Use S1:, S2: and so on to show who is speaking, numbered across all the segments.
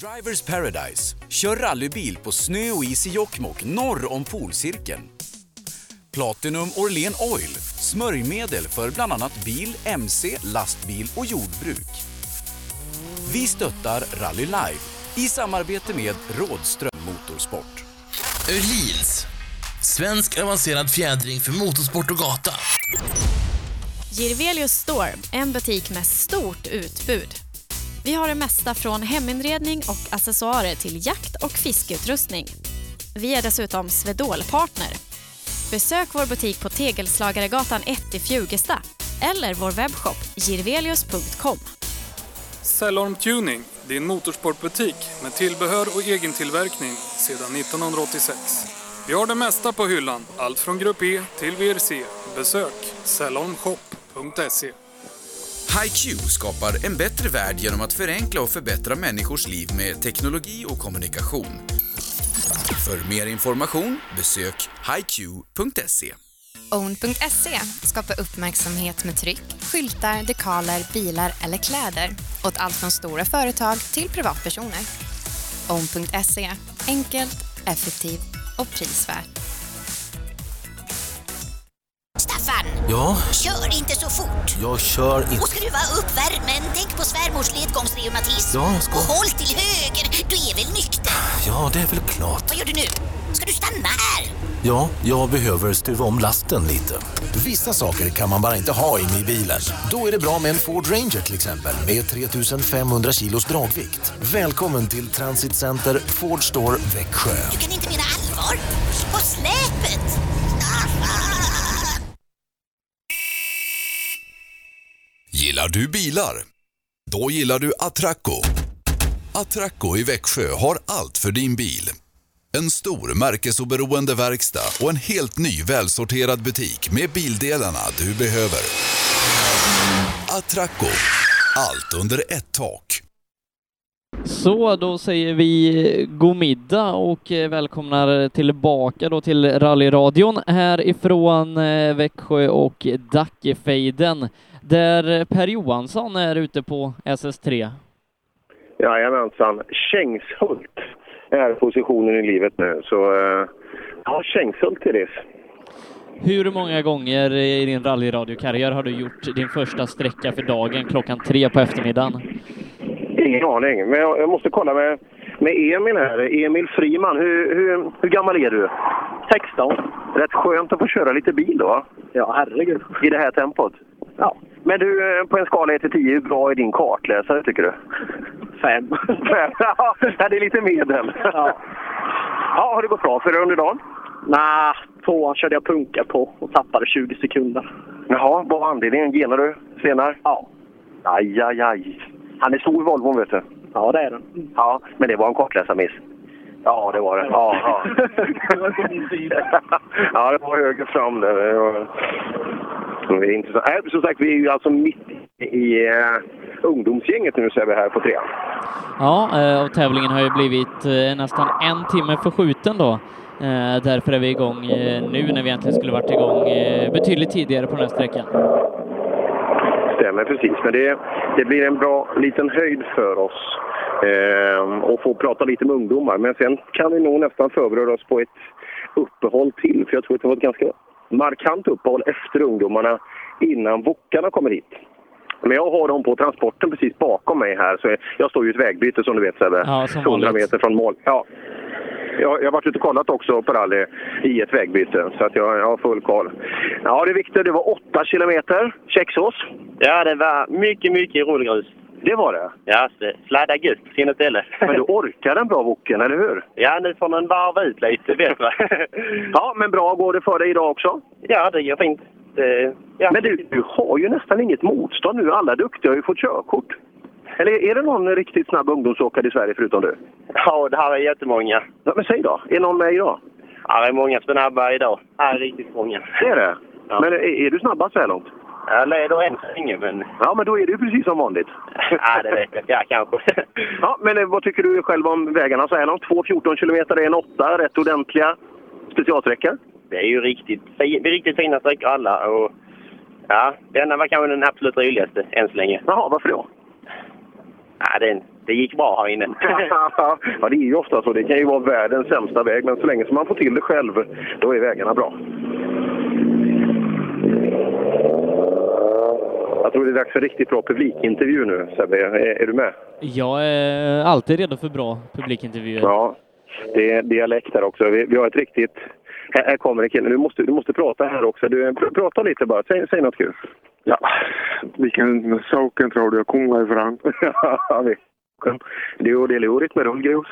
S1: Drivers Paradise. Kör rallybil på snö och is i Jokkmokk norr om polcirkeln. Platinum Orlen Oil. Smörjmedel för bland annat bil, mc, lastbil och jordbruk. Vi stöttar Rally Live i samarbete med Rådström Motorsport.
S2: Öhlins. Svensk avancerad fjädring för motorsport och gata.
S3: Girvelius Store, en butik med stort utbud. Vi har det mesta från heminredning och accessoarer till jakt och fiskeutrustning. Vi är dessutom Swedol-partner. Besök vår butik på Tegelslagaregatan 1 i Fjugesta eller vår webbshop girvelius.com.
S4: Cellorm Tuning, din motorsportbutik med tillbehör och egen tillverkning sedan 1986. Vi har det mesta på hyllan, allt från Grupp E till VRC. Besök cellormshop.se.
S5: HiQ skapar en bättre värld genom att förenkla och förbättra människors liv med teknologi och kommunikation. För mer information besök hiq.se.
S6: Own.se skapar E, uppmärksamhet med tryck, skyltar, dekaler, bilar eller kläder åt allt från stora företag till privatpersoner. Own.se, E, enkelt, effektivt och prisvärt.
S7: Staffan,
S2: Ja,
S7: kör inte så fort.
S2: jag kör
S7: Och skruva upp värmen. Tänk på svärmors ledgångsreumatism.
S2: Ja, jag ska-
S7: Och håll till höger. Du är väl nykter?
S2: Ja, det är väl klart.
S7: Vad gör du nu? Ska du stanna här?
S8: Ja, jag behöver stuva om lasten lite. Vissa saker kan man bara inte ha inne i bilen. Då är det bra med en Ford Ranger till exempel med 3500 kilos dragvikt. Välkommen till Transit Center Ford Store Växjö.
S7: Du kan inte mena allvar. På släpet! Ah, ah.
S9: Gillar du bilar? Då gillar du Atracco. Atracco i Växjö har allt för din bil. En stor märkesoberoende verkstad och en helt ny välsorterad butik med bildelarna du behöver. Atracco. Allt under ett tak.
S10: Så, då säger vi god middag och eh, välkomnar tillbaka då till rallyradion härifrån eh, Växjö och Dackefejden där Per Johansson är ute på SS3.
S11: Jajamensan. Kängshult är positionen i livet nu. Så eh, ja, Kängshult till det.
S10: Hur många gånger i din rallyradiokarriär har du gjort din första sträcka för dagen klockan tre på eftermiddagen?
S11: Ingen aning, men jag, jag måste kolla med, med Emil här. Emil Friman, hur, hur, hur gammal är du? 16. Rätt skönt att få köra lite bil då? va? Ja, herregud. I det här tempot? Ja. Men du, eh, på en skala 1 till 10, hur bra är din kartläsare tycker du? Fem. Fem? Ja, det är lite medel. Ja. ja har det gått bra för dig under dagen? Nej, tvåan körde jag punka på och tappade 20 sekunder. Jaha, vad var anledningen? Genar du senare? Ja. Aj, aj, aj. Han är stor i Volvon, vet du. Ja, det är den. Ja, men det var en kortläsarmiss. Ja, det var det. Ja, ja. ja, det var höger fram där. Det var... Det är intressant. Nej, Som sagt, vi är ju alltså mitt i eh, ungdomsgänget nu, ser vi här på trean.
S10: Ja, eh, och tävlingen har ju blivit eh, nästan en timme förskjuten då. Eh, Därför är vi igång eh, nu när vi egentligen skulle varit igång eh, betydligt tidigare på den här sträckan.
S11: Stämmer precis. Men det, det blir en bra liten höjd för oss ehm, och få prata lite med ungdomar. Men sen kan vi nog nästan förbereda oss på ett uppehåll till. För jag tror att det var ett ganska markant uppehåll efter ungdomarna innan Wokarna kommer hit. Men jag har dem på transporten precis bakom mig här. Så jag- jag står ju i ett vägbyte som du vet Sebbe.
S10: Ja, som
S11: 100
S10: vanligt.
S11: meter från mål. Ja. Jag, jag har varit ute och kollat också på rally i ett vägbyte, så att jag, jag har full koll. Ja du Viktor, det var 8 kilometer Käxås.
S12: Ja, det var mycket, mycket rullgrus.
S11: Det var det?
S12: Ja, så sladda gött till något ställe.
S11: Men du orkade en bra woken, eller hur?
S12: Ja, nu får man varva ut lite bättre.
S11: ja, men bra går det för dig idag också?
S12: ja, det går fint. Det, ja.
S11: Men du, du har ju nästan inget motstånd nu. Alla duktiga har ju fått körkort. Eller är det någon riktigt snabb ungdomsåkare i Sverige förutom du?
S12: ja, det här är jättemånga.
S11: Ja, men säg då, är någon med idag?
S12: Ja, det är många snabba idag. Ja, riktigt många.
S11: Det är det?
S12: Ja.
S11: Men är, är du snabbast så här långt?
S12: Jag leder än så länge, men...
S11: Ja, men då är det ju precis som vanligt.
S12: Ja, det vet jag. Ja, kanske.
S11: Ja, men eh, vad tycker du själv om vägarna så här långt? 2,14 kilometer är en åtta, rätt ordentliga specialsträckor.
S12: Det är ju riktigt, fi- riktigt fina sträckor alla. Och, ja, denna var kanske den absolut roligaste än så länge.
S11: Jaha, varför då?
S12: Ja, det, är en- det
S13: det gick bra här inne.
S11: ja, det är ju ofta så. Det kan ju vara världens sämsta väg, men så länge som man får till det själv, då är vägarna bra. Jag tror det är dags för riktigt bra publikintervju nu, Sebbe. Är, är du med?
S10: Jag är alltid redo för bra publikintervjuer.
S11: Ja, det är dialekt här också. Vi, vi har ett riktigt... Här, här kommer en kille. Du måste, du måste prata här också. Du, pr prata lite bara. Säg, säg något kul.
S14: Ja, vilken saken tror du jag kommer ifrån?
S11: ja, vi. Jo, det är lurigt med rullgrus.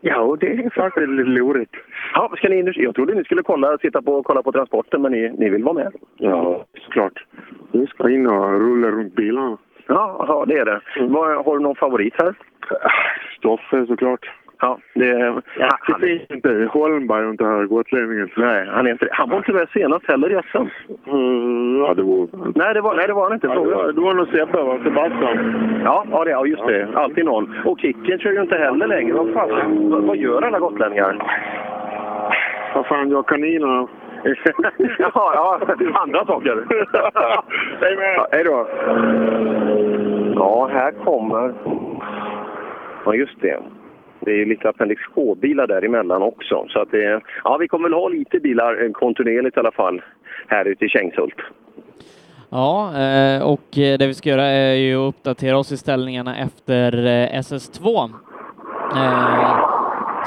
S14: Ja, det är faktiskt lite lurigt.
S11: Ja, ska ni in? Jag trodde ni skulle kolla, sitta på, kolla på transporten, men ni, ni vill vara med?
S14: Ja, såklart. Vi ska in och rulla runt bilarna.
S11: Ja, ja det är det.
S14: Mm.
S11: Vad- har du någon favorit här?
S14: Stoffe såklart.
S11: Ja, det...
S14: Ja, han är inte Holmberg och inte här gotlänningen.
S11: Nej, han är inte det. Han var inte med senast heller, Jessen.
S14: Mm, ja, det var...
S11: Nej, det var, nej, det var han inte.
S14: det var- det var nog Sebbe, va? Sebastian.
S11: Ja, ja, det, ja just det. Alltid någon. Och Kicken kör ju inte heller längre. Vad, fan, vad, vad gör alla gotlänningar?
S14: Vad fan, jag har kaniner.
S11: ja, ja, andra saker.
S14: Hej med!
S11: Hej då! Ja, här kommer... Ja, just det. Det är ju lite Appendix K-bilar däremellan också. Så att det, ja, vi kommer väl ha lite bilar eh, kontinuerligt i alla fall här ute i Kängshult.
S10: Ja, eh, och eh, det vi ska göra är ju att uppdatera oss i ställningarna efter eh, SS2. Eh,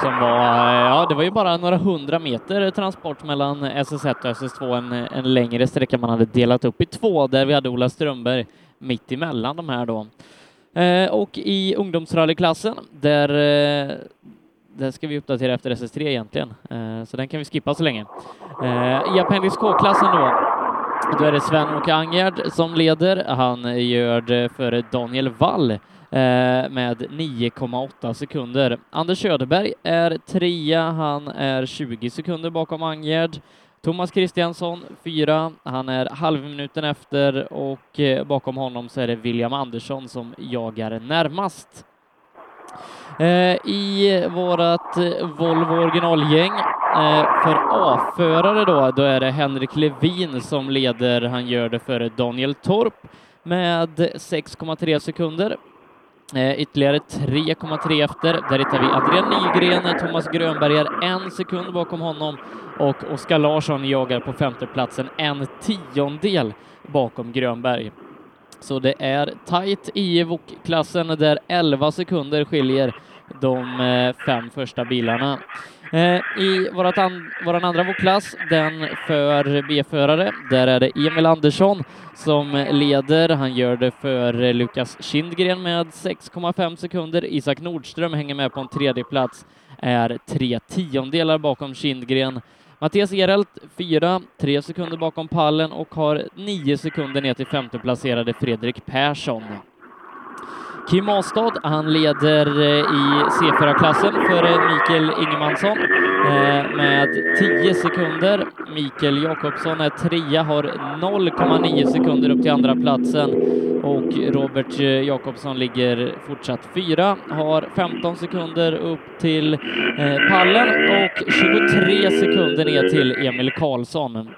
S10: Som var, eh, ja det var ju bara några hundra meter transport mellan SS1 och SS2, en, en längre sträcka man hade delat upp i två, där vi hade Ola Strömberg mitt emellan de här då. Eh, Och i ungdomsrallyklassen, där, eh, där ska vi uppdatera efter SS3 egentligen, Eh, så den kan vi skippa så länge. Eh, I Appendix K-klassen då, då är det Sven-Åke Angerd som leder. Han gör det före Daniel Wall eh, med 9,8 sekunder. Anders Söderberg är trea. Han är 20 sekunder bakom Angerd. Thomas Kristiansson fyra. Han är halvminuten efter och eh, bakom honom så är det William Andersson som jagar närmast. Eh, I vårat eh, Volvo originalgäng eh, för A-förare då, då är det Henrik Levin som leder. Han gör det före Daniel Torp med 6,3 sekunder. Eh, ytterligare 3,3 efter. Där hittar vi Adrian Nygren, Thomas Grönberg är en sekund bakom honom och Oskar Larsson jagar på femteplatsen en tiondel bakom Grönberg. Så det är tajt i VOK-klassen där 11 sekunder skiljer de eh, fem första bilarna. Eh, I vårat an- våran andra VOK-klass, den för B-förare, där är det Emil Andersson som leder. Han gör det för eh, Lukas Kindgren med 6,5 sekunder. Isak Nordström hänger med på en tredje plats är tre tiondelar bakom Kindgren. Mattias Gerelt fyra, tre sekunder bakom pallen och har nio sekunder ner till femteplacerade Fredrik Persson. Kim Astad, han leder eh, i C4-klassen före Mikael Ingemansson eh, med 10 sekunder. Mikael Jakobsson är trea, har 0,9 sekunder upp till andra platsen och Robert eh, Jakobsson ligger fortsatt fyra, har 15 sekunder upp till eh, pallen och 23 sekunder ner till Emil Karlsson.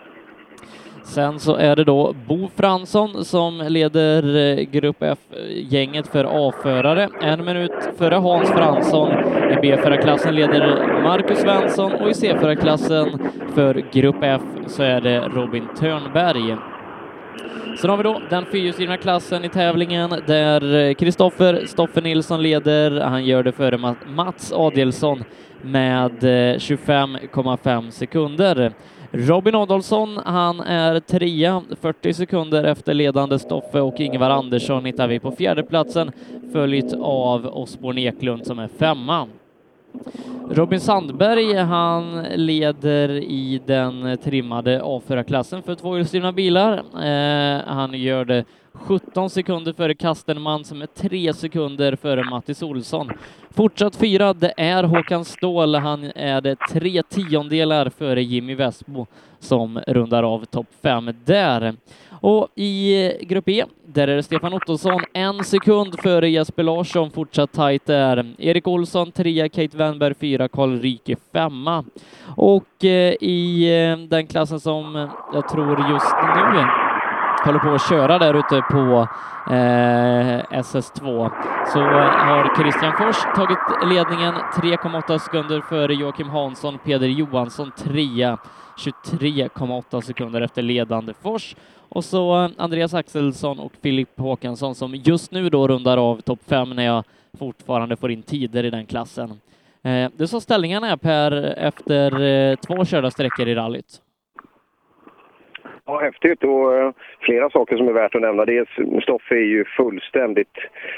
S10: Sen så är det då Bo Fransson som leder eh, Grupp F-gänget för A-förare. En minut före Hans Fransson. I B-förarklassen leder Marcus Svensson och i C-förarklassen för Grupp F så är det Robin Törnberg. Sen har vi då den fyrhjulsdrivna klassen i tävlingen där Kristoffer Stoffer Nilsson leder. Han gör det före Ma- Mats Adelsson med eh, 25,5 sekunder. Robin Adolfsson, han är trea, 40 sekunder efter ledande Stoffe och Ingvar Andersson hittar vi på fjärdeplatsen, följt av Osborne Eklund som är femma. Robin Sandberg, han leder i den trimmade A4-klassen för tvåhjulsdrivna bilar. Eh, han gör det 17 sekunder före Kastenman som är 3 sekunder före Mattis Olsson. Fortsatt fyra, det är Håkan Ståhl. Han är det tre tiondelar före Jimmy Westbo som rundar av topp fem där. Och i grupp E, där är det Stefan Ottosson en sekund före Jesper Larsson, fortsatt tajt där. Erik Olsson trea, Kate Wennberg fyra, Karl Ryke femma. Och eh, i eh, den klassen som jag tror just nu håller på att köra där ute på eh, SS2 så har Christian Fors tagit ledningen 3,8 sekunder före Joakim Hansson, Peder Johansson trea 23,8 sekunder efter ledande Fors och så eh, Andreas Axelsson och Filip Håkansson som just nu då rundar av topp fem när jag fortfarande får in tider i den klassen. Eh, det så ställningarna är Per efter eh, två körda sträckor i rallyt.
S11: Ja, häftigt och eh, flera saker som är värt att nämna. Dels Stoffe är ju fullständigt,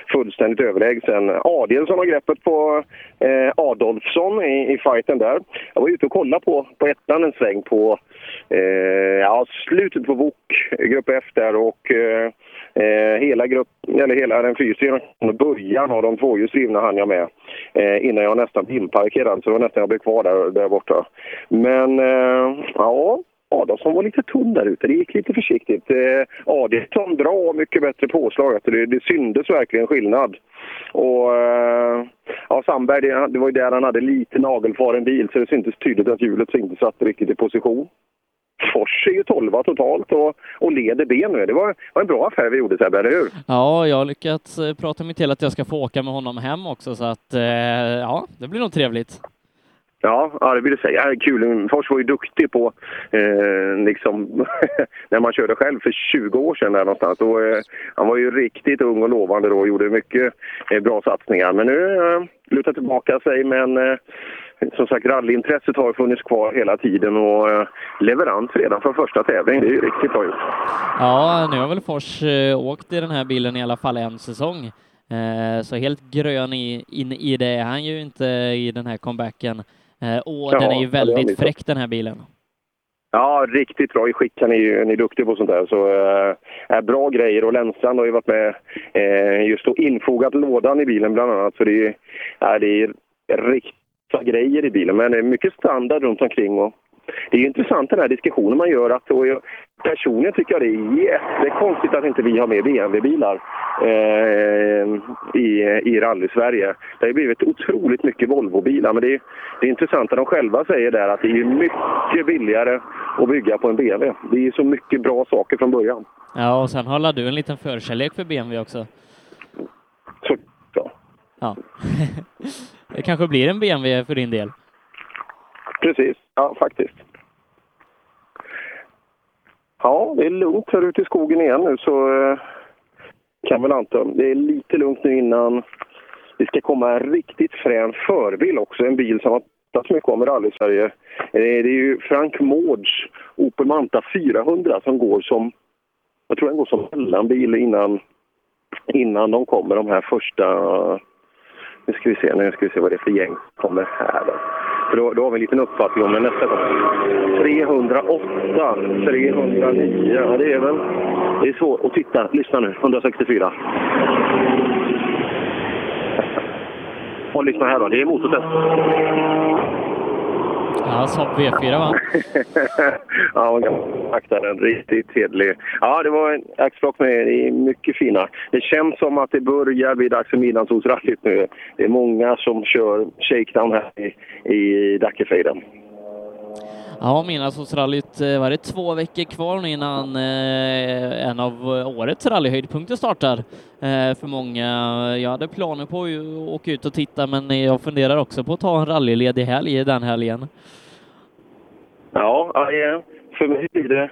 S11: fullständigt överlägsen. Adielsson har greppet på eh, Adolfsson i, i fighten där. Jag var ute och kollade på, på ettan en sväng på eh, ja, slutet på VOK, grupp F där och eh, eh, hela, grupp, eller hela den fyrhjulsdrivna och början av de tvåhjulsdrivna hann jag med eh, innan jag nästan inparkerade. Så det var nästan jag blev kvar där, där borta. Men eh, ja, Adolfsson var lite tunn där ute. Det gick lite försiktigt. Eh, Adelsson bra och mycket bättre påslag. alltså Det, det syndes verkligen skillnad. Och, eh, ja, Sandberg, det, det var ju där han hade lite nagelfaren bil så det syntes tydligt att hjulet inte satt riktigt i position. Fors är ju 12 totalt och, och leder B nu. Det var, var en bra affär vi gjorde Sebbe, eller hur?
S10: Ja, jag har lyckats eh, prata mig till att jag ska få åka med honom hem också så att eh, ja, det blir nog trevligt.
S11: Ja, ja, det vill jag säga. Ja, Kul. Fors var ju duktig på eh, liksom, när man körde själv för 20 år sedan. Där någonstans. Då, eh, han var ju riktigt ung och lovande då och gjorde mycket eh, bra satsningar. Men nu eh, lutar tillbaka sig. Men eh, som sagt, rallyintresset har ju funnits kvar hela tiden och eh, leverans redan från första tävling. Det är ju riktigt bra gjort.
S10: Ja, nu har väl Fors eh, åkt i den här bilen i alla fall en säsong. Eh, Så helt grön i, in i det är han ju inte i den här comebacken. Eh, Och
S11: Ja,
S10: den är
S11: ja,
S10: ju
S11: det har jag
S10: väldigt
S11: missat.
S10: fräck den här bilen.
S11: Ja, riktigt bra i skick. Han är ju han är duktig på sånt där. Så, eh, är bra grejer. Och Länsan har ju varit med eh, just och infogat lådan i bilen bland annat. Så det är, ja, det är riktiga grejer i bilen. Men det är mycket standard runt omkring. Och det är ju intressant den här diskussionen man gör. Att, och jag, personligen tycker jag det är jättekonstigt att inte vi har med BMW-bilar eh, i, i rally-Sverige. Det har ju blivit otroligt mycket Volvo-bilar. Men det är, det är intressant att de själva säger där att det är ju mycket billigare att bygga på en BMW. Det är ju så mycket bra saker från början.
S10: Ja, och sen har du en liten förkärlek för BMW också.
S11: Så, Typ, ja.
S10: ja. det kanske blir en BMW för din del.
S11: Precis, ja faktiskt. Ja, det är lugnt här ute i skogen igen nu så eh, kan väl anta. Det är lite lugnt nu innan det ska komma en riktigt frän förbil också. En bil som har pratats mycket om i rally-Sverige. Eh, Det är ju Frank Mårds Opel Manta 400 som går som, jag tror den går som mellanbil innan, innan de kommer de här första nu ska vi se, nu ska vi se vad det är för gäng som kommer här då. För då, då har vi en liten uppfattning om det nästa gång. 308, 309, ja det är väl... Det är svårt. Och titta, lyssna nu, 164. Och lyssna här då, det är motortest.
S10: Ja, Saab V4 va?
S11: ja, man kan akta den. Riktigt hederlig. Ja, det var en axplock med det är mycket fina. Det känns som att det börjar bli dags för midnattssolsrallyt nu. Det är många som kör shakedown här i, i Dackefejden.
S10: Ja, Midnattssolsrallyt, eh, var det två veckor kvar nu innan eh, en av eh, årets rallyhöjdpunkter startar eh, för många. Jag hade planer på att ju åka ut och titta, men eh, jag funderar också på att ta en rallyledig helg den helgen.
S11: Ja, ja, det är- för mig blir det...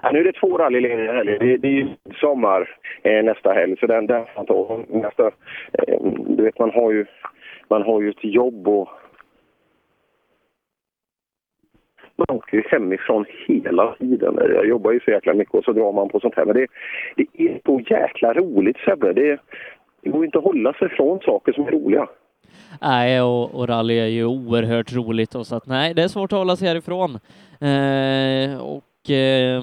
S11: Ja, nu är det två rallylediga helger. Det, det är ju sommar eh, nästa helg, så den den får jag ta. Nästa, eh, du vet, man har, ju, man har ju ett jobb och... Man åker ju hemifrån hela tiden. Jag jobbar ju så jäkla mycket och så drar man på sånt här. Men det, det är så jäkla roligt, Sebbe. Det, det går inte att hålla sig från saker som är roliga.
S10: Nej, och, och rally är ju oerhört roligt och så att nej, det är svårt att hålla sig härifrån. Eh, och eh,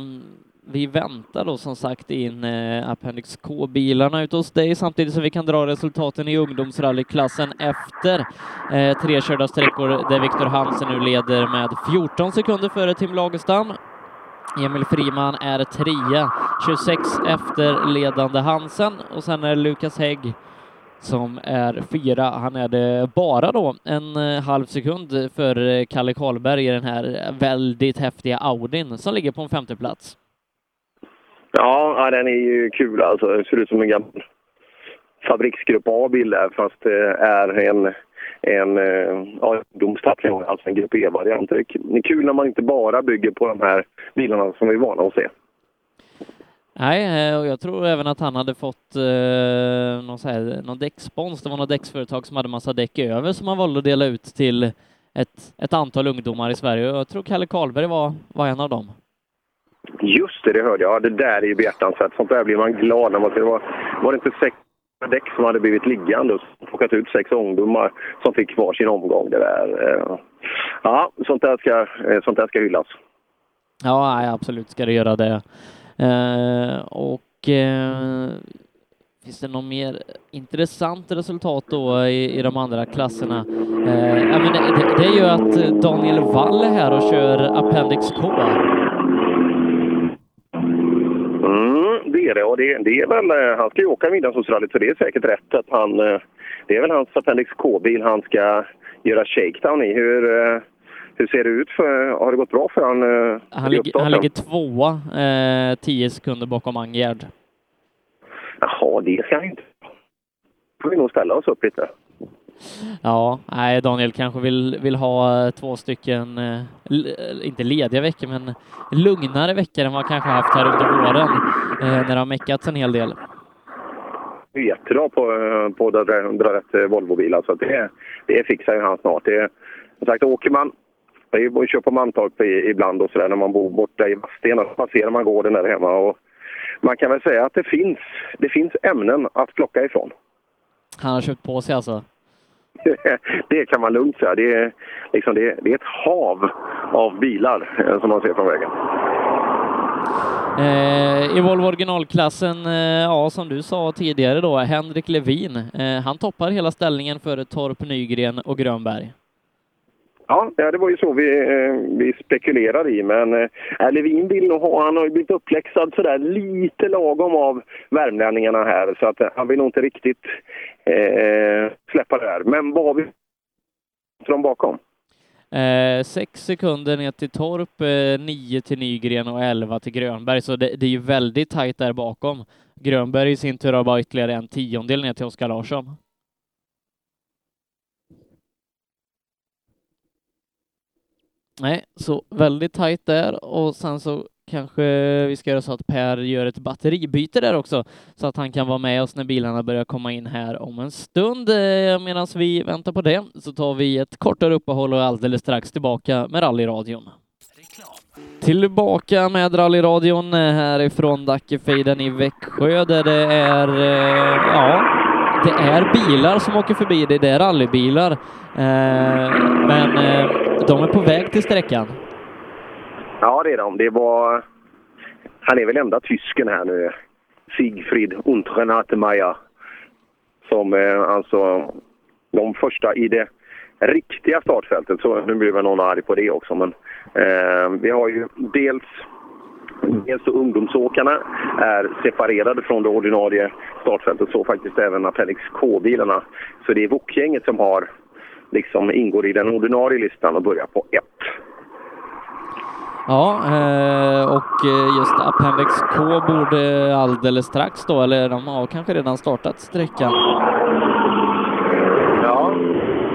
S10: vi väntar då som sagt in eh, Appendix K-bilarna ute hos dig samtidigt som vi kan dra resultaten i ungdomsrallyklassen efter eh, tre körda sträckor där Viktor Hansen nu leder med 14 sekunder före Tim Lagerstam. Emil Friman är trea, 26 efter ledande Hansen och sen är det Lukas Hägg som är fyra. Han är det bara då en eh, halv sekund för eh, Kalle Karlberg i den här väldigt häftiga Audin som ligger på en femte plats.
S11: Ja, ja, den är ju kul alltså. Det ser ut som en gammal fabriksgrupp A-bil där, fast det är en en eh, ja, ungdomstappning, alltså en grupp E-variant. Det är kul när man inte bara bygger på de här bilarna som vi är vana att se.
S10: Nej, eh, och jag tror även att han hade fått eh, någon, så här, någon däckspons. Det var något däcksföretag som hade massa däck över som han valde att dela ut till ett, ett antal ungdomar i Sverige. Och Jag tror Kalle Karlberg var, var en av dem.
S11: Just det, det hörde jag. Ja, Det där är ju behjärtansvärt. Sånt där blir man glad när man ser. Det var, var det inte sex däck som hade blivit liggande och plockat ut sex ungdomar som fick var sin omgång? Det där. eh. Ja, sånt där ska, eh, sånt där ska hyllas.
S10: Ja, nej, absolut ska det göra det. Eh, och eh, finns det något mer intressant resultat då i, i de andra klasserna? Eh, ja, men det, det- det är ju att Daniel Wall är här och kör Appendix K.
S11: Mm, det är det. Och det, det är väl, eh, han ska ju åka Midnattssolsrallyt så det är säkert rätt att han... eh, Det är väl hans Appendix K-bil han ska göra shakedown i. Hur, eh, hur ser det ut? För, har det gått bra för han? eh,
S10: Han,
S11: i
S10: ligger- han
S11: uppstarten?
S10: ligger tvåa, eh, tio sekunder bakom Angerd.
S11: Jaha, det ska han inte. får vi nog ställa oss upp lite.
S10: Ja, nej, Daniel kanske vill, vill ha eh, två stycken, eh, l- inte lediga veckor, men lugnare veckor än vad han kanske haft här under våren eh, när det har meckats en hel del.
S11: Det är jättebra på, eh, på att dra, dra rätt eh, Volvobilar så att det, det fixar ju han snart. Det, som sagt, åker man jag kör på Mantorp i- ibland och sådär när man bor borta i Vadstena så passerar man gården där hemma och man kan väl säga att det finns, det finns ämnen att plocka ifrån.
S10: Han har köpt på sig alltså.
S11: det kan man lugnt säga. Det är, liksom, det, det är ett hav av bilar eh, som man ser från vägen.
S10: Eh, I Volvo originalklassen, eh, ja som du sa tidigare då, Henrik Levin, eh, han toppar hela ställningen före Torp Nygren och Grönberg.
S11: Ja, ja, det var ju så vi, eh, vi spekulerade i. Men eh, Levin vill nog ha, han har ju blivit uppläxad sådär lite lagom av värmlänningarna här. Så att eh, han vill nog inte riktigt eh, släppa det här. Men vad har vi från bakom?
S10: Eh, sex sekunder ner till Torp, eh, nio till Nygren och elva till Grönberg, så det, det är ju väldigt tajt där bakom. Grönberg i sin tur har bara ytterligare en tiondel ner till Oskar Larsson. Nej, så väldigt tajt där och sen så kanske vi ska göra så att Per gör ett batteribyte där också så att han kan vara med oss när bilarna börjar komma in här om en stund. eh, Medan vi väntar på det så tar vi ett kortare uppehåll och är alldeles strax tillbaka med rallyradion. Tillbaka med rallyradion härifrån Dackefejden i Växjö där det är, eh, ja, det är bilar som åker förbi dig. Det är rallybilar. Eh, men eh, de är på väg till sträckan.
S11: Ja, det är de. Det var... Han är väl enda tysken här nu. Siegfried Unternatemeyer. Som eh, alltså de första i det riktiga startfältet. Så nu blir väl någon arg på det också. Men eh, vi har ju dels Dels så ungdomsåkarna är separerade från det ordinarie startfältet, så faktiskt även Appendix K-bilarna. Så det är Wok-gänget som har, liksom ingår i den ordinarie listan och börjar på ett.
S10: Ja, eh, och eh, just Appendix K borde alldeles strax då, eller de har kanske redan startat sträckan.
S11: Ja,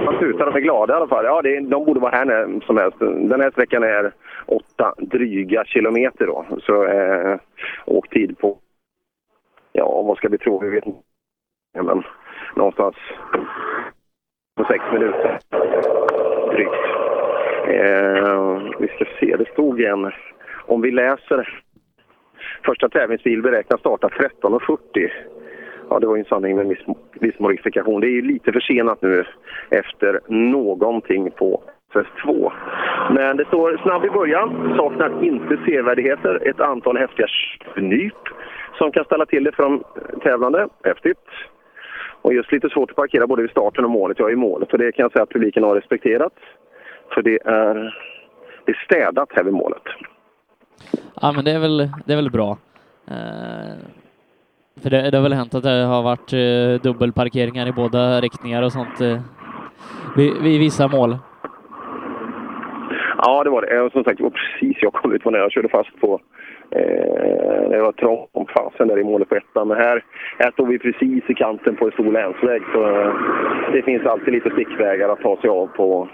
S11: man tutar. De är glada i alla fall. Ja, det, är- de borde vara här när som helst. Den här sträckan är åtta dryga kilometer då. Så eh, åktid på, ja vad ska vi tro? Vi vet inte. Ja, men någonstans på sex minuter drygt. Eh, vi ska se, det stod en, om vi läser. Första tävlingsbil beräknas starta 13.40. Ja, det var ju en sanning med viss, viss modifikation. Det är ju lite försenat nu efter någonting på SS2. Men det står snabb i början, saknar inte sevärdigheter, ett antal häftiga knyp som kan ställa till det för de tävlande. Häftigt. Och just lite svårt att parkera både vid starten och målet. Jag är i målet och det kan jag säga att publiken har respekterat. För det är, det är städat här vid målet.
S10: Ja, men det är väl, det är väl bra. Eh, för det, det har väl hänt att det har varit eh, dubbelparkeringar i båda riktningar och sånt eh, vid, vid vissa mål.
S11: Ja, det var det. Eh, Som sagt, det var precis jag kom ut på när jag körde fast på Eh, det var trångt om fasen där i målet på ettan. Men här, här står vi precis i kanten på en stor länsväg. Så eh, det finns alltid lite stickvägar att ta sig av på.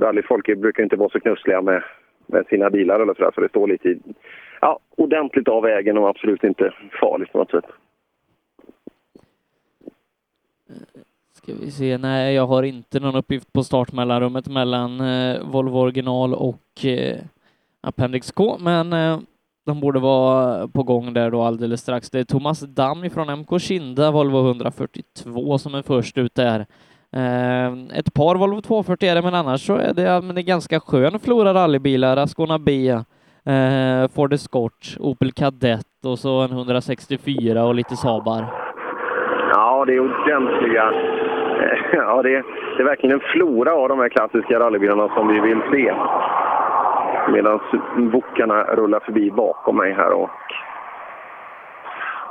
S11: Rallyfolk brukar inte vara så knussliga med, med sina bilar eller sådär. Så det står lite i, ja, ordentligt av vägen och absolut inte farligt på något sätt.
S10: Ska vi se, nej jag har inte någon uppgift på startmellanrummet mellan eh, Volvo original och eh, Appendix K, men eh, de borde vara på gång där då alldeles strax. Det är Thomas Damm från MK Kinda, Volvo 142 som är först ut där. Eh, ett par Volvo 240 är det, men annars så är det, men det är ganska skön flora rallybilar, Ascona B, eh, Ford Escort, Opel Kadett och så en 164 och lite Sabar.
S11: Ja, det är ordentliga... eh, Ja, det, det är verkligen en flora av de här klassiska rallybilarna som vi vill se. Medan bokarna rullar förbi bakom mig här. Och,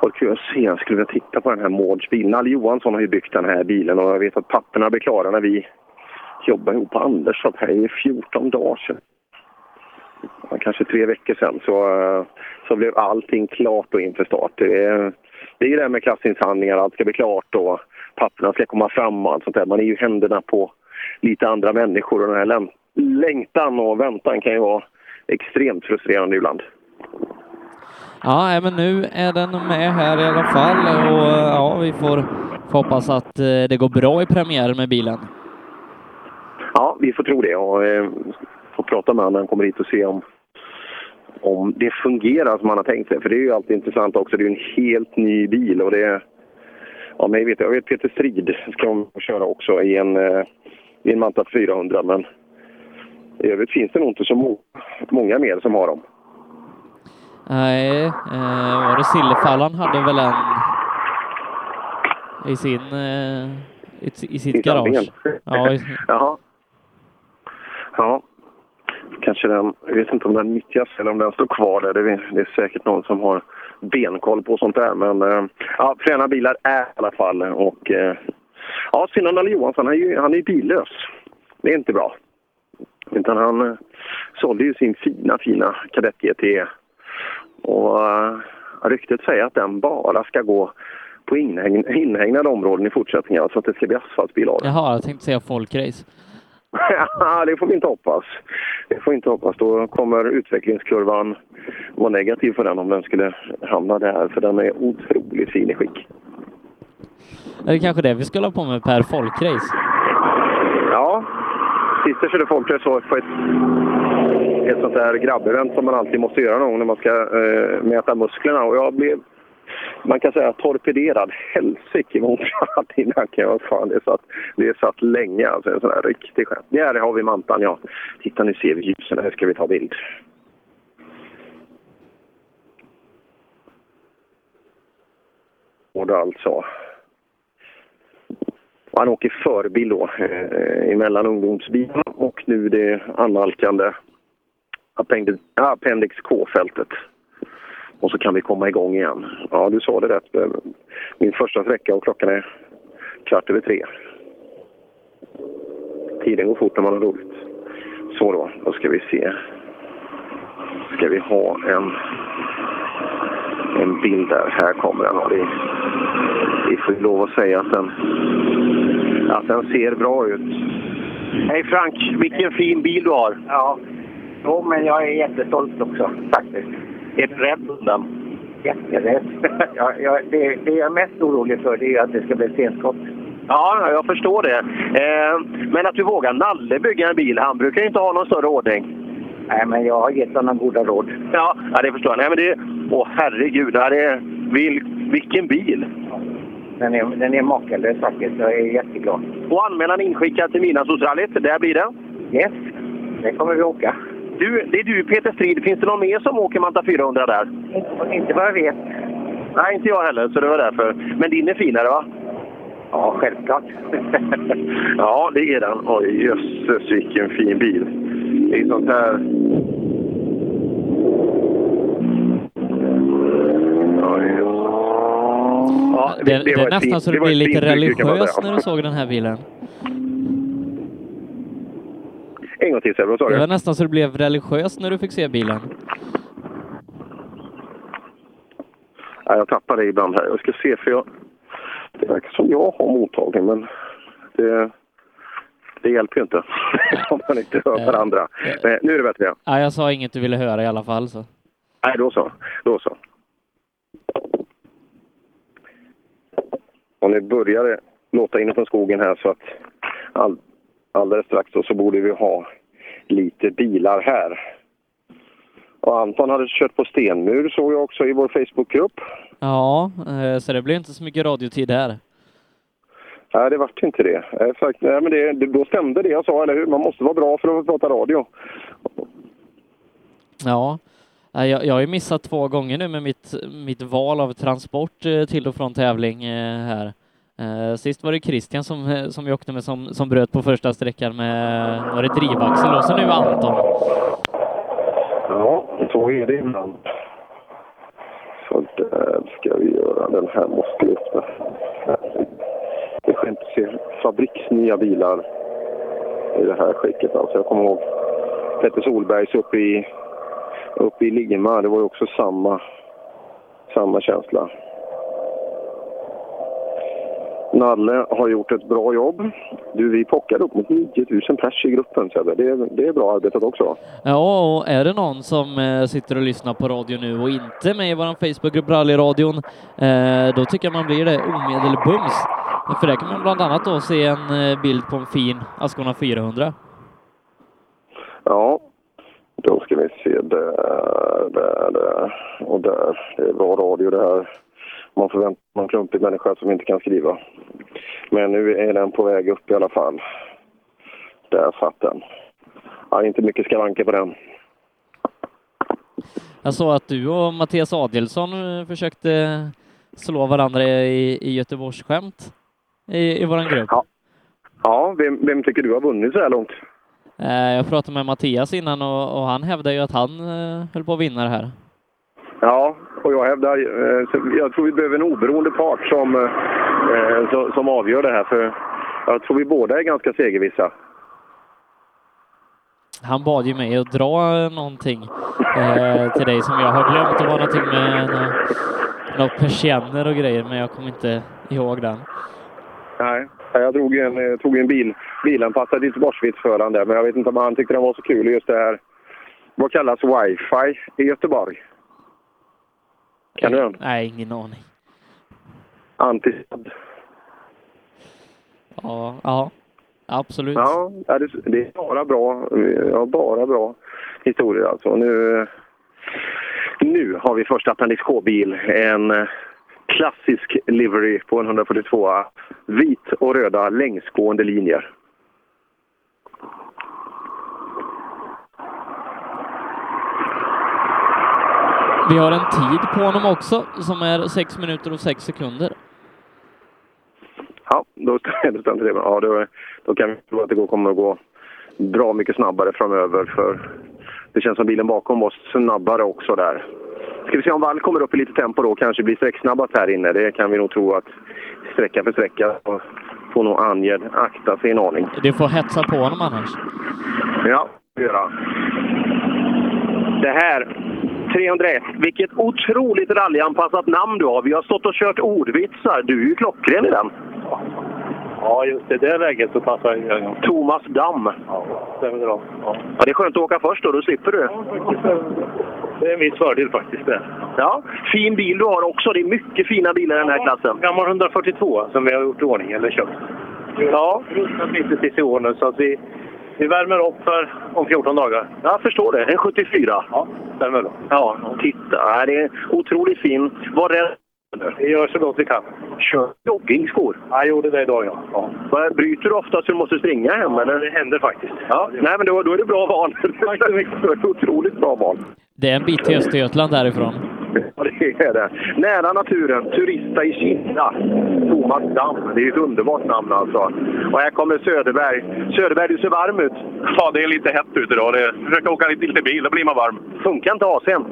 S11: och jag se, jag skulle vilja titta på den här Mårds bil. Nalle Johansson har ju byggt den här bilen och jag vet att papperna blir klara när vi jobbar ihop på Anderstorp här i 14 dagar sedan. Ja, Kanske tre veckor sedan så, eh, så blev allting klart då inför start. Det är, det är ju det här med klassinsamlingar, allt ska bli klart och papperna ska komma fram och allt sånt där. Man är ju i händerna på lite andra människor och den här läm- längtan och väntan kan ju vara extremt frustrerande ibland.
S10: Ja, nej, men nu är den med här i alla fall och ja, vi får, får hoppas att eh, det går bra i premiären med bilen.
S11: Ja, vi får tro det och eh, får prata med honom när han kommer hit och se om, om det fungerar som han har tänkt sig. För det är ju alltid intressant också. Det är ju en helt ny bil och det... Ja, men jag vet, jag vet Peter Strid ska de köra också i en, eh, i en Manta 400 men i övrigt finns det nog inte så må, många mer som har dem.
S10: Nej, eh, var det Sillefallan hade väl en i sin eh, i, i sitt
S11: I
S10: garage?
S11: samlingen.
S10: Ja, i,
S11: Jaha. Ja. Kanske den, jag vet inte om den nyttjas eller om den står kvar där. Det är, det är säkert någon som har benkoll på sånt där. Men eh, ja, fräna bilar är i alla fall. Och, eh, ja, synd om Nalle Johansson. Han är ju han är ju billös. Det är inte bra. Utan han eh, sålde ju sin fina, fina Kadett GT. Och eh, ryktet säger att den bara ska gå på inhägn, inhägnade områden i fortsättningen. Alltså att det ska bli asfaltbil av den.
S10: jaha, jag tänkte säga folkrace.
S11: Ja, det får vi inte hoppas. Det får vi inte hoppas. Då kommer utvecklingskurvan vara negativ för den om den skulle hamna där. För den är otroligt fin i skick.
S10: Är det kanske det vi skulle ha på med Per, folkrace?
S11: Ja, sist jag körde folkrace var på ett, ett sånt där grabbevent som man alltid måste göra någon gång när man ska eh, mäta musklerna. Och jag blev, man kan säga torpederad. Helsike vad ont jag hade i nacken. Vad fan, det satt, det satt länge alltså. En sån där riktig skämt. Där har vi mantan ja. Titta nu ser vi ljusen. Här ska vi ta bild. Och då alltså. Och Han åker förbil då, eh, mellan ungdomsbilarna och nu det annalkande appendix, appendix K-fältet. Och så kan vi komma igång igen. Ja, du sa det rätt. Eh, Min första sträcka och klockan är kvart över tre. Tiden går fort när man har roligt. Så då, då ska vi se. Ska vi ha en, en bild där? Här kommer den. Ja, det, vi får ju lov att säga att den att den ser bra ut. Hej Frank, vilken fin bil du har.
S15: Ja. Jo, men jag är jättestolt också faktiskt. Är du rädd om den? Jätterädd. jag, jag, det, det jag är mest orolig för det är ju att det ska bli stenskott.
S11: Ja, jag förstår det. Eh, men att du vågar Nalle bygga en bil, han brukar ju inte ha någon större ordning.
S15: Nej, men jag har gett honom goda råd.
S11: Ja, ja det förstår jag. Nej, men det... Åh herregud, ja, det, vil, vilken bil!
S15: Den är, den är makalös faktiskt. Jag är jätteglad.
S11: Och anmälan inskickad till Midnattsrallyt, där blir det.
S15: Yes, det kommer vi åka.
S11: Du, det är du Peter Strid. Finns det någon mer som åker Manta 400 där?
S15: Inte vad jag vet.
S11: Nej, inte jag heller, så det var därför. Men din är finare va?
S15: Ja, självklart.
S11: ja, det är den. Oj, jösses vilken fin bil. Det är sånt här... Oj, jösses. Ja,
S10: Det, det,
S11: var
S10: är
S11: ett
S10: nästan
S11: fint-
S10: så du
S11: var
S10: blir
S11: ett
S10: lite
S11: fint tryck, kan man
S10: religiös
S11: säga.
S10: när du såg den här bilen.
S11: En gång till Sebbe, vad sa
S10: Det var
S11: du?
S10: nästan så du blev religiös när du fick se bilen.
S11: Ja, jag tappar det ibland här. Jag ska se, för jag... Det verkar som jag har mottagning, men det, det hjälper ju inte om man inte hör varandra. Men nu är det bättre.
S10: Nej, jag sa inget du ville höra i alla fall så.
S11: Nej, då så. Då så. Och nu börjar det låta inifrån skogen här så att all, alldeles strax då så borde vi ha lite bilar här. Och Anton hade kört på stenmur såg jag också i vår Facebookgrupp.
S10: Ja, eh, så det blir inte så mycket radiotid här.
S11: Nej, det vart inte det. Eh, fakt- Nej, men det, det. Då stämde det jag sa, eller hur? Man måste vara bra för att få prata radio.
S10: Ja, Nej, Eh, jag, jag har ju missat två gånger nu med mitt, mitt val av transport eh, till och från tävling eh, här. Eh, Sist var det Christian som, eh, som jag åkte med som, som bröt på första sträckan med var det drivaxel och så nu Anton.
S11: Ja, så är det ibland. Så där ska vi göra. Den här måste vi öppna. Det skönt att se fabriksnya bilar i det här skicket. Alltså jag kommer ihåg Petter Solbergs uppe i, uppe i Lima. Det var ju också samma, samma känsla. Nalle har gjort ett bra jobb. Du, vi pockade upp mot 9000 pers i gruppen, Sebbe. Det, är- det är bra arbetat också.
S10: Ja, och är det någon som eh, sitter och lyssnar på radio nu och inte är med i vår Facebookgrupp Rallyradion, eh, då tycker jag man blir det omedelbums. För där kan man bland annat då se en eh, bild på en fin Ascona 400.
S11: Ja, då ska vi se där, där, där och där. Det är bra radio det här. Man förväntar sig en klumpig människa som inte kan skriva. Men nu är den på väg upp i alla fall. Där satt den. Ja, inte mycket skavanker på den.
S10: Jag såg att du och Mattias Adelsson eh, försökte slå varandra i, i Göteborgsskämt i, i vår grupp.
S11: Ja, vem, vem tycker du har vunnit så här långt?
S10: Eh, Jag pratade med Mattias innan och, och han hävdade ju att han eh, höll på att vinna det här.
S11: Ja, och jag hävdar... eh, så Jag tror vi behöver en oberoende part som, eh, som, som avgör det här. För jag tror vi båda är ganska segervissa.
S10: Han bad ju mig att dra eh, någonting eh, till dig som jag har glömt. Det var någonting med nå- några persienner och grejer, men jag kommer inte ihåg den.
S11: Nej, jag drog ju en, jag tog ju en bil, bilanpassad Göteborgsvits för han där, men jag vet inte om han tyckte den var så kul just det här. Vad kallas wifi i Göteborg? Kan du den?
S10: Nej, ingen aning.
S11: Antisladd.
S10: Ja, ja absolut.
S11: Ja, ja, det, det är bara bra, eh, ja, bara bra historier alltså. Och Nu, nu har vi första Appendix K-bil. En eh, klassisk livery på en 142 Vit och röda längsgående linjer.
S10: Vi har en tid på honom också som är 6 minuter och 6 sekunder.
S11: Ja, då stämmer det. Ja, då, då kan vi tro att det går- kommer att gå bra mycket snabbare framöver. För det känns som bilen bakom var snabbare också där. Ska vi se om Wall kommer upp i lite tempo då och kanske blir sträcksnabbast här inne. Det kan vi nog tro att sträcka för sträcka så får nog Anjed akta sig en aning.
S10: Du får hetsa på honom annars.
S11: Ja, göra. Det här, 301. Vilket otroligt rallyanpassat namn du har. Vi har stått och kört ordvitsar. Du är ju klockren i den.
S12: Ja, just i det läget så passar jag.
S11: Thomas Damm.
S12: Ja, stämmer bra. Ja.
S11: Ja, det är skönt att åka först då, då slipper du.
S12: Det är en viss fördel faktiskt det.
S11: Ja, fin bil du har också. Det är mycket fina bilar i den här klassen.
S12: Gammal 142 som vi har gjort i ordning, eller köpt. Ja. Rustat lite till i år nu så att vi, vi värmer upp för om 14 dagar.
S11: Jag förstår det. En 74.
S12: Ja, stämmer bra.
S11: Ja, titta. Ja, Det är otroligt fin. Var det...
S12: Vi gör så gott vi kan.
S11: Kör joggingskor?
S12: Jag gjorde det idag ja. ja.
S11: Vad- Bryter du ofta så du måste springa hem? Eller?
S12: Det händer faktiskt.
S11: Ja, nej, men då, då är det bra val. Tack så mycket. Det var ett otroligt bra val.
S10: Det är en bit till Östergötland därifrån.
S11: Ja, det är det. Nära naturen, turista i Kina. Thomas Damm. Det är ju ett underbart namn alltså. Och här kommer Söderberg. Söderberg, du ser varm ut.
S12: Ja, det är lite hett ute idag. Det- Försöka åka lite, lite bil, då blir man varm.
S11: Funkar inte AC'n?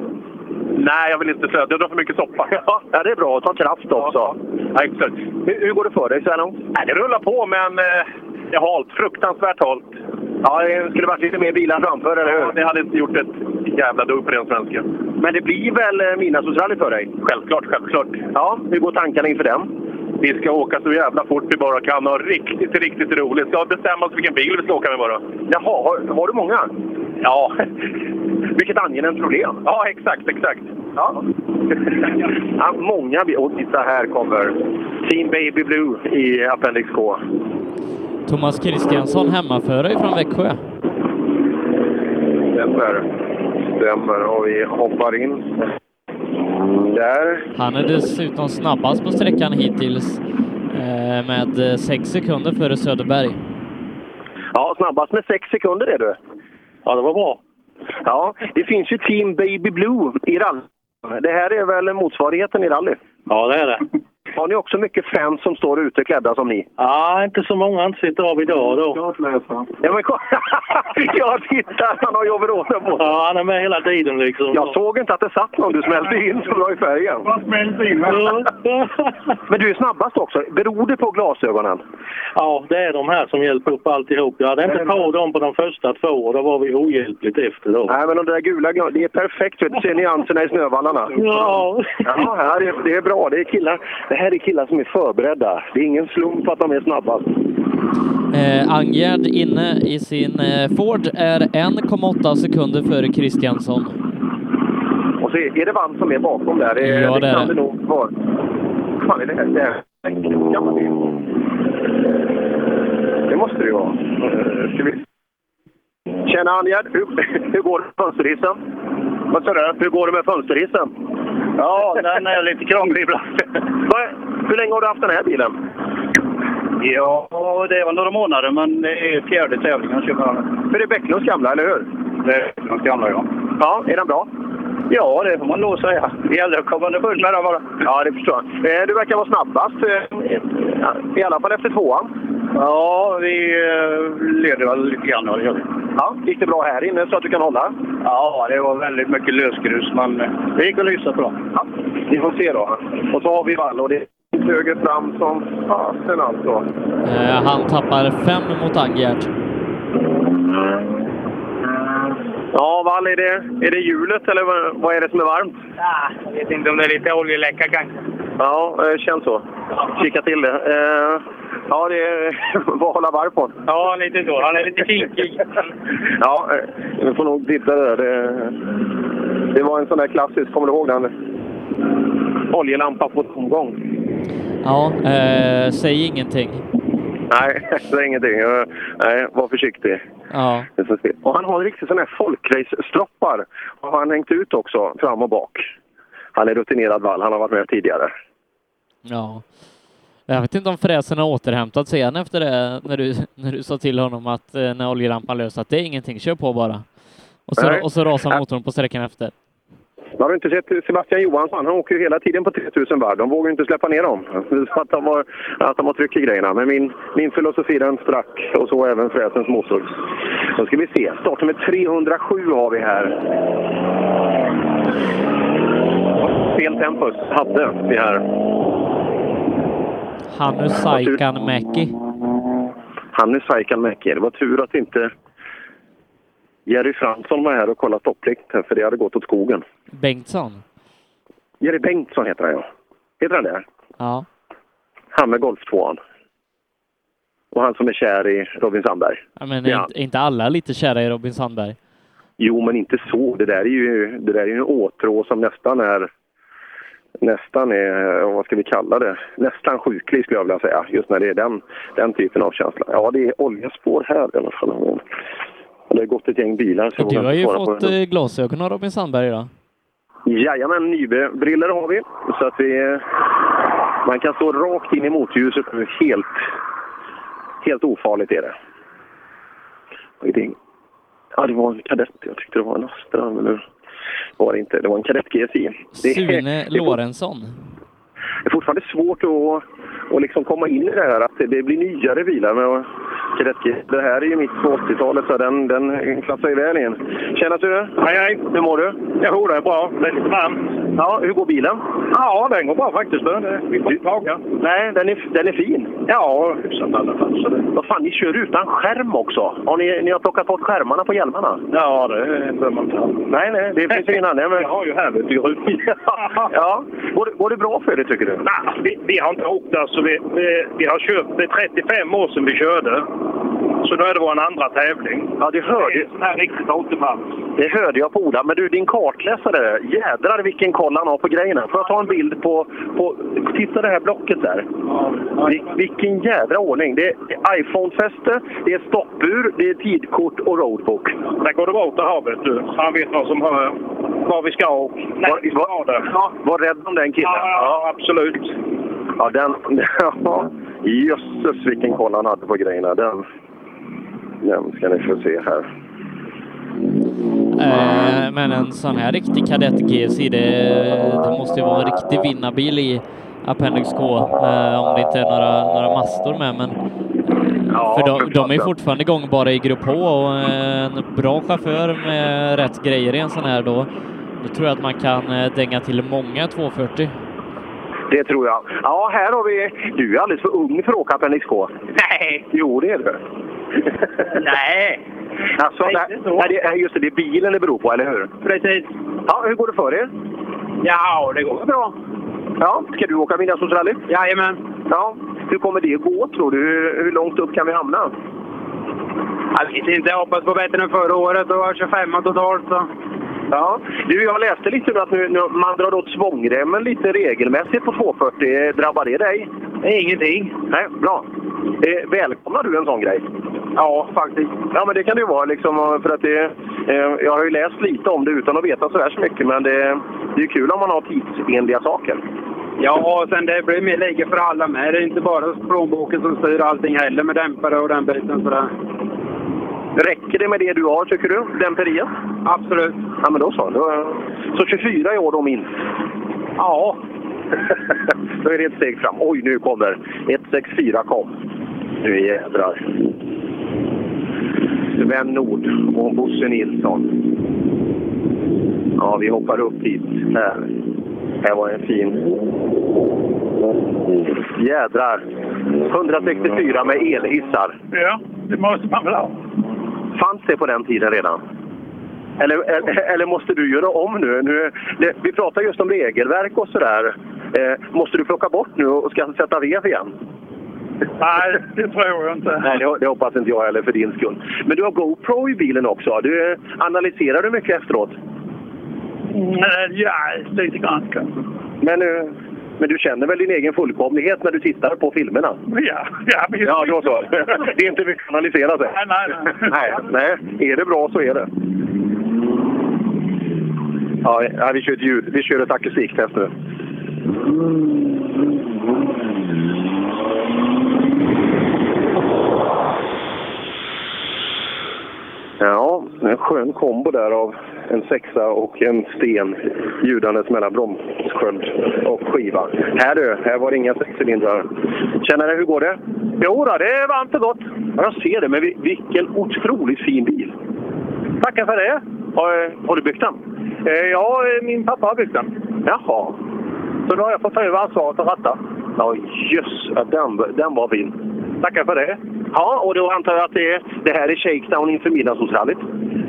S12: Nej, jag vill inte säga. Jag drar för mycket soppa.
S11: Ja, det är bra. Ta kraft också.
S12: Ja, exakt.
S11: Hur, hur går det för dig så här långt?
S12: Nej, det rullar på, men eh, det är halt. Fruktansvärt halt.
S11: Ja, det skulle varit lite mer bilar framför, eller hur?
S12: Ja, det hade inte gjort ett
S13: vilken jävla dugg på den svensken. Men det blir väl eh, midnattsrally för dig? Självklart, självklart. Ja, hur går tankarna inför den? Vi ska åka så jävla fort vi bara kan och ha riktigt, riktigt roligt. Ska bestämma oss vilken bil vi ska åka med bara. Jaha, har, har du många? Ja. Vilket angenämt problem. Ja, exakt, exakt. Ja.
S11: Ja, många vi... Och titta, här kommer Team Baby Blue i Appendix K.
S10: Thomas Kristiansson hemmaförare från Växjö.
S11: Stämmer. Stämmer. Och vi hoppar in. Där.
S10: Han är dessutom snabbast på sträckan hittills eh, med eh, sex sekunder före Söderberg.
S11: Ja, snabbast med sex sekunder är du. Ja, det var bra. Ja, det finns ju Team Baby Blue i rally. Det här är väl motsvarigheten i rally?
S16: Ja, det är det.
S11: Har ni också mycket fans som står ute klädda som ni?
S16: Ja, inte så många han sitter av idag då.
S11: Ja, men kolla! jag tittar! Han har ju overaller på
S16: Ja, han är med hela tiden liksom.
S11: Jag såg inte att det satt någon. Du smälte in så bra i färgen.
S16: Jag smälte in, va?
S11: Men du är snabbast också. Beror det på glasögonen?
S16: Ja, det är de här som hjälper upp alltihop. Jag hade inte på dem på de första två och då var vi ohjälpligt efter då.
S11: Nej, men de där gula glasögonen, det är perfekt. vet du. Ser nyanserna i snövallarna?
S16: Ja.
S11: Ja, här, är- det är bra. Det, är killar, det här är killar som är förberedda. Det är ingen slump att de är snabbast.
S10: Eh, Angerd inne i sin eh, Ford är 1,8 sekunder före Kristiansson.
S11: Och så är är det Vann som är bakom där. Det,
S10: Ja, det
S11: det
S10: är
S11: kan
S10: det.
S11: det nog vara. fan är det här? Det, här. kan man ju- det måste det ju vara. Eh, Ska vi... Tjena Anjad, hur, hur går det med fönsterhissen? Vad sa du? Hur går det med fönsterhissen? Ja, den är lite krånglig ibland. hur länge har du haft den här bilen?
S12: Ja, det var några månader, men det är fjärde tävlingen 2000.
S11: För det är Bäcklunds gamla, eller hur?
S12: Det är Bäcklunds gamla, ja.
S11: Ja, är den bra?
S12: Ja, det får man nog säga. Det gäller att komma underfund med den bara.
S11: Ja, det förstår jag. Eh, Du verkar vara snabbast, eh, i alla fall efter tvåan.
S12: Ja, vi eh, leder väl lite grann. Ja, det gör vi.
S11: Ja, gick det bra här inne så att du kan hålla?
S12: Ja, det var väldigt mycket lösgrus, men eh, det gick att lysa bra.
S11: Ja, vi får se då. Och så har vi Wall och det är höger fram som fasen alltså.
S10: Eh, han tappar fem mot Angerd.
S11: Ja, Wall, är det, är det hjulet eller vad- vad är det som är varmt?
S17: Ah, Jag vet inte om det är lite oljeläcka kanske.
S11: Ja, eh, känns så. Kika till det. Eh, Ja, det är bara att hålla varv på.
S17: Ja, lite så. Han är lite kinkig.
S11: Ja, eh, vi får nog titta där. Det, det var en sån där klassisk, kommer du ihåg den? Oljelampa på tomgång.
S10: Ja, eh, säg ingenting.
S11: Nej, det är ingenting. Eh, Nej, var försiktig.
S10: Ja.
S11: Vi får se. Och han har riktigt sådana här folkrace-stroppar. Och han hängt ut också, fram och bak. Han är rutinerad vall, han har varit med tidigare.
S10: Ja. Jag vet inte om fräsen har återhämtat sig än efter det, när du, när du sa till honom att eh, när oljelampan lös, att det är ingenting, kör på bara. Och så,
S11: Nej.
S10: och så rasar motorn på sträckan efter.
S11: Har du inte sett Sebastian Johansson? Han åker ju hela tiden på 3000 varv. De vågar ju inte släppa ner dem. Så att de har, att de har tryck i grejerna. Men min, min filosofi den sprack. Och så även fräsens motor. Då ska vi se. Startnummer 307 har vi här. Fel tempus hade vi här.
S10: Hannu Saikan Mäki.
S11: Hannu Saikalmäki. Det var tur att inte Jerry Fransson var här och kollade stoppplikten. För det hade gått åt skogen.
S10: Bengtsson.
S11: Jerry Bengtsson heter han ja. Heter han det?
S10: Ja.
S11: Han med golftvåan. Och han som är kär i Robin Sandberg.
S10: Ja, Men
S11: Ja.
S10: är inte, är inte alla lite kära i Robin Sandberg?
S11: Jo, men inte så. Det där är ju, det där är ju en åtrå som nästan är... Nästan är, eh, vad ska vi kalla det, nästan sjuklig skulle jag vilja säga. Just när det är den, den typen av känsla. Ja, det är oljespår här i alla fall. Och Det har gått ett gäng bilar. Så jag
S10: Du
S11: vågar
S10: har ju
S11: inte svara
S10: fått
S11: på det.
S10: eh, glasögon av Robin Sandberg idag.
S11: Jajamän, Nybe-briller har vi. Så att vi... Man kan stå rakt in i motljuset nu. Helt, helt ofarligt är det. Och det- Ja, det var en kadett. Jag tyckte det var en Astra, men det var det inte. Det var en kadett GSI. Det,
S10: Sune
S11: det, är,
S10: Lorentzon.
S11: det är fortfarande svårt att, att liksom komma in i det här att det, det blir nyare bilar. Men kadett GSI, det här är ju mitt på 80-talet, så den, den klassar ju väl in. Tjena Sune! Hej, hej! Hur mår du?
S13: Jo, det är bra. Det är lite varmt.
S11: Ja, hur går bilen? Ja, den går bra faktiskt. Vi får klaga. Nej, den är, den är fin. Ja, hyfsat i alla fall. Så det... Vad fan, ni kör utan skärm också? Har ni, ni har plockat bort skärmarna på hjälmarna? Ja, det behöver man inte ha. Nej, nej, det finns ingen anledning. Men... Jag har ju härligt i Ja, går, det- går det bra för er tycker du?
S5: Nej, vi, vi har inte åkt där, så vi, vi, vi har köpt. Det är 35 år sedan vi körde. Så nu är det vår andra tävling.
S11: Ja, det hörde
S5: jag. Det är riktigt automat.
S11: Det hörde jag på Ola. Men du, din kartläsare. Jädrar vilken koll han har på grejerna. Får jag ta en bild på... på titta det här blocket där. Vil, vilken jädra ordning. Det är iPhone-fäste, det är stoppur, det är tidkort och roadbook.
S5: Där går det bra åt det här, vet du. Han vet vad som hör, var vi ska och när vi ska ha det.
S11: Ja, var rädd om den killen.
S5: Ja, absolut.
S11: Ja, den... Ja, jösses vilken koll han hade på grejerna. Den, den ska ni få se här.
S10: Eh, Men en sån här riktig kadett GFC, det, det måste ju vara en riktig vinnarbil i Appendix K, eh, om det inte är några, några mastor med. Men, eh, för de, de är ju fortfarande gångbara i Grupp H och eh, en bra chaufför med rätt grejer i en sån här, då, då tror jag att man kan eh, dänga till många 240.
S11: Det tror jag. Ja, här har vi... Du är alldeles för ung för att åka Appendix K. Nej! Jo, det är du. Nej! Alltså, det, nej, det, nej, just det, det är bilen det beror på, eller hur? Precis. Ja, hur går det för er? Ja, det går bra. Ja, ska du åka midnattssolsrally? Jajamän. Ja, hur kommer det att gå tror du? Hur, hur långt upp kan vi hamna?
S17: Jag vet inte, jag hoppas på bättre än förra året. Det var 25 totalt. Så.
S11: Ja, du, jag läste lite nu att nu, nu, man drar åt svångremmen lite regelmässigt på 240. Drabbar det dig? Ingenting. Nej, bra. Eh, välkomnar du en sån grej? Ja, faktiskt. Ja, men det kan det ju vara. Liksom, för att det, eh, jag har ju läst lite om det utan att veta så här så mycket, men det, det är ju kul om man har tidsenliga saker.
S17: Ja, och sen det blir mer läge för alla med. Det är inte bara plånboken som styr allting heller med dämpare och den biten. Sådär.
S11: Räcker det med det du har, tycker du? Dämperiet? Absolut. Ja, men då så. Då, så 24 i år då minst? Ja. då är det ett steg fram. Oj, nu kommer 164 kom. Nu jädrar. Sven Nord och Bosse Nilsson. Ja, vi hoppar upp hit. Här. Här var en fin... Jädrar! 164 med elhissar.
S5: Ja, det måste man väl ha.
S11: Fanns det på den tiden redan? Eller, eller, eller måste du göra om nu? nu det, vi pratar just om regelverk och sådär. Eh, måste du plocka bort nu och ska sätta rev igen? Nej, det tror jag inte. Nej, det, det hoppas inte jag heller för din skull. Men du har GoPro i bilen också. Du, analyserar du mycket efteråt?
S5: Nej, Ja, lite grann kanske.
S11: Men, eh, men du känner väl din egen fullkomlighet när du tittar på filmerna?
S5: Ja, ja, visst.
S11: Ja, då så. Det är inte mycket att analysera. sig.
S5: Nej, nej, nej.
S11: nej, nej, är det bra så är det. Ja, ja, vi kör ett ljud. Vi kör ett akustiktest nu. Ja, en skön kombo där av en sexa och en sten ljudandes mellan bromssköld och skiva. Här du, här var det inga sexcylindrar. Tjenare, hur går det? Jo då, det är varmt och gott. Ja, jag ser det, men vi- vilken otroligt fin bil. Tackar för det. Har, eh, har du byggt den? Ja, eh, min pappa har byggt den. Jaha. Så då har jag fått ta över ansvaret att ratta. Ja, jösses. Ja, den, den var fin. Tackar för det. Ja, och då antar jag att det, det här är shakedown inför midnattssolsrallyt?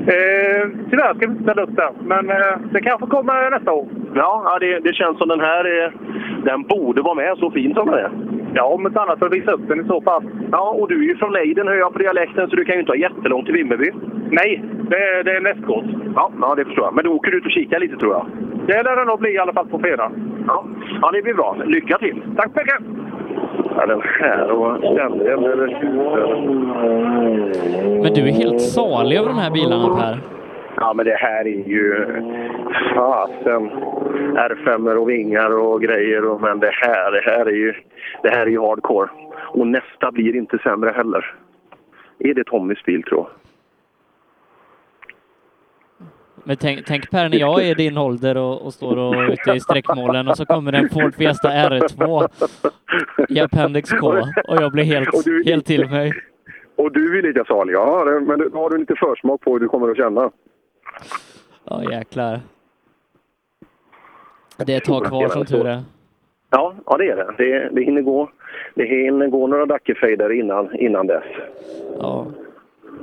S11: Eh, tyvärr ska vi inte ställa upp där, men eh, det kanske kommer nästa år. Ja, ja det, det känns som den här eh, den borde vara med så fin som den är. Ja, om inte annat för att visa upp den i så fall. Ja, och du är ju från Leiden hör jag på dialekten, så du kan ju inte ha jättelångt till Vimmerby. Nej, det, det är nästgård. Ja, ja, det förstår jag. Men då åker du ut och kikar lite tror jag. Det lär det nog bli i alla fall på fredag. Ja, ja det blir bra. Lycka till! Tack så mycket! Ja, den här och den... den,
S10: Men du är helt salig över de här bilarna Per.
S11: Ja, men det här är ju... Fasen! R5 och vingar och grejer. Och, men det här, det här är ju... Det här är ju hardcore. Och nästa blir inte sämre heller. Är det Tommys bil, tror jag?
S10: Men tänk, tänk Per, när jag är din ålder och, och står och ute i streckmålen och så kommer det en Ford Fiesta R2 i Appendix K och jag blir helt,
S11: Och du-
S10: helt till mig.
S11: Och du är lika salig. Ja, det- men då har du lite försmak på hur du kommer att känna.
S10: Ja, jäklar. Det är ett tag kvar som tur är.
S11: Ja, ja det är det. Det, det, hinner, gå, det hinner gå några Dackefejder innan, innan dess.
S10: Ja.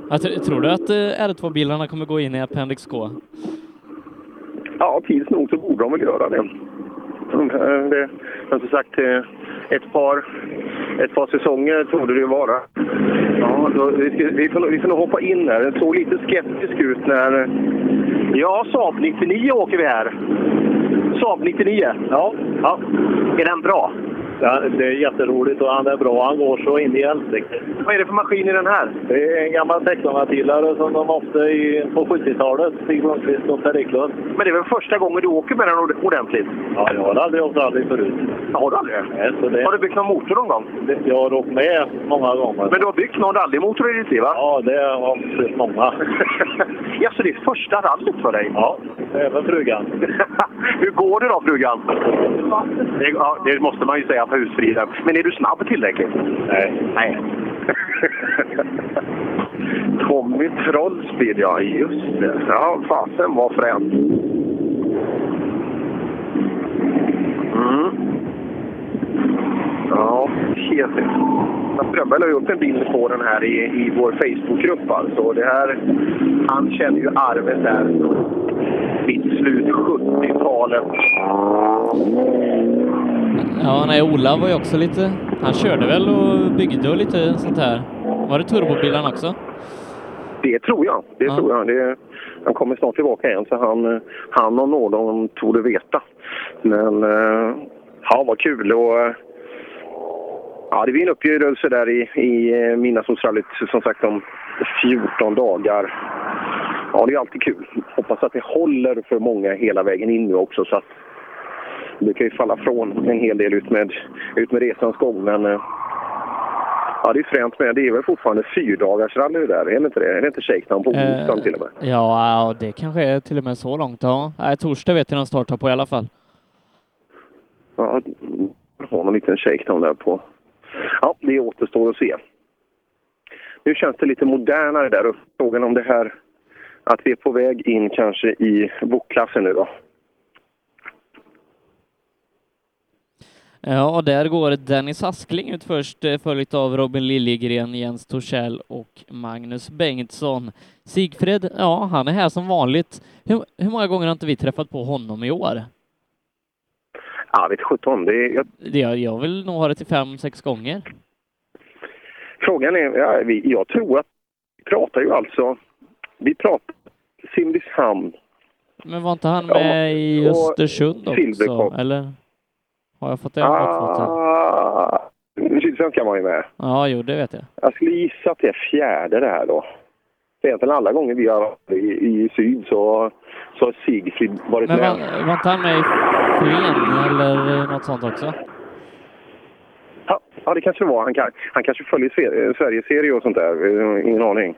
S10: Jag tr- tror du att eh, R2-bilarna kommer gå in i Appendix K?
S11: Ja, tids nog så borde de väl göra det. De, eh, det men som sagt, eh, ett par, ett par säsonger trodde det ju vara. Ja, då, vi, ska, vi, får, nog- vi får nog hoppa in här. Det såg lite skeptisk ut när... Ja, Saab 99 åker vi här. Saab 99? Ja. ja. Är den bra?
S16: Ja, det är jätteroligt och han är bra. Han går så in i helsike.
S11: Vad är det för maskin i den här?
S16: Det är en gammal 1600-tilare som de ofta i, på 70-talet, Stig Blomqvist och Per Eklund.
S11: Men det är väl första gången du åker med den ord- ordentligt?
S16: Ja, jag har aldrig åkt rally förut.
S11: Har du aldrig?
S16: Nej, så det,
S11: Har du byggt någon motor någon gång?
S16: jag har åkt med många gånger.
S11: Men du har byggt någon rallymotor i ditt liv, va?
S16: Ja, det har blivit många.
S11: ja, så det är första rallyt för dig?
S16: Ja, även frugan.
S11: Hur går det då, frugan? Det, ja, det måste man ju säga på husfriden. Men är du snabb tillräckligt?
S16: Nej.
S11: Nej. Tommy Trollspeed, ja. Just det. Ja, fasen var fränt. Mm. Ja, helt rätt. Strömberg la ju upp en bild på den här i, i vår Facebookgrupp. Alltså. Det här, han känner ju arvet där. Mitt slut 70-talet.
S10: Ja, nej, Ola var ju också lite... Han körde väl och byggde och lite sånt här. Var det turbobilarna också?
S11: Det tror jag. Det tror jag. Det, han kommer snart tillbaka igen, så han, eh, han och någon tror det veta. Men eh, ja, vad kul. Och, eh, ja, det blir en uppgörelse där i, i eh, Midnattssolsrallyt, som sagt, om 14 dagar. Ja, det är alltid kul. Hoppas att det håller för många hela vägen in nu också. Så att det kan ju falla från en hel del ut med, ut med resans gång. Men, eh, Ja, det är fränt med. Det är väl fortfarande fyrdagarsrally det där? Är det inte det? Är det inte shakedown på
S10: Eh,
S11: onsdagen till och med?
S10: Ja, och det kanske är till och med så långt. Ja. Nej, torsdag vet jag de startar på i alla fall.
S11: Ja, jag har någon liten shakedown där på. Ja, det återstår att se. Nu känns det lite modernare där och frågan om det här att vi är på väg in kanske i bokklassen nu då.
S10: Ja, och där går Dennis Askling ut först, eh, följt av Robin Liljegren, Jens Torssell och Magnus Bengtsson. Sigfred, ja, han är här som vanligt. Hur, hur många gånger har inte vi träffat på honom i år?
S11: Ja, vet sjutton. Det är, jag,
S10: Det, jag vill nog ha det till fem, sex gånger.
S11: frågan är, ja, vi, jag tror att vi pratar ju alltså, vi pratar Simrishamn
S10: Men var inte han
S11: Ja,
S10: med i
S11: och
S10: Östersund också?
S11: Silverkopp.
S10: Eller? Har jag fått det? Ah.
S11: Ah, Sydsvenskan var ju med.
S10: Ja, jo, det vet jag.
S11: Jag skulle gissa Alltså, att det är fjärde det här då. Egentligen alla gånger vi har varit i, i syd så, så har Sigfrid varit
S10: Men
S11: med.
S10: var, var inte han med i Flen eller något sånt också?
S11: Ja, det kanske det var. Han, kan, han kanske följer Sve- eh, Sverigeserie och sånt där. Eh, Ingen aning.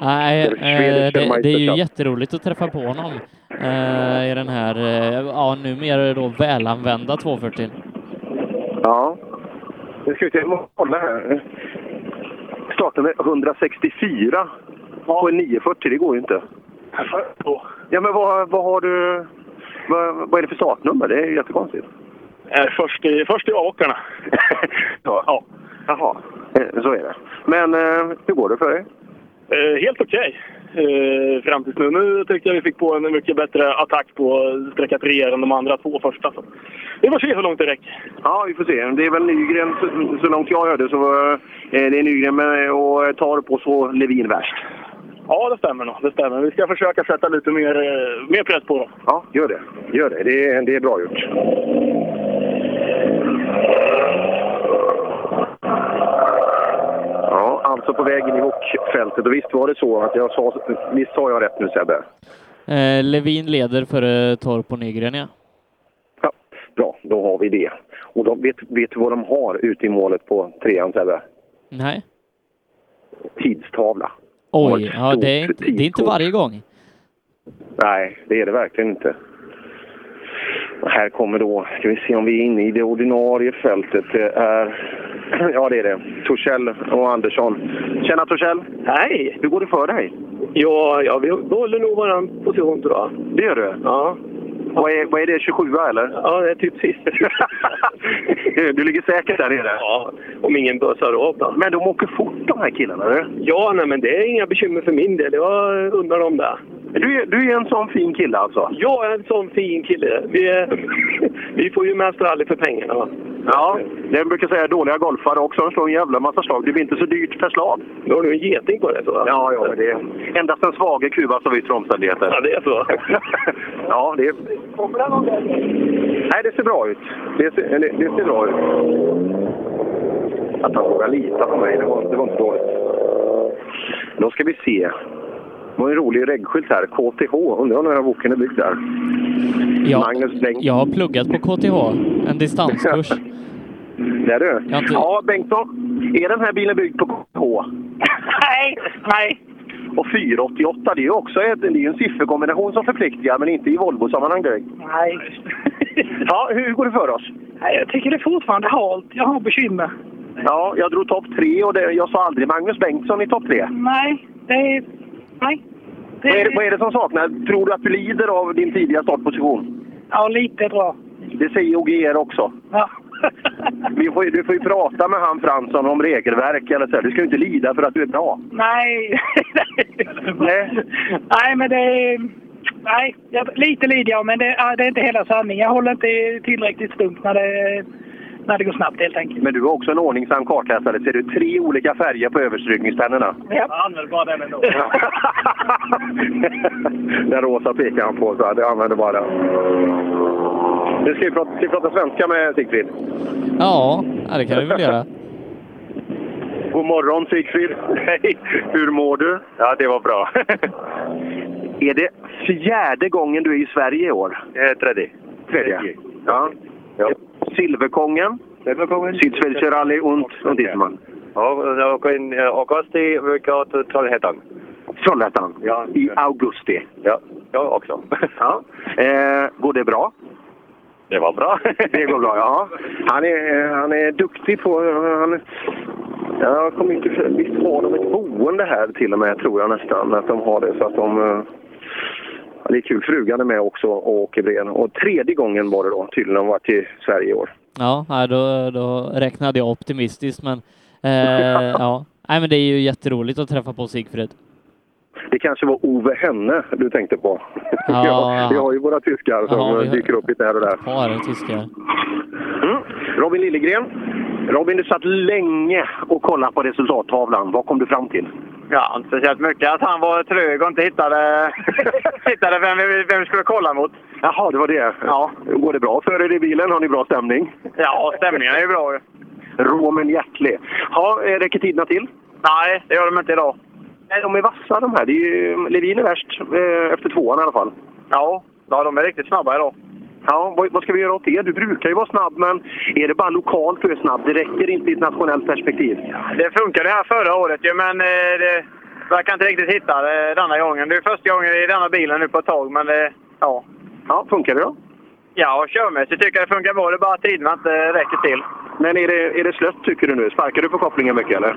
S10: Nej, eh, det,
S11: Schwedisch
S10: det, är ju
S11: Meisterkapp.
S10: jätteroligt att träffa på honom eh, i den här, eh, ja numera då välanvända 240.
S11: Ja. Nu ska vi se, jag måste kolla här. Starten är 164 på en 940. Det går ju inte. Ja, men vad, vad har du... Vad, vad är det för startnummer? Det är ju jättekonstigt.
S5: Först i, först i Åkarna.
S11: Ja. ja. Jaha, Eh, så är det. Men eh, hur går det för dig?
S5: Eh, helt okej. Eh, fram tills nu. Nu tyckte jag vi fick på en mycket bättre attack på sträcka 3 än de andra två första. Så. Vi får se hur långt det räcker.
S11: Ja, vi får se. Det är väl Nygren, så, så långt jag hörde, så var eh, det är Nygren med, och Torp och så Levin värst.
S5: Ja, det stämmer nog. Det stämmer. Vi ska försöka sätta lite mer, eh, mer press på dem.
S11: Ja, gör det. Gör det. Det är, det är bra gjort. Ja, alltså på väg in i Wok-fältet. Och visst var det så att jag sa... Visst sa jag rätt nu, Sebbe?
S10: Eh, Levin leder före Torp och Nygren ja.
S11: Bra, då har vi det. Och de, vet, vet du vad de har ute i målet på trean, Sebbe?
S10: Nej.
S11: Tidstavla.
S10: Oj, ja, det, är inte, det är inte varje gång.
S11: Nej, det är det verkligen inte. Och här kommer då, ska vi se om vi är inne i det ordinarie fältet. Det är, ja det är det, Torssell och Andersson. Tjena Torssell! Hej! Hur går det för dig?
S18: Ja, ja vi behåller nog vår position tror jag.
S11: Det gör du?
S18: Ja.
S11: Vad är, vad är det, 27 eller?
S13: Ja, det är typ sist.
S11: du ligger säkert där nere?
S13: Ja, om ingen bösar av då.
S11: Men de åker fort de här killarna, eller?
S13: Ja, nej, men det är inga bekymmer för min del. Jag undrar om det.
S11: Du, är- du är en sån fin kille alltså?
S13: Jag är en sån fin kille. Vi, är, vi får ju mest rally för pengarna. Va?
S11: Ja, jag brukar säga dåliga golfare också. De slår en jävla massa slag. Det blir inte så dyrt per slag.
S13: Då har du en geting på dig. Så.
S11: Ja, ja, men det är endast den svage kuvas av yttre omständigheter.
S13: Ja, det är så.
S11: ja, det är... Kommer det någon där? Nej, det ser bra ut. Det ser, eller, det ser bra ut. Att han vågar lita på mig, det var, det var inte dåligt. Då ska vi se. Det var en rolig reggskylt här. KTH. Undrar när den här boken är byggd där.
S10: Ja,
S11: Magnus Bengt.
S10: jag har pluggat på KTH, en distanskurs.
S11: Där du.
S10: Jag har inte-
S11: Ja, Bengtsson. Är den här bilen byggd på KTH? nej, nej. Och 488, det är ju också ett, det är ju en sifferkombination som förpliktigar, men inte i Volvo-sammanhang direkt.
S18: Nej.
S11: Ja, hur går det för oss?
S18: Nej, jag tycker det är fortfarande halt. Jag har bekymmer.
S11: Ja, jag drog topp tre och det, jag sa aldrig Magnus Bengtsson i topp tre.
S18: Nej, det är... Nej.
S11: Vad, är, det- vad är det som saknas? Tror du att du lider av din tidiga startposition?
S18: Ja, lite bra.
S11: Det säger OGR också.
S18: Ja.
S11: Vi får, ju- du får ju prata med han Fransson om regelverk eller så. här. Du ska ju inte lida för att du är bra.
S18: Nej.
S11: Nej.
S18: Nej, men det är... Nej, jag, lite lider jag, men det, ja, det är inte hela sanningen. Jag håller inte tillräckligt stumt när det, när det går snabbt helt enkelt.
S11: Men du är också en ordningsam kartläsare. Ser du tre olika färger på överstrykningspennorna?
S18: Ja. Jag använder bara den ändå.
S11: Den rosa pekar han på, så här. jag använder bara den. Nu ska vi prata, ska vi prata svenska med Sigfrid.
S10: Ja, ja, det kan du väl göra.
S11: God morgon Sigfrid! Hej! Hur mår du? Ja, det var bra. är det fjärde gången du är i Sverige i år? Eh, Tredje. Tredje? Ja. ja. Silverkongen? Silverkongen. Sydsvenska rally und, und Isman.
S19: Ja, och eh, i augusti brukar jag till Trollhättan.
S11: Trollhättan? Ja. I augusti? Ja, jag också. ja. eh, går det bra?
S19: Det var bra.
S11: Det går bra, ja. Han är, eh, han är duktig på... eh, Han, jag kommer inte... Visst har de ett boende här till och med, tror jag nästan. Att de har det så att de... eh, Ja, det är kul. Frugan är med också och åker bred. Och tredje gången var det då, tydligen, de har varit i Sverige i år.
S10: Ja, nej, då, då räknade jag optimistiskt, men eh, ja. Nej, men det är ju jätteroligt att träffa på Sigfrid.
S11: Det kanske var Ove Henne du tänkte på.
S10: Ja.
S11: Ja, vi har ju våra tyskar som
S10: Ja, vi har-
S11: dyker upp lite här och där.
S10: Par är tyskar.
S11: Mm. Robin Liljegren. Robin, du satt länge och kollade på resultattavlan. Vad kom du fram till?
S20: Ja, inte speciellt mycket. Att han var trög och inte hittade, hittade vem, vi, vem vi skulle kolla mot.
S11: Jaha, det var det. Ja. Går det bra för er i bilen? Har ni bra stämning?
S20: Ja, stämningen är ju bra ju.
S11: Rå men hjärtlig. Ja, eh, räcker tiderna till?
S20: Nej, det gör de inte idag.
S11: Nej, de är vassa de här. Det är ju, Levin är värst eh, efter tvåan i alla fall.
S20: Ja, ja de är riktigt snabba idag.
S11: Ja, vad, vad ska vi göra åt det? Du brukar ju vara snabb, men är det bara lokalt du är snabb? Det räcker inte i ett nationellt perspektiv.
S20: Det funkade här förra året ju, men eh, det verkar inte riktigt hitta det denna gången. Det är första gången i denna bilen nu på ett tag, men eh, ja.
S11: Ja, funkar det då?
S20: Ja, körmässigt tycker jag det funkar bra. Det är bara att tiderna inte räcker till.
S11: Men är det, är det slött tycker du nu? Sparkar du på kopplingen mycket eller?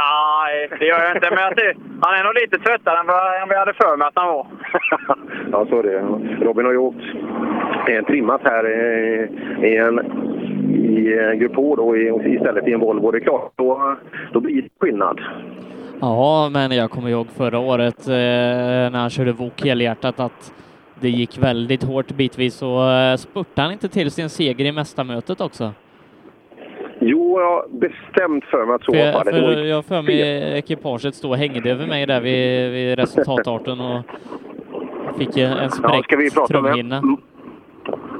S20: Nej, det gör jag inte. Men jag ser, han är nog lite tröttare än vad än vad jag hade för mig att han var.
S11: Ja, så är det. Robin har ju åkt eh, trimmat här eh, i en i eh, Grupp H då, i, istället i en Volvo. Det är klart, då, då blir det skillnad.
S10: Ja, men jag kommer ihåg förra året eh, när han körde Wok helhjärtat att det gick väldigt hårt bitvis och eh, spurtade han inte till sin seger i mästarmötet också?
S11: Jo, jag har bestämt för mig att så
S10: För
S11: var
S10: jag,
S11: fallet.
S10: för
S11: Och-
S10: jag har för mig ekipaget stod och hängde över mig där vid, vid resultatarten och fick en en
S11: Ja,
S10: spräckt
S11: ska vi prata med
S10: trumhinna.
S11: M-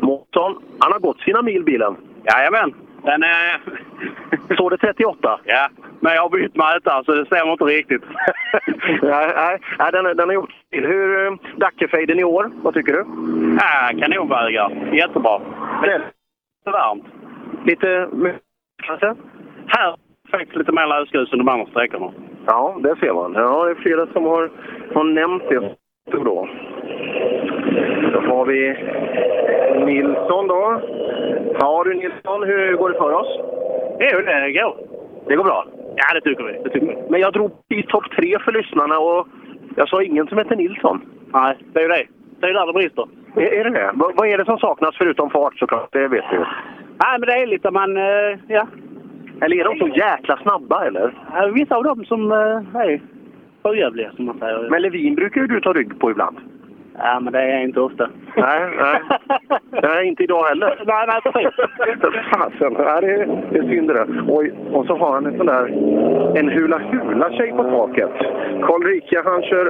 S11: Mårtsson? Han har gått sina mil, bilen.
S20: Jajamän. Den är...
S11: Står det 38?
S20: Ja, men jag har bytt mätare så det stämmer inte riktigt.
S11: nej, nej, nej, den, är- den har gjort till. Hur eh, Dackefejden i år? Vad tycker du?
S20: Ja, kanonvägar. Jättebra. Lite varmt.
S11: Lite kanske?
S20: Här faktiskt lite mer lösgrus än de andra sträckorna.
S11: Ja, det ser man. Ja, det är flera som har, har nämnt det. Då. då har vi Nilsson då. Ja du Nilsson, hur går det för oss? Jo, det går. Det går bra? Ja, det tycker vi. Det tycker vi. Men jag drog i topp tre för lyssnarna och jag sa ingen som heter Nilsson. Nej, det är ju det. Det är där det brister. Är, är det det? Va- vad är det som saknas förutom fart såklart? Det vet vi ju.
S1: Nej, men det är lite man... eh, Ja.
S11: Eller är de så jäkla snabba eller?
S1: Eh, Vissa av dem som eh, är sjöjävliga, som man säger.
S11: Men Levin brukar ju du ta rygg på ibland.
S1: Ja, men det är inte ofta.
S11: Nej, nej. nej inte idag heller.
S1: nej, nej, precis.
S11: Fasen, nej, det, är, det är synd det där. Oj, och så har han en sån där en Hula Hula-tjej på taket. Karl Rika, han kör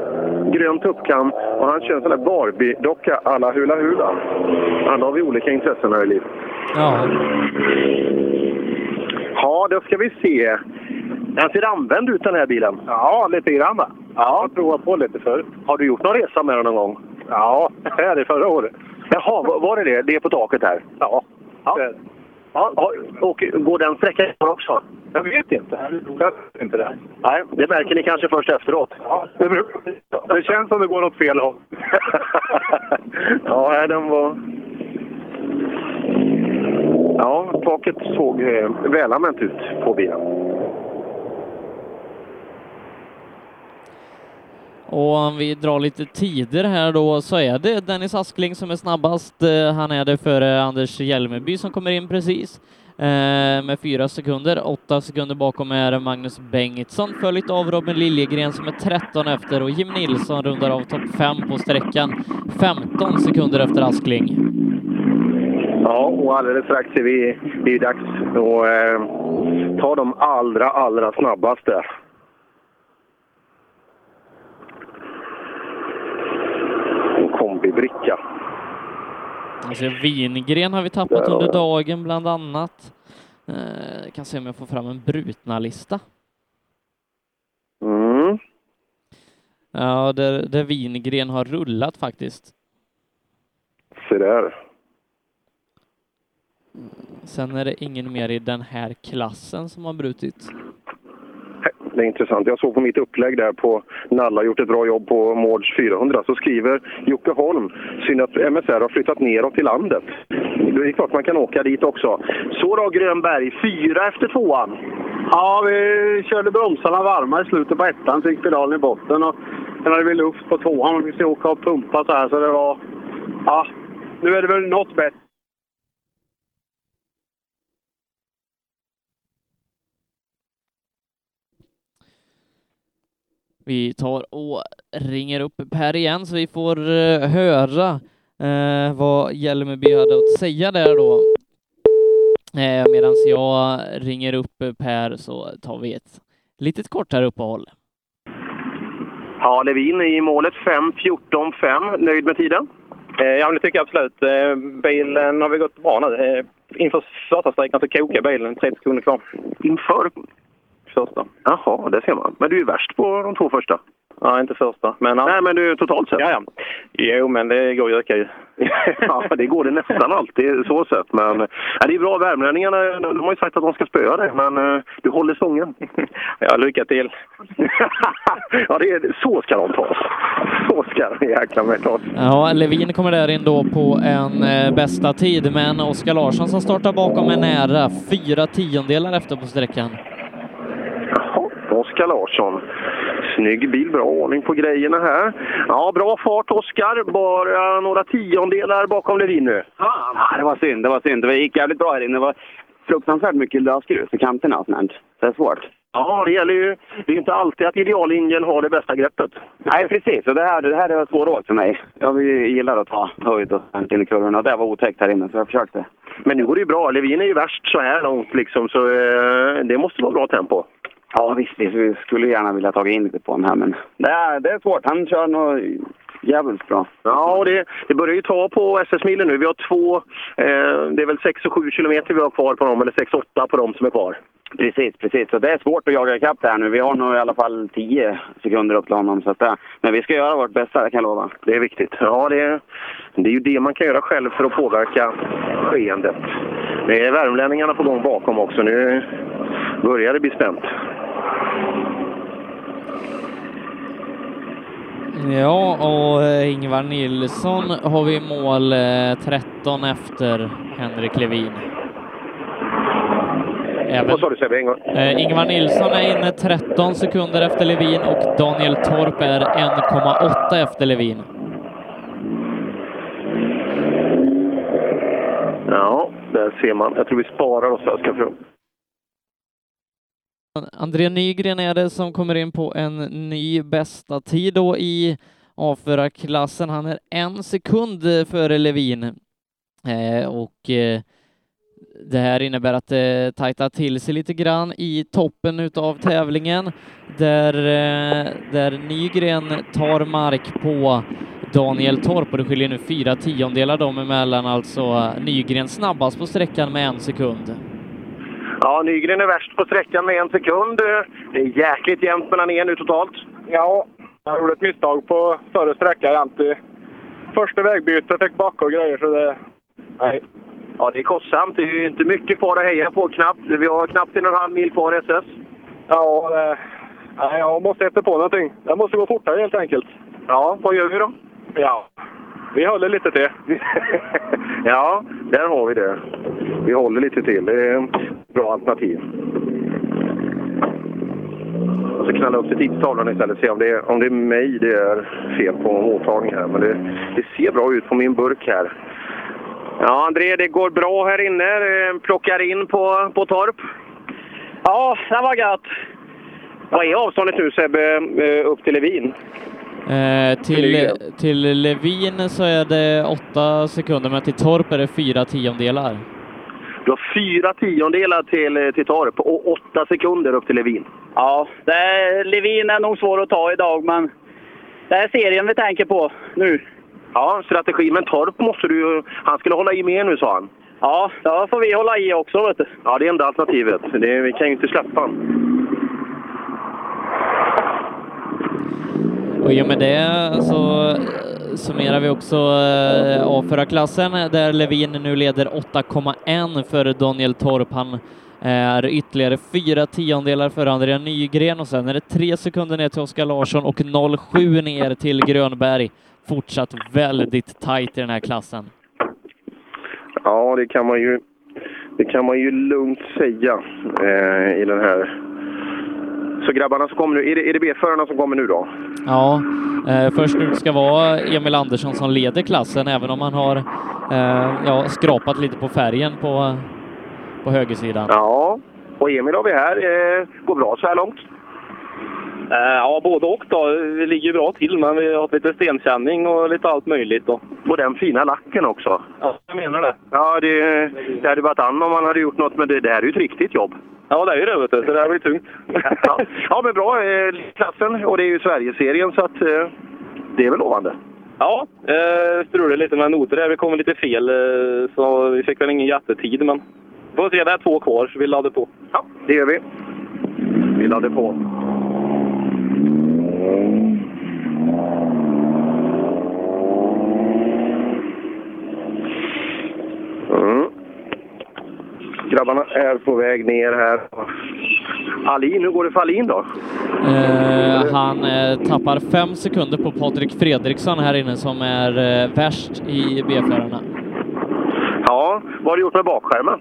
S11: grön tuppkam och han kör en sån där Barbie-docka à la Hula Hula. Alla har vi olika intressen här i livet.
S10: Ja.
S11: Ja, då ska vi se. Den ser använd ut den här bilen. Ja, lite grann va? Ja. Jag har provat på lite förut. Har du gjort någon resa med den någon gång? Ja, det är det förra året. Jaha, va- var det det? Det är på taket här? Ja. Ja, ja och- och går den sträckan också? Jag vet inte. Jag vet inte det. Nej, det märker ni kanske först efteråt. Ja, det, det känns som det går åt fel håll. ja, nej, den var... Ja, taket såg eh, välanvänt ut på bilen.
S10: Och om vi drar lite tider här då så är det Dennis Askling som är snabbast. Eh, Han är det före Anders Hjelmeby som kommer in precis eh, med fyra sekunder. Åtta sekunder bakom är Magnus Bengtsson följt av Robin Liljegren som är 13 efter och Jim Nilsson rundar av topp 5 på sträckan 15 sekunder efter Askling.
S11: Ja, och alldeles strax är, vi, det är ju dags att eh, ta de allra, allra snabbaste. En kombibricka.
S10: Alltså, Wingren har vi tappat under dagen bland annat. Eh, kan se om jag får fram en brutna lista.
S11: Mm.
S10: Ja, där, där Wingren har rullat faktiskt.
S11: Se där.
S10: Sen är det ingen mer i den här klassen som har brutit.
S11: Det är intressant. Jag såg på mitt upplägg där på Nalla gjort ett bra jobb på Mårds 400 så skriver Jocke Holm synd att MSR har flyttat neråt i landet. Det är klart man kan åka dit också. Så då Grönberg, fyra efter tvåan.
S19: Ja, vi körde bromsarna varma i slutet på ettan, fick pedalen i botten och sen hade vi luft på tvåan och vi skulle åka och pumpa så här så det var... Ja, nu är det väl något bättre.
S10: Vi tar och ringer upp Per igen så vi får eh, höra eh, vad Hjälmeby hade att säga där då. Eh, Medan jag ringer upp Per så tar vi ett litet kortare uppehåll.
S11: Ja, Levin i målet 5.14.5. Nöjd med tiden?
S19: Ja, men det tycker jag absolut. Eh, Bilen har vi gått bra nu. Eh, Inför första sträckan så kokade bilen, 30 sekunder kvar.
S11: Inför?
S19: Första.
S11: Jaha, det ser man. Men du är värst på de två första.
S19: Ja, inte första. Men,
S11: Nej, men du totalt sett?
S19: Ja, ja. Jo, men det går ju att öka ju.
S11: ja, det går det nästan alltid så sett. Men ja, det är bra. Värmlänningarna de har ju sagt att de ska spöa dig, men eh, du håller stången.
S19: Ja, lycka till.
S11: ja, det är, så ska de tas. Så ska de jäkla mig tas.
S10: Ja, Levin kommer där in då på en eh, bästa tid, men Oskar Larsson som startar bakom är nära fyra tiondelar efter på sträckan.
S11: Oskar Larsson. Snygg bil, bra ordning på grejerna här. Ja, bra fart Oskar. Bara några tiondelar bakom Levin nu.
S3: Ja, det var synd. Det var synd. Det gick jävligt bra här inne. Det var fruktansvärt mycket lös grus i kanterna och sånt. här. Det är svårt.
S11: Ja, det gäller ju. Det är inte alltid att ideallinjen har det bästa greppet.
S3: Nej, precis. Och det här, det här är svårt åt för mig. Jag gillar att ta höjd och sånt in i kurvorna. Det var otäckt här inne, så jag försökte.
S11: Men nu går det ju bra. Levin är ju värst så här långt liksom, så eh, det måste vara bra tempo.
S3: Ja, visst. visst. Vi skulle gärna vilja ta in lite på honom här, men det är, det är svårt. Han kör nog jävligt bra.
S11: Ja, och det, det börjar ju ta på SS-milen nu. Vi har två, eh, det är väl 6 och 7 kilometer vi har kvar på dem, eller 6-8 på dem som är kvar.
S3: Precis, precis. Så det är svårt att jaga ikapp det här nu. Vi har nog i alla fall 10 sekunder upp till honom. Så att det, men vi ska göra vårt bästa, det kan jag lova.
S11: Det är viktigt. Ja, det, det är ju det man kan göra själv för att påverka skeendet. Det är värmlänningarna på gång bakom också. Nu börjar det bli spänt.
S10: Ja, och eh, Ingvar Nilsson har vi i mål eh, 13 efter Henrik Levin. Även-
S11: Vad sa du Sebbe? En gång?
S10: Eh, Ingvar Nilsson är inne 13 sekunder efter Levin och Daniel Torp är 1,8 efter Levin.
S11: Ja, där ser man. Jag tror vi sparar oss där, ska jag
S10: André Nygren är det som kommer in på en ny bästa tid då i A4-klassen. Han är en sekund eh, före Levin eh, och eh, det här innebär att det tajtar till sig lite grann i toppen utav tävlingen där, eh, där Nygren tar mark på Daniel Torp och det skiljer nu fyra tiondelar dem emellan, alltså Nygren snabbast på sträckan med en sekund.
S11: Ja, Nygren är värst på sträckan med en sekund. Det är jäkligt jämnt mellan er nu totalt.
S21: Ja, jag gjorde ett misstag på förra sträckan jämte. Första vägbytet fick backa och grejer så det...
S11: Nej. Ja, det är kostsamt. Det är ju inte mycket kvar att heja på knappt. Vi har knappt en och en halv mil kvar SS.
S21: Ja, det, nej, jag måste hitta på någonting. Jag måste gå fortare helt enkelt.
S11: Ja, vad gör vi då?
S21: Ja, vi håller lite till.
S11: Ja, där har vi det. Vi håller lite till. Det är ett bra alternativ. Jag ska knalla upp till tidstavlan istället och se om det, är, om det är mig det är fel på mottagning här. Men det, det ser bra ut på min burk här. Ja, André, det går bra här inne. Eh, Plockar in på, på Torp. Ja, det var gött. Vad är avståndet nu Sebbe, eh, upp till Levin?
S10: Eh, till,
S11: Nygren.
S10: till Levin så är det åtta sekunder, men till Torp är det fyra tiondelar.
S11: Du har fyra tiondelar till, till Torp och åtta sekunder upp till Levin.
S21: Ja,
S12: det är, Levin är nog svår att ta idag, men det är serien vi tänker på nu.
S11: Ja, strategi. Men Torp måste du ju- Han skulle hålla i mer nu, sa han. Ja, då får vi hålla i också, vet du. Ja, det är enda alternativet. Det, vi kan ju inte släppa honom.
S10: Och i och med det så eh, summerar vi också eh, A4-klassen där Levin nu leder 8,1 för Daniel Torp. Han eh, är ytterligare fyra tiondelar före Andrea Nygren och sen är det tre sekunder ner till Oskar Larsson och 0,7 ner till Grönberg. Fortsatt väldigt tajt i den här klassen.
S11: Ja, det kan man ju, det kan man ju lugnt säga eh, i den här... Så grabbarna som kommer nu, är det, är det B-förarna som kommer nu då?
S10: Ja, eh, först ut ska vara Emil Andersson som leder klassen, även om han har eh, ja, skrapat lite på färgen på, på högersidan.
S11: Ja, och Emil har vi här. Eh, går bra så här långt.
S20: Eh, Ja, både och då. Vi ligger ju bra till, men vi har haft lite stenkänning och lite allt möjligt. Då.
S11: Och den fina lacken också.
S20: Ja, jag menar det.
S11: Ja, det, det hade varit an om man hade gjort något, men det, det här är ju ett riktigt jobb.
S20: Ja, det är ju det, vet du. Så det här blir tungt.
S11: Ja, ja men bra. eh, Klassen, och det är ju Sverigeserien, så att eh, det är väl lovande.
S20: Ja, eh, strulade lite med noter där. Vi kom lite fel, eh, så vi fick väl ingen jättetid, men... Får se, det är två kvar, så vi laddar på.
S11: Ja, det gör vi. Vi laddar på. Mm. Grabbarna är på väg ner här. Alin, hur går det för Alin då?
S10: Eh, han eh, tappar fem sekunder på Patrik Fredriksson här inne som är eh, värst i B-förarna.
S11: Ja, vad har du gjort med bakskärmen?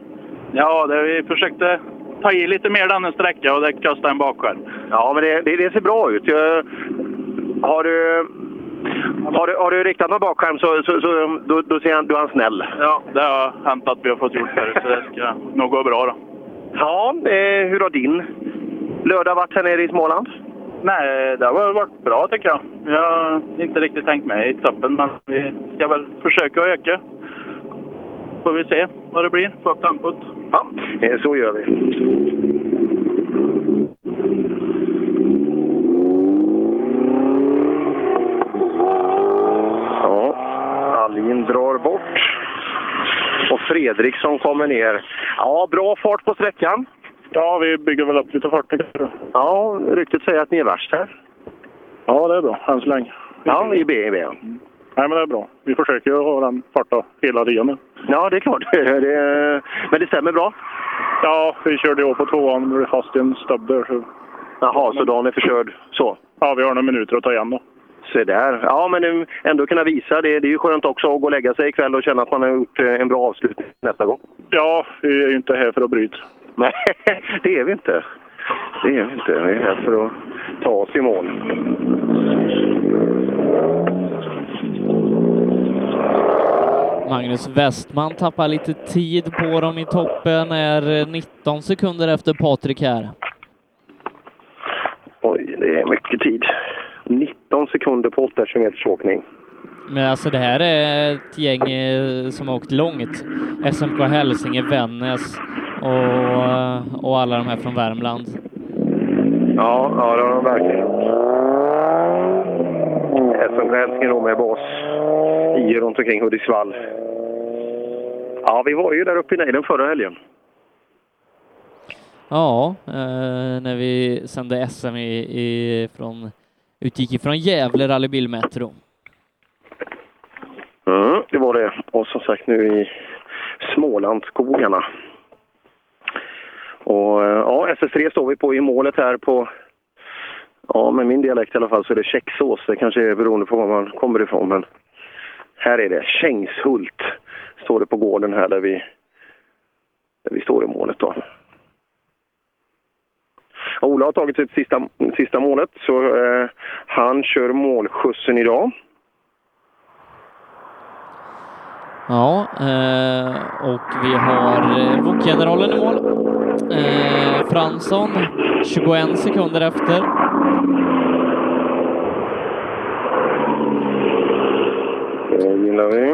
S20: Ja, det, vi försökte ta i lite mer den en sträcka och det kastade en bakskärm.
S11: Ja, men det, det, det ser bra ut. Jag, har, du, har, du, har du riktat någon bakskärm så, så, så då, då ser han, då är han snäll.
S20: Ja, det har hänt att vi har fått gjort förut, så det ska nog gå bra då.
S11: Ja, eh, hur har din lördag varit här nere i Småland?
S20: Nej, det har varit bra tycker jag. Jag har inte riktigt tänkt med i toppen, men vi ska väl försöka öka. Får vi se vad det blir. Få upp tempot.
S11: Ja, eh, så gör vi. Ja, Alin drar bort. Och Fredriksson kommer ner. Ja, bra fart på sträckan.
S20: Ja, vi bygger väl upp lite fart.
S11: Ja, ryktet säger att ni är värst här.
S21: Ja, det är bra än så länge.
S11: Ja, i B. I B.
S21: Nej, men det är bra. Vi försöker ju ha den farta hela tiden nu.
S11: Ja, det är klart. Det, men det stämmer bra?
S21: Ja, vi körde ju av på tvåan och blev fast i en stubb där. Så...
S11: Jaha, så dagen är förkörd? Så?
S21: Ja, vi har några minuter att ta igen då.
S11: Se där. Ja, men eh, ändå kunna visa. Det, det är ju skönt också att gå och lägga sig ikväll och känna att man har gjort eh, en bra avslutning nästa gång.
S21: Ja, vi är ju inte här för att bryta.
S11: Nej, det är vi inte. Det är vi inte. Vi är här för att ta oss i mål.
S10: Magnus Westman tappar lite tid på dem i toppen, är 19 sekunder efter Patrik här.
S11: Oj, det är mycket tid. 19 sekunder på 8 kilometers åkning.
S10: Men alltså det här är ett gäng eh, som har åkt långt. SMK Hälsinge, Vännäs och, och alla de här från Värmland.
S11: Ja, ja det har de verkligen SMK Hälsingland då med bas i runt omkring Hudiksvall. Ja, vi var ju där uppe i nejden förra helgen.
S10: Ja, eh, när vi sände SM i, i, från, utgick ifrån Gävle Rally Bil Metro.
S11: Mm, det var det. Och som sagt nu i Smålandsskogarna. Och eh, ja, SS3 står vi på i målet här på, ja med min dialekt i alla fall så är det Käcksås. Det kanske är beroende på var man kommer ifrån men här är det Kängshult. Står det på gården här där vi, där vi står i målet då. Ja, Ola har tagit sitt sista, sista målet så eh, han kör målskjutsen idag.
S10: Ja, eh, och vi har eh, Bokgeneralen i mål. Eh, Fransson 21 sekunder efter.
S11: Det Eh, gillar vi.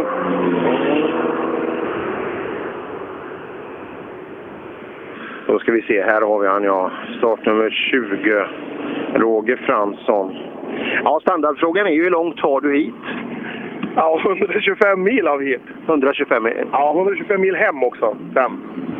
S11: Då ska vi se, här har vi han ja. Startnummer 20, Roger Fransson. Ja, standardfrågan är ju hur långt tar du hit? Ja, 125 mil har vi hit. 125 mil? Ja, 125 mil hem också. Fem.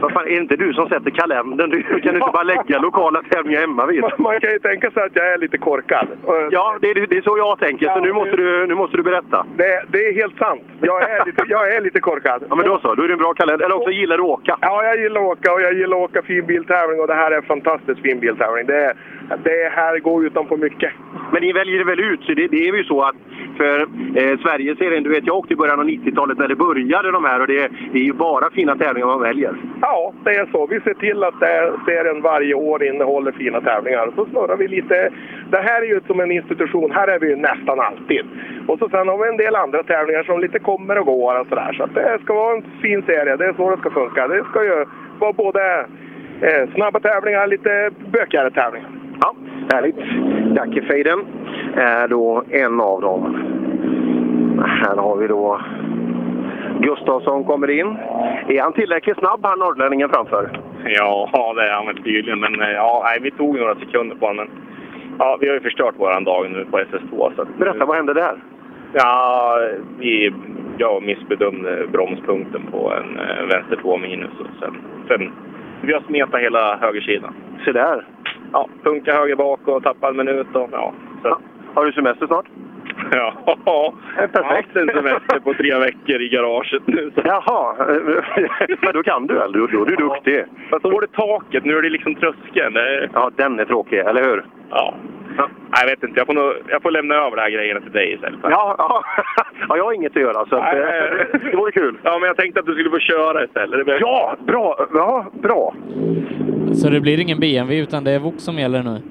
S11: Vad fan, är det inte du som sätter kalendern? Du kan inte bara lägga lokala tävlingar hemma vid. Man kan ju tänka sig att jag är lite korkad. Ja, det är, det är så jag tänker, så nu måste du, nu måste du berätta.
S21: Det, det är helt sant. Jag är lite, jag är lite korkad.
S11: Ja, men då så. Då är det en bra kalender. Eller också gillar du att åka.
S21: Ja, jag gillar att åka och jag gillar att åka fin biltävling och det här är en fantastiskt fin biltävling. Det, är- det här går utan på mycket.
S11: Men ni väljer det väl ut? Så det, det är ju så att för eh, Sverigeserien, du vet jag åkte i början av 90-talet när det började de här och det, det är ju bara fina tävlingar man väljer.
S21: Ja, det är så. Vi ser till att eh, serien varje år innehåller fina tävlingar. Så snurrar vi lite. Det här är ju som en institution. Här är vi ju nästan alltid. Och så sen har vi en del andra tävlingar som lite kommer och går och sådär. Så att det ska vara en fin serie. Det är så det ska funka. Det ska ju vara både eh, snabba tävlingar och lite bökigare tävlingar.
S11: Ja, härligt. Dackefejden är då en av dem. Här har vi då Gustafsson kommer in. Är han tillräckligt snabb, han norrlänningen framför?
S6: Ja, det är han väl tydligen. Men eh, ja, nej, vi tog några sekunder på honom. Men, ja, vi har ju förstört våran dag nu på SS2. Så att,
S11: Berätta, vad hände där?
S6: Ja, vi, jag missbedömde bromspunkten på en eh, vänster 2 minus. Och sen, sen, vi har smetat hela högersidan.
S11: Se där!
S6: Ja, punka höger bak och tappa en minut. Och, ja, så.
S11: Har du semester snart?
S6: Ja, jag har haft en semester på tre veckor i garaget nu. Så.
S11: Jaha, men då kan du väl? Då, då är du duktig.
S6: Fast då var det taket, nu är det liksom tröskeln.
S11: Ja, den är tråkig, eller hur?
S6: Ja. Nej, Jag vet inte, jag får, nog, jag får lämna över de här grejerna till dig istället.
S11: Ja, ja. ja, jag har inget att göra så att, eh, det vore kul.
S6: Ja, men jag tänkte att du skulle få köra istället. Det
S11: ja, bra! Ja, bra!
S10: Så det blir ingen BMW utan det är Vok som gäller nu.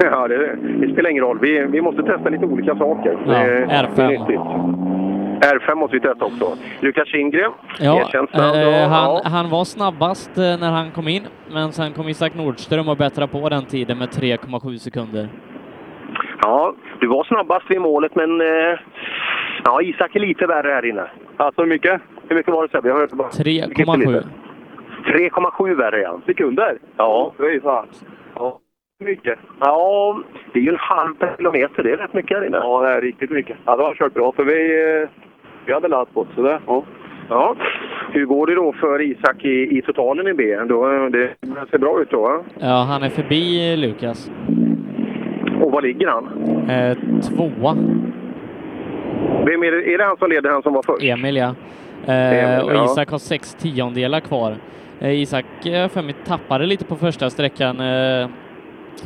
S11: Ja, det, det spelar ingen roll. Vi, vi måste testa lite olika saker.
S10: Ja,
S11: Det- det är
S10: R5.
S11: nyttigt. R5 måste vi testa också. Lukas Kindgren,
S10: Ja,
S11: erkänt snabb. då.
S10: eh, han,
S11: Ja.
S10: han var snabbast eh, när han kom in, men sen kom Isak Nordström och bättrade på den tiden med 3,7 sekunder.
S11: ja, du var snabbast vid målet, men eh, ja, Isak är lite värre här inne. Alltså hur mycket? Hur mycket var det Sebbe? Jag hörde bara.
S10: 3,7.
S11: 3,7 värre ja. Sekunder? Ja. Fy fan. Ja. Mycket. Ja, det är ju en halv per kilometer. Det är rätt mycket här inne. Ja, det är riktigt mycket. Ja, det har kört bra för vi, eh, vi hade ladd på så det. Ja. ja. Hur går det då för Isak i, i totalen i B? Då, eh, det ser bra ut då va?
S10: Ja, han är förbi eh, Lukas.
S11: Och var ligger han?
S10: Eh, tvåa.
S11: Vem är, det, är det han som leder, han som var först?
S10: Emil, ja. Eh,
S11: Emil,
S10: och
S11: ja.
S10: Isak har sex tiondelar kvar. Eh, Isak eh, för mig tappade lite på första sträckan. Eh,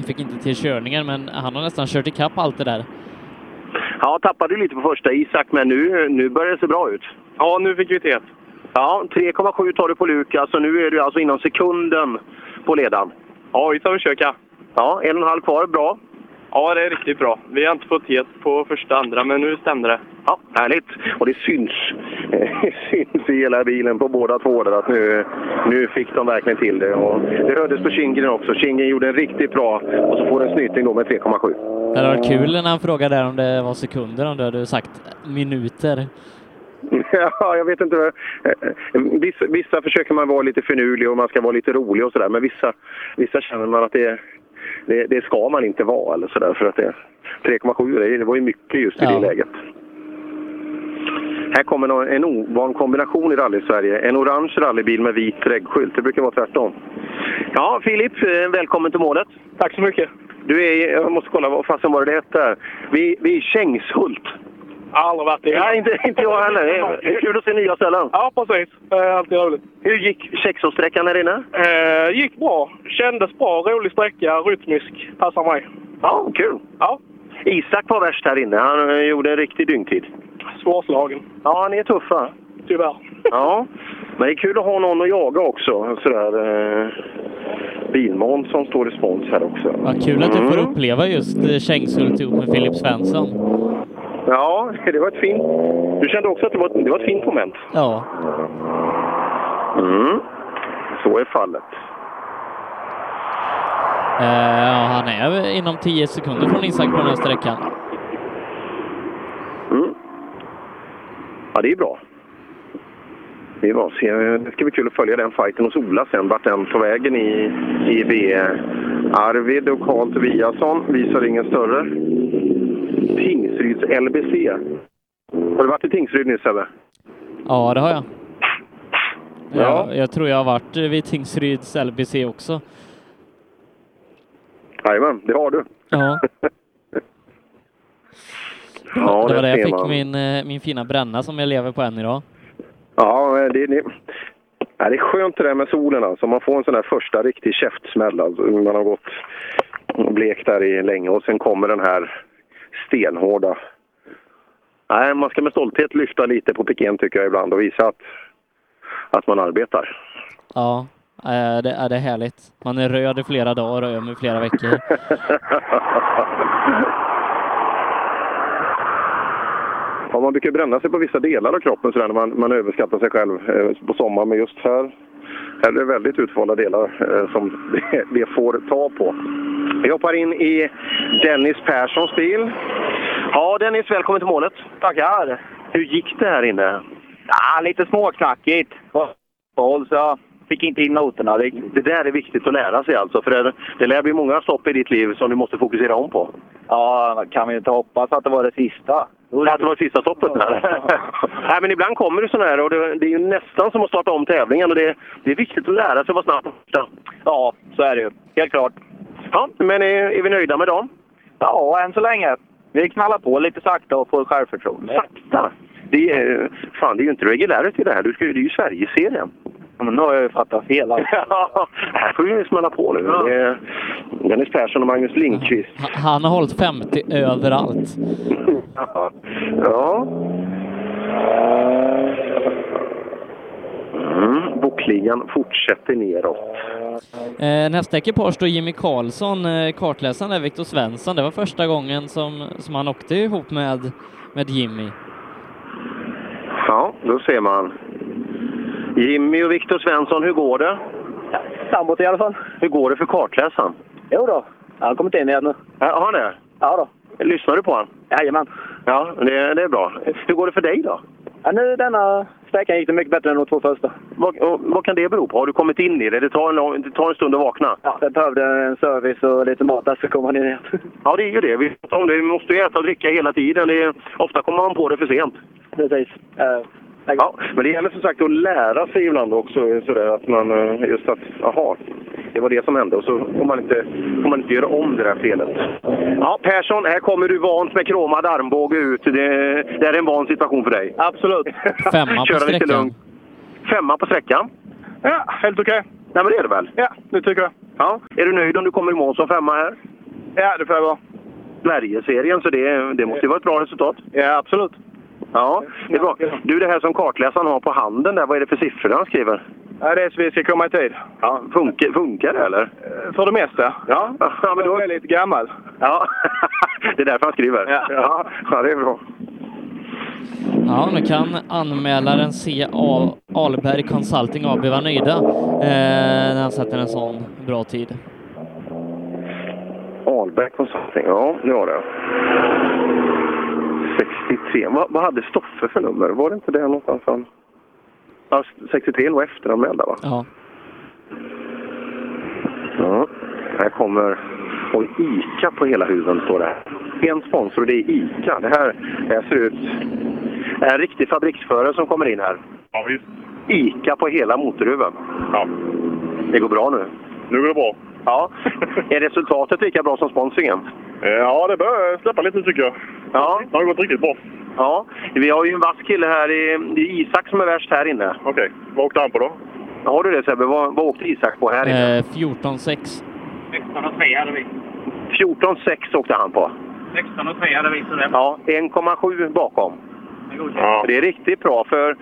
S10: fick inte till körningen, men han har nästan kört ikapp allt det där.
S11: Ja, tappade ju lite på första Isak, men nu, nu börjar det se bra ut. Ja, nu fick vi till. Ja, 3,7 tar du på Lukas och nu är du alltså inom sekunden på ledaren.
S6: Ja, vi ska försöka.
S11: Ja, en och en halv kvar. Bra.
S6: Ja, det är riktigt bra. Vi har inte fått het på första andra, men nu stämde det.
S11: Ja, härligt. Och det syns. eh, syns i hela bilen på båda två där att nu, nu fick de verkligen till det. Och det hördes på Kindgren också. Kindgren gjorde en riktigt bra och så får en snyting då med 3,7.
S10: Det hade varit kul när han frågade där om det var sekunder, om du hade sagt minuter.
S11: Ja, jag vet inte. vad- eh, Vissa, vissa försöker man vara lite finurlig och man ska vara lite rolig och sådär. Men vissa, vissa känner man att det, det, det ska man inte vara. Eller sådär för att det, 3,7 det, det var ju mycket just i det läget. Här kommer nå- en ovan kombination i rally-Sverige. En orange rallybil med vit reggskylt. Det brukar vara tvärtom. Ja, Filip, eh, välkommen till målet. Tack så mycket. Du är, jag måste kolla, vad fasen var det det hette? Vi, vi är i Kängshult.
S22: Aldrig varit i.
S11: Nej, inte, inte jag heller. Det är- det är kul att se nya ställen.
S22: Ja, precis. Det är alltid roligt.
S11: Hur gick Kexholsträckan här inne?
S22: Eh, gick bra. Kändes bra. Rolig sträcka. Rytmisk. Passar mig.
S11: Ja, kul. Ja. Isak var värst här inne. Han eh, gjorde en riktig dyngtid.
S22: Svårslagen.
S11: Ja, ni är tuffa.
S22: Tyvärr.
S11: Ja, men det är kul att ha någon att jaga också. Sådär, eh, Bilmån som står i spons här också.
S10: Vad kul att du får
S11: Mm.
S10: uppleva just eh, Kängshult ihop med Filip Svensson.
S11: Mm. Ja, det var ett fint... Du kände också att det var ett, det var ett fint moment?
S10: Ja.
S11: Mm. Så är fallet.
S10: Eh, ja, han är väl inom 10 sekunder från Isak på den här sträckan.
S11: Mm. Ja, det är bra. Det är bra. Se, det ska bli kul att följa den fighten hos Ola sen, vart den tar vägen i, i V. Arvid och Karl Tobiasson visar ingen större. Tingsryds LBC. Har du varit i Tingsryd nyss, Sebbe?
S10: Ja, det har jag.
S11: Ja.
S10: Jag, jag tror jag har varit eh, vid Tingsryds LBC också.
S11: Jajamän, det har du.
S10: Ja.
S11: Ja,
S10: det var där jag
S11: ser
S10: fick
S11: man.
S10: min, eh, min fina bränna som jag lever på än idag.
S11: Ja, det, det, ja, det är skönt det där med solen alltså. Man får en sån där första riktig käftsmäll alltså. Man har gått och blekt där i länge och sen kommer den här stenhårda. Nej, man ska med stolthet lyfta lite på piken tycker jag ibland och visa att, att man arbetar.
S10: Ja, eh, det, ja, det är härligt. Man är röd i flera dagar och öm i flera veckor.
S11: Ja, man brukar bränna sig på vissa delar av kroppen sådär när man, man överskattar sig själv eh, på sommaren. Men just här, här är det väldigt utvalda delar eh, som det, det får ta på. Vi hoppar in i Dennis Perssons bil. Ja, Dennis, välkommen till målet. Tackar. Hur gick det här inne?
S12: Ja, lite småknackigt. Håll, så jag fick inte in noterna riktigt.
S11: Det där är viktigt att lära sig alltså, för det, det lär bli många stopp i ditt liv som du måste fokusera om på.
S12: Ja, kan vi inte hoppas att det var det sista?
S11: Att det var sista stoppet där. Nej, men ibland kommer det sådana här och det, det är ju nästan som att starta om tävlingen och det, det är viktigt att lära sig att vara snabb. Ja, så är det ju. Helt klart. Ja, men är, är vi nöjda med dagen?
S12: Ja, än så länge. Vi knallar på lite sakta och får självförtroende.
S11: Sakta? Det är, fan, det är ju inte regularity det här. Du ska, ju- det är ju Sverigeserien.
S12: Men nu har jag ju fattat fel. Alltså.
S11: Ja, här får vi ju smälla på nu. Det är Dennis Persson och Magnus Lindqvist.
S10: Ha- Han har hållit 50 överallt.
S11: Ja. ja. Mm, Bokligan fortsätter neråt.
S10: Eh, nästa ekipage då Jimmy Karlsson, eh, kartläsaren där, Viktor Svensson. Det var första gången som, som han åkte ihop med, med Jimmy.
S11: Ja, då ser man. Jimmy och Viktor Svensson, hur går det?
S12: Sambot i alla fall.
S11: Hur går det för kartläsaren?
S12: Jo då, han har kommit in igen nu.
S11: Ja, har han det?
S12: Ja
S11: då. Lyssnar du på honom?
S12: Jajamän.
S11: Ja, det, det är bra. Hur går det för dig då?
S12: Ja, nu denna sträckan gick det mycket bättre än de två första.
S11: Vad, och, vad kan det bero på? Har du kommit in i det? Det tar en, lång, det tar en stund att vakna.
S12: Ja, jag behövde en service och lite mat där så kom han in igen.
S11: Ja, det är ju det. Vi, pratar om det. vi måste ju äta och dricka hela tiden. Det är, ofta kommer man på det för sent.
S12: Precis. Eh,
S11: ja, men det gäller som sagt att lära sig ibland också. Sådär, att man, eh, just att, aha, det var det som hände. Och så får man inte, får man inte göra om det där felet. Ja, Persson, här kommer du vant med kromad armbåge ut. Det, Eh, det här är en van situation för dig.
S12: Absolut.
S10: Femma på
S11: Köra lite
S10: sträckan.
S11: lugnt. Femma på sträckan? Ja, helt okej. Nej, men det är det väl? Ja, det tycker jag. Ja. Är du nöjd om du kommer i mål som femma här? Ja, det får jag vara. Sverigeserien, så det, det måste ju vara ett bra resultat. Ja, absolut. Ja, det är bra. Du, det här som kartläsaren har på handen där, vad är det för siffror han skriver?
S12: Ja, det är så vi ska komma i tid.
S11: Ja, funkar, funkar det eller?
S12: För det mesta.
S11: Ja, ja men då... Jag är lite gammal. Ja, det är därför han skriver. Ja, ja det är bra.
S10: Ja, nu kan anmälaren C.A. Alberg Consulting AB vara nöjda eh, när han sätter en sån bra tid.
S11: Ahlberg Consulting, ja det var det. 63. Vad, vad hade Stoffe för nummer? Var det inte det någonstans? Han... Ja, 63 var efteranmälda va?
S10: Ja.
S11: Ja, här kommer... Och ICA på hela huven står det här. En sponsor och det är ICA. Det här, det här ser ut... Det är en riktig fabriksförare som kommer in här.
S7: Ja, visst.
S11: ICA på hela motorhuven.
S7: Ja.
S11: Det går bra nu.
S7: Nu går det bra.
S11: Ja. Är resultatet lika bra som sponsringen?
S7: Eh, Ja, det börjar släppa lite tycker jag.
S11: Ja.
S7: Det har gått riktigt bra.
S11: Ja, vi har ju en vass kille här. I, det är Isak som är värst här inne.
S7: Okej. Vad åkte han på då?
S11: Har du det Sebbe? Vad, vad åkte Isak på här inne?
S10: Eh, 14-6.
S12: 16 och 3 hade vi.
S11: 14,6 åkte han på.
S12: 16 och 3 hade vi, så det
S11: Ja, 1,7 bakom.
S12: är godkänt.
S11: Ja. Det är riktigt bra för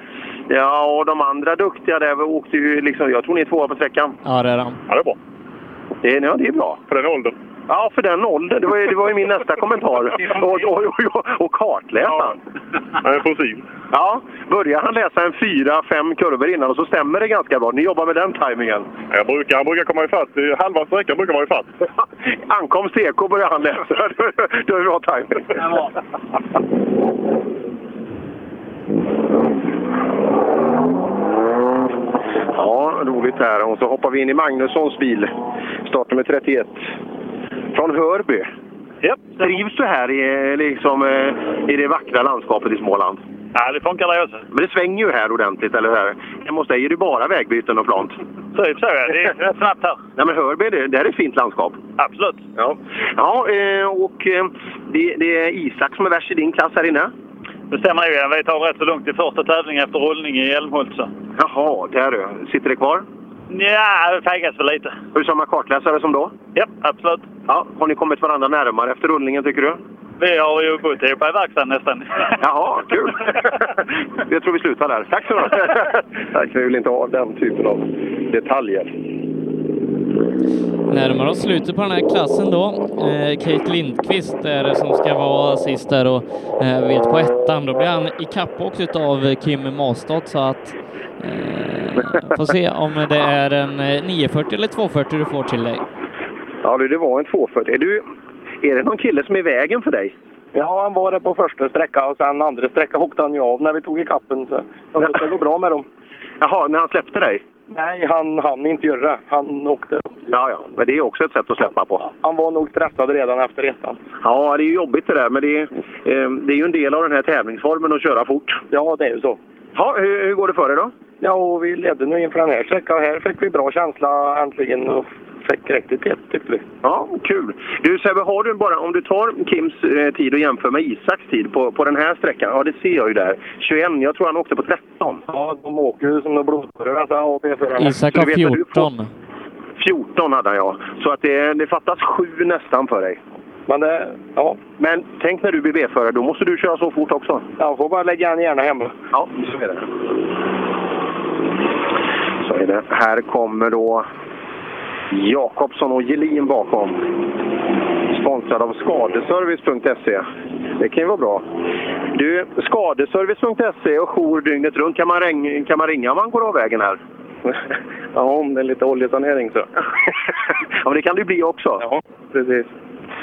S11: ja, och de andra duktiga där åkte ju liksom, jag tror ni är tvåa på sträckan.
S10: Ja, det är han.
S7: Ja, det är bra.
S11: Det, är- ja, det är bra.
S7: För den åldern.
S11: Ja, för den åldern. Det var ju, det var ju min nästa kommentar. Och, och, och, och kartläsaren.
S7: Han är fossil.
S11: Ja, börjar han läsa en fyra, fem kurvor innan och så stämmer det ganska bra. Ni jobbar med den tajmingen.
S7: Jag brukar, han brukar komma ifatt. Det är Halva sträckan brukar vara ifatt.
S11: Ankomst EK börjar han läsa. Då är det bra tajming. Ja, roligt här. Och så hoppar vi in i Magnussons bil. Startnummer 31. Från Hörby.
S7: Yep.
S11: Trivs du här i, liksom, eh, i det vackra landskapet i Småland?
S7: Ja, det funkar det också.
S11: Men det svänger ju här ordentligt, eller hur? Hemma hos dig är det bara vägbyten och plant.
S7: Typ så är det. Det är rätt snabbt här.
S11: Nej, men Hörby, det, där är ett fint landskap.
S7: Absolut.
S11: Ja, ja eh, och eh, det, det är Isak som är värst i din klass här inne.
S7: Det stämmer ju. Vi tar rätt så långt i första tävlingen efter rullning i Älmhult. så.
S11: Jaha, där du. Sitter det kvar?
S7: Ja, det feggas väl lite.
S11: Har du samma kartläsare som då?
S7: Ja, absolut.
S11: Ja, har ni kommit varandra närmare efter rullningen, tycker du?
S7: Vi har ju bott ihop i verkstaden nästan.
S11: Jaha, kul! Jag tror vi slutar där. Tack så mycket! Tack, vi vill inte ha den typen av detaljer.
S10: Närmar oss slutet på den här klassen då. Eh, Kate Lindqvist är det som ska vara sist där och eh, vet på ettan. Då blir han ikappåkt av Kim Mastadt så att eh, får se om det är en eh, 940 eller 240 du får till dig.
S11: Ja, du, det var en 240. Är, du, är det någon kille som är i vägen för dig?
S8: Ja, han var det på första sträckan och sen andra sträckan hookade han ju av när vi tog i kappen. Så jag tror att det går bra med dem.
S11: Jaha, när han släppte dig?
S8: Nej, han hann inte göra det. Han åkte.
S11: Ja, ja, men det är också ett sätt att släppa på.
S8: Han var nog stressad redan efter ettan.
S11: Ja, det är ju jobbigt det där, men det är, eh, det är ju en del av den här tävlingsformen att köra fort.
S8: Ja, det är ju så.
S11: Ja, hur, hur går det för dig då?
S8: Ja, och vi ledde nu inför den här sträckan. Här fick vi bra känsla äntligen och fick riktigt hett tyckte vi.
S11: Ja, kul. Du Sebbe, har du bara, om du tar Kims eh, tid och jämför med Isaks tid på, på den här sträckan. Ja, det ser jag ju där. 21. Jag tror han åkte på 13.
S8: Ja, de åker ju som de blodpurrar alltså, AP-förarna.
S10: Isak
S11: Så du
S10: har
S11: vet vad du
S10: 14.
S11: 14 hade jag. Så att det, det fattas sju nästan för dig.
S8: Men, det, ja.
S11: Men tänk när du blir B-förare, då måste du köra så fort också.
S8: Jag får bara lägga en gärna hemma.
S11: Ja, så är det. Så är det. Här kommer då Jakobsson och Gelin bakom. Sponsrad av skadeservice.se. Det kan ju vara bra. Du, skadeservice.se och jour dygnet runt. Kan man, ring, kan man ringa om man går av vägen här?
S8: Ja, om det är lite oljesanering så.
S11: ja, men det kan det ju bli också.
S8: Ja, precis.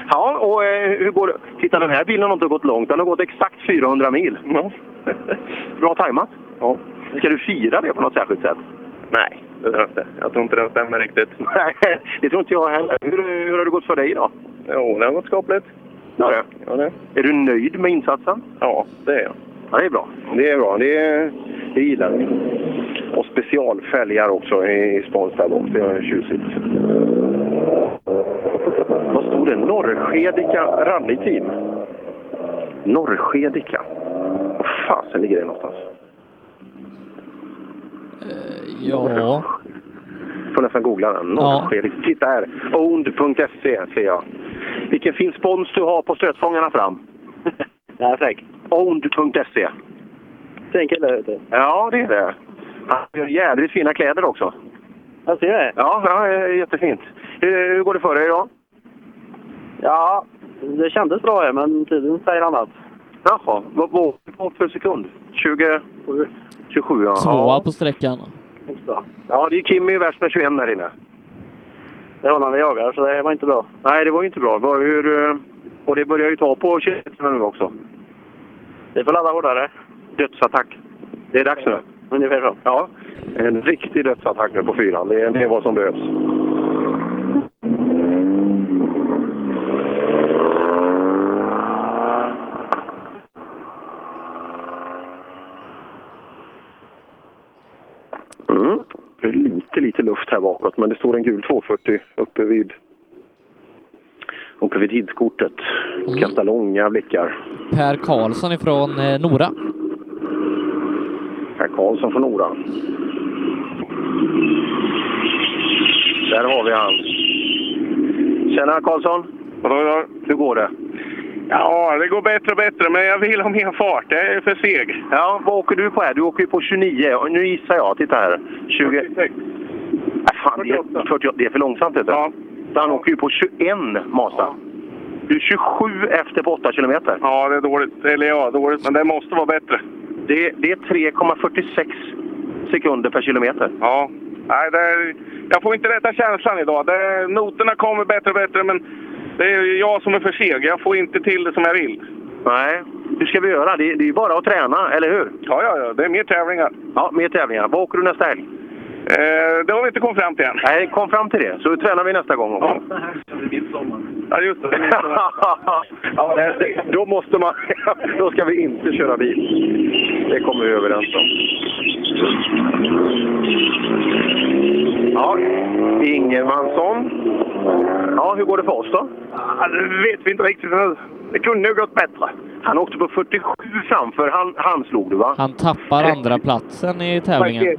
S11: Ja, och eh, hur går det? Titta, den här bilen har inte gått långt. Den har gått exakt 400 mil. Bra tajmat. Ja. Ska du fira det på något särskilt sätt?
S7: Nej, det tror jag inte. Jag tror inte det stämmer riktigt.
S11: Nej, det tror inte jag heller. Hur, hur har det gått för dig idag?
S7: Jo, det har gått skapligt.
S11: Ja, det. Ja, det. Är du nöjd med insatsen?
S7: Ja, det är jag.
S11: Ja, det är bra. Det är bra. Det, det gillar vi. Och specialfälgar också i Spånsta. Det är tjusigt. Vad stod det? Norrskedika rallyteam. Norrskedika. Var fasen ligger det någonstans?
S10: Ja.
S11: Får nästan googla den. Norrskedika. Titta här. Owned.se ser jag. Vilken fin spons du har på stötfångarna fram. Nej, tack. Owned.se.
S8: Fin kille vet du.
S11: Ja, det är det. Han gör jädrigt fina kläder också.
S8: Jag ser det.
S11: Ja, ja eh, jättefint. Hur, hur går det för dig idag?
S8: Ja, det kändes bra här, men tiden säger annat.
S11: Jaha, vad var det på för sekund? 20... 27, ja.
S10: Tvåa på sträckan.
S11: Ja, det är Kimmy värst med 21 där inne. Det var när vi jagade, så det var inte bra. Nej, det var ju inte bra. Det var hur, eh, och det börjar ju ta på 21 nu också. Vi får ladda hårdare. Dödsattack. Det är dags nu. Ungefär så. Ja.
S23: En riktig dödsattack nu på fyran. Det är, det är vad som behövs. Mm. Det är lite, lite luft här bakåt, men det står en gul 240 uppe vid, uppe vid tidskortet.
S11: Mm.
S23: Kastar långa blickar.
S10: Per Karlsson ifrån eh, Nora.
S23: Per Karlsson från Nora. Där har vi han. Tjena Karlsson! Vadå, vadå? Hur går det?
S13: Ja, det går bättre och bättre, men jag vill ha mer fart. Jag är för seg.
S11: Ja, vad åker du på här? Du åker ju på 29. Och nu gissar jag. Titta här. 20... 46. fan, det är, 48. det är för långsamt. Vet du. Ja. Han åker ju på 21 Mazda. Du är 27 efter på 8 kilometer.
S13: Ja, det är dåligt. Eller ja, dåligt, men det måste vara bättre.
S11: Det, det är 3,46 sekunder per kilometer.
S13: Ja. Nej, det är, jag får inte rätta känslan idag. Det, noterna kommer bättre och bättre, men det är ju jag som är för seg. Jag får inte till det som jag vill.
S11: Nej. Hur ska vi göra? Det, det är ju bara att träna, eller hur?
S13: Ja, ja, ja. Det är mer tävlingar.
S11: Ja, mer tävlingar. Vad åker du nästa helg?
S13: Eh, det har vi inte kommit fram till än.
S11: Nej, kom fram till det. Så tränar vi nästa gång också.
S13: Ja, just det.
S23: Ja, det- det- då måste man... Då ska vi inte köra bil. Det kommer vi överens om.
S11: Ja, Ingemansson. Ja, hur går det för oss då?
S13: det vet vi inte riktigt nu. Det kunde nog gått bättre.
S11: Han åkte på 47 framför. Han, han slog du va?
S10: Han tappar andra platsen i tävlingen.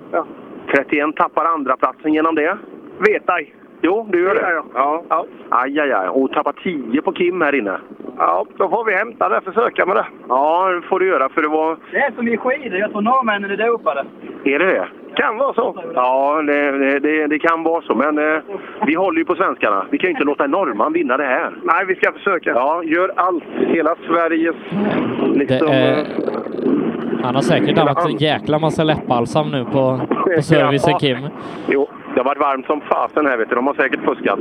S11: 31 tappar andra platsen genom det. Vet ej. Jo, du gör det? Ja. ja. Aj, aj, aj. Och tappar 10 på Kim här inne.
S13: Ja, då får vi hämta det. Försöka med det.
S11: Ja, det får du göra. För det var...
S18: Det är som i skidor. Jag tror norrmännen är dopade.
S11: Är det det?
S13: Kan vara så.
S11: Ja, det, det- det, det kan vara så. Men eh, vi håller ju på svenskarna. Vi kan ju inte låta en norrman vinna det här.
S13: Nej, vi ska försöka.
S11: Ja, gör allt. Hela Sveriges...
S10: Det
S11: Liksom,
S10: är, han har säkert använt en jäkla massa läppbalsam nu på, på servicen
S11: Ja.
S10: Kim.
S11: Jo, det har varit varmt som fasen här vet du. De har säkert fuskat.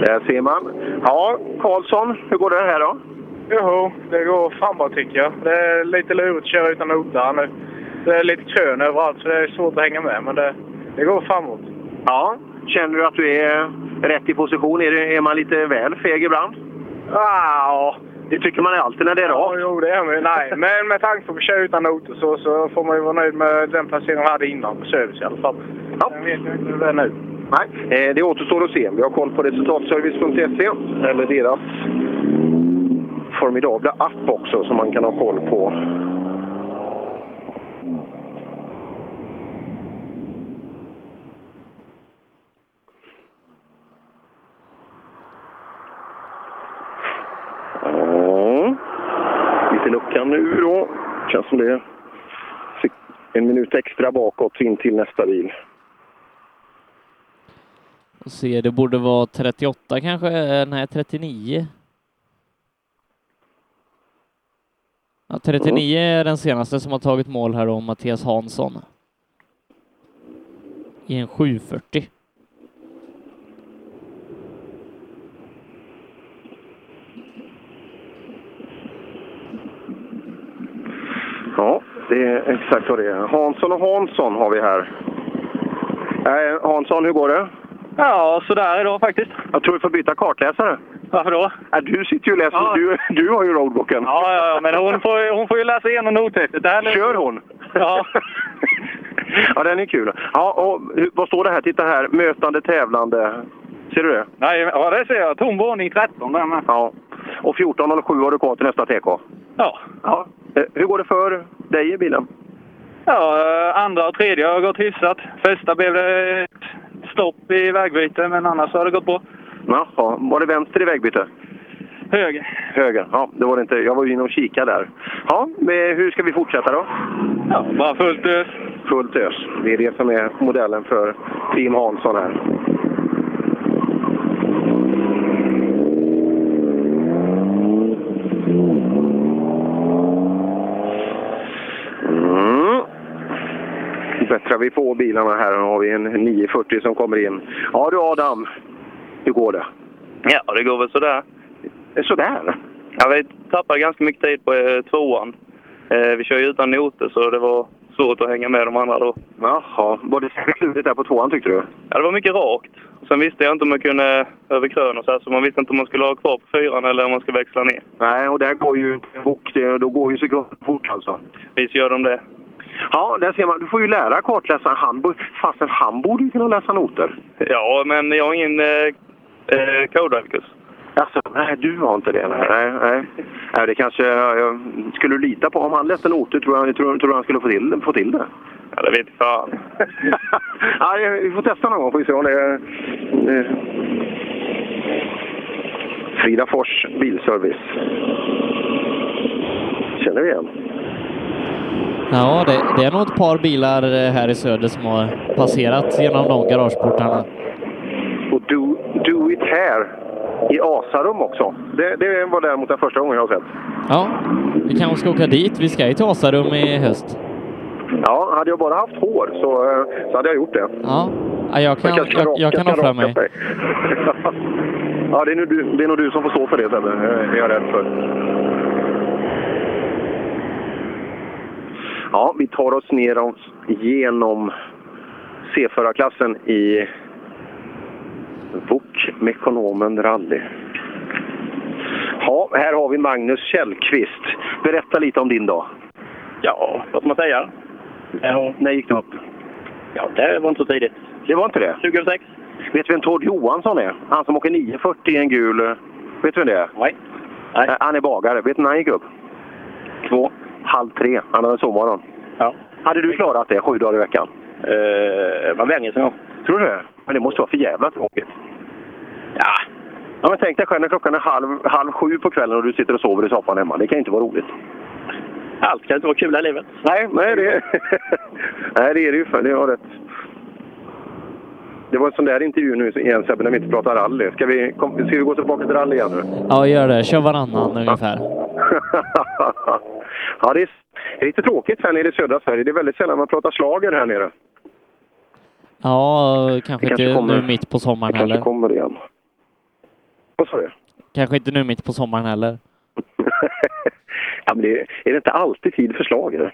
S11: Där ser man. Ja, Karlsson, hur går det här då?
S24: Jo, det går framåt tycker jag. Det är lite lurigt att köra utan noter nu. Det är lite krön överallt så det är svårt att hänga med, men det, det går framåt.
S11: Ja, känner du att du är rätt i position? Är, du, är man lite väl feg ibland? Ja, det tycker man är alltid när det är rakt.
S24: Jo, det är man ju. Nej, men med tanke på att köra utan noter så, så får man ju vara nöjd med den placering man hade innan på service i alla fall.
S11: Ja.
S24: Jag vet jag inte hur det är nu.
S11: Nej, eh, det återstår att se. Vi har koll på resultatservice.se, eller deras formidabla app också, som man kan ha koll på. Ja,
S23: Lite lucka nu då. Känns som det är en minut extra bakåt in till nästa bil.
S10: Och se, det borde vara 38 kanske? Eh, Nej, 39. Ja, 39 är den senaste som har tagit mål här då, Mattias Hansson. I en 740.
S23: Ja, det är exakt vad det är. Hansson och Hansson har vi här.
S11: Eh, Hansson, hur går det? Ja, sådär idag faktiskt. Jag tror vi får byta kartläsare. Varför då? du sitter ju och läser. Du, du har ju roadbooken.
S9: Ja, ja, ja, men hon får, ju- hon får ju läsa igenom nothäftet. Det här lär-
S11: Kör hon?
S9: Ja.
S11: Ja, den är kul. Ja, och hur- vad står det här? Titta här. Mötande tävlande. Ser du det?
S9: Nej, ja, det ser jag. Tom våning 13 där med.
S11: Ja. Och 14.07 har du kvar till nästa TK.
S9: Ja.
S11: ja. Eh, Hur går det för dig i bilen?
S9: Ja, eh, andra och tredje har gått hyfsat. Första blev det ett stopp i vägbyte, men annars har det gått bra.
S11: Jaha, var det vänster i vägbyte?
S9: Höger.
S11: Höger? Ja, det var det inte. Jag var ju inne och kikade där. Ja, men hur ska vi fortsätta då?
S9: Ja, bara fullt ös.
S11: Fullt ös. Det är det som är modellen för Team Hansson här. kör Mm. vi på bilarna här. Nu har vi en 940 som kommer in. Ja du Adam, hur går det?
S20: Ja, det går väl sådär.
S11: Sådär?
S20: Ja, vi tappade ganska mycket tid på eh, tvåan. Eh, vi kör ju utan noter, så det var svårt att hänga med de andra då.
S11: Jaha, var det slutet där på tvåan tyckte du?
S20: Ja, det var mycket rakt. Sen visste jag inte om jag kunde över krön och så här, så man visste inte om man skulle ha kvar på fyran eller om man skulle växla ner.
S11: Nej, och där går ju inte en bock. Det- Då går ju sekunderna fort alltså.
S20: Visst gör de det.
S11: Ja, där ser man. Du får ju lära kartläsaren. Han, bo- fastän han borde ju kunna läsa noter.
S20: Ja, men jag har ingen eh, eh, codalkus.
S11: Alltså, nej, du har inte det. Nej, nej. nej. nej det kanske... Jag, skulle du lita på... Om han läste noter tror jag, tror, tror jag han skulle få till, få till det.
S20: Ja, det vet fan.
S11: ja, det- vi får testa någon gång. Får vi se om det... eh, Frida Fors Bilservice. Känner vi igen?
S10: Ja, det, det är nog ett par bilar eh, här i söder som har passerat genom de garageportarna.
S11: Och do, do it här i Asarum också. Det, det var däremot den första gången jag har sett.
S10: Ja, vi kanske ska åka dit. Vi ska ju till Asarum i höst.
S11: Ja, hade jag bara haft hår så, eh, så hade jag gjort det.
S10: Ja, ja jag kan, jag,
S11: kanske
S10: jag, kan offra
S11: raka
S10: mig.
S11: sig. ja, det är, nu du, det är nog du som får stå för det Sebbe, eh, är jag rädd för. Ja, vi tar oss ner oss genom C-förarklassen i VOK Mekonomen Rally. Ja, här har vi Magnus Källqvist. Berätta lite om din dag.
S12: Ja, vad ska man säga? Ja.
S11: När gick du upp?
S12: Ja, det var inte så tidigt.
S11: Det var inte det?
S12: 2006.
S11: Vet du vem Tord Johansson är? Han som åker 940 i en gul... eh, Vet du vem det är?
S12: Nej.
S11: Eh, Han är bagare. Vet du när han gick upp? Två. Halv tre. Han hade sovmorgon.
S12: Ja.
S11: Hade du klarat det sju dagar i veckan?
S12: Eh, vad vänjer sig av.
S11: Tror du det? Men det måste vara för jävla tråkigt. Ja. ja men tänk dig själv när klockan är halv, halv sju på kvällen och du sitter och sover i soffan hemma. Det kan inte vara roligt.
S12: Allt kan inte vara kul här i livet.
S11: Nej, nej det, nej, det är det ju. För, det har rätt. Det var en sån där intervju nu igen Sebbe, när vi inte pratar rally. Ska vi, kom, ska vi gå tillbaka till rally igen nu?
S10: Ja, gör det. Kör varannan ungefär.
S11: ja, det är, det är lite tråkigt här nere i södra Sverige. Det är väldigt sällan man pratar slager här nere.
S10: Ja, kanske
S11: kanske
S10: inte
S11: kommer.
S10: nu mitt på sommaren
S11: Det kanske
S10: heller.
S11: kommer igen. Vad sa du?
S10: Kanske inte nu mitt på sommaren heller.
S11: Ja, men det, är det inte alltid tid för slager?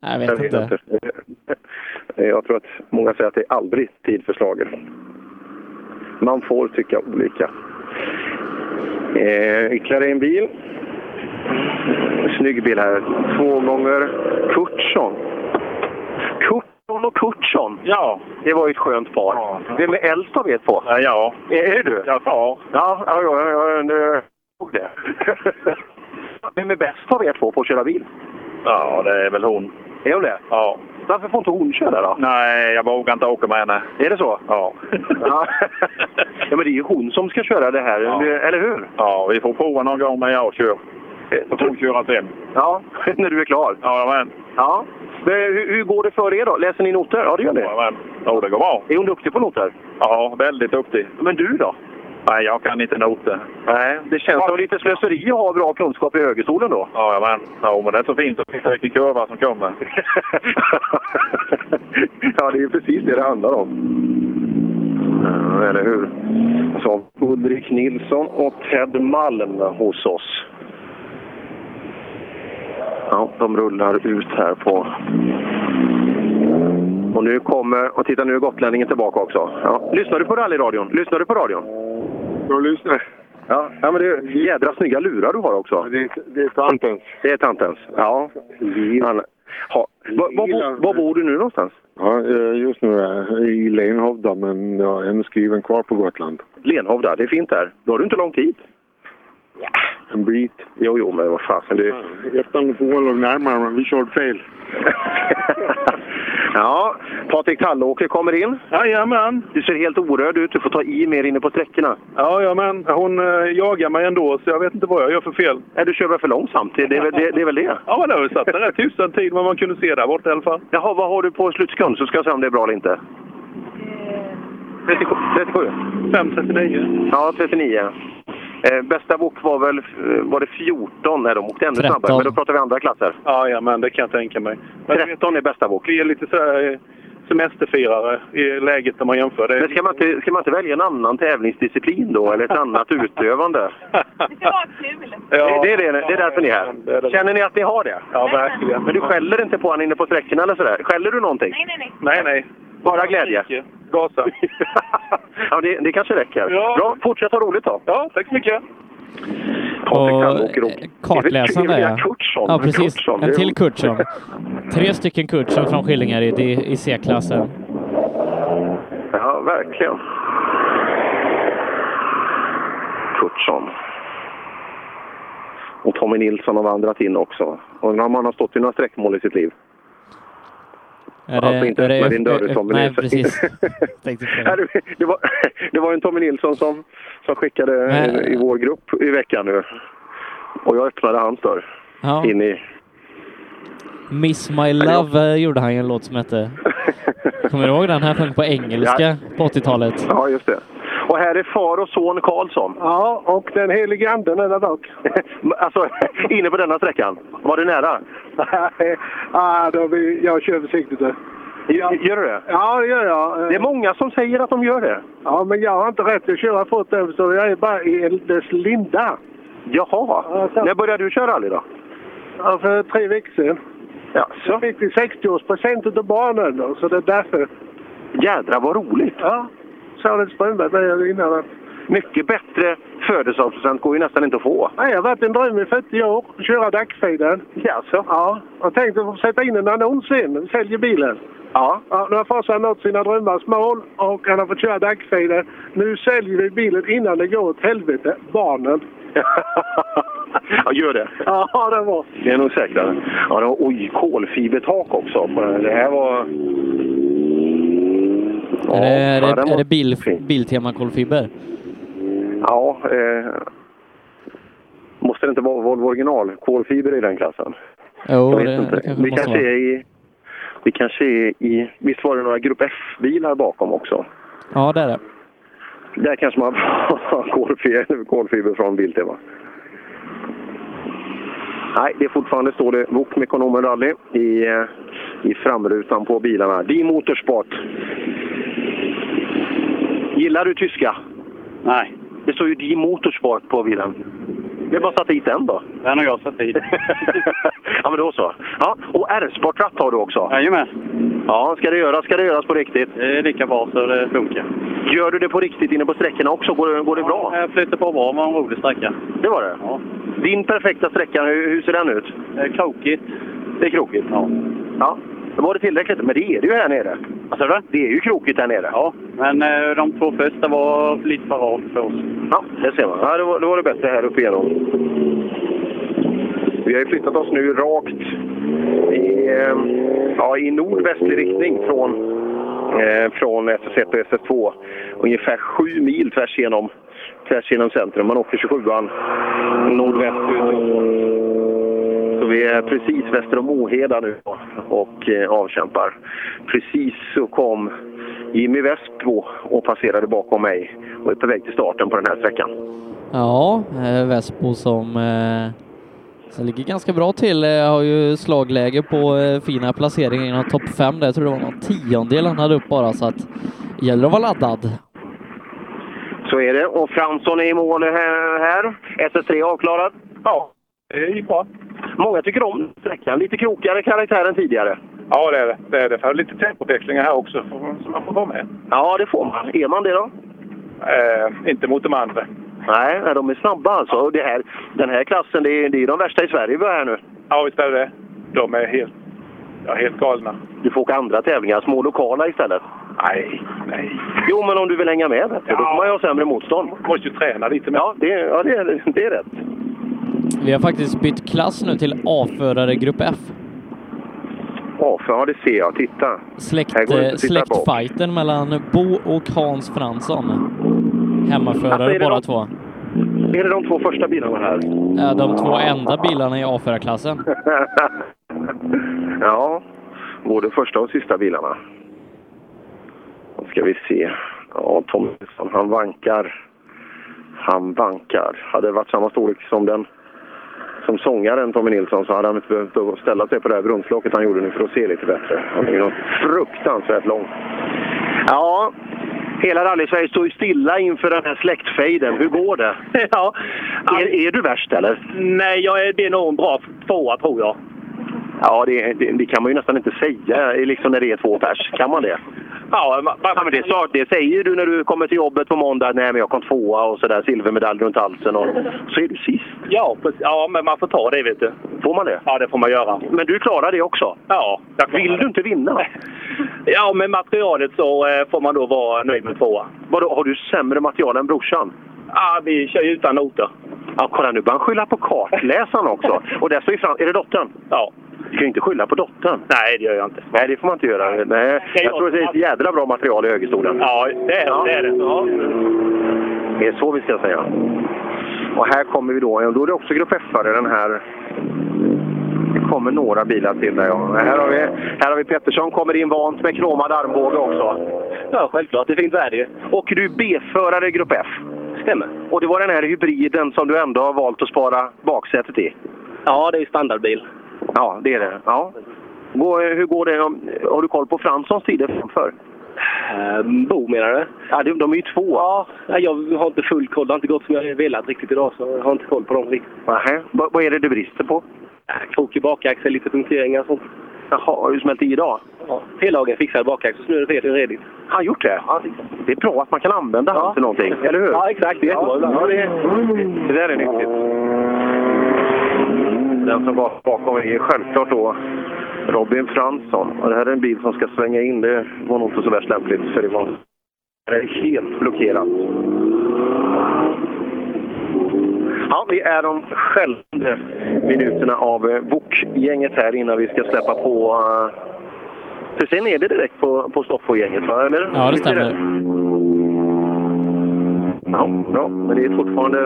S10: Jag vet inte.
S11: Jag tror att många säger att det är aldrig tid för slager. Man får tycka olika. Eh, ytterligare en bil. Snygg bil här. Två gånger Kurtsson. Kurtsson och Kurtsson. Ja. Det var ju ett skönt par. Vem är äldst av er två? Ja, ja. Är, är du? Ja, far. Ja, ja, ja, ja, nu såg det. Vem är bäst av er två på att köra bil?
S12: Ja, det är väl hon.
S11: Är hon det?
S12: Ja.
S11: Varför får inte hon köra då?
S12: Nej, jag vågar inte åka med henne.
S11: Är det så?
S12: Ja.
S11: ja, men det är ju hon som ska köra det här, eller hur?
S12: Ja, vi får prova någon gång när jag kör.
S20: Eh,
S12: Så får hon köra sen.
S11: Ja, när du är klar.
S12: Jajamän.
S11: Ja. Men hur, hur går det för er då? Läser ni noter? Ja, det gör ni.
S12: Jajamän. Jo, det går bra.
S11: Är hon duktig på noter?
S12: Ja, väldigt duktig.
S11: Men du då?
S12: Nej, jag kan inte noter.
S11: Nej, det känns som lite slöseri att ha bra kunskap i högerstolen då.
S12: Jajamän. Jo, men det är så fint att veta vilken kurva som kommer.
S11: ja, det är ju precis det det handlar om. Ja, Eller hur? Så Ulrik Nilsson och Ted Malm hos oss. Ja, de rullar ut här på... Och nu kommer... Och titta, nu är gotlänningen tillbaka också. Ja. Lyssnar du på rallyradion? Lyssnar du på radion? Jag lyssnar. Ja, ja men det är jädra snygga lurar du har också. Det, är tantens. Det är tantens, ja. Han, ha, var, var, bor- var bor du nu någonstans?
S19: Ja, eh, just nu är jag i Lenhovda, men jag är ännu skriven kvar på Gotland.
S11: Lenhovda, det är fint där. Då har du inte långt hit.
S19: En bit.
S11: Jo, jo, men vad fasen. Det...
S19: Jättan och Pål låg närmare, men vi körde fel.
S11: Ja, Patrik Tallåker kommer in. Jajamän. Du ser helt orörd ut. Du får ta i mer inne på sträckorna.
S19: Jajamän, hon eh, jagar mig ändå så jag vet inte vad jag gör för fel.
S11: Nej, du kör väl för långsamt? Det, är väl- det- det är väl det?
S19: Ja, men det har ju satt en rätt hyfsad tid vad man kunde se där borta i alla fall.
S11: Jaha, vad har du på slutsekund så ska jag se om det är bra eller inte. 37? 37.
S19: 5, 39.
S11: Ja, 39. Eh, bästa bok var väl eh, var det 14? Nej, de åkte ännu
S19: 13.
S11: snabbare. Men då pratar vi andra klasser.
S19: Jajamän, det kan jag tänka mig. Men
S11: 13 är bästa bok.
S19: Vi är lite så här, eh,
S20: semesterfirare i läget när man jämför. Det.
S11: Men ska man, inte, ska man inte välja en annan tävlingsdisciplin då, eller ett annat utövande?
S16: Det ska vara kul.
S11: Det, det, är det, det är därför ni är här. Känner ni att ni har det?
S20: Ja, verkligen.
S11: Men du skäller inte på honom inne på sträckorna eller sådär? Skäller du någonting?
S16: Nej, nej, nej.
S20: Nej, nej.
S11: Bara glädje?
S20: Gasa.
S11: ja, det, det kanske räcker. Bra, fortsätt ha roligt då.
S20: Ja, tack så mycket.
S10: Och eh, kartläsande
S11: Det är
S10: ja.
S11: väl Kurtsson?
S10: Ja, precis.
S11: Kurtsson, det är
S10: En till
S11: ju-
S10: Kurtsson. Tre stycken Kurtsson från Skillingaryd i, i C-klassen.
S11: Ja, verkligen. Kurtsson. Och Tommy Nilsson har vandrat in också. Undrar om han har stått i några sträckmål i sitt liv.
S10: Är
S11: alltså inte
S10: är
S11: öppna din dörr, Tommy
S10: Nej,
S11: Nilsson.
S10: precis.
S11: Ja, det- det, var, det var en Tommy Nilsson som, som skickade i vår grupp i veckan nu. Och jag öppnade hans dörr.
S10: Ja.
S11: In i...
S10: Miss My Love eh, gjorde han ju en låt som hette. Kommer du ihåg den? Han sjöng på engelska på 80-talet.
S11: Ja, just det. Och här är far och son Karlsson.
S19: Ja, och den helige anden är där bak.
S11: alltså, inne på denna sträckan. Var du nära?
S19: ah, då vi, jag kör försiktigt. nu.
S11: Gör du det?
S19: Ja, det gör jag.
S11: Det är många som säger att de gör det.
S19: Ja, men jag har inte rätt att köra fort över så jag är bara i eldens linda.
S11: Jaha.
S19: så-
S11: När började du köra rally då?
S19: Ja, för tre veckor sedan.
S11: Ja,
S19: så fick vi 60-årspresent av barnen då, så det är därför.
S11: Jädra vad roligt!
S19: Ja, sa det Strömberg där innan. att-
S11: Mycket bättre födelsedagspresent går ju nästan inte att få.
S19: Nej, jag har varit en dröm i 40 år att köra dagsfiden.
S11: Jaså?
S19: Ja, jag tänkte få sätta in en annons sen när vi säljer bilen.
S11: Ja.
S19: ja nu har farsan nått sina drömmars mål och han har fått köra dagsfiden. Nu säljer vi bilen innan det går åt helvete, barnen.
S11: Ja, gör det.
S19: Ja, det var.
S11: Det är nog säkrare. Ja, det var, oj, kolfibertak också. på den här. Det här var...
S10: är det, är
S11: ja, den
S10: det,
S11: var
S10: är det bil, Biltema kolfiber?
S11: Ja, eh, måste det inte vara Volvo original? Kolfiber i den klassen?
S10: Jo,
S11: Jag vet
S10: det,
S11: inte.
S10: det kanske
S11: vi,
S10: måste
S11: kanske
S10: vara.
S11: är i, vi kanske är i... Visst var det några Grupp F-bilar bakom också?
S10: Ja, det är det.
S11: Där kanske man får kolfiber, kolfiber från Biltema. Nej, det är fortfarande står det Wok Mekonomen Rally i, eh, i framrutan på bilarna. Die Motorsport. Gillar du tyska? Nej. Det står ju Die Motorsport på bilen. Vi har bara satt dit den då. Den har jag satt dit. ja, men då så. Ja, och R-sportratt har du också? Jajamän. Ja, ska det göras ska det göras på riktigt. Det är lika bra så det funkar. Gör du det på riktigt inne på sträckorna också? Går, det- går det bra? Jag flyter på bra. Det var en rolig sträcka. Det var det? Ja. Din perfekta sträcka, hur, hur ser den ut? Krokigt. Det är krokigt? Ja. ja. Då var det tillräckligt. Men det är det ju här nere. Vad sa du? Det är ju krokigt här nere. Ja,
S12: Men eh, de två första var lite för rakt för oss.
S11: Ja, det ser man. Ja, det, var, det var det bättre här uppe igenom. Vi har ju flyttat oss nu rakt i, eh, ja, i nordvästlig riktning från, eh, från SS1 och SS2. Ungefär sju mil tvärs genom, tvärs genom centrum. Man åker 27an nordvästut. Så vi är precis väster om Åheda nu och eh, avkämpar. Precis så kom Jimmy Westbo och passerade bakom mig och är på väg till starten på den här sträckan.
S10: Ja, eh, Väsbo som, eh, som ligger ganska bra till. eh, Har ju slagläge på eh, fina placeringar inom topp 5 där. Jag tror det var någon tiondel han hade upp bara så att gäller att vara laddad.
S11: Så är det. Och Fransson är i mål här. här. SS3 avklarad. Ja, det gick bra. Många tycker om sträckan. Lite krokigare karaktär än tidigare.
S20: Ja, det är det. det, är det. För lite tempoväxlingar här också får- som man får vara med.
S11: Ja, det får man. Är man det då?
S20: Eh, inte mot de andra.
S11: Nej, nej, de är snabba alltså. Och det här, den här klassen, det är, det är de värsta i Sverige vi har här nu.
S20: Ja, visst är det det. De är helt, ja, helt galna.
S11: Du får åka andra tävlingar, små lokala istället. Nej, nej. Jo, men om du vill hänga med, vet du, då får man ju ha sämre motstånd. måste ju träna lite mer. Ja, det, ja, det, är- det är rätt.
S10: Vi har faktiskt bytt klass nu till A-förare grupp F.
S11: Ja, för ja, det ser jag. Titta.
S10: Släkt,
S11: Här går det inte
S10: eh,
S11: att titta bak.
S10: släktfighten mellan Bo och Hans Fransson.
S11: Alltså, är
S10: Hemmaförare
S11: det
S10: båda
S11: de-
S10: två.
S11: Är det de två första bilarna här?
S10: Eh, De två enda bilarna i A-förarklassen.
S11: ja, både första och sista bilarna. Då ska vi se. Ja, Tomsson, han vankar. Han vankar. Hade det varit samma storlek som den
S23: som sångaren Tommy Nilsson så hade han inte behövt att ställa sig på det här brunnslocket han gjorde nu för att se lite bättre. Han är ju något fruktansvärt lång.
S11: Ja, hela rally-Sverige står ju stilla inför den här släktfejden. Hur går det?
S16: Ja.
S11: Är, är du värst eller?
S16: Nej, jag är, det är nog en bra tvåa tror jag.
S11: Ja, det, det, det kan man ju nästan inte säga eh, liksom när det är två pers. Kan man det?
S16: Ja, man,
S11: Ja, men det, är klart, det säger du när du kommer till jobbet på måndag. Nej, men jag kom tvåa och sådär. Silvermedalj runt halsen. Och, så är du sist.
S16: ja, precis. ja, men man får ta det vet du.
S11: Får man det?
S16: Ja, det får man göra.
S11: Men du klarar det också?
S16: Ja.
S11: Vill du inte vinna?
S16: Ja, med materialet så eh, får man då vara nöjd med tvåa.
S11: Vadå, har du sämre material än brorsan?
S16: Ja, vi kör ju utan noter.
S11: Ja, kolla nu börjar han skylla på kartläsaren också. Och där står ju fram... Är det dottern?
S16: Ja.
S11: Du kan ju inte skylla på dottern.
S16: Nej, det gör jag inte.
S11: Nej, det får man inte göra. Nej. Jag tror att det är ett jädra bra material i högerstolen.
S16: Ja, det är det. Är det. Ja.
S11: Det är så vi ska säga. Och här kommer vi då. Då är det också grupp F-are den här. Det kommer några bilar till där ja. Här har vi, här har vi Pettersson, kommer in vant med kromad armbåge också. Ja, självklart. Det är fint värde Och du är B-förare i grupp F. Stämmer. Och det var den här hybriden som du ändå har valt att spara baksätet i.
S16: Ja, det är standardbil.
S11: Ja, det är det. Ja. Gå- Hur går det? om- Har du koll på Franssons tider framför?
S16: Ehm, Bo menar du?
S11: Ja, de, de är ju två.
S16: Ja, jag har inte full koll. Det har inte gått som jag velat riktigt idag så jag har inte koll på dem riktigt. Äh,
S11: Nähä. Vad, vad är det du brister på?
S16: Krokig bakaxel, lite punkteringar och sånt.
S11: Jaha, har du smält i idag?
S16: Ja, P-lagen fixade bakaxel så nu är det redan redigt.
S11: Han gjort det? Det är bra att man kan använda han till någonting, eller hur?
S16: Ja, exakt. Det är jättebra ibland.
S11: Ja, det, det där är nyttigt. Den som var bakom är självklart då Robin Fransson. Och det här är en bil som ska svänga in. Det var nog inte så värst lämpligt för det var det är helt blockerat. Ja, det är de självande minuterna av eh, Wok-gänget här innan vi ska släppa på... eh, För sen är det direkt på, på Stoffo-gänget, va? Eller?
S10: Ja, det stämmer.
S11: Ja, bra. Men det är fortfarande...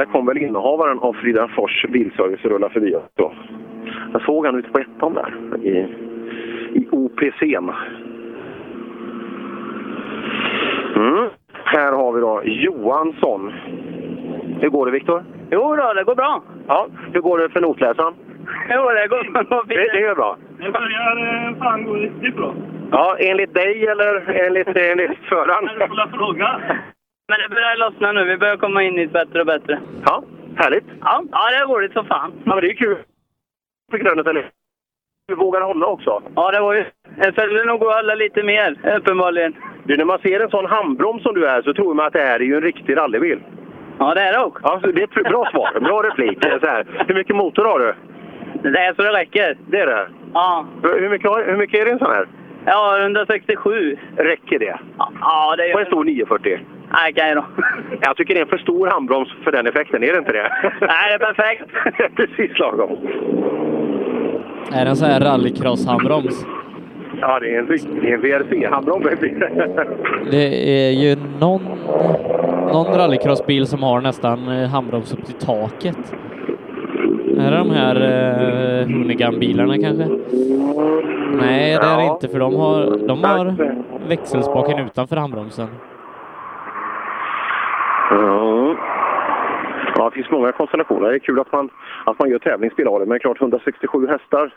S11: Där kom väl innehavaren av Frida Fors bilservice och rulla förbi oss då. Jag såg han ute på ettan där i, i OPC'n. Mm. Här har vi då Johansson. Hur går det Viktor?
S17: Jo då, det går bra.
S11: Ja, hur går det för notläsaren?
S17: Jo, det går bra.
S11: Det, det är bra.
S17: Det börjar eh, fan gå riktigt bra.
S11: Ja, enligt dig eller enligt, enligt föraren?
S17: fråga. Men det börjar lossna nu. Vi börjar komma in i ett bättre och bättre.
S11: Ja, härligt.
S17: Ja, ja det är roligt som fan.
S11: Ja, men det är kul. För grönet, eller? Du vågar hålla också.
S17: Ja, det var ju... Jag skulle nog gå och hålla lite mer, uppenbarligen.
S11: Du, när man ser en sån handbroms som du är så tror man att det här är ju en riktig rallybil.
S17: Ja, det är det också.
S11: Ja, så det är ett bra svar. Bra replik. Det är Så här. Hur mycket motor har du?
S17: Det är så det räcker.
S11: Det är det?
S17: Ja.
S11: Hur mycket, har- hur mycket är det i en sån här?
S17: Ja, 167.
S11: Räcker det?
S17: Ja, det
S11: På
S17: gör...
S11: en stor 940?
S17: Nej, kan jag då.
S11: Jag tycker det är en för stor handbroms för den effekten, är det inte det?
S17: Nej, det är perfekt.
S11: Precis lagom.
S10: Är det en sån här rallycross-handbroms?
S11: Ja, det är en, rikt- det är en VRC-handbroms.
S10: Det är ju någon, någon rallycrossbil som har nästan eh, handbroms upp till taket. Är det de här eh, Hoonigan-bilarna kanske? Nej, det är det inte för de har, de har växelspaken utanför handbromsen.
S11: Ja. Ja, det finns många konstellationer. Det är kul att man, att man gör tävlingsbil av det. Men det är klart, 167 hästar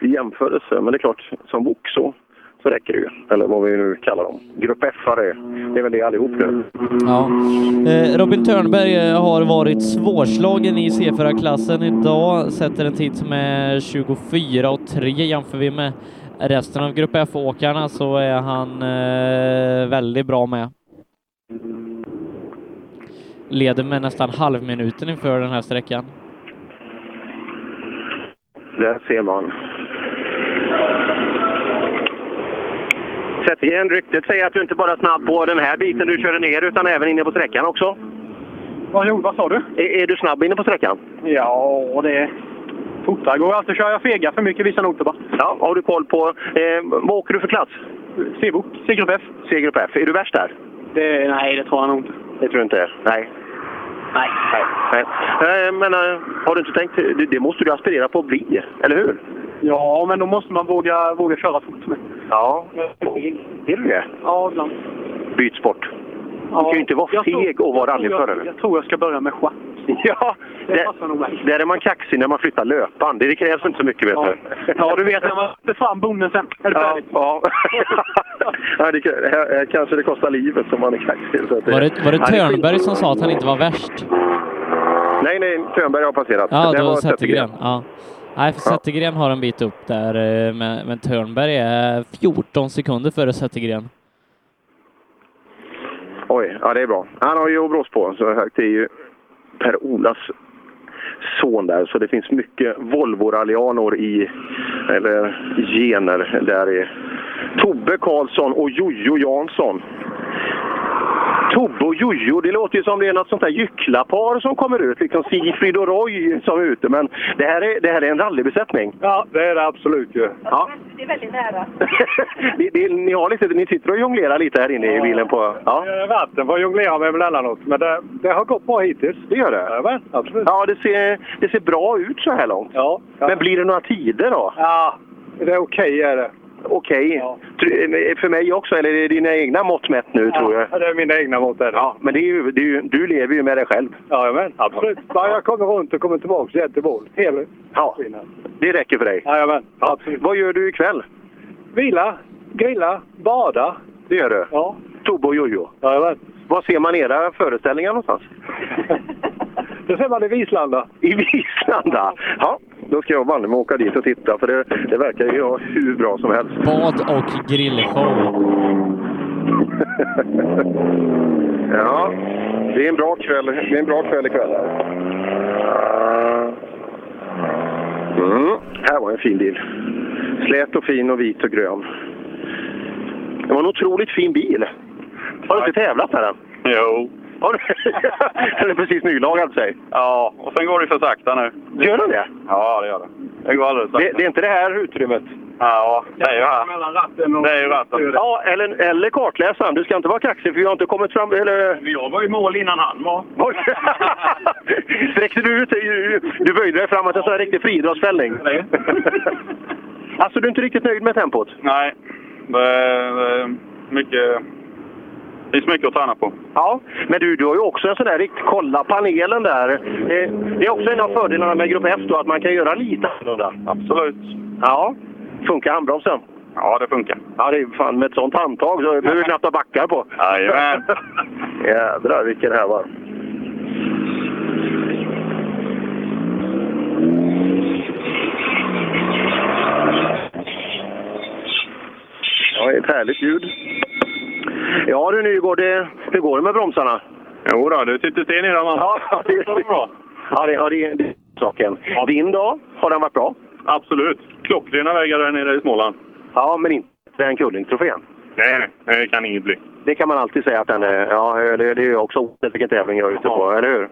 S11: i jämförelse. Men det är klart, som bok så, så räcker det ju. Eller vad vi nu kallar dem. Grupp F-are. Det är väl det allihop nu.
S10: Ja. Eh, Robin Törnberg eh, har varit svårslagen i C4-klassen idag, sätter en tid som är 24,3 jämför vi med resten av Grupp F-åkarna så är han eh, väldigt bra med. Leder med nästan halvminuten inför den här sträckan.
S11: Där ser man. Sätt igen ryktet säger att du inte bara är snabb på den här biten du körde ner utan även inne på sträckan också.
S24: Vad, gjorde- vad sa du?
S11: Är, är du snabb inne på sträckan?
S24: Ja, det... Fotar går alltid. Kör jag fega för mycket vissa noter bara.
S11: Ja, har du koll på... Eh, vad åker du för klass?
S24: C-bok. C-grupp F.
S11: C-grupp F. Är du värst där?
S24: Det, Eh, nej, det tror jag nog inte.
S11: Det tror du inte? Nej.
S17: Nej.
S11: Nej. Nej. Eh, Men eh, har du inte tänkt... Det, det måste du aspirera på att bli, eller hur?
S24: Ja, men då måste man våga, våga köra fort.
S11: Ja. Vill du det?
S24: Ja, ibland.
S11: Byt sport. Du kan ju inte vara
S24: jag tror-
S11: feg och vara
S24: jag tror jag-
S11: rallyförare.
S24: Jag tror jag ska börja med schack.
S11: Ja,
S16: det passar nog mig.
S11: där är man kaxig när man flyttar löpan. Det krävs inte så mycket, vet du.
S16: Ja, du vet när man sätter fram bonden sen. Är det
S11: Ja,
S16: färdigt?
S11: ja. ja det, här, här kanske det kostar livet som man är kaxig. så att
S10: Var det, var det
S11: Ja, är skit-
S10: Törnberg som sa att han inte var värst?
S11: Nej, nej, Törnberg har passerat.
S10: Ja,
S11: Den
S10: då
S11: var
S10: Zettergren. Ja. Nej, för
S11: Ja.
S10: Zettergren har en bit upp där, eh, men, men Törnberg är 14 sekunder före Zettergren.
S11: Oj, ja det är bra. Han har ju Obros på, så högt är ju Per-Olas son där. Så det finns mycket Volvo-rallianor i, eller gener, där i. Tobbe Karlsson och Jojo Jansson. Tobbe och Jojo, det låter ju som det är något sånt där gycklapar som kommer ut. Liksom Sigfrid och Roy som är ute. Men det här är, det här är en rallybesättning.
S15: Ja, det är det absolut ju.
S11: Ja.
S1: Det är väldigt nära.
S11: ni, ni, ni, har lite, ni sitter och jonglerar lite här inne i bilen på... Ja.
S15: Vatten får jonglera med emellanåt, men det, det har gått bra hittills.
S11: Det gör det?
S15: Jajamän, absolut.
S11: Ja, det ser, det ser bra ut så här långt.
S15: Ja.
S11: Men blir det några tider då?
S15: Ja, det är okej är det.
S11: Okej. Tr- eh, För mig också, eller är det dina egna mått mätt nu tror jag?
S15: Ja, det är mina egna mått där.
S11: Ja, men det är ju, det är ju, du lever ju med dig själv.
S15: Jajamän, absolut. Bara jag kommer runt och kommer tillbaka igen till mål. Hel-
S11: Ja, det räcker för dig.
S15: Jajamän,
S11: absolut. Vad gör du ikväll?
S15: Vila, grilla, bada.
S11: Det gör du?
S15: Ja.
S11: Tobbe och Jojo?
S15: Jajamän.
S11: Var ser man era föreställningar någonstans?
S15: Det ser man i Vislanda.
S11: I Vislanda? Ja, då ska jag banne mig åka dit och titta för det, det verkar ju vara hur bra som helst.
S10: Bad och grillshow.
S11: Ja, det är en bra kväll, det är en bra kväll ikväll här. Mm, här var en fin bil. Slät och fin och vit och grön. Det var en otroligt fin bil. Har du inte tävlat med den?
S20: Jo.
S11: Har du? Den är precis nylagad sig.
S20: Ja, och sen går det för sakta nu.
S11: Gör den det?
S20: Ja, det gör det. Det går alldeles sakta.
S11: Det, det är inte det här utrymmet?
S20: Ja, det är ju här.
S11: Mellan
S20: ratten och- Det är ju ratten.
S11: Ja, eller, eller kartläsaren. Du ska inte vara kaxig för vi har inte kommit fram... Eller...
S20: Jag var i mål innan han var.
S11: Oj. Sträckte du ut dig? Du böjde dig framåt, en sån här riktig friidrottsfällning. alltså, du är inte riktigt nöjd med tempot?
S20: Nej, det är, det är mycket... Det finns mycket att träna på.
S11: Ja, men du, du har ju också en sån där riktig... Kolla panelen där! Eh, Det är också en av fördelarna med Grupp F då, att man kan göra lite annorlunda.
S20: Absolut.
S11: Ja. Funkar handbromsen?
S20: Ja, det funkar.
S11: Ja, det är fan med ett sånt handtag så behöver du knappt ha backar på.
S20: Jajamän.
S11: Jädrar vilken det här var. Ja, det är ett härligt ljud. Ja du Nygård, det, hur går det med bromsarna?
S20: Jo då, du sitter still i dem.
S11: Ja, det är bra. Ja, det, ja, det, är- det är saken. Din dag, har den varit bra?
S20: Absolut. Klockrena vägar där nere i Småland.
S11: Ja, men inte den Kullingtrofén.
S20: Nej, nej, det kan inget bli.
S11: Det kan man alltid säga att den är. Ja, det, det är ju också oavsett vilken tävling jag är ute på, eller hur?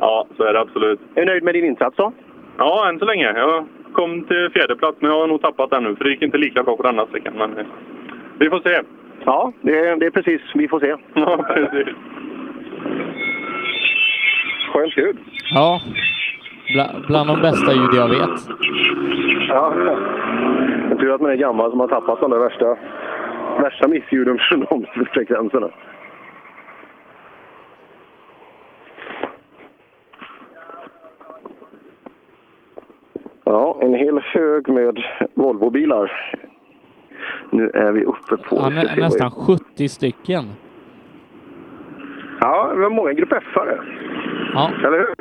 S20: Ja, så är det absolut.
S11: Är du nöjd med din insats då?
S20: Ja, än så länge. Jag kom till fjärde plats men jag har nog tappat den nu för det gick inte lika bra på denna sträckan. Men eh, vi får se.
S11: Ja, det, det är precis. Vi får se.
S20: Ja, precis.
S11: Skönt ljud.
S10: Ja, Bla, bland de bästa ljud jag vet.
S11: Ja. Jag tror att man är gammal som har tappat de där värsta, värsta missljuden från de frekvenserna. Ja, en hel hög med Volvobilar. Nu är vi uppe på...
S10: Han
S11: ska se
S10: är
S11: vad-
S10: nästan 70 stycken.
S11: Ja, det var många Grupp F-are.
S10: Ja.
S11: Eller hur?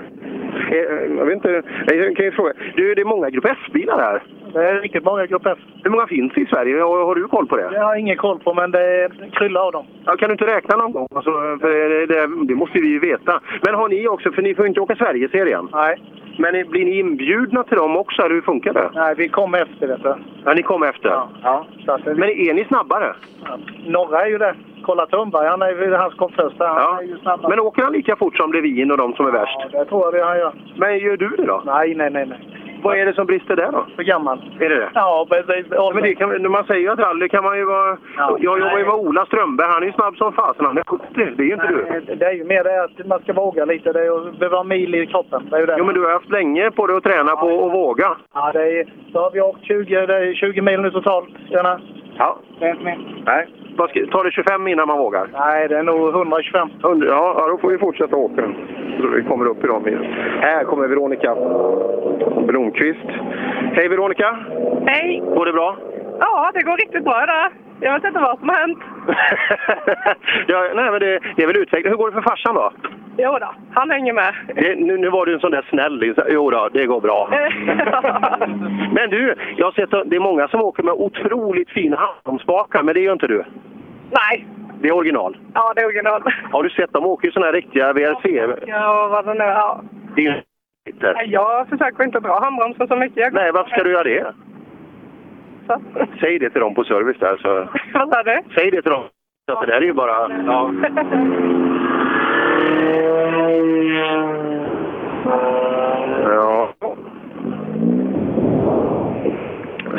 S11: Eh, Jag vet inte, jag kan ju fråga. Du, det är många Grupp F-bilar här.
S3: Det är riktigt många Grupp F.
S11: Hur många finns i Sverige? Har har du koll på det?
S3: Jag har ingen koll på, men det kryllar av dem.
S11: Ja, kan du inte räkna någon gång? Alltså, för det, det, det måste vi ju veta. Men har ni också, för ni får ju inte åka Sverigeserien.
S3: Nej.
S11: Men ni- blir ni inbjudna till dem också? eller Hur funkar det?
S3: Nej, vi kom efter, vet du.
S11: Ja, ni kom efter.
S3: Ja, så att det,
S11: Men är ni snabbare?
S3: Norra är ju det. Kolla Thunberg, han, är ju- han som kom först där. Han
S11: Ja.
S3: är ju snabbare.
S11: Men åker han lika fort som Levin och de som är värst?
S3: Ja, det tror jag det han gör.
S11: Men gör du det då?
S3: Nej, nej, nej. nej.
S11: Vad är det som brister där då?
S3: För gammal.
S11: Är det det?
S3: Ja, precis.
S11: Ja, men det kan, när man säger att rally kan man ju vara...
S3: Ja.
S11: jag jobbar ju med Ola Strömberg, han är ju snabb som fasen. Han är 70, det är ju inte du.
S3: Nej, Det är ju mer det att man ska våga lite. Det är att behöva ha mil i kroppen. Det är ju det.
S11: Jo, men du har haft länge på dig att träna på att våga.
S3: Ja, det är, så har vi åkt 20, det är 20 mil nu totalt, Janne.
S11: Ja.
S3: Det är inte mer.
S11: Nej. Vad ska- Tar det 25 innan man vågar? Nej, det är nog 125. Ja, ja, då får vi fortsätta åka. Så vi kommer upp i de bilarna. Här kommer Veronica Blomqvist. Hej Veronica!
S20: Hej!
S11: Går det bra?
S20: Ja, det går riktigt bra idag. Jag vet inte vad som har hänt.
S11: ja, nej, men det, det är väl utveckling. Hur går det för farsan då?
S20: Jo då, han hänger med.
S11: Det, nu, nu var du en sån där snäll. Jo då, det går bra. men du, jag har sett att det är många som åker med otroligt fina handbromsspakar, men det gör inte du.
S20: Nej,
S11: Det är original.
S20: ja det är original.
S11: Har du sett? De åker ju såna här riktiga VRC.
S20: Ja, vad det nu är. Ja.
S11: Det är ju skiter.
S20: Nej, Jag försöker inte dra handbromsen så mycket. Jag...
S11: Nej, varför ska du göra det? Säg det till dem på service där. Så...
S20: Vad sa du?
S11: Säg det till dem. Så att det där är ju bara... Ja. ja.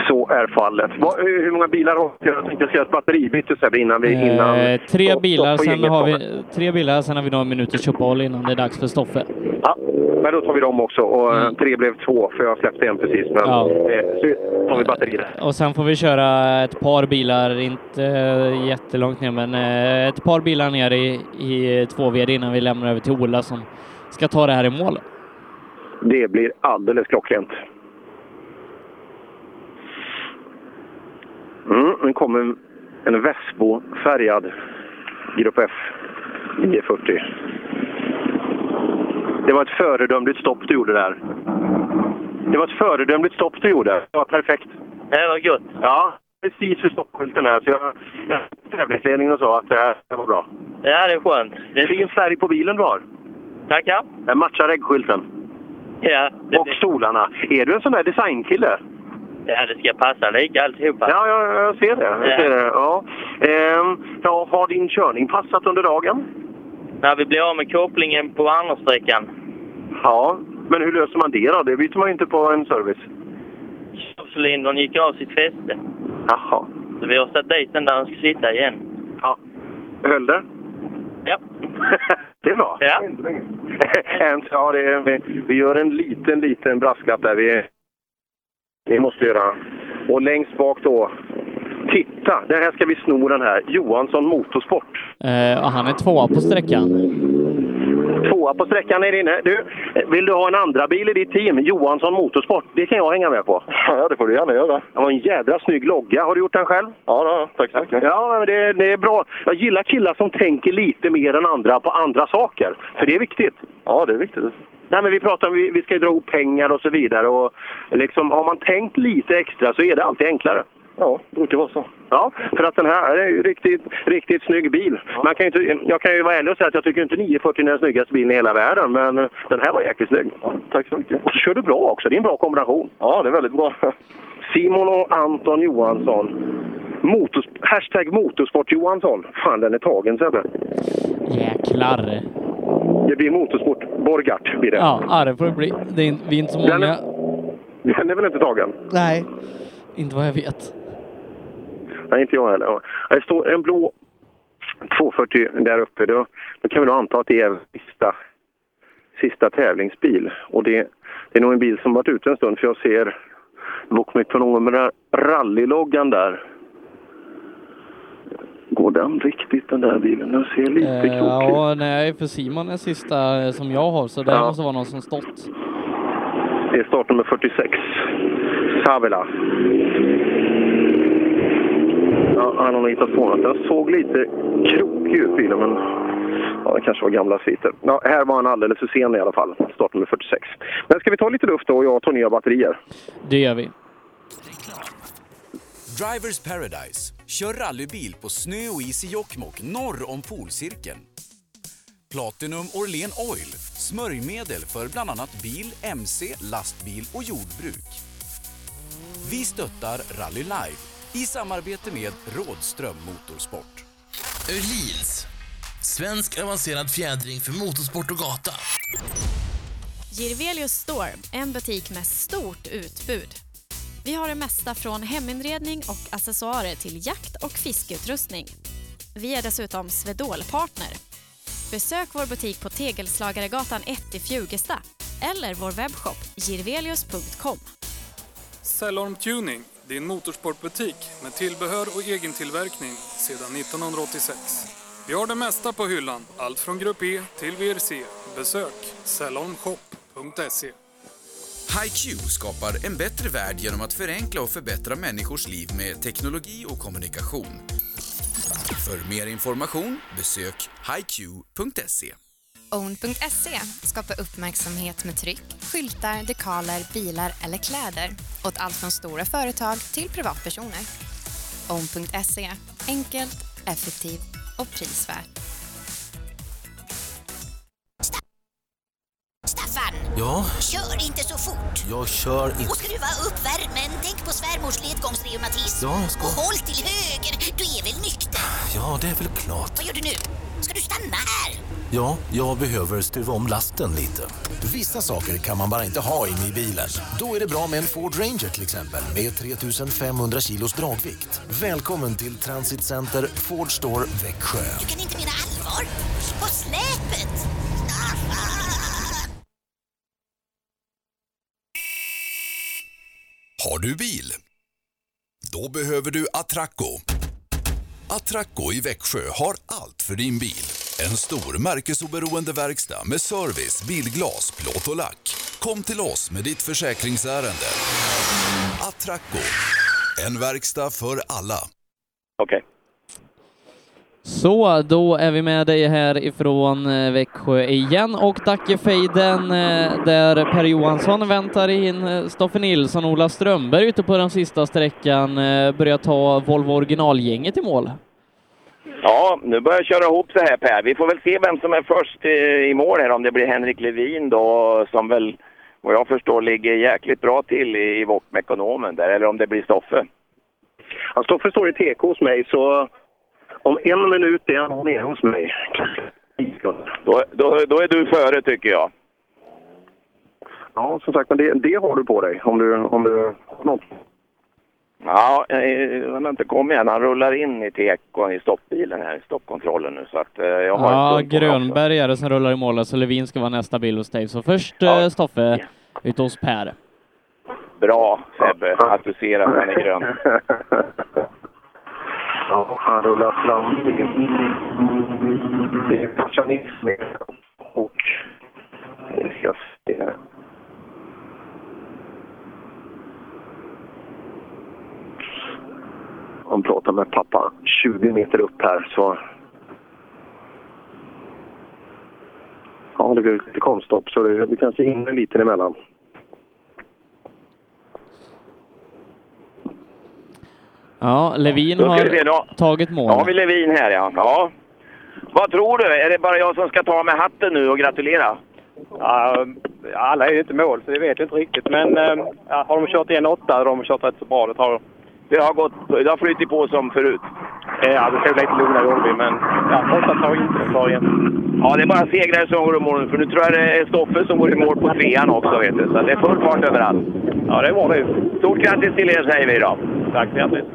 S11: Så är fallet. Vad- hur hur många bilar har du? Jag tänkte säga ett batteribyte Sebbe, innan vi... Innan...
S10: Eh, tre,
S11: stopp- stopp
S10: bilar,
S11: på
S10: sen
S11: gänget
S10: har
S11: kommer.
S10: vi, tre bilar, sen har vi några minuters uppehåll innan det är dags för Stoffe.
S11: Ja, men då tar vi dem också. Och eh, tre blev två, för jag släppte en precis. Men
S10: Mm. Ja.
S11: eh, så tar vi batterier.
S10: Och sen får vi köra ett par bilar, inte eh, jättelångt ner, men eh, ett par bilar ner i, i 2VD innan vi lämnar över till Ola som ska ta det här i mål.
S11: Det blir alldeles klockrent. Mm, nu kommer en Vespo färgad Grupp F 940. Det var ett föredömligt stopp du gjorde där. Det var ett föredömligt stopp du gjorde. Det var perfekt. Det var gött. Ja, precis vid stoppskylten
S12: alltså,
S11: här. Så jag jag- tävlingsledningen och sa att det här var bra.
S12: Ja, det är skönt.
S11: Det är en färg på bilen du har.
S12: Tackar.
S11: Den matchar äggskylten.
S12: Ja,
S11: Och stolarna. Är du en sån där designkille?
S12: ja, det ska passa lika alltihopa.
S11: Ja, jag, jag ser det. Jag
S12: Ja.
S11: ser det. Ja. Ehm, ja, har din körning passat under dagen?
S12: När vi blir av med kopplingen på andra sträckan.
S11: Ja. Men hur löser man det då? Det byter man ju inte på en service.
S12: Cylindern gick av sitt fäste.
S11: Jaha.
S12: Så vi har satt dit den där den ska sitta igen.
S11: Ja. Höll det?
S12: Ja.
S11: det är bra.
S12: Ja.
S11: En- ja, det är, vi, vi gör en liten, liten brasklapp där. Vi, vi måste göra. Och längst bak då. Titta! Det här ska vi sno den här. Johansson Motorsport.
S10: Eh, och han är tvåa på sträckan.
S11: Tvåa på sträckan är inne. Du, vill du ha en andra bil i ditt team? Johansson Motorsport. Det kan jag hänga med på. Ja, det får du gärna göra. Det var en jädra snygg logga. Har du gjort den själv? Ja, tack så mycket. Ja, men det, det är bra. Jag gillar killar som tänker lite mer än andra på andra saker. För det är viktigt. Ja, det är viktigt. Nej, men vi pratar om vi, vi ska ju dra ihop pengar och så vidare. Och liksom, har man tänkt lite extra så är det alltid enklare. Ja, det brukar vara så. Ja, för att den här är ju riktigt, riktigt snygg bil. Man kan ju inte, jag kan ju vara ärlig och säga att jag tycker inte 940 är den snyggaste bilen i hela världen, men den här var jäkligt snygg. tack så mycket. Och så kör du bra också. Det är en bra kombination. Ja, det är väldigt bra. Simon och Anton Johansson. Motors, hashtag Motorsport Johansson. Fan, den är tagen Sebbe.
S10: Jäklar.
S11: Det blir Motorsport Borgart. Blir det.
S10: Ja, ja, det får det bli. Det är, in- vi är inte så
S11: Den
S10: många.
S11: är, den är väl inte tagen?
S10: Nej. Inte vad jag vet.
S11: Nej, inte jag heller. Ja. Det står en blå 240 där uppe. Då, då kan vi nog anta att det är sista, sista tävlingsbil. Och det, det är nog en bil som varit ute en stund, för jag ser Vokmekonomerna rallyloggan där. Går den riktigt, den där bilen? Den ser lite
S10: Eh,
S11: krokig ut.
S10: ja, nej, för Simon är sista eh, som jag har, så det här
S11: Ja.
S10: måste vara någon som stått.
S11: Det är startnummer 46. Savela. Ja, han har nog hittat på något. Den såg lite krokig ut bilen, men ja, det kanske var gamla sviter. Ja, här var han alldeles för sen i alla fall. Startnummer 46. Men ska vi ta lite luft då och jag tar nya batterier?
S10: Det gör vi.
S1: Drivers Paradise. Kör rallybil på snö och is i Jokkmokk norr om polcirkeln. Platinum Orlen Oil. Smörjmedel för bland annat bil, mc, lastbil och jordbruk. Vi stöttar Rally Live i samarbete med Rådström Motorsport.
S8: Öhlins. Svensk avancerad fjädring för motorsport och gata.
S3: Girvelius Store, en butik med stort utbud. Vi har det mesta från heminredning och accessoarer till jakt och fiskeutrustning. Vi är dessutom Swedol-partner. Besök vår butik på Tegelslagaregatan 1 i Fjugesta eller vår webbshop girvelius.com.
S4: Cellorm Tuning, Din motorsportbutik med tillbehör och egentillverkning sedan 1986. Vi har det mesta på hyllan, allt från Grupp E till VRC. Besök salonshop.se.
S5: HiQ skapar en bättre värld genom att förenkla och förbättra människors liv med teknologi och kommunikation. För mer information besök hiq.se.
S6: Own.se skapar E, uppmärksamhet med tryck, skyltar, dekaler, bilar eller kläder åt allt från stora företag till privatpersoner. Own.se E, enkelt, effektivt och prisvärt.
S7: Staffan!
S25: Ja?
S7: Kör inte så fort!
S25: Jag kör
S7: Och skruva upp värmen. Tänk på svärmors ledgångsreumatism.
S25: Ja, ska-
S7: Och håll till höger. Du är väl nykter?
S25: Ja, det är väl klart.
S7: Vad gör du nu? Ska du stanna här?
S25: Ja, jag behöver stuva om lasten lite.
S8: Vissa saker kan man bara inte ha inne i bilen. Då är det bra med en Ford Ranger till exempel med 3500 kilos dragvikt. Välkommen till Transit Center Ford Store Växjö.
S7: Du kan inte mena allvar. På släpet!
S18: Har du bil? Då behöver du Atracco. Atracco i Växjö har allt för din bil. En stor märkesoberoende verkstad med service, bilglas, plåt och lack. Kom till oss med ditt försäkringsärende. Atracco, en verkstad för alla. Okej.
S10: Så, då är vi med dig här ifrån eh, Växjö igen och Dackefejden eh, där Per Johansson väntar in eh, Stoffe Nilsson och Ola Strömberg ute på den sista sträckan eh, börjar ta Volvo originalgänget i mål.
S26: Ja, nu börjar jag köra ihop sig här Per. Vi får väl se vem som är först eh, i mål här. Om det blir Henrik Levin då, som väl vad jag förstår ligger jäkligt bra till i, i Wok-Mekonomen där. Eller om det blir Stoffe.
S11: Ja, Stoffe står i TK hos mig, så om en minut är han nere hos mig.
S26: Då, då, då är du före tycker jag.
S11: Ja, som sagt, men det, det har du på dig om du... Om du något.
S26: Ja, eh, han har inte kommit än. Han rullar in i tekon i stoppbilen här, stoppkontrollen nu. Så att eh, jag har
S10: Ja,
S26: en stund på mig också.
S10: Grönberg är det som rullar i mål så Levin ska vara nästa bil hos Dave. Så först eh, Stoffe ute hos Per.
S26: Bra Sebbe, att du ser att han är grön.
S11: Ja, han rullar fram. Det är passionism och... Vi ska se här. Han pratar med pappa 20 meter upp här, så... Ja, det blir lite konststopp, så det, det kanske hinner lite emellan.
S10: Ja, Levin
S26: Då ska vi se,
S10: har
S26: då-
S10: tagit mål.
S26: Då har vi Levin här ja. ja. Vad tror du? Är det bara jag som ska ta med hatten nu och gratulera?
S12: Ja, alla är ju inte mål, så det vet jag inte riktigt. Men eh, ja, har de kört en åtta, har de kört rätt så bra. Det har de.
S26: Det har gått, det har flyttit på som förut.
S12: Ja, det såg lite lugnare Årby, men ja, åtta tar inte kvar igen.
S26: Ja, det är bara segrare som går i mål nu, för nu tror jag det är Stoffe som går i mål på trean också vet du. Så det är full fart överallt. Ja, det var det Stort grattis till er säger vi då. Tack så hjärtligt.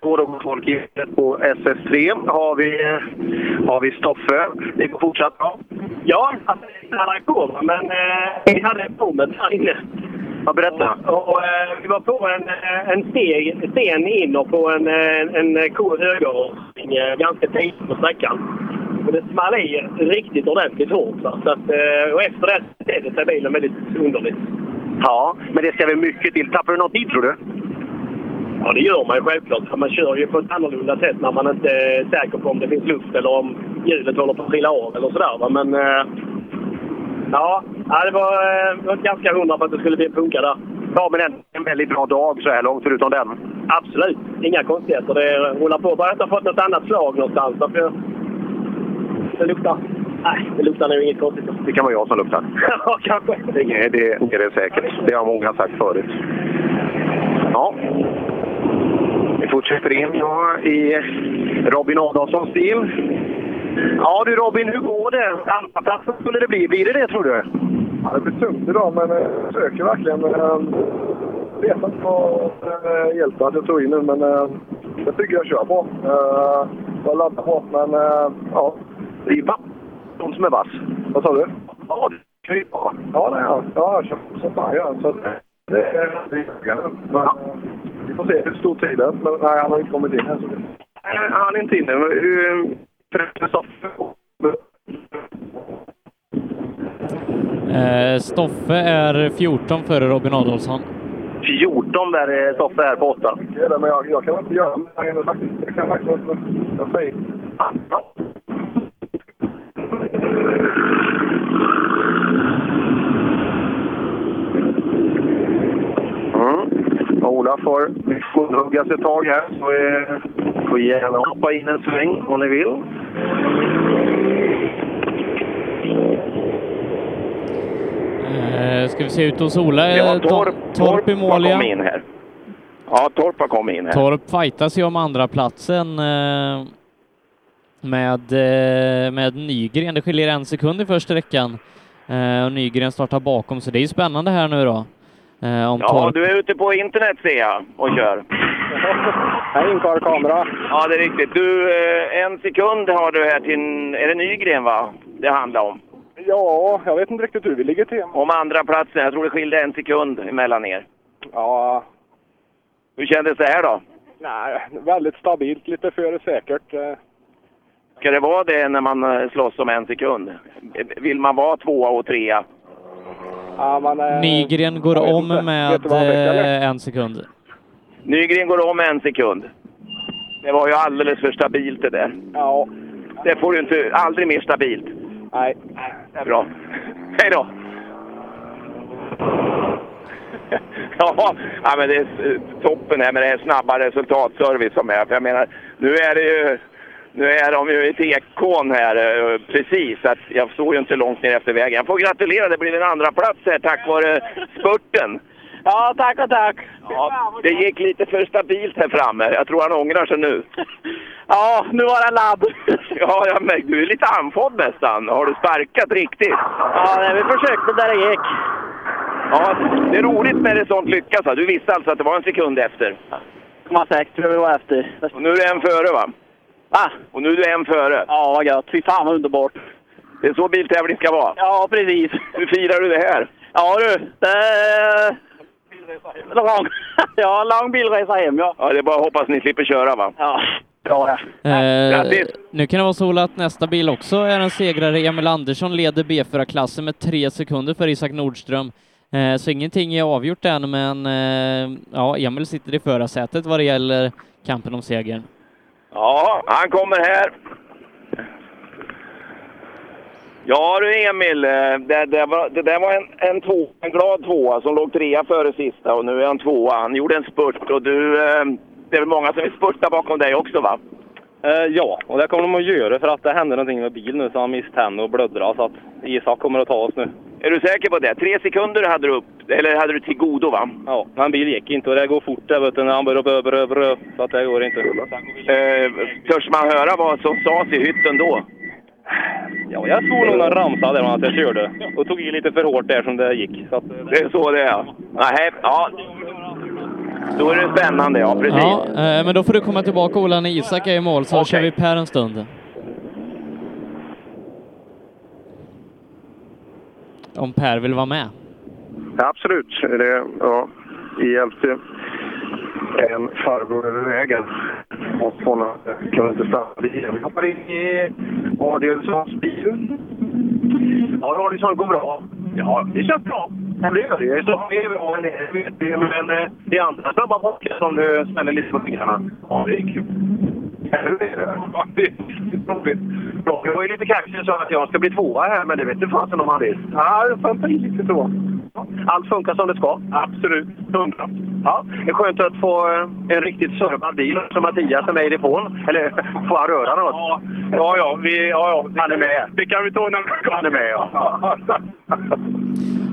S11: Går och folkhjulet på SS3 har vi, har vi Stoffe. Det går fortsatt bra.
S12: Ja, alltså, han har kommit, men eh, vi hade en pommet här inne.
S11: Ja, berätta.
S12: Och, och, eh, vi var på en, eh, en steg, sten in och på en, eh, en eh, ko högerhållning eh, ganska tidigt på sträckan. Och det small i riktigt ordentligt hårt. va. Så att, eh, och efter det betedde sig bilen väldigt underligt.
S11: Ja, men det ska väl mycket till. Tappar du något tid tror du?
S12: Ja, det gör man ju självklart. för Man kör ju på ett annorlunda sätt när man inte är säker på om det finns luft eller om hjulet håller på att trilla av eller sådär. va. Men eh, ja, ja, det var, eh, det var ganska hundra på att det skulle bli en punka där.
S11: Ja, men en, en väldigt bra dag så här långt, förutom den.
S12: Absolut, inga konstigheter. Det rullar på. Bara jag inte har fått något annat slag någonstans. För jag... Det luktar... Nej, det luktar nog inget konstigt.
S11: Det kan vara jag som luktar.
S12: ja, kanske.
S11: Nej, det är det säkert. Det har många sagt förut. Ja. Vi fortsätter in ja, i Robin Adolfssons bil. Ja du Robin, hur går det? Andra platsen skulle det bli. Blir det det tror du?
S3: Ja, det blir tungt idag, men eh, jag försöker verkligen. eh, vet inte vad eh, hjälper att jag tog in nu, men eh, jag tycker jag kör bra. Eh, jag laddar hårt, men eh, ja.
S11: Det är de som är vass.
S3: Vad sa du?
S11: Ja, det är ju bra.
S3: Ja, det är jag. Ja, jag kör som fan gör. Så att,
S11: Det är det är- men Vi får se hur stor tid det är. Men nej, han har inte kommit in än. så det-
S19: Nej, han är inte inne. Hur...
S10: Eh, Stoffe är 14 före Robin Adolfsson.
S19: 14 där är Stoffe här på 8.
S11: Det är det, men jag, jag kan inte göra mer än att faktiskt- Jag kan faktiskt inte. Jag säger...
S19: Mm. Ola får får hugga sig ett tag här. Så eh, får gärna hoppa in en sväng om ni vill.
S10: Eh, ska vi se ut hos Ola?
S26: Det var
S10: Eh, Tor-
S26: Torp,
S10: Torp i mål,
S26: har
S10: ja.
S26: kommit in här. Ja, Torp har kommit in här.
S10: Torp fightas ju om andra platsen eh, med, eh, med Nygren. Det skiljer en sekund i första sträckan. Eh, och Nygren startar bakom, så det är ju spännande här nu då. Eh, om
S26: Ja,
S10: Torp...
S26: du är ute på internet ser jag och kör. Jag inkar kamera. Ja, det är riktigt. Du, eh, en sekund har du här till... Är det Nygren, va? Det handlar om.
S20: Ja, jag vet inte riktigt hur vi ligger till.
S26: Om andra platsen. Jag tror det skilde en sekund mellan er.
S20: Ja,
S26: Hur kändes det här då?
S20: nej, väldigt stabilt. Lite för säkert. eh.
S26: Ska det vara det när man eh, slåss om en sekund? Eh, Vill man vara tvåa och trea?
S20: Ja, man, eh,
S10: Nygren går
S20: jag vet
S10: om
S20: inte. Vet
S10: med
S20: du vad han väcker, eller?
S10: eh, en sekund.
S26: Nygren går om en sekund. Det var ju alldeles för stabilt det där.
S20: Ja.
S26: Det får du inte... Aldrig mer stabilt.
S20: Nej.
S26: Bra. Hej då! Ja, ja, men det är eh, toppen här med det här snabba resultatservice som är. För jag menar, nu är det ju... Nu är de ju i tekon här eh, precis, så att jag såg ju inte långt ner efter vägen. Jag får gratulera, det blev en andra plats här tack vare spurten.
S12: Ja, tack och tack.
S26: Ja, det gick lite för stabilt här framme. Jag tror han ångrar sig nu.
S12: Ja, nu var det ladd.
S26: Ja, jag märkte, du är lite andfådd nästan. Har du sparkat riktigt?
S12: Ja, nej, vi försökte där det gick.
S26: Ja, det är roligt när det är sånt lyckas. va? Du visste alltså att det var en sekund efter?
S12: 0,6 tror jag vi var efter.
S26: Och nu är du en före va? Va? Och nu är du en före? Ja, vad gött. Fy fan vad underbart. Det är så biltävling ska vara?
S12: Ja, precis.
S26: Hur firar du det här?
S12: Ja du, det är... Lång, ja, lång bilresa hem ja.
S26: Ja, det är bara att hoppas ni slipper köra va?
S12: Ja, bra det.
S10: Eh,
S26: grattis.
S10: nu kan det vara så att nästa bil också är en segrare. Emil Andersson leder B4-klassen med tre sekunder för Isak Nordström. Eh, så ingenting är avgjort än, men eh, ja, Emil sitter i förarsätet vad det gäller kampen om segern.
S26: Ja, han kommer här. Ja du Emil, eh, det, det, var, det där var en, en, två, en glad tvåa som låg trea före sista och nu är han tvåa. Han gjorde en spurt och du, eh, det är väl många som vill spurta bakom dig också va?
S27: Eh, ja, och det kommer de att göra för att det hände någonting med bilen nu så han miste henne och blödde så att Isak kommer att ta oss nu.
S26: Är du säker på det? Tre sekunder hade du upp, eller hade du till godo va?
S27: Ja, men bilen gick inte och det går fort där vet du när han börjar brö, brö, brö, så att det går inte.
S26: Eh, törs man höra vad som sades i hytten då?
S27: Ja, jag svor nog någon ramsa där att jag körde och tog i lite för hårt där som det gick. Så att,
S26: Det är så det är. Nej, ja. Då är det spännande ja, precis.
S10: Ja, eh, men då får du komma tillbaka Ola när Isak är i mål, så kör vi Per en stund. Om Per vill vara med.
S11: Ja, absolut. Det, ja, vi hjälpte en farbror över vägen. Och hon kunde inte stanna bilen. Vi hoppade in i Adielssons bil. Ja, Adielsson går bra. Ja, det känns bra. Det gör det. Så vi är bra nere, vet vi. Men eh, det är andra snabba backar som nu smäller lite på fingrarna. Ja, det är kul. Ja, det är det. Ja, det är roligt. Bra, Det var ju lite kaxig och sa att jag ska bli tvåa här, men det vet inte fasen om han vill. Ja, det får bli lite tvåa. Mm. Allt funkar som det ska. Absolut. Hundra. Ja, det är skönt att få eh, en riktigt servad bil som Mattias är med i depån. Eller får han röra något? Ja, ja, ja, vi, ja, ja. Han är med. Det kan vi ta när Han är med, ja.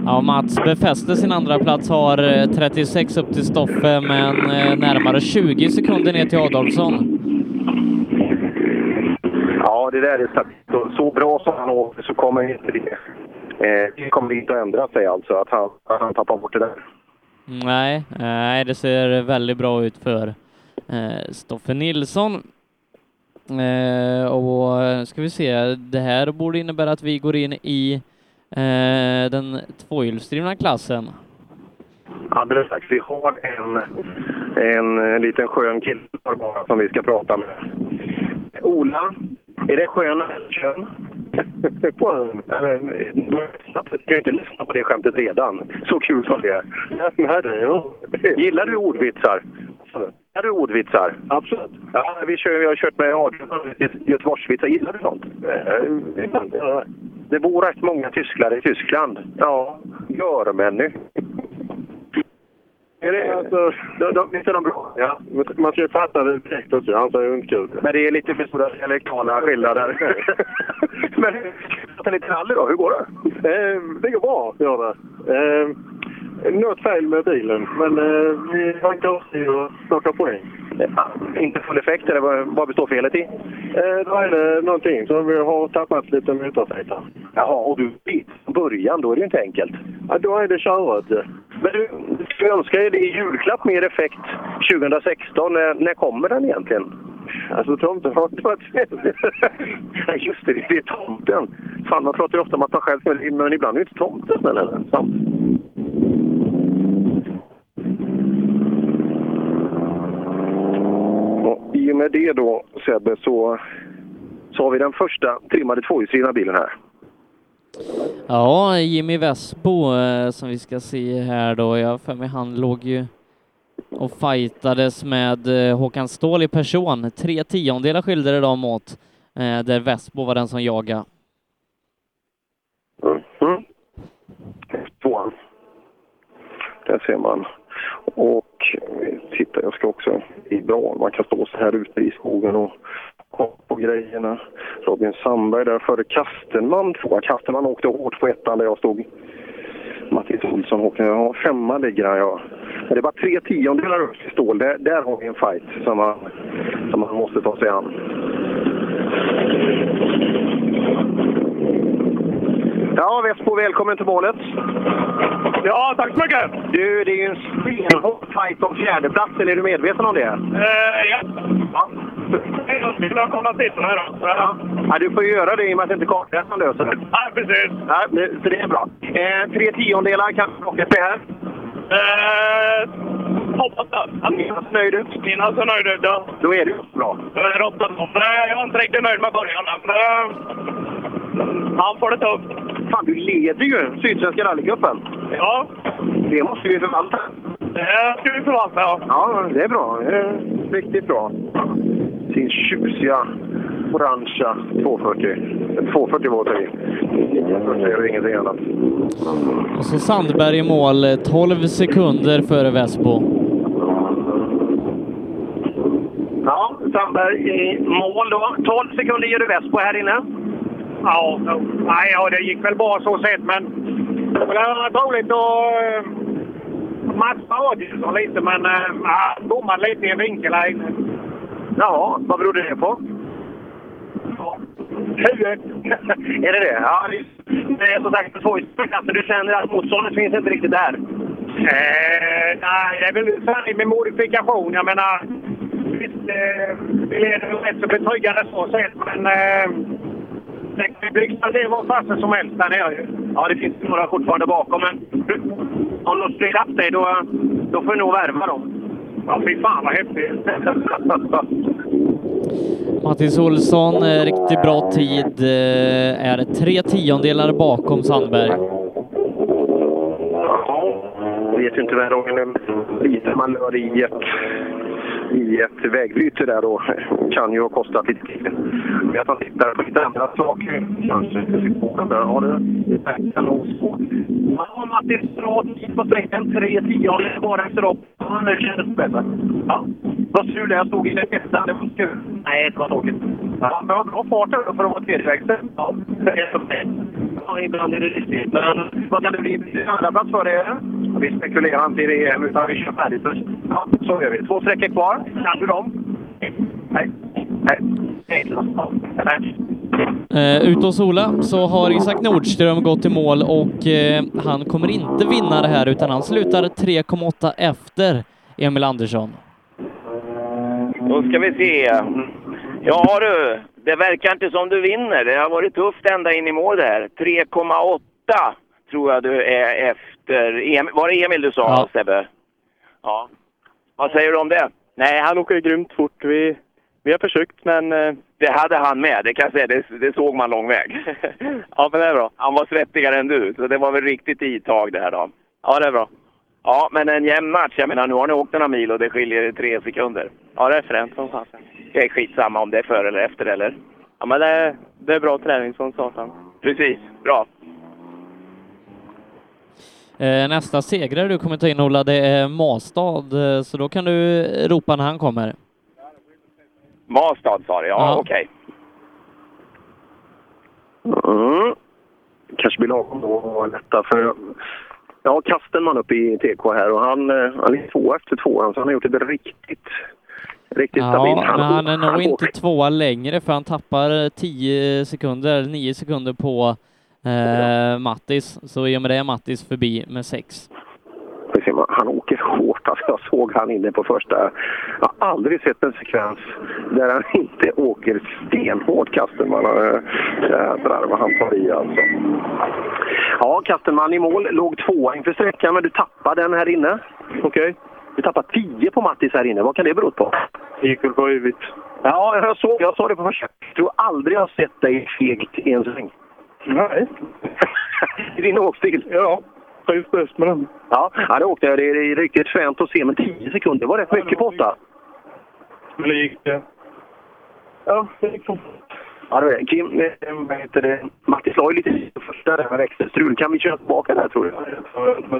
S10: Ja, Mats befäste sin andra plats har eh, 36 upp till Stoffe, men eh, närmare 20 sekunder ner till Adolfsson.
S11: Ja, det där är stabilt. Och Så bra som han åker så kommer inte det... Eh, det kommer inte att ändra sig alltså, att han, att han tappar bort det där.
S10: Nej, nej, det ser väldigt bra ut för eh, Stoffe Nilsson. Eh, och eh, ska vi se, det här borde innebära att vi går in i eh, den tvåhjulsdrivna klassen.
S11: Alldeles strax. Vi har en, en eh, liten skön kille här bara som vi ska prata med. Ola, är det skön eller kön? Skön. Du kan ju inte lyssna på det skämtet redan. Så kul som det är. Nej, det är Gillar du ordvitsar? Gillar du ordvitsar? Absolut. Ja, vi, kör, vi har kört med Adrian i göteborgsvitsar. Gillar du sånt? Det bor rätt många tysklar i Tyskland. Ja, görmänny. Är det, alltså, de, de, visst är de bra? Ja. Man ska ju fatta det direkt också. Han säger inte kul. Men det är lite för stora dialektala skillnader. Men prata lite rally då. Hur går det?
S9: det går bra, gör det. Eh,
S11: Ehm,
S9: något fel med bilen, men eh, vi hankar oss i och plockar poäng.
S11: Inte full effekt, eller vad, vad består felet i?
S9: Eh, då är det någonting, så vi har tappat lite motorfläktar.
S11: Jaha, och du vet från början, då är det ju inte enkelt.
S9: Ja, då är det köret.
S11: Men du, du önskar ju dig i julklapp mer effekt 2016. När, när kommer den egentligen? Alltså tomten har inte varit Nej, just det, det är tomten. Fan, man pratar ju ofta om att man själv men- men ibland är det inte tomten eller? Sant. Och I och med det då, Sebbe, så, så har vi den första trimmade tvåhjulsdrivna bilen här.
S10: Ja, Jimmy Vespo eh, som vi ska se här då. Jag har för mig han låg ju och fightades med eh, Håkan Ståhl i person. Tre tiondelar skilde det dem åt, eh, där Vespo var den som jagade.
S11: Mm. Tvåan. Där ser man. Och eh, titta, jag ska också... Det är bra. Man kan stå så här ute i skogen och kolla på grejerna. Robin Sandberg där före Kastenman tvåa. Kastenman åkte hårt på ettan där jag stod. Mattis Olsson åkte... Ja, femma ligger han, ja. Men det var tre tiondelar upp till stål. Där, där har vi en fight som man, som man måste ta sig an. Ja, Vespo, välkommen till målet. Ja, tack så mycket. Du, det är ju en stenhård fight om fjärdeplatsen. Är du medveten om det?
S12: Eh, ja. Välkomna till den här då. Ja.
S11: Ja, du får ju göra det i och med att det inte är kartläsaren löser det. Nej, precis. Ja, det- så det är bra. Eh, tre tiondelar kan plockas med här.
S12: Eh, hoppas det.
S11: Minnas nöjd ut.
S12: Minnas så nöjd ut, ja.
S11: Då är det ju bra.
S12: Nej, jag var inte riktigt nöjd med början. Men, eh,
S20: eh,
S12: han får det tufft.
S11: Fan, du leder ju Sydsvenska rallycupen.
S12: Ja.
S11: Det måste vi förvalta.
S12: Det ska vi förvalta, ja.
S11: Ja, det är bra. Det är riktigt bra. Sin tjusiga orangea 240. 240 var det i. 940 är det ingenting annat.
S10: Och så Sandberg i mål, eh, 12 sekunder före Vespo.
S11: Ja, Sandberg i mål då. 12 sekunder gör du väst på här inne.
S12: Ja, nej, ja, det gick väl bra så sett, men det var roligt att eh, matcha Adielsson lite, men eh, ja, bommade lite i en vinkel här inne.
S11: Jaha, vad berodde det på? Huvudet! är det det? Ja, det är- det är som sagt tvåhjulsklassen. Du känner att motståndet finns inte riktigt där?
S12: Eh, nej, det är väl färdigt med modifikation. Jag menar, visst, eh, vi leder väl rätt så betryggande så sett, men eh, det kan ju blixtra till vad fasen som helst där nere ju.
S11: Ja, det finns några fortfarande bakom, men om de styr upp dig då, då får du nog värva dem. Ja, fy fan vad häftigt!
S10: Mattis Olsson, eh, riktigt bra tid, eh, är tre tiondelar bakom Sandberg.
S11: Jag vet ju inte den här gången hur lite man gör i ett, i ett vägbyte där då. Kan ju ha kostat lite tid. Men att man tittar på lite andra saker kanske. Ja, det verkar nog så. Ja, Mattis, bra tid på sträckan. Tre tiondelar bara efter upp. Ja, nu kändes det bättre. Ja, vad sur det jag stod i den ettan. Det var kul. Nej, det var tråkigt. Ja, men vad bra fart ändå för att vara tredjeväxel. Ja, det är så fett. Ja, ibland är det riktigt. Men vad kan det bli andra plats för det? Vi spekulerar inte i det EM, utan vi kör färdigt först. Ja, så gör vi. Två sträckor kvar. Kan du dem? Nej. Nej. Nej. Nej.
S10: Eh, ut hos Ola så har Isak Nordström gått i mål och eh, han kommer inte vinna det här utan han slutar 3,8 efter Emil Andersson.
S26: Då ska vi se. Ja du, det verkar inte som du vinner. Det har varit tufft ända in i mål där. 3,8 tror jag du är efter... Emil, var det Emil du sa,
S13: Ja.
S26: Sebbe? Ja. Vad säger du om det?
S13: Nej, han åker ju grymt fort. Vi, vi har försökt, men... eh,
S26: Det hade han med, det kan jag säga. Det, det såg man lång väg.
S13: Ja, men det är bra.
S26: Han var svettigare än du, så det var väl riktigt itag det här då.
S13: Ja, det är bra.
S26: Ja, men en jämn match. Jag menar, nu har ni åkt några mil och det skiljer tre sekunder.
S13: Ja, det är fränt som fasen.
S26: Det är skitsamma om det är före eller efter, eller?
S13: Ja, men det är, det är bra träning som satan.
S26: Precis, bra.
S10: Eh, nästa segrare du kommer ta in Ola, det är Mastad, eh, så då kan du ropa när han kommer.
S26: Mastad sa det, ja,
S10: Ja.
S26: okej.
S11: Mm. Kanske blir lagom då och lätta för... Ja, Kastenman uppe i TK här och han, eh, han är två efter tvåan så han har gjort det riktigt, riktigt
S10: Ja,
S11: stabilt.
S10: men han är nog inte
S11: åker-
S10: tvåa längre för han tappar 10 sekunder, eller 9 sekunder på eh, Mattis, så i och med det är Mattis förbi med 6.
S11: Får vi se, men Han åker hårt. Alltså, jag såg han inne på första. Jag har aldrig sett en sekvens där han inte åker stenhårt, Kastenman. Eh, Jädrar vad han tar i alltså. Ja, Kastenman i mål. Låg tvåa inför sträckan, men du tappade den här inne. Okej. Du tappade tio på Mattis här inne. Vad kan det bero på?
S9: Det gick väl på huvudet.
S11: Ja, jag såg jag såg det på första. Jag tror aldrig jag har sett dig fegt i en sväng. Nej. I din åkstil? Ja. Trivs bäst med den. Ja, ja, det åkte jag. Det är riktigt fränt att se, men 10 sekunder var rätt mycket på åtta.
S9: Men det gick... eh, Ja, det gick fort.
S11: Ja, det var det. Kim, eh, vad heter det? Mattis la ju lite tid på första där med växelstrul. Kan vi köra tillbaka där, tror du?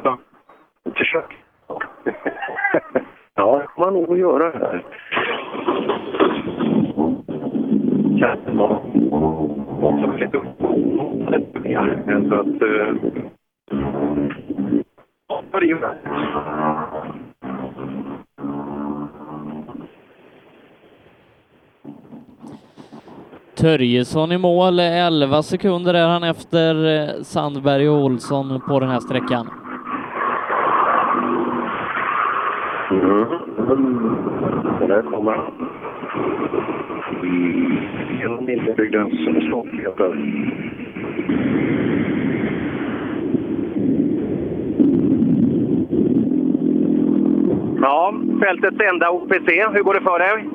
S11: Ett försök. ja, det kommer han nog att göra här. Katten var också lite upphovsrätt. Så att... eh, Ja, det gjorde han.
S10: Törjesson i mål, 11 sekunder är han efter eh, Sandberg och Olsson på den här sträckan.
S11: Så där kommer han. Genom Lillebygdens stoltheter.
S20: Ja, fältets enda OPC. Hur går det för dig?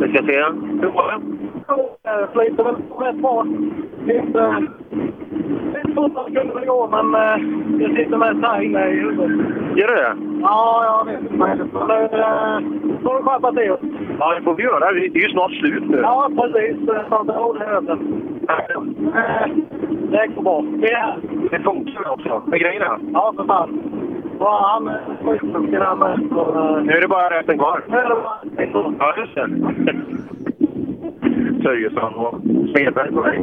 S20: Vi ska se. Hur går det?
S12: flyter väl rätt bra. Inte... Lite fortare kunde det gå, men eh, det sitter mest här inne i huvudet.
S11: Gör du det?
S12: Ja, jag vet inte. Men nu får du skärpa till oss.
S11: Ja, det får vi göra. Det är ju snart slut nu.
S12: Ja, precis. Eh, Så att det håller över. Eh, Det går bra. Ja.
S11: Det funkar också, med grejerna.
S12: Ja, för fan. Bara han eh, skitduktig där med.
S11: Nu är det bara rätten kvar.
S12: eh, Nu är det bara...
S11: Ja, just det. Törjesson och Smedberg på väg.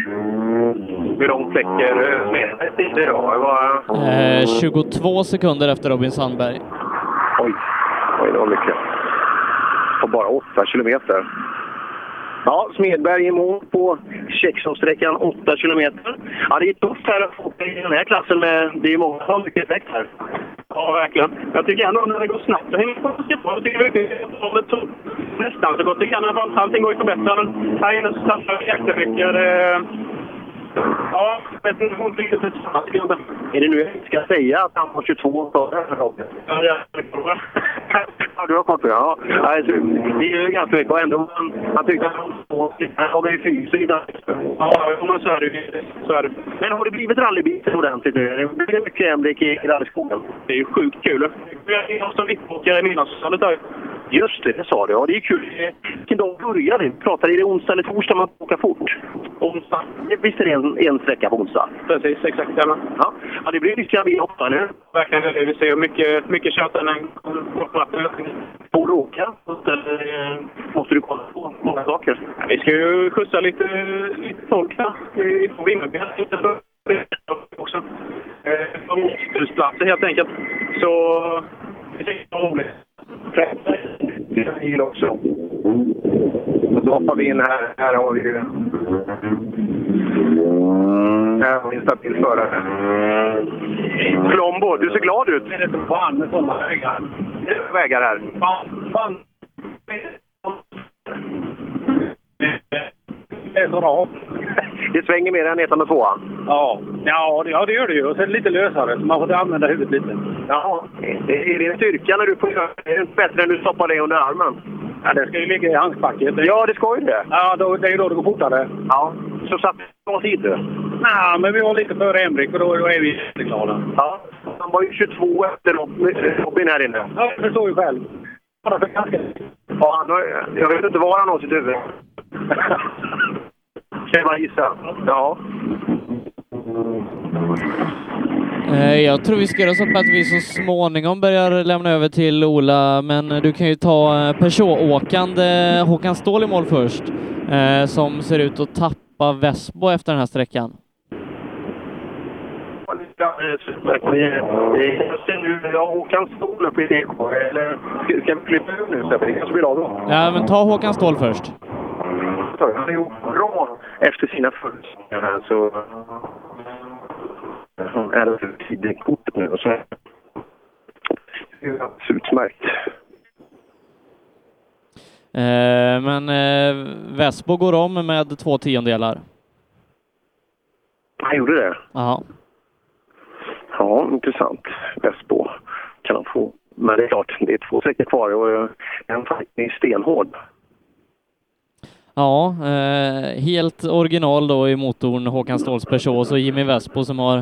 S11: Hur långt släcker eh, Smedbergs tid idag? Det var...
S10: Eh, 22 sekunder efter Robin Sandberg.
S11: Oj, oj det var mycket. På bara 8 kilometer. Ja, Smedberg i mål på Tjexhovssträckan 8 kilometer. Ja, det är tufft här att få i den här klassen. Med, det är många som har mycket effekt här.
S20: Ja, verkligen. Jag tycker ändå när det går snabbt så hänger man på. Jag tycker verkligen att det tog nästan så gott det kan. i alla fall. Allting går ju att förbättra, men här inne så satsar vi jättemycket. Det... Ja, jag vet inte hur mycket det tjänar, tycker jag inte.
S11: Är det nu jag ska säga att han har 22 före Robin?
S20: Ja, jag är bra.
S11: Ja, du har koll på det. Ja, Ja, det är- det är ju ganska mycket. Och ändå, han tyckte att han var två. Han har ju fyra.
S20: Ja, jo, men så är det ju. Så är det.
S11: Men har det blivit rallybilen ordentligt nu? Det blir mycket jämlik i i rallyskogen.
S20: Det är ju sjukt kul. Jag är som vippåkare i midnattshallet där.
S11: Just det, det sa du. Ja, det är kul. Vilken dag börjar det? Vi pratade i det onsdag eller torsdag man åker fort? Onsdag. Visst är det en, en sträcka på onsdag?
S20: Precis, exakt. Jajamän.
S11: Ja. ja, det blir lycka vid åtta nu.
S20: Verkligen. Vi ser mycket, mycket kött än en
S11: Får du åka? Eller måste du kolla på många saker?
S20: Vi ska ju skjutsa lite, lite folk här i- från Vimmerby. här, lite för- också. Eh, Från Åshusplassen helt enkelt. Så det är roligt.
S11: Jag gillar också. Då hoppar vi in här. Här har vi ju... Här har vi en stabil förare. Plombo, du ser glad ut. Det är inte fan med sådana vägar. Vägar här.
S20: Fan, fan. är så bra.
S11: Det svänger mer än ettan och tvåan?
S20: Ja, ja, det, ja, det gör det ju. Och sen lite lösare, så man får använda huvudet lite.
S11: Ja. Är det en styrka när du får göra det? Är det inte bättre när du stoppar det under armen?
S20: Ja, det ska ju ligga i handskfacket.
S11: Ja, det ska ju det.
S20: Ja, då, det är ju då det går fortare.
S11: Ja. Så satt bra tid du?
S20: Nej, men vi var lite före Emrik och då, då är vi jätteglada.
S11: Ja. Han var ju 22 efter Rob- Robin här inne.
S20: Ja, jag förstår ju själv. Bara för ganska...
S11: Ja, han har, jag vet inte var han har sitt huvud. Kan jag bara gissa. Ja.
S10: Eh, Jag tror vi ska göra så på att vi så småningom börjar lämna över till Ola, men eh, du kan ju ta eh, Peugeot-åkande Håkan Ståhl i mål först, eh, som ser ut att tappa Vesbo efter den här sträckan.
S11: Just nu, jag och Håkan Ståhl uppe i DK. Eller ska- ska vi klippa ur nu Sebbe? Det kanske blir av då.
S10: Ja, men ta Håkan Ståhl först.
S11: Han är ju bra efter sina förutsättningar här så... Han är det tidigt kortet nu och så... Det är ju alldeles utmärkt.
S10: Eh, Men eh, Vesbo går om med två tiondelar.
S11: Han gjorde det?
S10: Ja.
S11: Ja, intressant. Västbo kan han få. Men det är klart, det är två sträckor kvar och eh, en fighting är stenhård.
S10: Ja, eh, helt original då i motorn Håkan Ståhls Peugeot och så Jimmy Vespo som har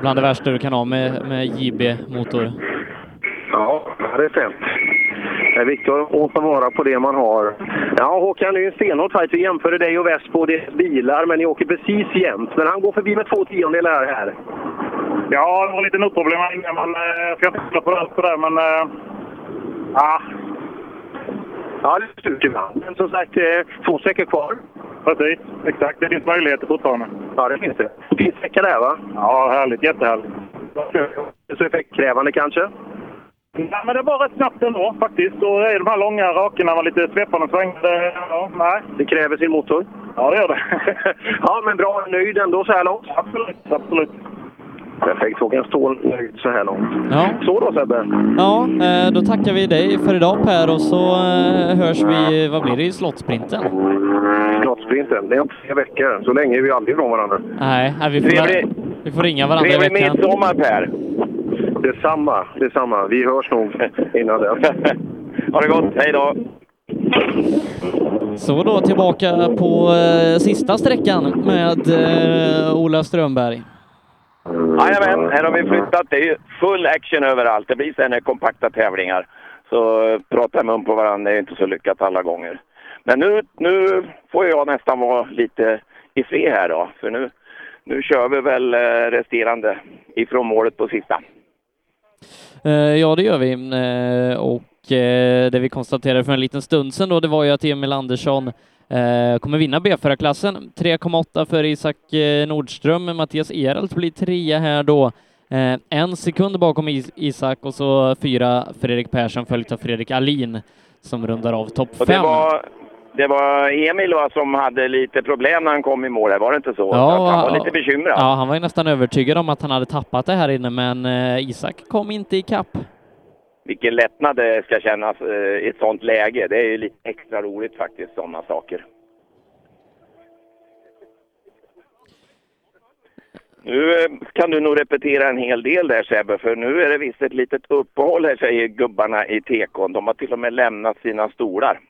S10: bland det värsta du kan ha med, med JB-motor.
S11: Ja, det är fint. Det är viktigt att ta vara på det man har. Ja, Håkan, det är ju en stenhård fight. Vi jämförde dig och Vespo, det är bilar, men ni åker precis jämnt. Men han går förbi med två tiondelar här.
S20: Ja, det var lite notproblem här inne, men eh, jag ska inte skylla på det sådär, men... eh, Ja.
S11: Ja, det är surt ibland. Men som sagt, eh, två sträckor kvar.
S20: Precis, exakt. Det finns möjligheter fortfarande.
S11: Ja, det finns det. Fin sträcka där, va?
S20: Ja, härligt. Jättehärligt.
S11: Så effektkrävande kanske?
S20: Nej, men det var rätt snabbt ändå faktiskt. Och det är de här långa rakerna med lite svepande svängar. det- Ja, nej.
S11: Det kräver sin motor.
S20: Ja, det gör det.
S11: ja, men bra. Nöjd ändå så här långt?
S20: Absolut, absolut.
S11: Perfekt. Håkan Ståhl nöjd så här långt.
S10: Ja.
S11: Så då Sebbe.
S10: Ja, eh, då tackar vi dig för idag Per och så eh, hörs vi, vad blir det, i slottsprinten?
S11: Slottsprinten, det är om tre veckor. Så länge är vi aldrig ifrån varandra.
S10: Nej, nej, vi får,
S11: Trevlig-
S10: vi får ringa varandra i
S11: Trevlig
S10: veckan.
S11: midsommar Per! Detsamma, detsamma. Vi hörs nog innan dess. ha det gott, hej då!
S10: Så då tillbaka på eh, sista sträckan med eh, Ola Strömberg.
S26: Jajamän, här har vi flyttat. Det är ju full action överallt. Det blir sen kompakta tävlingar. Så eh, prata i mun på varandra är ju inte så lyckat alla gånger. Men nu, nu får jag nästan vara lite i fred här då. För nu, nu kör vi väl eh, resterande ifrån målet på sista.
S10: Eh, Ja, det gör vi. Eh, Och eh, det vi konstaterade för en liten stund sedan då, det var ju att Emil Andersson eh, kommer vinna B-förarklassen. 3,8 för Isak eh, Nordström. Mattias Eralt blir trea här då. Eh, En sekund bakom Is- Isak och så fyra Fredrik Persson följt av Fredrik Alin som rundar av topp
S26: Och det
S10: fem.
S26: var, det var Emil va, som hade lite problem när han kom i mål här, var det inte så?
S10: Ja,
S26: han var lite bekymrad.
S10: Ja, han var ju nästan övertygad om att han hade tappat det här inne, men eh, Isak kom inte ikapp.
S26: Vilken lättnad det ska kännas eh, i ett sånt läge. Det är ju lite extra roligt faktiskt, sådana saker. Nu eh, kan du nog repetera en hel del där Sebbe, för nu är det visst ett litet uppehåll här säger gubbarna i tekon. De har till och med lämnat sina stolar.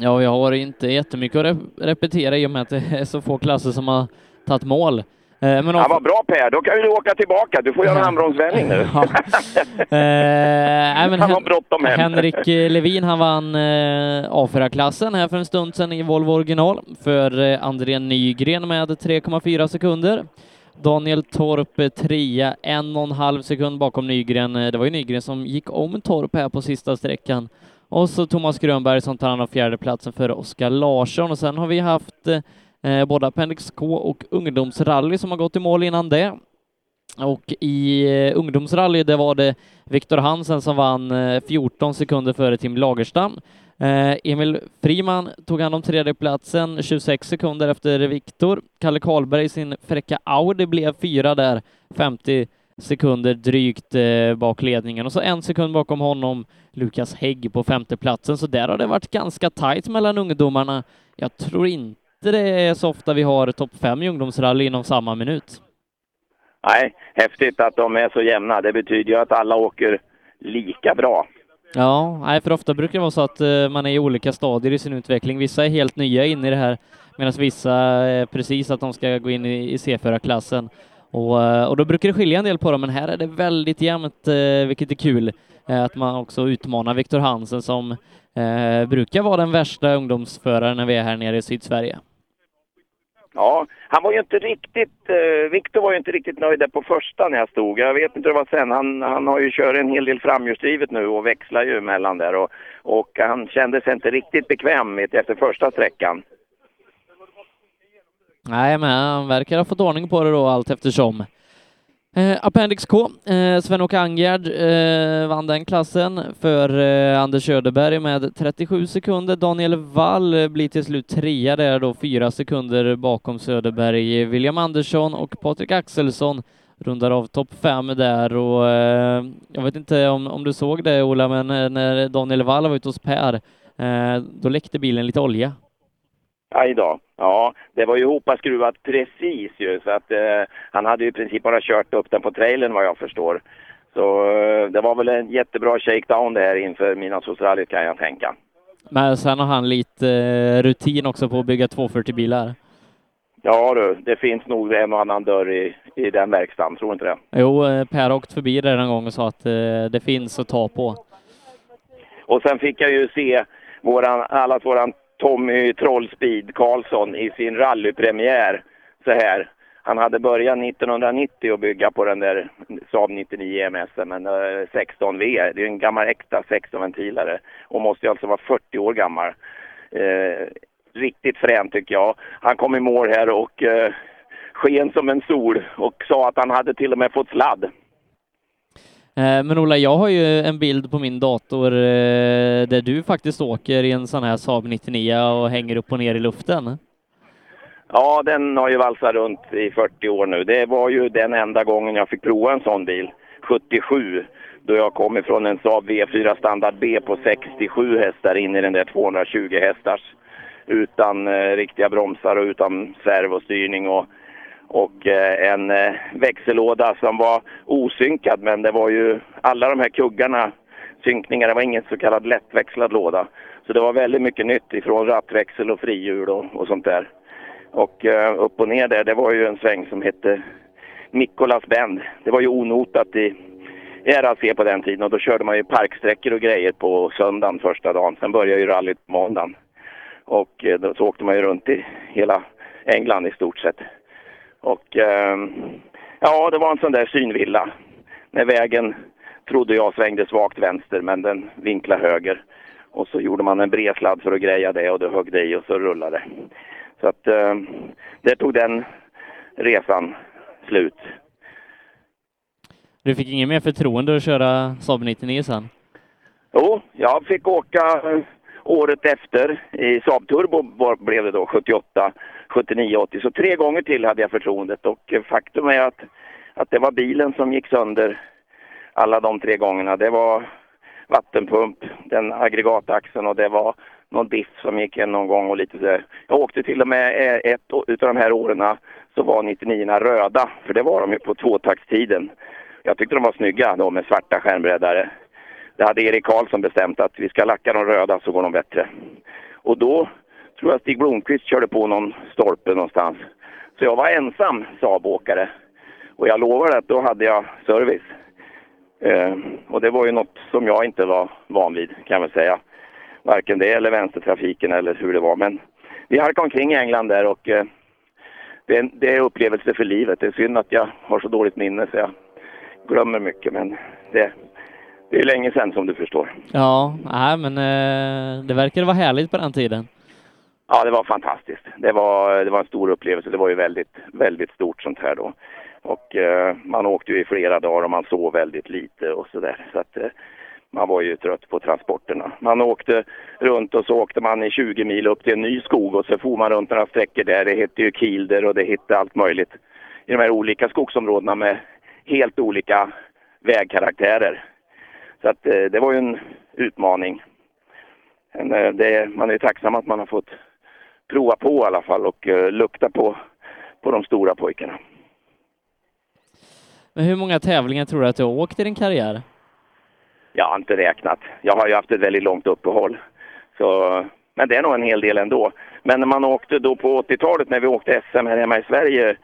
S10: Ja, jag har inte jättemycket att rep- repetera i och med att det är så få klasser som har tagit mål. Eh, Men
S26: Ja,
S10: om-
S26: vad bra Per, då kan ju du åka tillbaka. Du får göra en handbromsvändning nu.
S10: Ja. Eh, nej, men
S26: Han har
S10: Hen-
S26: bråttom hem.
S10: Henrik eh, Levin, han vann eh, A4-klassen här för en stund sedan i Volvo original för eh, André Nygren med 3,4 sekunder. Daniel Torp eh, trea, en och en halv sekund bakom Nygren. Eh, Det var ju Nygren som gick om Torp här på sista sträckan. Och så Thomas Grönberg som tar hand om fjärdeplatsen före Oskar Larsson. Och sen har vi haft eh, eh, både Appendix K och ungdomsrally som har gått i mål innan det. Och i eh, ungdomsrally det var det Viktor Hansen som vann eh, 14 sekunder före Tim Lagerstam. Eh, Emil Friman tog hand om tredjeplatsen 26 sekunder efter Viktor. Kalle Karlberg i sin fräcka Audi blev fyra där, 50 sekunder drygt eh, bak ledningen och så en sekund bakom honom Lukas Hägg på femteplatsen. Så där har det varit ganska tajt mellan ungdomarna. Jag tror inte det är så ofta vi har topp fem i ungdomsrally inom samma minut.
S26: Nej, häftigt att de är så jämna. Det betyder ju att alla åker lika bra.
S10: Ja, nej, för ofta brukar det vara så att eh, man är i olika stadier i sin utveckling. Vissa är helt nya inne i det här, medan vissa är precis att de ska gå in i, i C4-klassen. Och, eh, och då brukar det skilja en del på dem, men här är det väldigt jämnt, eh, vilket är kul. Eh, att man också utmanar Viktor Hansen som eh, brukar vara den värsta ungdomsföraren när vi är här nere i Sydsverige.
S26: Ja, han var ju inte riktigt... Eh, Viktor var ju inte riktigt nöjd där på första när jag stod. Jag vet inte hur det var sen. Han, han har ju kört en hel del framhjulsdrivet nu och växlar ju emellan där. Och, och han kände sig inte riktigt bekväm vet jag, efter första sträckan.
S10: Nej, men han verkar ha fått ordning på det då allt eftersom. Eh, Appendix K, eh, Sven-Åke Angerd eh, vann den klassen för eh, Anders Söderberg med 37 sekunder. Daniel Wall eh, blir till slut trea där då, fyra sekunder bakom Söderberg. William Andersson och Patrik Axelsson rundar av topp fem där och eh, jag vet inte om, om du såg det Ola, men eh, när Daniel Wall var ute hos Per, eh, då läckte bilen lite olja.
S26: Aj då. Ja, det var ju hopskruvat precis ju. Så att eh, han hade ju i princip bara kört upp den på trailern vad jag förstår. Så eh, det var väl en jättebra shakedown det här inför Midnattsåsrallyt kan jag tänka.
S10: Men sen har han lite eh, rutin också på att bygga 240-bilar.
S26: Ja du, det finns nog en och annan dörr i, i den verkstaden, tror inte det?
S10: Jo, eh, Per har åkt förbi där en gång och sa att eh, det finns att ta på.
S26: Och sen fick jag ju se våran, allas våran Tommy Trollspeed Karlsson i sin rallypremiär så här. Han hade börjat 1990 att bygga på den där Saab 99 EMS, men eh, 16V, det är en gammal äkta 16-ventilare och måste ju alltså vara 40 år gammal. Eh, riktigt frän tycker jag. Han kom i mål här och eh, sken som en sol och sa att han hade till och med fått sladd.
S10: Eh, Men Ola, jag har ju en bild på min dator eh, där du faktiskt åker i en sån här Saab 99 och hänger upp och ner i luften.
S26: Ja, den har ju valsat runt i 40 år nu. Det var ju den enda gången jag fick prova en sån bil, 77, då jag kom ifrån en Saab V4 standard B på 67 hästar in i den där 220 hästars utan eh, riktiga bromsar och utan servostyrning och, och eh, en eh, växellåda som var osynkad men det var ju alla de här kuggarna, synkningar, det var ingen så kallad lättväxlad låda. Så det var väldigt mycket nytt ifrån rattväxel och frihjul och, och sånt där. Och eh, upp och ner där, det var ju en sväng som hette Mikkolas Bend. Det var ju onotat i i RAC på den tiden och då körde man ju parksträckor och grejer på söndagen första dagen. Sen började ju rallyt på måndagen. Och eh, då så åkte man ju runt i hela England i stort sett. Och ehm, ja, det var en sån där synvilla. När vägen, trodde jag, svängde svagt vänster men den vinklade höger. Och så gjorde man en bredsladd för att greja det och det högg det i och så rullade det. Så att eh, där tog den resan slut.
S10: Du fick inget mer förtroende att köra Saab 99 sen?
S26: Jo, jag fick åka eh, året efter i Saab Turbo var- blev det då, 78, 79, 80. Så tre gånger till hade jag förtroendet och eh, faktum är att, att det var bilen som gick sönder alla de tre gångerna. Det var vattenpump, den aggregataxeln och det var någon diff som gick en någon gång och lite sådär. Jag åkte till och med eh, ett å- utav de här åren så var 99 röda, för det var de ju på tvåtaktstiden. Jag tyckte de var snygga då med svarta skärmbreddare. Det hade Erik Karlsson bestämt att vi ska lacka de röda så går de bättre. Och då tror jag Stig Blomqvist körde på någon stolpe någonstans. Så jag var ensam Saab-åkare. Och jag lovar att då hade jag service. Eh, och det var ju något som jag inte var van vid kan jag väl säga. Varken det eller vänstertrafiken eller hur det var. Men vi halkade omkring i England där och eh, det, är en, det är upplevelse för livet. Det är synd att jag har så dåligt minne så jag glömmer mycket. Men det, det är länge sedan som du förstår.
S10: Ja, nej, men eh, det verkar vara härligt på den tiden.
S26: Ja, det var fantastiskt. Det var, det var en stor upplevelse. Det var ju väldigt, väldigt stort sånt här då. Och eh, man åkte ju i flera dagar och man sov väldigt lite och sådär. Så att eh, man var ju trött på transporterna. Man åkte runt och så åkte man i 20 mil upp till en ny skog och så for man runt några sträckor där. Det hette ju Kilder och det hette allt möjligt. I de här olika skogsområdena med helt olika vägkaraktärer. Så att, eh, det var ju en utmaning. Men, eh, det, man är ju tacksam att man har fått prova på i alla fall och eh, lukta på, på de stora pojkarna.
S10: Men hur många tävlingar tror du att du har åkt i din karriär?
S26: Jag har inte räknat. Jag har ju haft ett väldigt långt uppehåll. Så, men det är nog en hel del ändå. Men när man åkte då på 80-talet när vi åkte SM här hemma i Sverige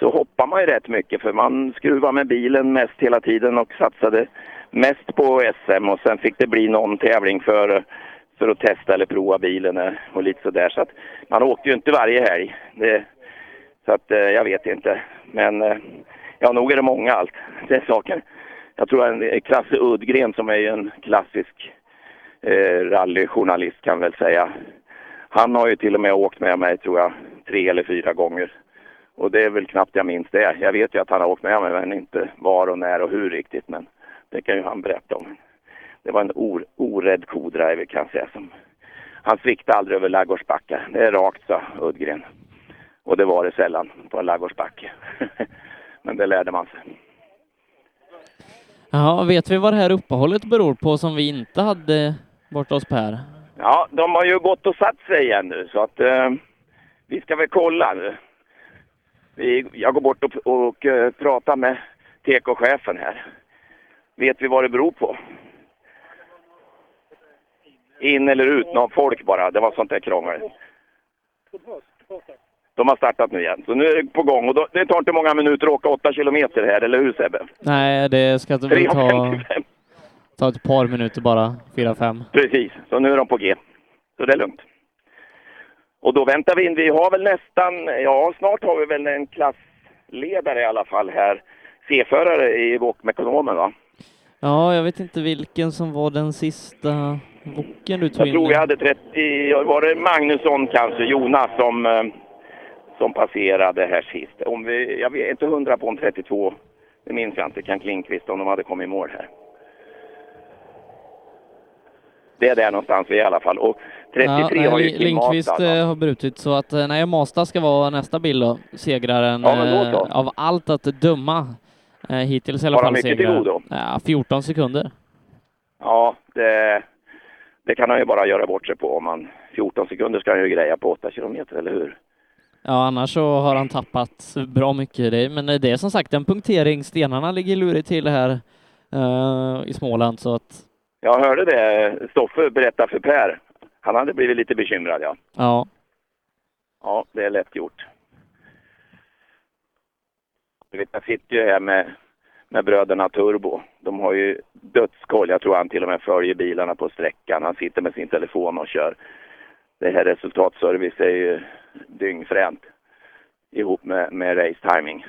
S26: så hoppade man ju rätt mycket för man skruvade med bilen mest hela tiden och satsade mest på SM och sen fick det bli någon tävling för, för att testa eller prova bilen eh, och lite sådär. Så att man åkte ju inte varje helg. Det, så att eh, jag vet inte. Men eh, ja, nog är det många allt. Det är saker. Jag tror en Klasse Uddgren som är ju en klassisk eh, rallyjournalist kan väl säga. Han har ju till och med åkt med mig tror jag tre eller fyra gånger. Och det är väl knappt jag minns det. Jag vet ju att han har åkt med mig men inte var och när och hur riktigt. Men det kan ju han berätta om. Det var en or, orädd kodriver kan jag säga. Som, han sviktade aldrig över laggårdsbackar. Det är rakt sa Uddgren. Och det var det sällan på en laggårdsbacke. men det lärde man sig.
S10: Ja, vet vi vad det här uppehållet beror på som vi inte hade borta hos Per?
S26: Ja, de har ju gått och satt sig igen nu så att eh, vi ska väl kolla nu. Vi, jag går bort och, och eh, pratar med TK-chefen här. Vet vi vad det beror på? In eller ut, någon folk bara. Det var sånt där krångel. De har startat nu igen, så nu är det på gång. Och då, det tar inte många minuter att åka åtta kilometer här, eller hur Sebbe?
S10: Nej, det ska inte väl ta,
S26: 3.55.
S10: ta ett par minuter bara, fyra, fem.
S26: Precis, så nu är de på G. Så det är lugnt. Och då väntar vi in. Vi har väl nästan, ja snart har vi väl en klassledare i alla fall här. C-förare i Wokmekonomen va?
S10: Ja, jag vet inte vilken som var den sista boken du tog
S26: Jag
S10: in.
S26: tror vi hade 30, ja, var det Magnusson kanske, Jonas som, eh, som passerade här sist. Om vi, jag är inte hundra på om 32, det minns jag inte, kan Klingqvist om de hade kommit i mål här. Det är där någonstans vi är i alla fall. Och 33
S10: Ja, nej,
S26: har ju
S10: Li-
S26: Kim
S10: Lindqvist
S26: Matad, va?
S10: eh, har brutit så att eh, nej, Masta ska vara nästa bild då. Segraren
S26: Ja, men då
S10: eh,
S26: så.
S10: av allt att döma. Eh, hittills i alla
S26: Har han
S10: fall
S26: mycket till
S10: segraren.
S26: godo?
S10: Ja, 14 sekunder.
S26: Ja, det, det kan han ju bara göra bort sig på. Om man, 14 sekunder ska han ju greja på 8 kilometer, eller hur?
S10: Ja, annars så har han tappat bra mycket. Det, men eh, det är som sagt en punktering. Stenarna ligger lurigt till här eh, i Småland så att
S26: Jag hörde det Stoffe berätta för Per. Han hade blivit lite bekymrad, ja.
S10: ja.
S26: Ja, det är lätt gjort. Du vet, jag sitter ju här med, med bröderna Turbo. De har ju dödskoll. Jag tror han till och med följer bilarna på sträckan. Han sitter med sin telefon och kör. Det här resultatservice är ju dyngfränt ihop med, med race timing.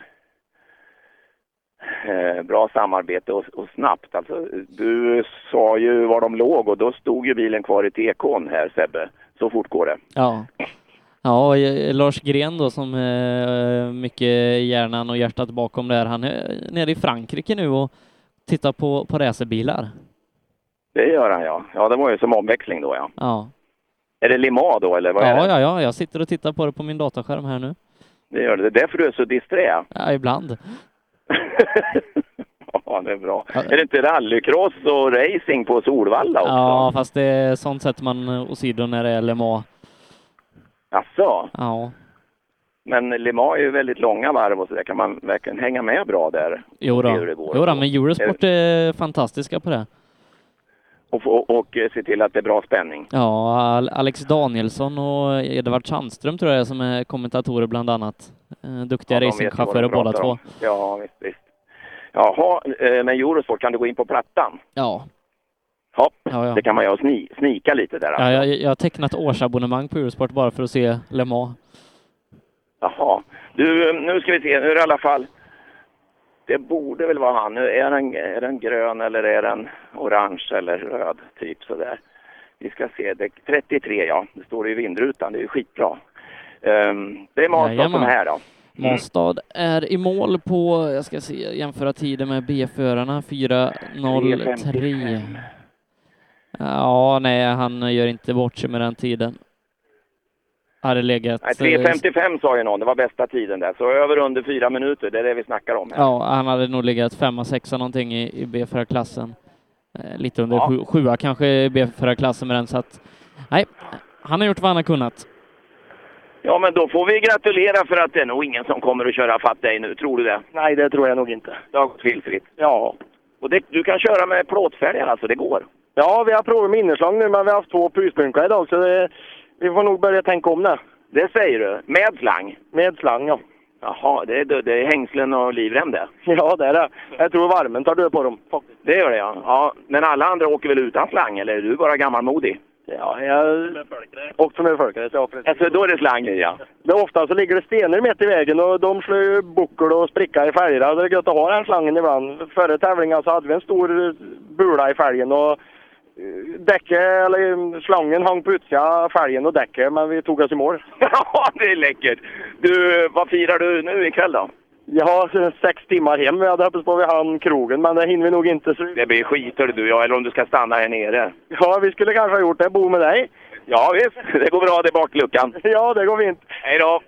S26: Eh, bra samarbete och, och snabbt. Alltså, du sa ju var de låg och då stod ju bilen kvar i TK'n här Sebbe. Så fort går det.
S10: Ja. Ja, och, eh, Lars Gren då som eh, mycket hjärnan och hjärtat bakom där, han är eh, nere i Frankrike nu och tittar på, på racerbilar.
S26: Det gör han ja. Ja, det var ju som omväxling då ja.
S10: Ja.
S26: Är det Lima då eller vad är
S10: Ja,
S26: det?
S10: ja, ja, jag sitter och tittar på det på min dataskärm här nu.
S26: Det gör det. Det är därför du är så disträ.
S10: Ja, ibland.
S26: Ja, det är bra. Är det inte rallycross och racing på Solvalla också?
S10: Ja, fast det är sånt sätt man eh, åsido när det är LMA.
S26: Asså?
S10: Ja,
S26: Men Lima är ju väldigt långa varv och så där. Kan man verkligen hänga med bra där?
S10: jo
S26: Och
S10: då.
S26: se hur det går.
S10: Jo då, men Eurosport är fantastiska på det.
S26: Och, och, och eh, se till att det är bra spänning.
S10: Ja, Al- Alex Danielsson och Edvard Sandström tror jag är som är kommentatorer bland annat. Eh, Duktiga
S26: Ja, de vet ju vad
S10: racingchaufförer
S26: de
S10: båda
S26: pratar
S10: två.
S26: om. Ja, visst, visst. Jaha, eh, men Eurosport, kan du gå in på plattan?
S10: Ja.
S26: Ja,
S10: ja, ja.
S26: Det kan man göra och sni, snika lite där.
S10: Ja, jag, jag har tecknat årsabonnemang på Eurosport bara för att se Le Mans.
S26: Jaha. Du, nu ska vi se. Nu är det i alla fall... Det borde väl vara han. Nu är den, är den grön eller är den orange eller röd? Typ sådär. Vi ska se. Det, 33 ja. Det står det i vindrutan. Det är ju skitbra. Ehm, det är Marstad som
S10: Jajamän.
S26: är här då.
S10: Mastad är i mål på, jag ska se, jämföra tiden med B-förarna, 4.03.
S26: 3.55.
S10: Ja, nej, han gör inte bort sig med den tiden. hade legat...
S26: Nej, 3.55 sa ju någon, det var bästa tiden där. Så över under fyra minuter, det är det vi snackar om. Här.
S10: Ja, han hade nog legat femma, sexa någonting i, i B4-klassen. Eh, Lite under
S26: Ja.
S10: sju, sjua kanske i B4-klassen med den, så att... Nej, han har gjort vad han har kunnat.
S26: Ja, men då får vi gratulera för att det är nog ingen som kommer att köra fatt dig nu. Tror du det?
S17: Nej, det tror jag nog inte.
S26: Det har gått felfritt. Ja. Och det, du kan köra med plåtfälgar alltså, det går.
S9: Ja, vi har provat med innerslag nu, men vi har haft två pusbunkar idag, så det, vi får nog börja tänka om det.
S26: Det säger du? Med slang?
S9: Med slang, ja.
S26: Jaha, det är, det är hängslen och livrem det.
S9: Ja, det är det. Jag tror värmen tar död på dem. faktiskt.
S26: Det gör det ja. ja. Men alla andra åker väl utan slang, eller är du bara gammalmodig?
S9: Ja, jag... Också med folkare, så ja, precis.
S26: Alltså, då är det slang i, ja.
S9: Men ofta så ligger det stenar mitt i vägen och de slår ju buckel och sprickar i fälgarna. Det är gött att ha den slangen ibland. Före tävlingen så hade vi en stor eh, bula i fälgen och eh, däcket, eller eh, slangen hang på utsidan fälgen och däcket, men vi tog oss i mål.
S26: Ja, det är läckert! Du, vad firar du nu ikväll då?
S9: Jag har sex timmar hem. Vi hade hoppats på att vi hann krogen, men det hinner vi nog inte. Så...
S26: Det blir skiter du jag, eller om du ska stanna här nere.
S9: Ja, vi skulle kanske ha gjort det. Bo med dig.
S26: Ja, visst. Det går bra, det är bakluckan.
S9: Ja, det går fint.
S26: Hej då!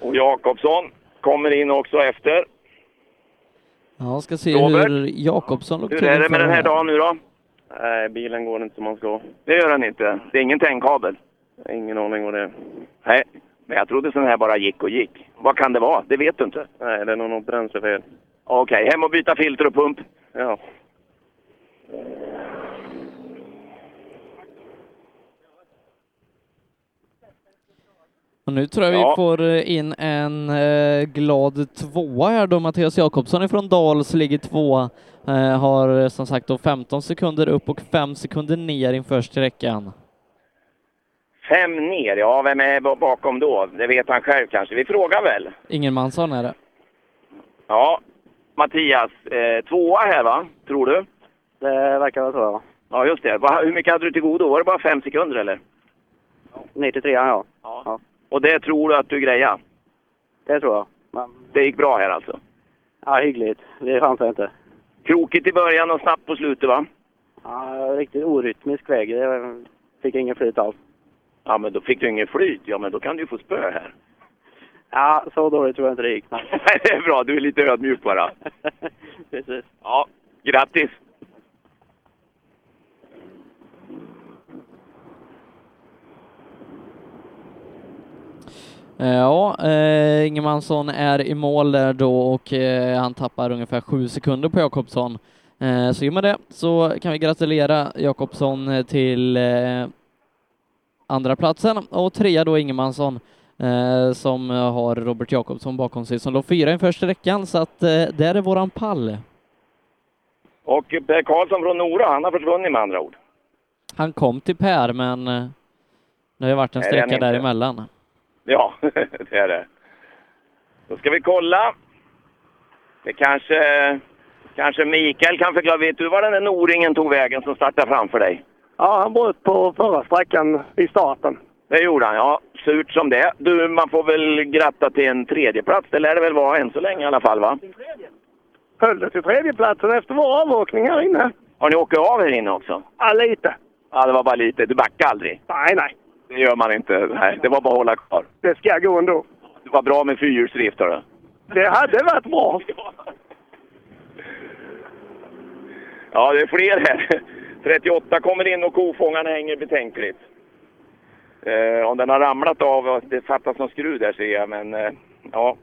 S26: Och Jakobsson kommer in också efter.
S10: Ja, ska se
S26: Robert?
S10: hur Jakobsson låg
S26: Hur är det
S10: inför
S26: med den här
S10: här.
S26: dagen nu då?
S13: Nej, bilen går inte som man ska.
S26: Det gör den inte. Det är ingen tändkabel.
S13: Ingen aning vad det är.
S26: Nej, men jag trodde sån här bara gick och gick. Vad kan det vara? Det vet du inte.
S13: Nej, det är nog något bränslefel.
S26: Okej, hem och byta filter och pump.
S13: Ja.
S10: Och nu tror jag vi
S26: Ja.
S10: får eh, in en eh, glad tvåa här då. Mattias Jakobsson ifrån Dals ligger tvåa. Eh, har eh, som sagt då 15 sekunder upp och 5 sekunder ner inför sträckan.
S26: Fem ner, ja vem är b- bakom då? Det vet han själv kanske. Vi frågar väl.
S10: Ingenmansson är det.
S26: Ja, Mattias, eh, tvåa här va, tror du?
S17: Det verkar vara så, ja.
S26: Ja, just det. Va, hur mycket hade du till godo? Var det bara fem sekunder eller?
S17: 93 ja.
S26: Ja. Och det tror du att du grejar?
S17: Det tror jag.
S26: Det gick bra här alltså?
S17: Ja, hyggligt. Det chansar jag inte.
S26: Krokigt i början och snabbt på slutet va?
S17: Ja, riktigt orytmisk väg. Det fick ingen flyt alls.
S26: Ja, men då fick du ingen flyt. Ja, men då kan du ju få spö här.
S17: Ja, så dåligt tror jag inte det gick.
S26: Nej, det är bra. Du är lite ödmjuk bara.
S17: Precis.
S26: Ja, grattis!
S10: Eh, Ja, eh, Ingemansson är i mål där då och eh, han tappar ungefär 7 sekunder på Jakobsson. Eh, så i och med det så kan vi gratulera Jakobsson eh, till eh, andra platsen och trea då Ingemansson eh, som eh, har Robert Jakobsson bakom sig som låg fyra inför sträckan så att eh, där är våran pall.
S26: Och Per Karlsson från Nora, han har försvunnit med andra ord.
S10: Han kom till Per men eh, det har ju varit en
S26: Nej, det är han
S10: sträcka
S26: inte.
S10: däremellan.
S26: Ja, det är det. Då ska vi kolla. Det kanske... Kanske Mikael kan förklara. Vet du var den där noringen tog vägen som startade framför dig?
S9: Ja, han bröt på förra sträckan i starten.
S26: Det gjorde han, ja. Surt som det Du, man får väl gratta till en tredjeplats. Det lär det väl vara än så länge i alla fall, va?
S9: Höll det till tredjeplatsen efter vår avåkning här inne.
S26: Har ni åkt av här inne också?
S9: Ja, lite.
S26: Ja, det var bara lite. Du backade aldrig?
S9: Nej, nej.
S26: Det gör man inte. Nej, det var bara att hålla kvar.
S9: Det ska gå ändå.
S26: Det var bra med fyrhjulsdrift, hörru.
S9: Det hade varit bra.
S26: Ja, det är fler här. 38 kommer in och kofångaren hänger betänkligt. Eh, om den har ramlat av, och det fattas någon skruv där ser jag, men eh, ja.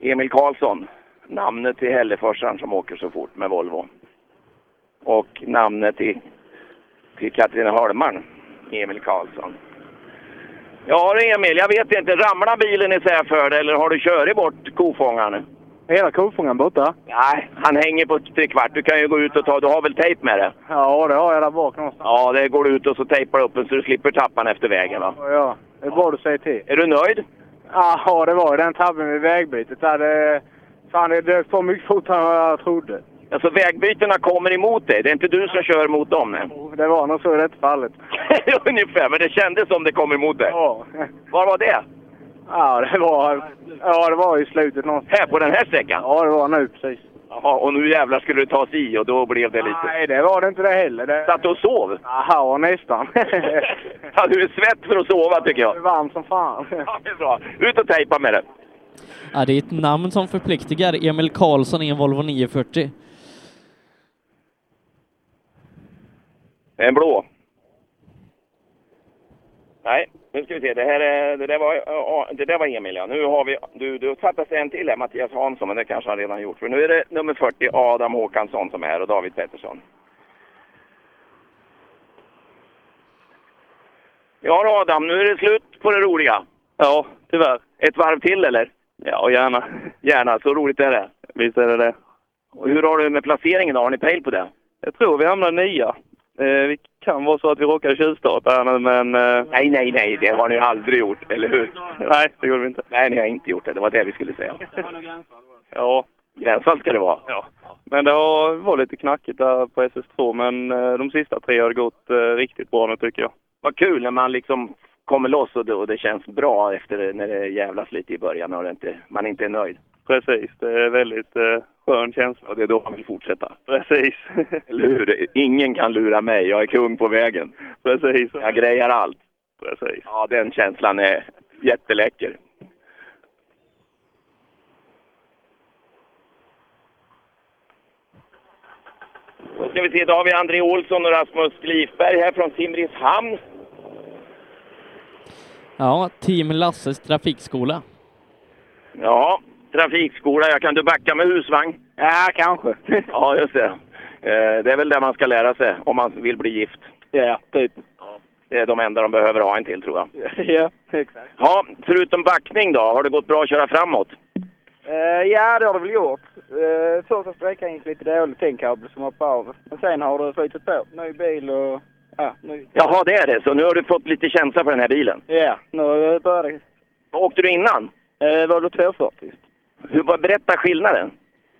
S26: Emil Karlsson, namnet till Hälleforsaren som åker så fort med Volvo. Och namnet till, till Katarina Holmarn, Emil Karlsson. Ja du Emil, jag vet inte, ramlar bilen isär för dig eller har du körit bort kofångaren?
S9: Hela kofångaren borta?
S26: Nej, han hänger på trekvart. Du kan ju gå ut och ta, du har väl tejp med det?
S9: Ja, det har jag där bak någonstans.
S26: Ja, det går du ut och så tejpar du upp den så du slipper tappa den efter vägen. Va?
S9: Ja, det är bra du säger till.
S26: Är du nöjd?
S9: Ja, det var ju den tabben vid vägbytet. Där det, fan, det dök på mycket fortare än vad jag trodde.
S26: Alltså vägbytena kommer emot dig. Det är inte du som kör mot dem. Nej.
S9: Det var nog så i detta fallet.
S26: Ungefär, men det kändes som det kom emot dig.
S9: Ja.
S26: Var var det?
S9: Ja, det var, ja, det var i slutet någonstans.
S26: Här på den här sträckan?
S9: Ja, det var nu precis.
S26: Jaha, och nu jävlar skulle det tas i och då blev det lite...
S24: Nej, det var det inte det heller. Det...
S26: Satt du och sov?
S24: Ja, nästan.
S26: Ja, du är svett för att sova tycker jag.
S24: Det är varmt som fan.
S26: Ja, det är bra. Ut och tejpa med det.
S10: Ja, det är ett namn som förpliktigar. Emil Karlsson i en Volvo 940.
S26: En blå. Nej, nu ska vi se. Det, här är, det, där, var, ja, det där var Emil, ja. Nu har vi... Du, du fattas en till här, Mattias Hansson, men det kanske han redan gjort. För nu är det nummer 40, Adam Håkansson, som är här och David Pettersson. Ja då, Adam, nu är det slut på det roliga. Ja, tyvärr. Ett varv till, eller? Ja, gärna. Gärna, så roligt är det. Visst är det det. Och hur har du med placeringen då? Har ni pejl på det?
S14: Jag tror vi hamnar nia. Eh, vi kan vara så att vi råkar tjuvstarta här nu, men... Eh...
S26: Nej, nej, nej, det har ni aldrig gjort, eller hur?
S14: Nej, det gjorde vi inte.
S26: Nej, ni har inte gjort det. Det var det vi skulle säga.
S14: Ja,
S26: Gränsfall ska det vara.
S14: ja. Men det har var lite knackigt där på SS2, men eh, de sista tre har det gått eh, riktigt bra nu tycker jag.
S26: Vad kul när man liksom kommer loss och det, och det känns bra efter det, när det jävlas lite i början och det inte, man inte är nöjd.
S14: Precis, det är väldigt eh, skön känsla.
S26: Och det är då man vill fortsätta.
S14: Precis.
S26: Eller hur? Ingen kan lura mig. Jag är kung på vägen.
S14: Precis.
S26: Jag grejar allt.
S14: Precis.
S26: Ja, den känslan är jätteläcker. Då ska vi se, då har vi André Olsson och Rasmus Klifberg här från Simrishamn.
S10: Ja, Team Lasses trafikskola.
S26: Ja, trafikskola. Jag kan du backa med husvagn?
S24: Ja, kanske.
S26: Ja, just det. Eh, Det är väl det man ska lära sig om man vill bli gift.
S24: Ja, typ.
S26: Det är de enda de behöver ha en till, tror jag.
S24: Ja, exakt.
S26: Ja, förutom backning då, har det gått bra att köra framåt?
S24: Eh, ja, det har det väl gjort. Eh, första sträckan gick lite dåligt, en kabel som hoppade av. Men sen har det flyttat på. Ny bil och... Ja, ny...
S26: Jaha, det är det. Så nu har du fått lite känsla för den här bilen.
S24: Ja, nu börjar det...
S26: Vad åkte du innan?
S24: Eh, var det 240?
S26: Hur, vad- berätta skillnaden.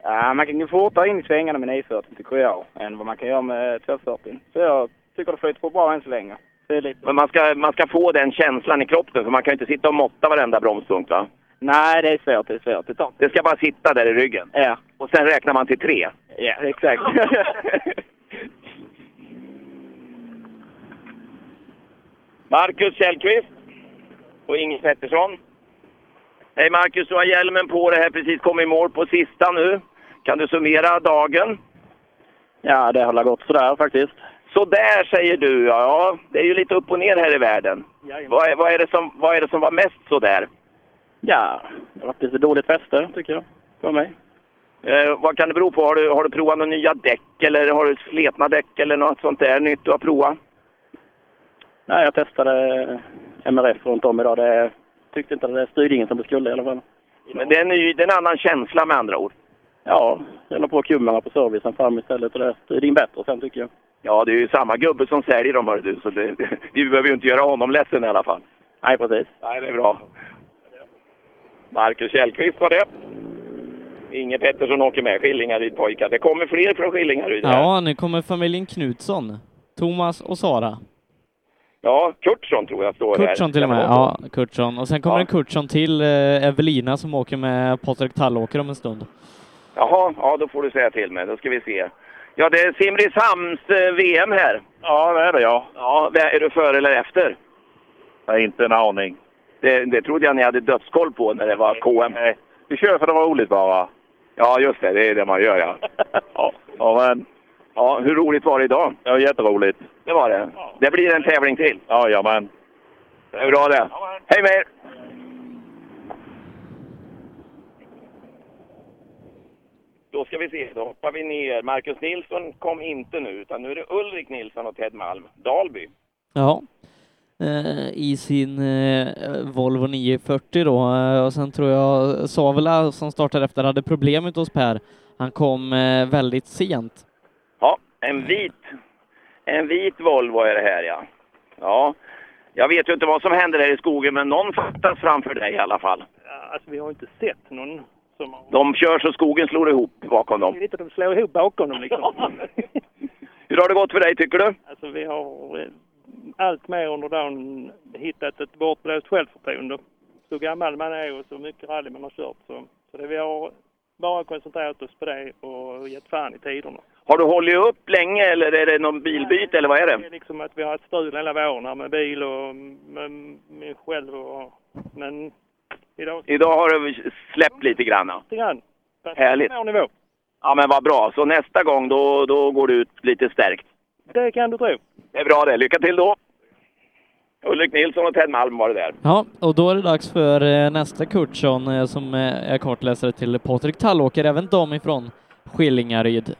S24: Ja, man kan ju fortare in i svängarna med E 940 tycker jag, än vad man kan göra med 240. Så jag tycker det flyter på bra än så länge. Det är lite...
S26: Men man ska, man ska få den känslan i kroppen, för man kan ju inte sitta och måtta varenda bromspunkt, va?
S24: Nej, det är svårt, det är svårt. Det tar...
S26: Det ska bara sitta där i ryggen.
S24: Ja,
S26: Och sen räknar man till tre.
S24: ja, exakt.
S26: Marcus Källqvist och Inge Pettersson. Hej Marcus, du har hjälmen på det här precis, kom i mål på sista nu. Kan du summera dagen?
S24: ja, det har väl gått sådär faktiskt.
S26: Så där säger du, ja. ja. Det är ju lite upp och ner här i världen. Vad är, vad är, det, som, vad är det som var mest så där?
S24: Ja, det har varit lite dåligt fäste, tycker jag. För mig.
S26: Eh, vad kan det bero på? Har du, har du provat några nya däck eller har du sletna däck eller något sånt där nytt du har provat?
S24: Nej, jag testade eh, MRF runt om idag. Det tyckte inte att det styrde ingen som det skulle i alla fall.
S26: Men det är, en ny, det är en annan känsla med andra ord.
S24: Ja, jag la på kummarna på servicen fram istället och det styrde in bättre sen tycker jag.
S26: Ja, det är ju samma gubbe som säljer dem, hör du. Så det, vi behöver ju inte göra honom ledsen i alla fall.
S24: Nej, precis.
S26: Nej, det är bra. Marcus Källqvist var det. Inge Pettersson åker med, Skillingaryd-pojkar. Det kommer fler från Skillingaryd. här.
S10: Ja, nu kommer familjen Knutsson. Thomas och Sara.
S26: ja, Kurtsson tror jag står här.
S10: Kurtsson till och med. Ja, Kurtsson. Och sen kommer
S26: Ja.
S10: en Kurtsson till, eh, Evelina, som åker med Patrik Tallåker om en stund.
S26: Jaha, ja då får du säga till mig. Då ska vi se. Ja, det är Simrishamns eh, VM här.
S15: Ja, det är det ja.
S26: Ja, vä- är du före eller efter?
S15: Nej, inte en aning.
S26: Det, det trodde jag ni hade dödskoll på när det var KM.
S15: Nej, vi kör för det var roligt bara.
S26: Ja, just det. Det är det man gör, ja.
S15: ja, ja, men...
S26: Ja, hur roligt var det idag?
S15: Ja, jätteroligt.
S26: Det var det. Det blir en tävling till.
S15: Ja, ja, men.
S26: Det är bra det. Hej med er! Då ska vi se, då hoppar vi ner. Marcus Nilsson kom inte nu, utan nu är det Ulrik Nilsson och Ted Malm, Dalby.
S10: Ja. Eh, I sin eh, Volvo 940 då. Eh, Och sen tror jag Savela som startade efter hade problem ute hos Per. Han kom eh, väldigt sent.
S26: Ja, en vit, en vit Volvo är det här ja. Ja, jag vet ju inte vad som händer där i skogen, men någon fattas framför dig i alla fall.
S12: Alltså, vi har inte sett någon som...
S26: De kör så skogen slår ihop bakom
S12: Det
S26: dem.
S12: är lite att de slår ihop bakom dem liksom.
S26: Hur har det gått för dig tycker du?
S12: Alltså vi har eh, allt mer under dagen hittat ett bortblåst självförtroende. Så gammal man är och så mycket rally man har kört så, så det vi har
S20: bara koncentrerat oss på det och gett fan i tiderna.
S26: Har du hållit upp länge eller är det någon bilbyte eller vad är
S20: Det
S26: det?
S20: är liksom att vi har haft strul hela våren här med bil och med mig själv och... Men idag
S26: Idag har du släppt lite grann.
S20: lite grann. Fast
S26: Härligt.
S20: på vår nivå.
S26: Ja men vad bra. Så nästa gång då, då går du ut lite stärkt.
S20: Det kan du tro.
S26: Det är bra det. Lycka till då! Ulrik Nilsson och Ted Malm var det där.
S10: Ja, och då är det dags för eh, nästa Kurtsson eh, som eh, är kartläsare till Patrik Tallåker, även de ifrån Skillingaryd.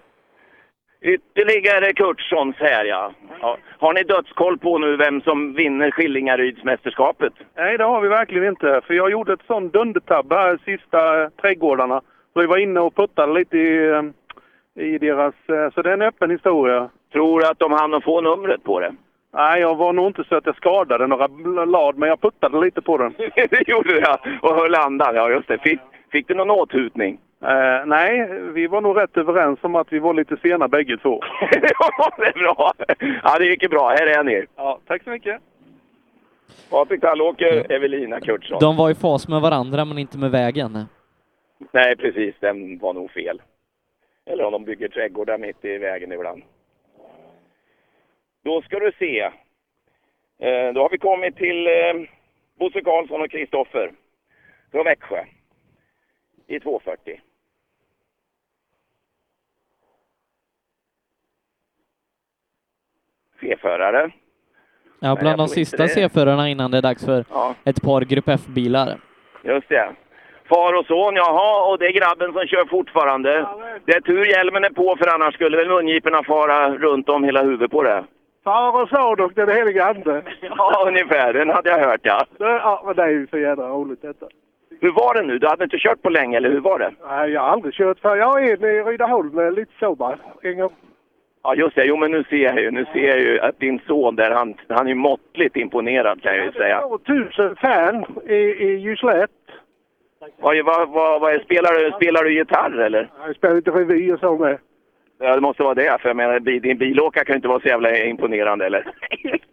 S26: Ytterligare Kurtssons här ja. ja. Har ni dödskoll på nu vem som vinner Skillingarydsmästerskapet?
S20: Nej, det har vi verkligen inte. För jag gjorde ett sån dundertabb här sista eh, trädgårdarna. Så vi var inne och puttade lite i, eh, i deras... eh, Så det är en öppen historia.
S26: Tror du att de hann att få numret på det?
S20: Nej, jag var nog inte så att jag skadade några blad, men jag puttade lite på den.
S26: det gjorde du ja. Och höll andan. Ja just det. Fick, fick du någon åthutning?
S20: Eh, nej, vi var nog rätt överens om att vi var lite sena bägge två.
S26: ja, det är bra. Ja, det gick ju bra. Här är ni.
S20: Ja, tack så mycket.
S26: Patrik Tallåker, Evelina Kurtsson.
S10: De var i fas med varandra men inte med vägen.
S26: Nej, precis. Den var nog fel. Eller om de bygger trädgårdar mitt i vägen ibland. Då ska du se. Eh, Då har vi kommit till eh, Bosse Karlsson och Kristoffer från Växjö i 240. C-förare.
S10: Ja,
S26: Nej, jag
S10: bland de
S26: får inte
S10: sista
S26: det.
S10: C-förarna innan det är dags för
S26: Ja.
S10: ett par Grupp F-bilar.
S26: Just det. Far och son, jaha, och det är grabben som kör fortfarande. Det är tur hjälmen är på för annars skulle väl mungiporna fara runt om hela huvudet på det.
S19: Far och son och den helige ande.
S26: Ja, ungefär. Den hade jag hört, ja.
S19: Det, ja, men det är ju så jädra roligt detta.
S26: Hur var det nu? Du hade inte kört på länge, eller hur var det?
S19: Nej, jag har aldrig kört för Jag är nere i Rydaholm eh, lite så bara. En gång.
S26: Ja, just det. Jo, men nu ser jag ju, nu ser jag ju att din son där, han, han är ju måttligt imponerad kan jag ju säga.
S19: 2000 fan i, i Ljuslätt.
S26: Vad, vad, vad, vad är, spelar, du, spelar du gitarr, eller?
S19: Jag spelar lite revy och så med.
S26: Ja, det måste vara det, för jag menar, bi- din bilåkare kan ju inte vara så jävla imponerande, eller?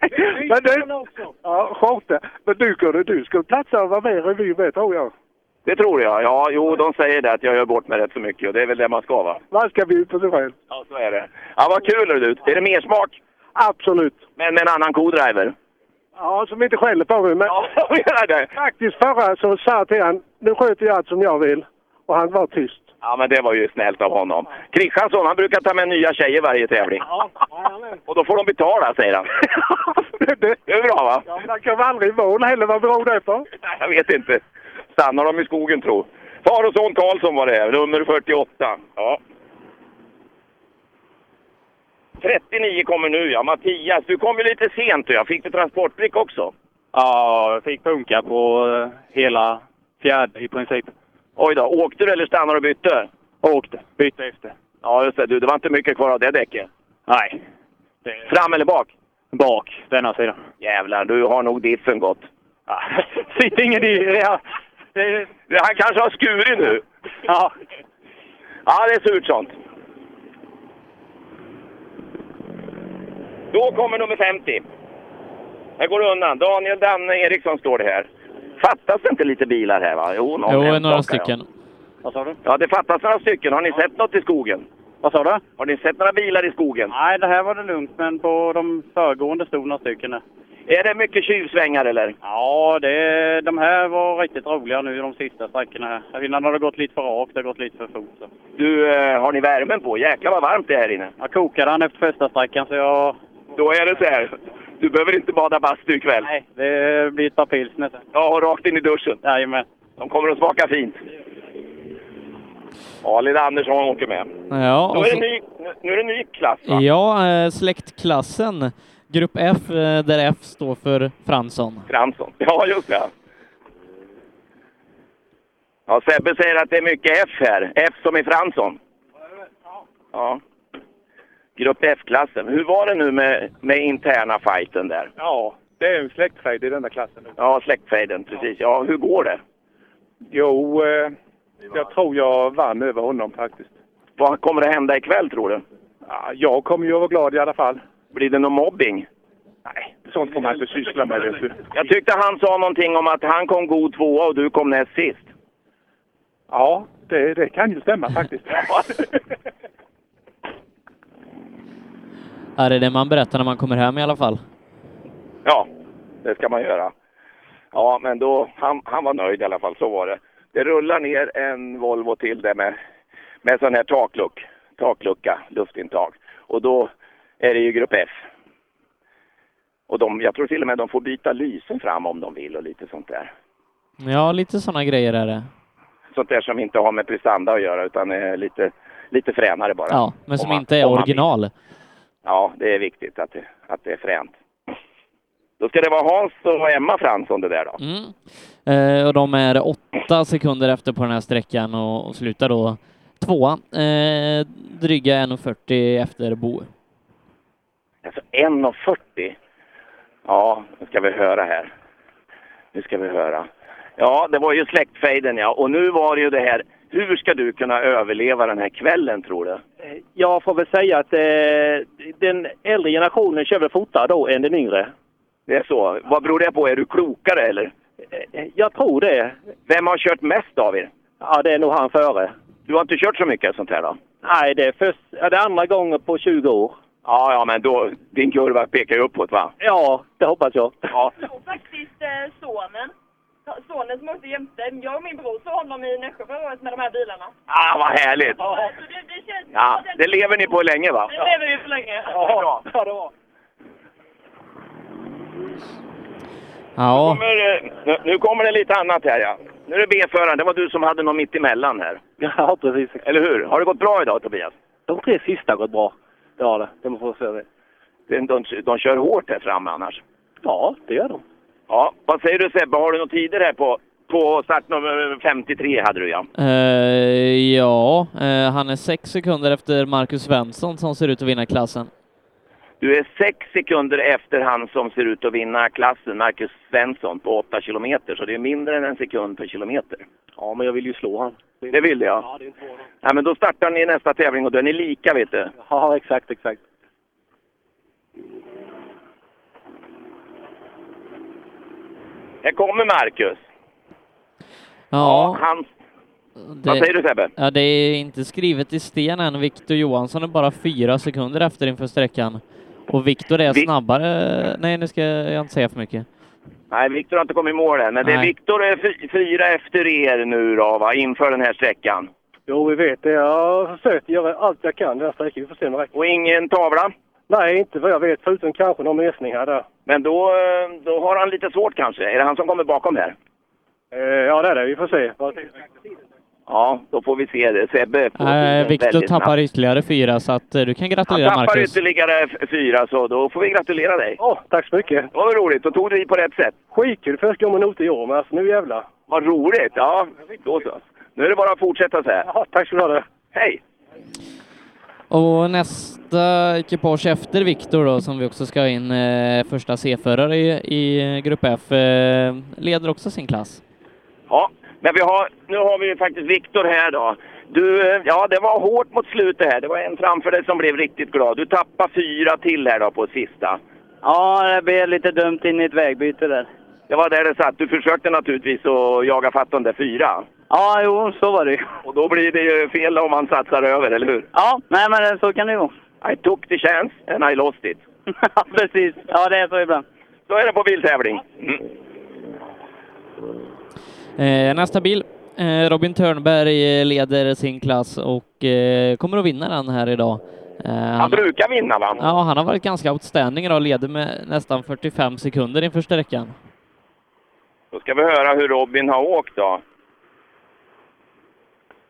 S19: Men du, ja, skjorta. Men du kunde, du skulle platsa och vara med i revy med tror jag.
S26: Det tror jag. Ja, jo, de säger det att jag gör bort mig rätt så mycket och det är väl det man ska, va?
S19: Vad ska vi ut på sig själv?
S26: Ja, så är det. Ja, vad kul är du. Är det mer smak?
S19: Absolut.
S26: Men med en annan co-driver?
S19: Ja, som inte skäller på mig. Men
S26: menar det.
S19: faktiskt förra så sa jag till han, nu sköter jag allt som jag vill. Och han var tyst.
S26: Ja, men det var ju snällt av honom. Kristiansson, han brukar ta med nya tjejer varje tävling. Och då får de betala, säger han. Det är bra, va?
S19: Ja, men han kom aldrig i mål heller. Vad beror det på?
S26: Nej, Jag vet inte. Stannar de i skogen, tro. Far och son Karlsson var det, här, nummer 48. Ja. 39 kommer nu, ja. Mattias, du kom ju lite sent. du. Jag fick du transportblick också?
S15: Ja, jag fick punka på eh, hela fjärde i princip.
S26: Oj då, åkte du eller stannade och bytte? Åkte, bytte efter. Ja, just det. Du, det var inte mycket kvar av det däcket. Nej. Fram eller bak? Bak, denna sidan. Jävlar, du har nog diffen gått. Sitt ingen i... Han kanske har skurit nu. Ja. Ja, det är surt sånt. Då kommer nummer 50. Här går det undan. Daniel Danne Eriksson står det här. Fattas det inte lite bilar här va? Jo, någon
S10: Jo, några
S26: enstaka, ja.
S10: stycken.
S26: Vad sa du? Ja, det fattas några stycken. Har ni sett något i skogen? Vad sa du? Har ni sett några bilar i skogen?
S28: Nej, det här var det lugnt, men på de föregående stod några stycken där.
S26: Är det mycket tjuvsvängar eller?
S28: Ja, det, de här var riktigt roliga nu de sista sträckorna här. Innan har det gått lite för rakt, det har gått lite för fort. Så.
S26: Du, eh, har ni värmen på? Jäklar vad varmt det är här inne.
S28: Jag kokade han efter första sträckan så jag...
S26: Då är det så här. Du behöver inte bada bastu ikväll.
S28: Nej, det blir ett par pilsner sen.
S26: Ja, och rakt in i duschen.
S28: Jajamän.
S26: De kommer att smaka fint. Ja, Lilla Andersson åker med.
S10: Ja,
S26: nu,
S10: och
S26: är
S10: så-
S26: det ny, nu- nu är det ny klass va?
S10: Ja, eh, släktklassen. Grupp F, eh, där F står för Fransson.
S26: Fransson. Ja, just det. Ja, Sebbe säger att det är mycket F här. F som i Fransson. Ja. Grupp F-klassen. Hur var det nu med, med interna fighten där?
S29: Ja, det är en släktfejd i denna klassen.
S26: Ja, släktfejden, precis. Ja, hur går det?
S29: Jo, eh, jag tror jag vann över honom faktiskt.
S26: Vad kommer det hända ikväll, tror du?
S29: Ja, jag kommer ju att vara glad i alla fall.
S26: Blir det någon mobbing?
S29: Nej, sånt får man inte syssla med, vet du.
S26: Jag tyckte han sa någonting om att han kom god tvåa och du kom näst sist.
S29: Ja,
S14: Det, det kan ju stämma faktiskt.
S10: Ja, det är det man berättar när man kommer hem i alla fall.
S26: Ja, det ska man göra. Ja, men då, han, han var nöjd i alla fall, så var det. Det rullar ner en Volvo till där med, med sån här takluck, taklucka, luftintag. Och då är det ju Grupp F. Och de, jag tror till och med de får byta lysen fram om de vill och lite sånt där.
S10: Ja, lite sådana grejer är det.
S26: Sånt där som inte har med prestanda att göra utan är lite, lite fränare bara.
S10: Ja, men
S26: Om
S10: som
S26: man-
S10: inte är
S26: om man vill.
S10: original.
S26: Ja, det är viktigt att det, att det är fränt. Då ska det vara Hans och Emma Fransson det där då.
S10: Eh, och de är åtta sekunder efter på den här sträckan och, och slutar då tvåa. Eh, dryga 1.40 efter Bo.
S26: Alltså 1,40. Ja, nu ska vi höra här. Nu ska vi höra. Ja, det var ju släktfejden ja. Och nu var det ju det här. Hur ska du kunna överleva den här kvällen tror du?
S12: Jag får väl säga att eh, den äldre generationen kör väl fortare då än den yngre.
S26: Det är så. Vad beror det på? Är du klokare eller? eh,
S12: Jag tror det.
S26: Vem har kört mest av er?
S12: Ja, det är nog han före.
S26: Du har inte kört så mycket sånt här då?
S12: Nej, det är, först, ja, det är andra gången på 20 år.
S26: Ja, ja, men då, din kurva pekar ju uppåt va?
S12: Ja, det hoppas jag.
S26: Ja,
S4: Och faktiskt eh, sonen. Sonen som åkte jämte. Jag och min bror såg honom i Nässjö förra året med de här bilarna.
S26: ah, vad härligt!
S4: Ja. Så det, det känns...
S26: Ja, det lever ni på länge va?
S4: Det lever vi för länge.
S26: Ja,
S12: bra. bra.
S10: Ja,
S26: Kommer, eh, nu, nu kommer det lite annat här ja. Nu är det B-föraren, det var du som hade någon mittemellan här.
S12: Ja, precis.
S26: Eller hur? Har det gått bra idag Tobias?
S12: De tre sista har gått bra. Det har det. Det måste jag säga det.
S26: De, de, de kör hårt här framme annars.
S12: Ja, det gör de.
S26: Ja, vad säger du Sebbe, har du några tider här på, på startnummer 53 hade du ja.
S10: eh, ja eh, han är sex sekunder efter Marcus Svensson som ser ut att vinna klassen.
S26: Du är sex sekunder efter han som ser ut att vinna klassen, Marcus Svensson, på 8 kilometer. Så det är mindre än en sekund per kilometer.
S12: Ja, men jag vill ju slå han.
S26: Det vill jag.
S12: Ja, det är inte svårt.
S26: Ja, men då startar ni nästa tävling och då är ni lika vet du.
S12: Ja, exakt, exakt.
S26: Här kommer Marcus.
S10: Ja,
S26: Han, vad säger du Sebbe?
S10: Ja, det är inte skrivet i sten än. Viktor Johansson är bara fyra sekunder efter inför sträckan. Och Viktor är snabbare. Nej, nu ska jag inte säga för mycket.
S26: Nej, Viktor har inte kommit i mål än. Men det är
S10: Nej.
S26: Viktor är fy- fyra efter er nu då, va? inför den här sträckan.
S16: Jo, vi vet det. Jag har försökt göra allt jag kan den här sträckan. Vi får se om det räcker.
S26: Och ingen tavla?
S16: Nej, inte vad jag vet. Förutom kanske någon mesning här där.
S26: Men då, eh, då har han lite svårt kanske. Är det han som kommer bakom här?
S16: Eh, ja, det är det. Vi får se. Vad-
S26: Ja, då får vi se det. Sebbe får
S10: Nej,
S26: tiden
S10: Viktor
S26: väldigt
S10: Eh, tappar
S26: snabbt.
S10: ytterligare fyra, så att eh, du kan
S26: Han
S10: gratulera
S26: tappar
S10: Marcus.
S26: ytterligare f- fyra, så då får vi gratulera dig.
S16: Åh, tack så mycket.
S26: Det var roligt. Då tog du i på rätt sätt.
S16: Skitkul. Första gången ute i år, men alltså nu jävlar.
S26: Vad roligt! Ja, då så. Nu är det bara att fortsätta så här.
S16: Ja, tack ska du ha. Det.
S26: Hej!
S10: Och nästa ekipage efter Viktor då, som vi också ska ha in eh, första C-förare i, i Grupp F, eh, leder också sin klass.
S26: Ja, men vi har, nu har vi ju faktiskt Viktor här då. Du, eh, ja det var hårt mot slutet här. Det var en framför dig som blev riktigt glad. Du tappar fyra till här då på sista.
S24: Ja, det blev lite dumt in i ett vägbyte där.
S26: Det var där det satt. Du försökte naturligtvis att jaga fatt de där fyra.
S24: Ja, jo, så var det ju.
S26: Och då blir det ju fel om man satsar över, eller hur?
S24: Ja, nej men eh, så kan det ju vara.
S26: I took the chance and I lost it.
S24: Ja, precis. Ja, det är så ibland.
S26: Så är det på biltävling. Mm.
S10: Eh, nästa bil. Eh, Robin Törnberg eh, leder sin klass och eh, kommer att vinna den här idag. Eh,
S26: Han brukar vinna va?
S10: Ja, han har varit ganska outstanding idag, leder med nästan 45 sekunder inför sträckan.
S26: Då ska vi höra hur Robin har åkt då.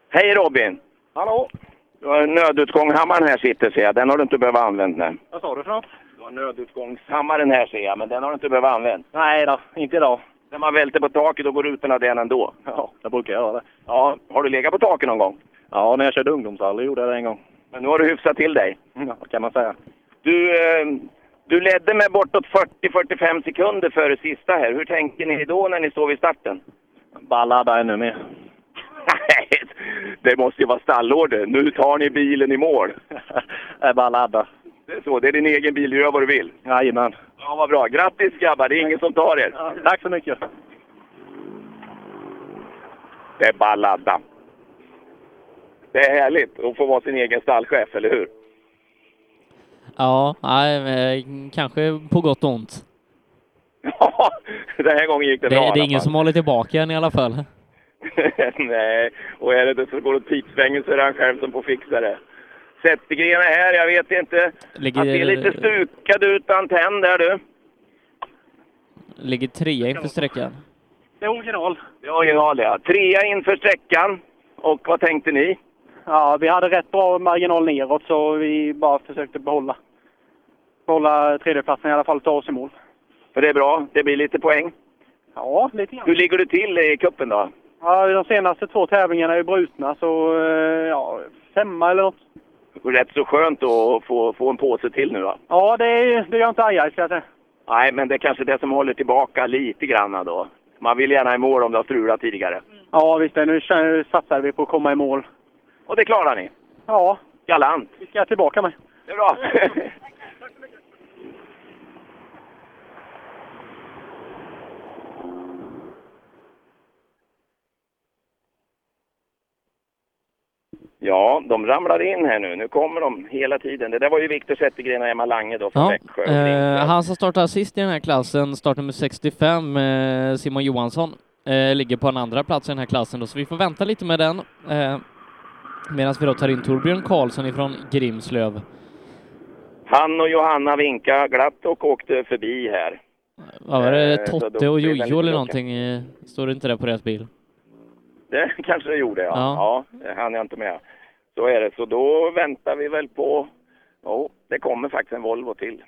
S26: Hej Robin!
S5: Hallå!
S26: Du har en nödutgånghammaren här sitter ser jag. Den har du inte behövt använda. Nej.
S5: Vad sa du för något?
S26: Du har nödutgångshammaren här ser jag, men den har du inte behövt använda.
S5: Nej då, inte idag.
S26: När man välter på taket då går rutorna den ändå.
S5: Ja, jag brukar göra det.
S26: Ja, har du legat på taket någon gång?
S5: Ja, när jag körde ungdomsrally gjorde jag det en gång.
S26: Men nu har du hyfsat till dig.
S5: Ja, vad kan man säga.
S26: Du, eh, du ledde med bortåt 40-45 sekunder före sista här. Hur tänker ni då när ni står vid starten?
S5: Bara ladda ännu mer.
S26: Nej, det måste ju vara stallorder. Nu tar ni bilen i mål.
S5: Det är bara ladda.
S26: Det är så, det är din egen bil. Du gör vad du vill.
S5: Jajamän.
S26: Ja, vad bra. Grattis grabbar, det är ingen som tar er.
S5: Tack så mycket.
S26: Det är bara ladda. Det är härligt att få vara sin egen stallchef, eller hur?
S10: Ja, nej, men eh, kanske på gott och ont.
S26: Ja, den här gången gick det,
S10: Det, det
S26: bra i
S10: är
S26: alla
S10: ingen
S26: fall.
S10: som håller tillbaka en i alla fall.
S26: Nej, och är det inte så går det åt pipsvängen så är det han själv som får fixa det. Zettergren är här, jag vet inte.
S10: Ligger-
S26: Han ser lite stukad ut, antenn där du.
S10: Ligger trea inför sträckan.
S26: Det är original. Det är original, ja. Trea inför sträckan. Och vad tänkte ni?
S17: Ja, vi hade rätt bra marginal neråt så vi bara försökte behålla, behålla tredjeplatsen i alla fall, ta oss i mål.
S26: För det är bra, det blir lite poäng.
S17: Ja, lite grann.
S26: Hur ligger du till i cupen då?
S17: Ja, de senaste två tävlingarna är ju brutna så eh, ja, femma eller något.
S26: Rätt så skönt att få, få en påse till nu va?
S17: Ja, det, är- det gör inte ajaj ska jag säga.
S26: Nej, men det är kanske det som håller tillbaka lite grann då. Man vill gärna i mål om det har strulat tidigare.
S17: Ja, visst det. Nu kör- nu satsar vi på att komma i mål.
S26: Och det klarar ni?
S17: Ja,
S26: Galant!
S17: vi ska tillbaka med.
S26: Det är bra! Ja, de ramlar in här nu. Nu kommer de hela tiden. Det där var ju Viktor Zettergren och Emma Lange då från
S10: Ja,
S26: Växjö.
S10: eh, han som startar sist i den här klassen, startnummer 65, eh, Simon Johansson, eh, ligger på en andra plats i den här klassen då, så vi får vänta lite med den. Eh, Medan vi då tar in Torbjörn Karlsson ifrån Grimslöv.
S26: Han och Johanna vinkade glatt och åkte förbi här.
S10: Vad var det?
S26: Eh, så då
S10: Totte
S26: blir
S10: och
S26: det lite
S10: Jojo eller
S26: lucka.
S10: någonting? eh, Står det inte det på deras bil?
S26: Det kanske det gjorde, ja.
S10: Ja.
S26: Ja, det hann jag inte med. Så är det. Så då väntar vi väl på... Jo, det kommer faktiskt en Volvo till.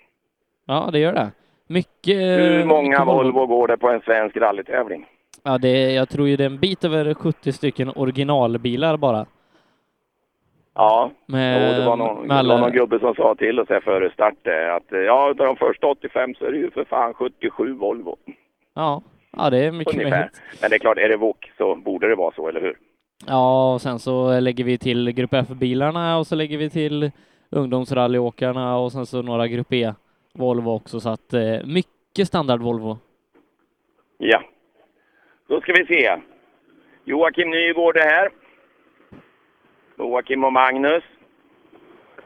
S10: Ja, det gör det. Mycket... eh,
S26: Hur många
S10: mycket
S26: Volvo går det på en svensk rallytävling?
S10: Ja, det, jag tror ju det är en bit över 70 stycken originalbilar bara.
S26: Ja,
S10: Med-
S26: jo, det, var någon,
S10: med
S26: det var
S10: alla-
S26: någon gubbe som sa till oss här före start eh, att eh, ja, utav de första 85 så är det ju för fan 77 Volvo.
S10: Ja, ja det är mycket
S26: Ungefär.
S10: möjligt.
S26: Men det är klart, är det VOK så borde det vara så, eller hur?
S10: Ja, och sen så lägger vi till Grupp F-bilarna och så lägger vi till ungdomsrallyåkarna och sen så några Grupp E-Volvo också, så att eh, mycket standard-Volvo.
S26: Ja. Då ska vi se. Joakim Nygård är här. Joakim och Magnus.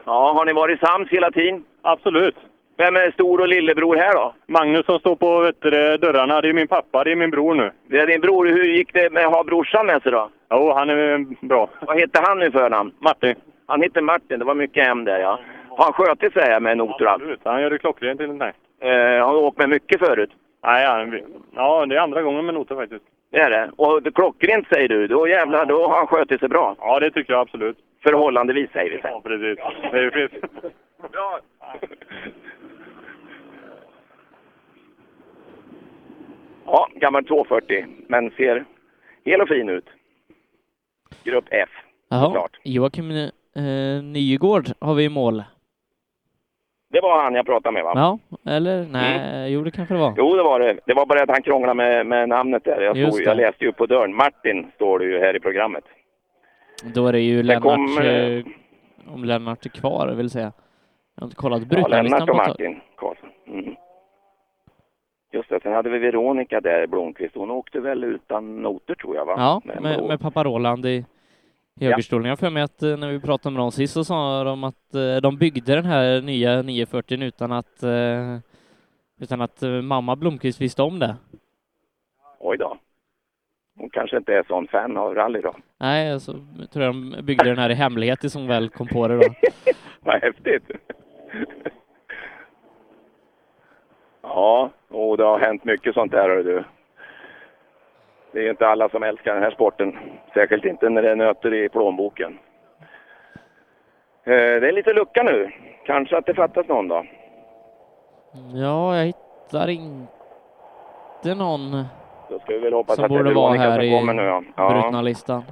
S26: Ja, har ni varit sams hela tiden?
S15: Absolut.
S26: Vem är stor och lillebror här då?
S15: Magnus som står på vet du, det, dörrarna, det är min pappa, det är min bror nu.
S26: Det är din bror. Hur gick det med att ha brorsan med sig då?
S15: Jo, han är eh, bra.
S26: Vad heter han nu för namn?
S15: Martin.
S26: Han heter Martin. Det var mycket M där ja. Har han skötit sig här med noter och allt?
S15: Absolut, han gör det klockrent enligt mig.
S26: Eh, har du åkt med mycket förut?
S15: Nej, han, ja, det är andra gången med noter faktiskt.
S26: Det är det. Och det- klockrent säger du. Då jävlar, då har han skötit sig bra.
S15: Ja, det tycker jag absolut.
S26: Förhållandevis säger vi sen.
S15: Ja, precis. Det är precis.
S26: Bra. Ja, gammal 240, men ser hel och fin ut. Grupp F.
S10: Jaha, Joakim eh, Nygård har vi i mål.
S26: Det var han jag pratade med va?
S10: Ja, eller? Nej,
S26: Mm.
S10: jo det kanske det var.
S26: Jo, det var det. Det var bara att han krånglade med, med namnet där. Jag,
S10: Just
S26: stod, jag
S10: det.
S26: läste ju på dörren. Martin står det ju här i programmet.
S10: Då är det ju Lennart,
S26: kommer-
S10: eh, om Lennart är kvar vill säga. Jag har inte kollat
S26: Ja,
S10: brytarlistan
S26: Lennart och
S10: på ett tag.
S26: Martin Karlsson. Mm. Just det, sen hade vi Veronica där, Blomqvist. Hon åkte väl utan noter tror jag va?
S10: Ja,
S26: Men
S10: med,
S26: då-
S10: med pappa Roland i i
S26: Ja.
S10: högerstolen. Jag har för mig att eh, när vi pratade med dem sist så sa de att eh, de byggde den här nya 940 utan att eh, utan att eh, mamma Blomqvist visste om det.
S26: Oj då. Hon kanske inte är sån fan av rally då.
S10: Nej, så tror jag de byggde den här i hemlighet tills hon väl kom på det då.
S26: Vad häftigt! Ja, och det har hänt mycket sånt där hör du. Det är ju inte alla som älskar den här sporten. Särskilt inte när det är nöter i plånboken. Eh, Det är lite lucka nu. Kanske att det fattas någon då.
S10: Ja, jag hittar inte någon
S26: Då ska vi väl hoppas
S10: som
S26: att det är
S10: borde vara
S26: Veronica
S10: här
S26: som
S10: i
S26: kommer nu ja.
S10: brutna
S26: ja
S10: listan.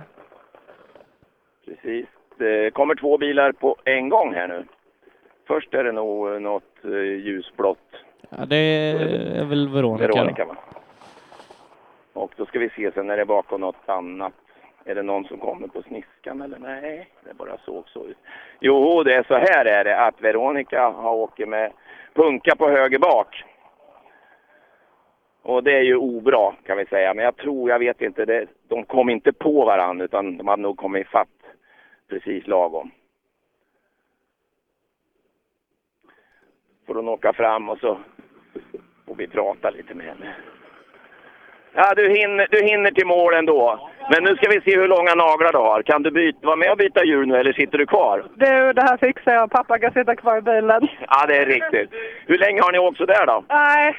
S26: precis. Det kommer två bilar på en gång här nu. Först är det nog eh, något eh, ljusblått
S10: Ja, det är väl Veronica. då.
S26: Veronica va? Och då ska vi se sen när det är bakom något annat. Är det någon som kommer på sniskan eller nej? Det bara såg så ut. Jo, det är så här är det att Veronica har åker med punka på höger bak. Och det är ju obra kan vi säga. Men jag tror, jag vet inte, det, de kom inte på varandra utan de hade nog kommit ifatt. precis lagom. Får hon åka fram och så får vi prata lite med henne. Ja, du hinner, du hinner till mål ändå. Men nu ska vi se hur långa naglar du har. Kan du byta, vara med och byta djur nu eller sitter du kvar?
S6: Du, det här fixar jag. Pappa kan sitta kvar i bilen.
S26: Ja, det är riktigt. Hur länge har ni åkt sådär då?
S6: Nej.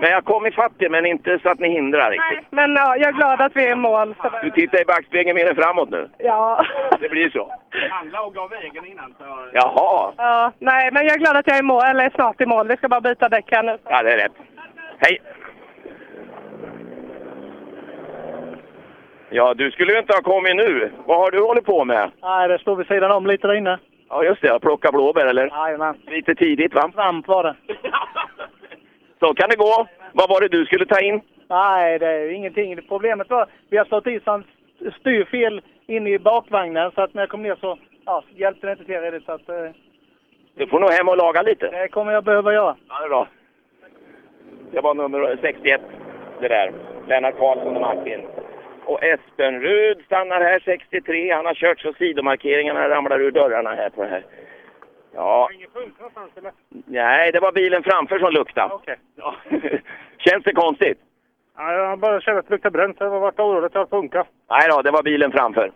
S26: Men jag kom ifatt er, men inte så att ni hindrar riktigt.
S6: Nej, men ja, jag är glad att vi är i mål. Så det,
S26: Du tittar i backspegeln mer än framåt nu.
S6: ja.
S26: Det blir så.
S20: Handla och gav vägen innan så...
S26: Jaha,
S6: ja. Nej, men jag är glad att jag är i mål, eller är snart i mål. Vi ska bara byta däck här nu.
S26: ja det är rätt. Hej! Ja, du skulle ju inte ha kommit nu. Vad har du hållit på med?
S8: Nej, det står vid sidan om lite där inne.
S26: Ja, just det. Plocka blåbär, eller?
S8: Jajamän.
S26: Lite tidigt, va?
S8: Svamp var det.
S26: Så kan det gå. Vad var det du skulle ta in?
S8: Nej, det är ju ingenting. Problemet var vi har slagit i så han styr fel in i bakvagnen så att när jag kom ner så ja, så hjälpte det inte till redigt. Så att, eh,
S26: Du får nog hem och laga lite.
S8: det kommer jag behöva göra.
S26: Ja, det är bra. Det var nummer 61, det där. Lennart Karlsson och Martin. Och Espen Rud stannar här 63. Han har kört så sidomarkeringarna ramlar ur dörrarna här på det här. Ja,
S20: Ingen punkt någonstans eller?
S26: nej, det var bilen framför som luktade.
S20: Okej. Ja.
S26: Känns det konstigt?
S20: ja, jag bara kände att det luktade bränt. Jag har varit orolig att det funkar.
S26: Nej då, det var bilen framför.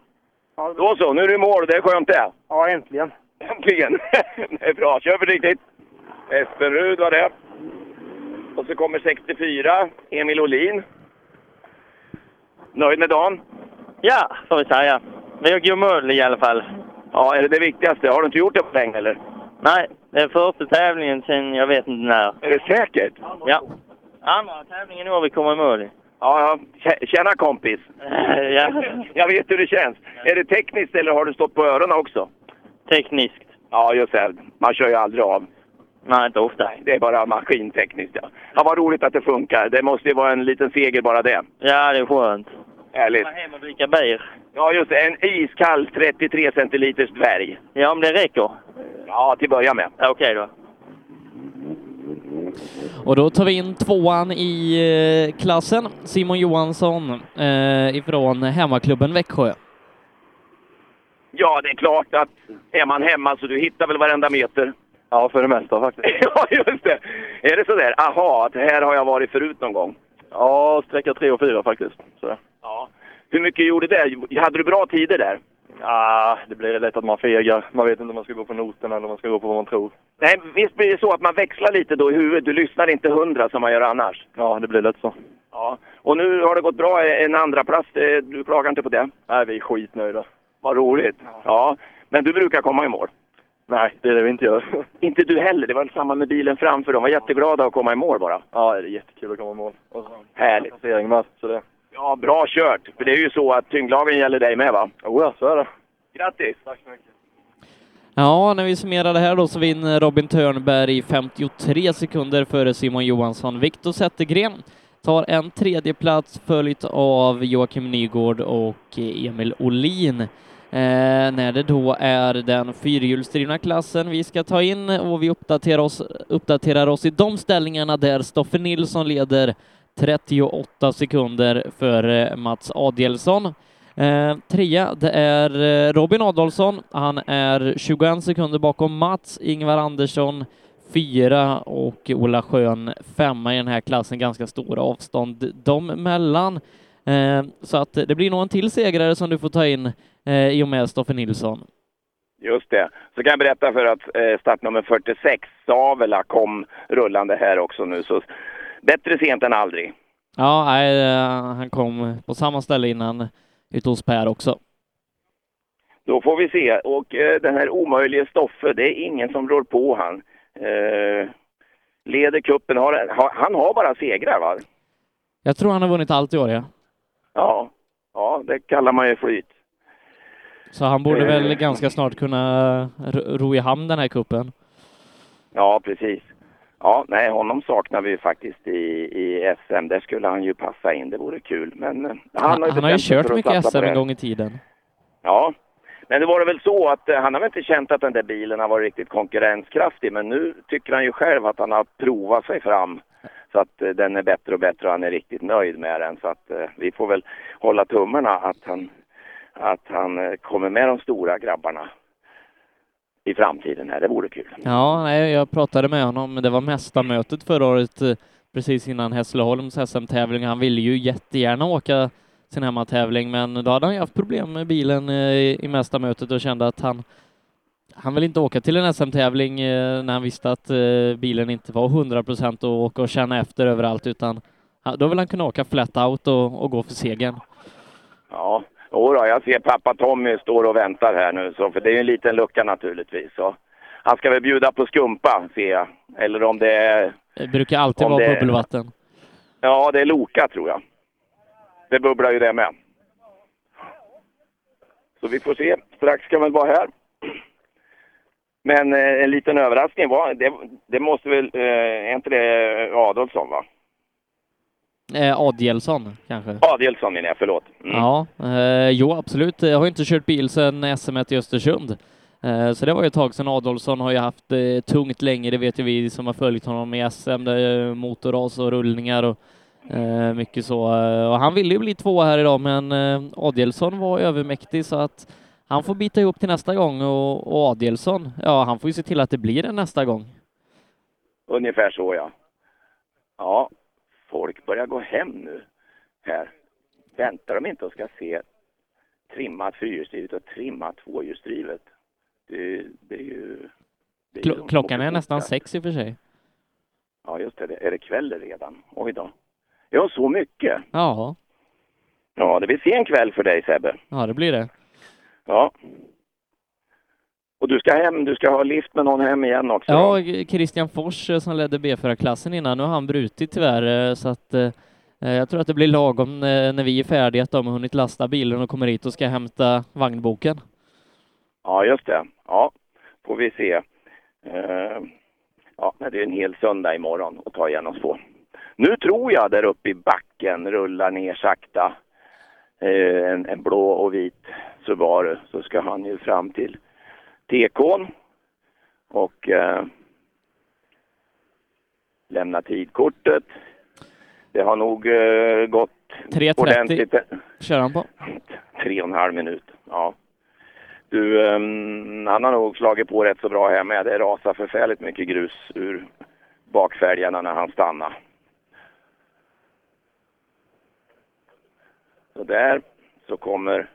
S26: Då så, nu är du i mål. Det är skönt det.
S20: Ja, äntligen.
S26: Äntligen! det är bra. Kör försiktigt. Espen Rud var det. Och så kommer 64, Emil Olin. Nöjd med dagen?
S19: Ja, får vi säga. Vi åker ju mål i alla fall.
S26: Ja, är det det viktigaste? Har du inte gjort det på länge eller?
S19: Nej, det är första tävlingen sen jag vet inte när.
S26: Är det säkert?
S19: Ja. Andra tävlingen i år vi kommer i mål i.
S26: Ja, ja. Tje- Tjena kompis!
S19: Ja.
S26: Jag vet hur det känns. Är det tekniskt eller har du stått på öronen också?
S19: Tekniskt.
S26: Ja, just det. Man kör ju aldrig av.
S19: Nej, inte ofta.
S26: Det är bara maskintekniskt. Ja. ja, vad roligt att det funkar. Det måste ju vara en liten seger bara det.
S19: Ja, det är skönt.
S26: Härligt.
S19: Komma hem och dricka bier.
S26: Ja, just det. En iskall 33 centiliters dvärg.
S19: Ja, om det räcker.
S26: Ja, till att börja med.
S19: Ja, Okej då.
S10: Och då tar vi in tvåan i eh, klassen, Simon Johansson eh, ifrån hemmaklubben Växjö.
S26: Ja, det är klart att är man hemma så du hittar väl varenda meter.
S13: Ja, för det mesta faktiskt.
S26: Ja, just det. Är det sådär, aha, att här har jag varit förut någon gång?
S13: Ja, sträcka tre och fyra faktiskt. Så.
S26: Ja. Hur mycket gjorde det? Hade du bra tider där?
S13: Ja, det blir lätt att man fegar. Man vet inte om man ska gå på noterna eller om man ska gå på vad man tror.
S26: Nej, visst blir det så att man växlar lite då i huvudet? Du lyssnar inte hundra som man gör annars.
S13: Ja, det blir lätt så.
S26: Ja. Och nu har det gått bra, en andra plats. eh, Du klagar inte på det?
S13: Nej, vi är skitnöjda.
S26: Vad roligt. Ja. Men du brukar komma i mål?
S13: Nej, det är det vi inte gör.
S26: Inte du heller. Det var samma med bilen framför. De var jätteglada att komma i mål bara.
S13: ja, det är jättekul att komma i mål. Och så
S26: Härligt.
S13: placering med, så det...
S26: Ja, bra kört. För det är ju så att tyngdlagen gäller dig med va?
S13: Jo, ja, så är det.
S26: Grattis!
S13: Tack så mycket.
S10: Ja, när vi summerar det här då så vinner Robin Törnberg i 53 sekunder före Simon Johansson. Viktor Zettergren tar en tredje plats följt av Joakim Nygård och eh, Emil Olin. Eh, när det då är den fyrhjulsdrivna klassen vi ska ta in och vi uppdaterar oss, uppdaterar oss i de ställningarna där Stoffe Nilsson leder 38 sekunder före Mats Adielsson. Eh, trea, det är eh, Robin Adolfsson. Han är 21 sekunder bakom Mats. Ingvar Andersson fyra och Ola Schön femma i den här klassen. Ganska stora avstånd de mellan. Eh, så att det blir nog en till segrare som du får ta in eh, i och med Stoffe Nilsson.
S26: Just det. Så kan jag berätta för att eh, startnummer 46, Savela, kom rullande här också nu. Så bättre sent än aldrig.
S10: Ja, nej, eh, han kom på samma ställe innan ute hos Per också.
S26: Då får vi se. Och eh, den här omöjliga Stoffe, det är ingen som rår på han. Eh, leder kuppen. Har, har, han har bara segrar va?
S10: Jag tror han har vunnit allt i år, ja.
S26: Ja. Ja, det kallar man ju flyt.
S10: Så han borde väl
S26: Eh.
S10: ganska snart kunna eh, ro ro i hamn den här kuppen.
S26: Ja, precis. Ja, nej, honom saknar vi ju faktiskt i, i SM. Där skulle han ju passa in. Det vore kul. Men eh,
S10: Han, han har ju
S26: bestämt sig
S10: kört
S26: för att
S10: mycket
S26: satsa på
S10: SM
S26: det
S10: en
S26: här.
S10: gång i tiden.
S26: Ja, men det var det väl så att eh, han har väl inte känt att den där bilen har varit riktigt konkurrenskraftig. Men nu tycker han ju själv att han har provat sig fram. Så att eh, den är bättre och bättre och han är riktigt nöjd med den. Så att eh, vi får väl hålla tummarna att han att han eh, kommer med de stora grabbarna i framtiden här. Det vore kul.
S10: Ja, nej, jag pratade med honom, men det var mästarmötet förra året eh, precis innan Hässleholms SM-tävling. Han ville ju jättegärna åka sin hemmatävling, men då hade han ju haft problem med bilen eh, i i mästarmötet och kände att han han vill inte åka till en SM-tävling eh, när han visste att eh, bilen inte var 100 procent och åka och känna efter överallt, utan ja, då vill han kunna åka flat out och, och gå för segern.
S26: Ja, jo då, jag ser pappa Tommy står och väntar här nu, så, för det är ju en liten lucka naturligtvis. Så. Han ska väl bjuda på skumpa, ser jag. Eller om det är...
S10: Det brukar alltid
S26: Om
S10: vara
S26: det-
S10: bubbelvatten.
S26: Ja, det är Loka, tror jag. Det bubblar ju det med. Så vi får se. Strax ska väl vara här. Men eh, en liten överraskning var... Det, det måste väl... Eh, är inte det eh, Adolfsson, va?
S10: Eh, Adelsson kanske?
S26: Adelsson menar jag, förlåt.
S10: Ja, eh, jo absolut. Jag har inte kört bil sedan SM i Östersund. Eh, så det var ju ett tag sedan. Adolfsson har ju haft eh, tungt länge, det vet ju vi som har följt honom i SM. Det är motorras och rullningar och eh, mycket så. Eh, Och han ville ju bli två här idag, men eh, Adelsson var övermäktig så att han får bita ihop till nästa gång och, och Adelsson, ja han får ju se till att det blir en nästa gång.
S26: Ungefär så, ja. Ja, folk börjar gå hem nu här. Väntar de inte och ska se trimmat fyrhjulsdrivet och trimmat tvåhjulsdrivet? Det, det är ju... det är ju
S10: Klo- klockan är nästan sex i och för sig.
S26: Ja, just det. Är det kväll redan? Oj då. Ja, så mycket.
S10: Ja,
S26: Ja, det blir sen kväll för dig, Sebbe.
S10: ja det blir det.
S26: Ja. Och du ska hem, du ska ha lift med någon hem igen också.
S10: Ja, Christian Fors eh, som ledde B4-klassen innan, nu har han brutit tyvärr, eh, så att eh, jag tror att det blir lagom eh, när vi är färdiga att de har hunnit lasta bilen och kommer hit och ska hämta vagnboken.
S26: Ja, just det. Ja, får vi se. Eh, ja, men det är en hel söndag imorgon att ta igen oss på. Nu tror jag där uppe i backen rullar ner sakta eh, en, en blå och vit Subaru. Så ska han ju fram till TK'n och eh, lämna tidkortet. Det har nog eh, gått
S10: 3.30
S26: ordentligt.
S10: kör han på.
S26: Tre och en halv minut, ja. Du, ehm, han har nog slagit på rätt så bra här med. Det rasar förfärligt mycket grus ur bakfälgarna när han stannar. Så där, så kommer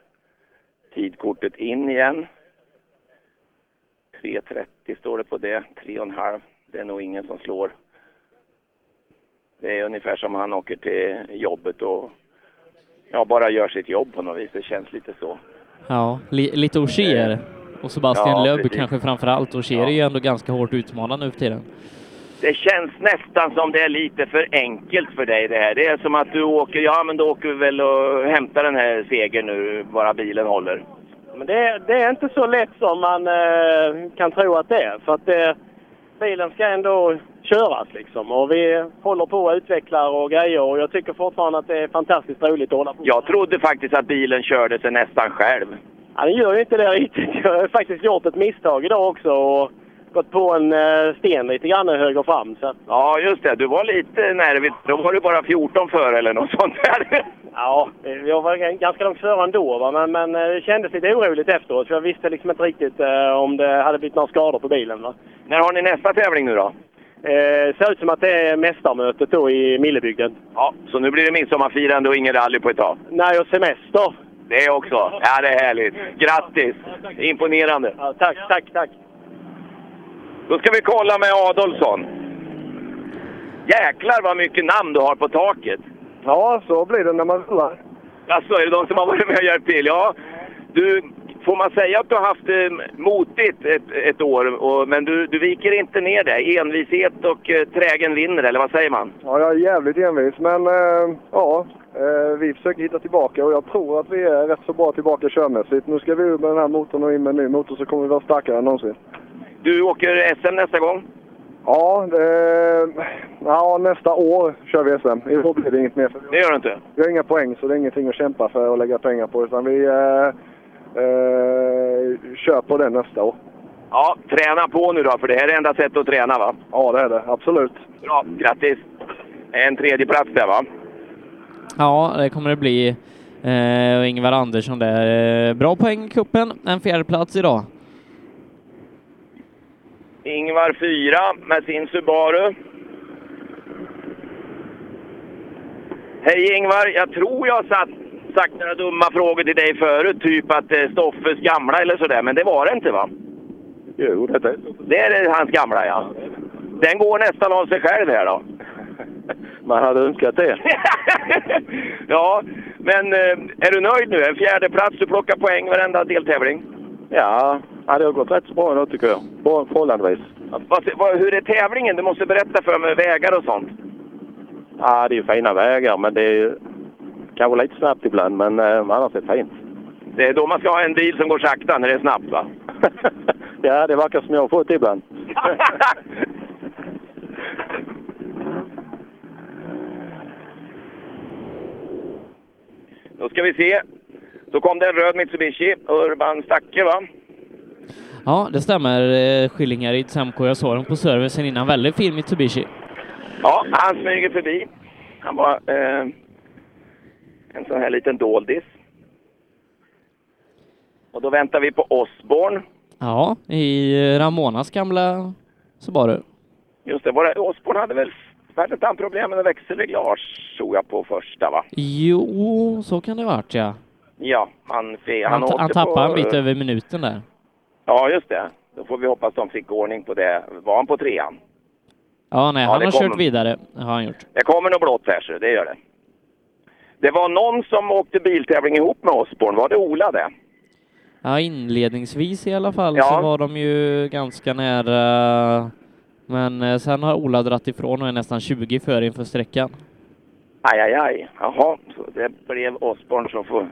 S26: tidkortet in igen. 3.30 står det på det, Tre och en halv. Det är nog ingen som slår. Det är ungefär som han åker till jobbet och ja, bara gör sitt jobb på något vis. Det känns lite så.
S10: Ja, li- lite Ogier och Sebastian
S26: Eh, Ja,
S10: Löb
S26: precis.
S10: kanske framför allt. Ogier är ju ändå ganska hårt utmanad nu för tiden.
S26: Det känns nästan som det är lite för enkelt för dig det här. Det är som att du åker, ja men då åker vi väl och hämtar den här segern nu, bara bilen håller.
S12: Men det, det är inte så lätt som man eh, kan tro att det är. För att eh, bilen ska ändå köras liksom. Och vi håller på och utvecklar och grejer. Och jag tycker fortfarande att det är fantastiskt roligt att hålla på.
S26: Jag trodde faktiskt att bilen körde sig nästan själv.
S12: Ja, den gör ju inte det riktigt. Jag har faktiskt gjort ett misstag idag också. Och gått på en eh, sten lite grann höger fram. Så att,
S26: Ja, just det. Du var lite nervig. Då var du bara 14 före eller något sånt där.
S12: ja, jag var g- ganska långt före ändå. Va? Men, men eh, det kändes lite oroligt efteråt. För jag visste liksom inte riktigt eh, om det hade blivit några skador på bilen. Va?
S26: När har ni nästa tävling nu då?
S12: Eh, ser ut som att det är mästarmötet då i Millebygden.
S26: Ja, så nu blir det midsommarfirande och ingen rally på ett tag.
S12: Nej, och semester.
S26: Det också. Ja, det är härligt. Grattis! Imponerande.
S12: tack, tack, tack.
S26: Då ska vi kolla med Adolfsson. Jäklar vad mycket namn du har på taket.
S16: Ja, så blir det när man rullar.
S26: Alltså är det de som har varit med och hjälpt till? Ja. Du, får man säga att du har haft eh, motigt ett, ett år, och, men du, du viker inte ner dig. Envishet och eh, trägen vinner, eller vad säger man?
S16: Ja, jag är jävligt envis, men eh, ja, eh, vi försöker hitta tillbaka och jag tror att vi är rätt så bra tillbaka körmässigt. Nu ska vi ur med den här motorn och in med en ny motor så kommer vi vara starkare än någonsin.
S26: Du åker SM nästa gång?
S16: Ja, det, ja, nästa år kör vi SM. I år blir det inget mer. för
S26: Det gör du inte?
S16: Vi har inga poäng, så det är ingenting att kämpa för och lägga pengar på. Utan vi eh, eh, kör på det nästa år.
S26: Ja, träna på nu då, för det här är enda sättet att träna va?
S16: Ja, det är det. Absolut.
S26: Bra, grattis! En tredje plats där va?
S10: Ja, det kommer det bli. Eh, Eh, och Ingvar Andersson där. Eh, bra poäng i cupen. En fjärde plats idag.
S26: Ingvar fyra med sin Subaru. Hej Ingvar! Jag tror jag satt, sagt några dumma frågor till dig förut, typ att eh, Stoffes gamla eller sådär, men det var det inte va?
S15: Jo, detta är
S26: Det är hans gamla ja. Den går nästan av sig själv här då.
S15: Man hade önskat det.
S26: ja, men eh, är du nöjd nu? En fjärde plats, du plockar poäng varenda deltävling.
S15: Ja, ja, det har gått rätt så bra idag tycker jag. Bra, förhållandevis.
S26: Vad, vad, hur är tävlingen? Du måste berätta för mig, vägar och sånt.
S15: Ja, det är fina vägar, men det är kanske lite snabbt ibland, men eh, annars är det fint.
S26: Det är då man ska ha en bil som går sakta, när det är snabbt va?
S15: Ja, det verkar som jag har fått det ibland.
S26: Då ska vi se. Då kom det en röd Mitsubishi, Urban Stacke va?
S10: Ja, det stämmer. Eh, Skillingaryd Semco. Jag såg dem på servicen innan. Väldigt fin Mitsubishi.
S26: Ja, han smyger förbi. Han var eh, en sån här liten doldis. Och då väntar vi på Osborn.
S10: Ja, i eh, Ramonas gamla Subaru.
S26: Just det, var det Osborn hade väl hade inte han problem med växelreglage tror jag på första va?
S10: Jo, så kan det ha varit ja.
S26: Ja, han, fe,
S10: Han, han,
S26: åkte på-
S10: tappade en bit över minuten där.
S26: Ja, just det. Då får vi hoppas de fick ordning på det. Var han på trean?
S10: Ja, nej,
S26: Ja,
S10: han
S26: det
S10: har
S26: kommer.
S10: kört vidare. Det har han gjort.
S26: Det kommer nog blått här, så det gör det. Det var någon som åkte biltävling ihop med Osborn. Var det Ola det?
S10: Ja, inledningsvis i alla fall
S26: Ja.
S10: så var de ju ganska nära. Men eh, sen har Ola dratt ifrån och är nästan 20 före inför sträckan.
S26: Aj, aj, aj. Jaha, så det blev Osborn som får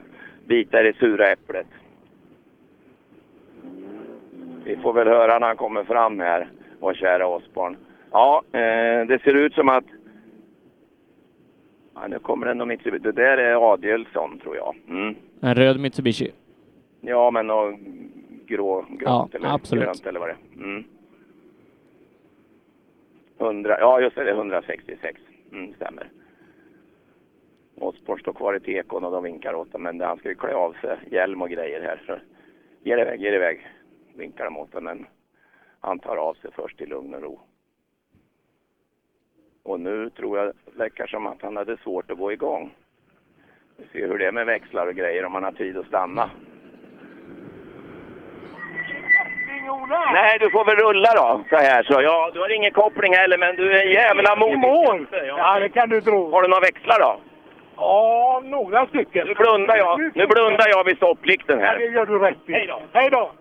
S26: bita i det sura äpplet. Vi får väl höra när han kommer fram här, vår kära Osborn. Ja, eh, det ser ut som att... Ja, nu kommer det nog mitt Det där är Adielsson, tror jag. Mm.
S10: En röd Mitsubishi.
S26: Ja, men och grå, grönt
S10: Ja,
S26: eller
S10: absolut.
S26: grönt eller vad det är. Mm. 100, ja, just det, det är 166. Mm, stämmer. Osborn står kvar i tekon och de vinkar åt honom, men han ska ju klä av sig hjälm och grejer här. Så ge det iväg, ge det iväg, vinkar de åt honom, men han tar av sig först i lugn och ro. Och nu tror jag, verkar som att han hade svårt att gå igång. Vi ser hur det är med växlar och grejer, om han har tid att stanna. Nej, du får väl rulla då, så här. Så, ja, du har ingen koppling heller, men du är en jävla motor. Ja, det kan du tro. Har du några växlar då?
S20: Ja, några stycken.
S26: Nu blundar jag, nu blundar jag vid stopplikten
S20: Ja,
S26: här.
S20: det gör du rätt i. Hej då. Hej då.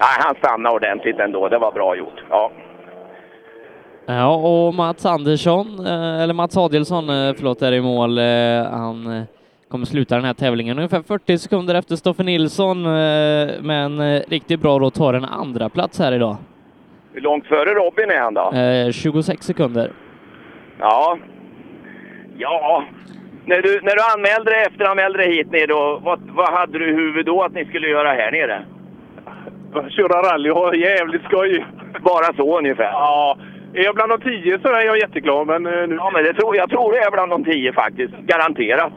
S26: Nej, han stannade ordentligt ändå. Det var bra gjort. Ja.
S10: Ja, och Mats Andersson, eh, eller Mats Adielsson, eh, förlåt, är i mål. Eh, Han eh, kommer sluta den här tävlingen ungefär 40 sekunder efter Stoffe Nilsson, eh, men eh, riktigt bra då tar en andra plats här idag.
S26: Hur långt före Robin är han då?
S10: Eh, 26 sekunder.
S26: Ja. Ja. När du, när du anmälde dig, efteranmälde dig hit ner då, vad, vad hade du i huvudet då att ni skulle göra här nere?
S14: Köra rally och ha jävligt skoj.
S26: Bara så ungefär?
S14: Ja. Är jag bland de tio så är jag jätteglad, men eh, nu...
S26: Ja, men det tror, jag tror det är bland de tio faktiskt. Garanterat.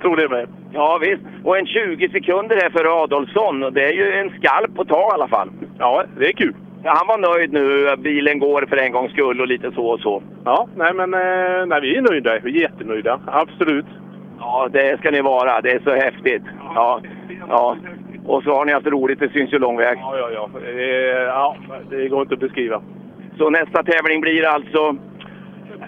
S14: Tror det med.
S26: Ja, visst. Och en 20 sekunder här för Adolfsson. Och det är ju en skalp att ta i alla fall.
S14: Ja, det är kul.
S26: Ja, han var nöjd nu. Bilen går för en gångs skull och lite så och så.
S14: Ja, nej men eh, nej, vi är nöjda. Vi är jättenöjda. Absolut.
S26: Ja, det ska ni vara. Det är så häftigt. Ja. ja. Och så har ni haft roligt. Det syns ju lång väg.
S14: Ja, ja, ja. Eh, ja det går inte att beskriva.
S26: Så nästa tävling blir alltså?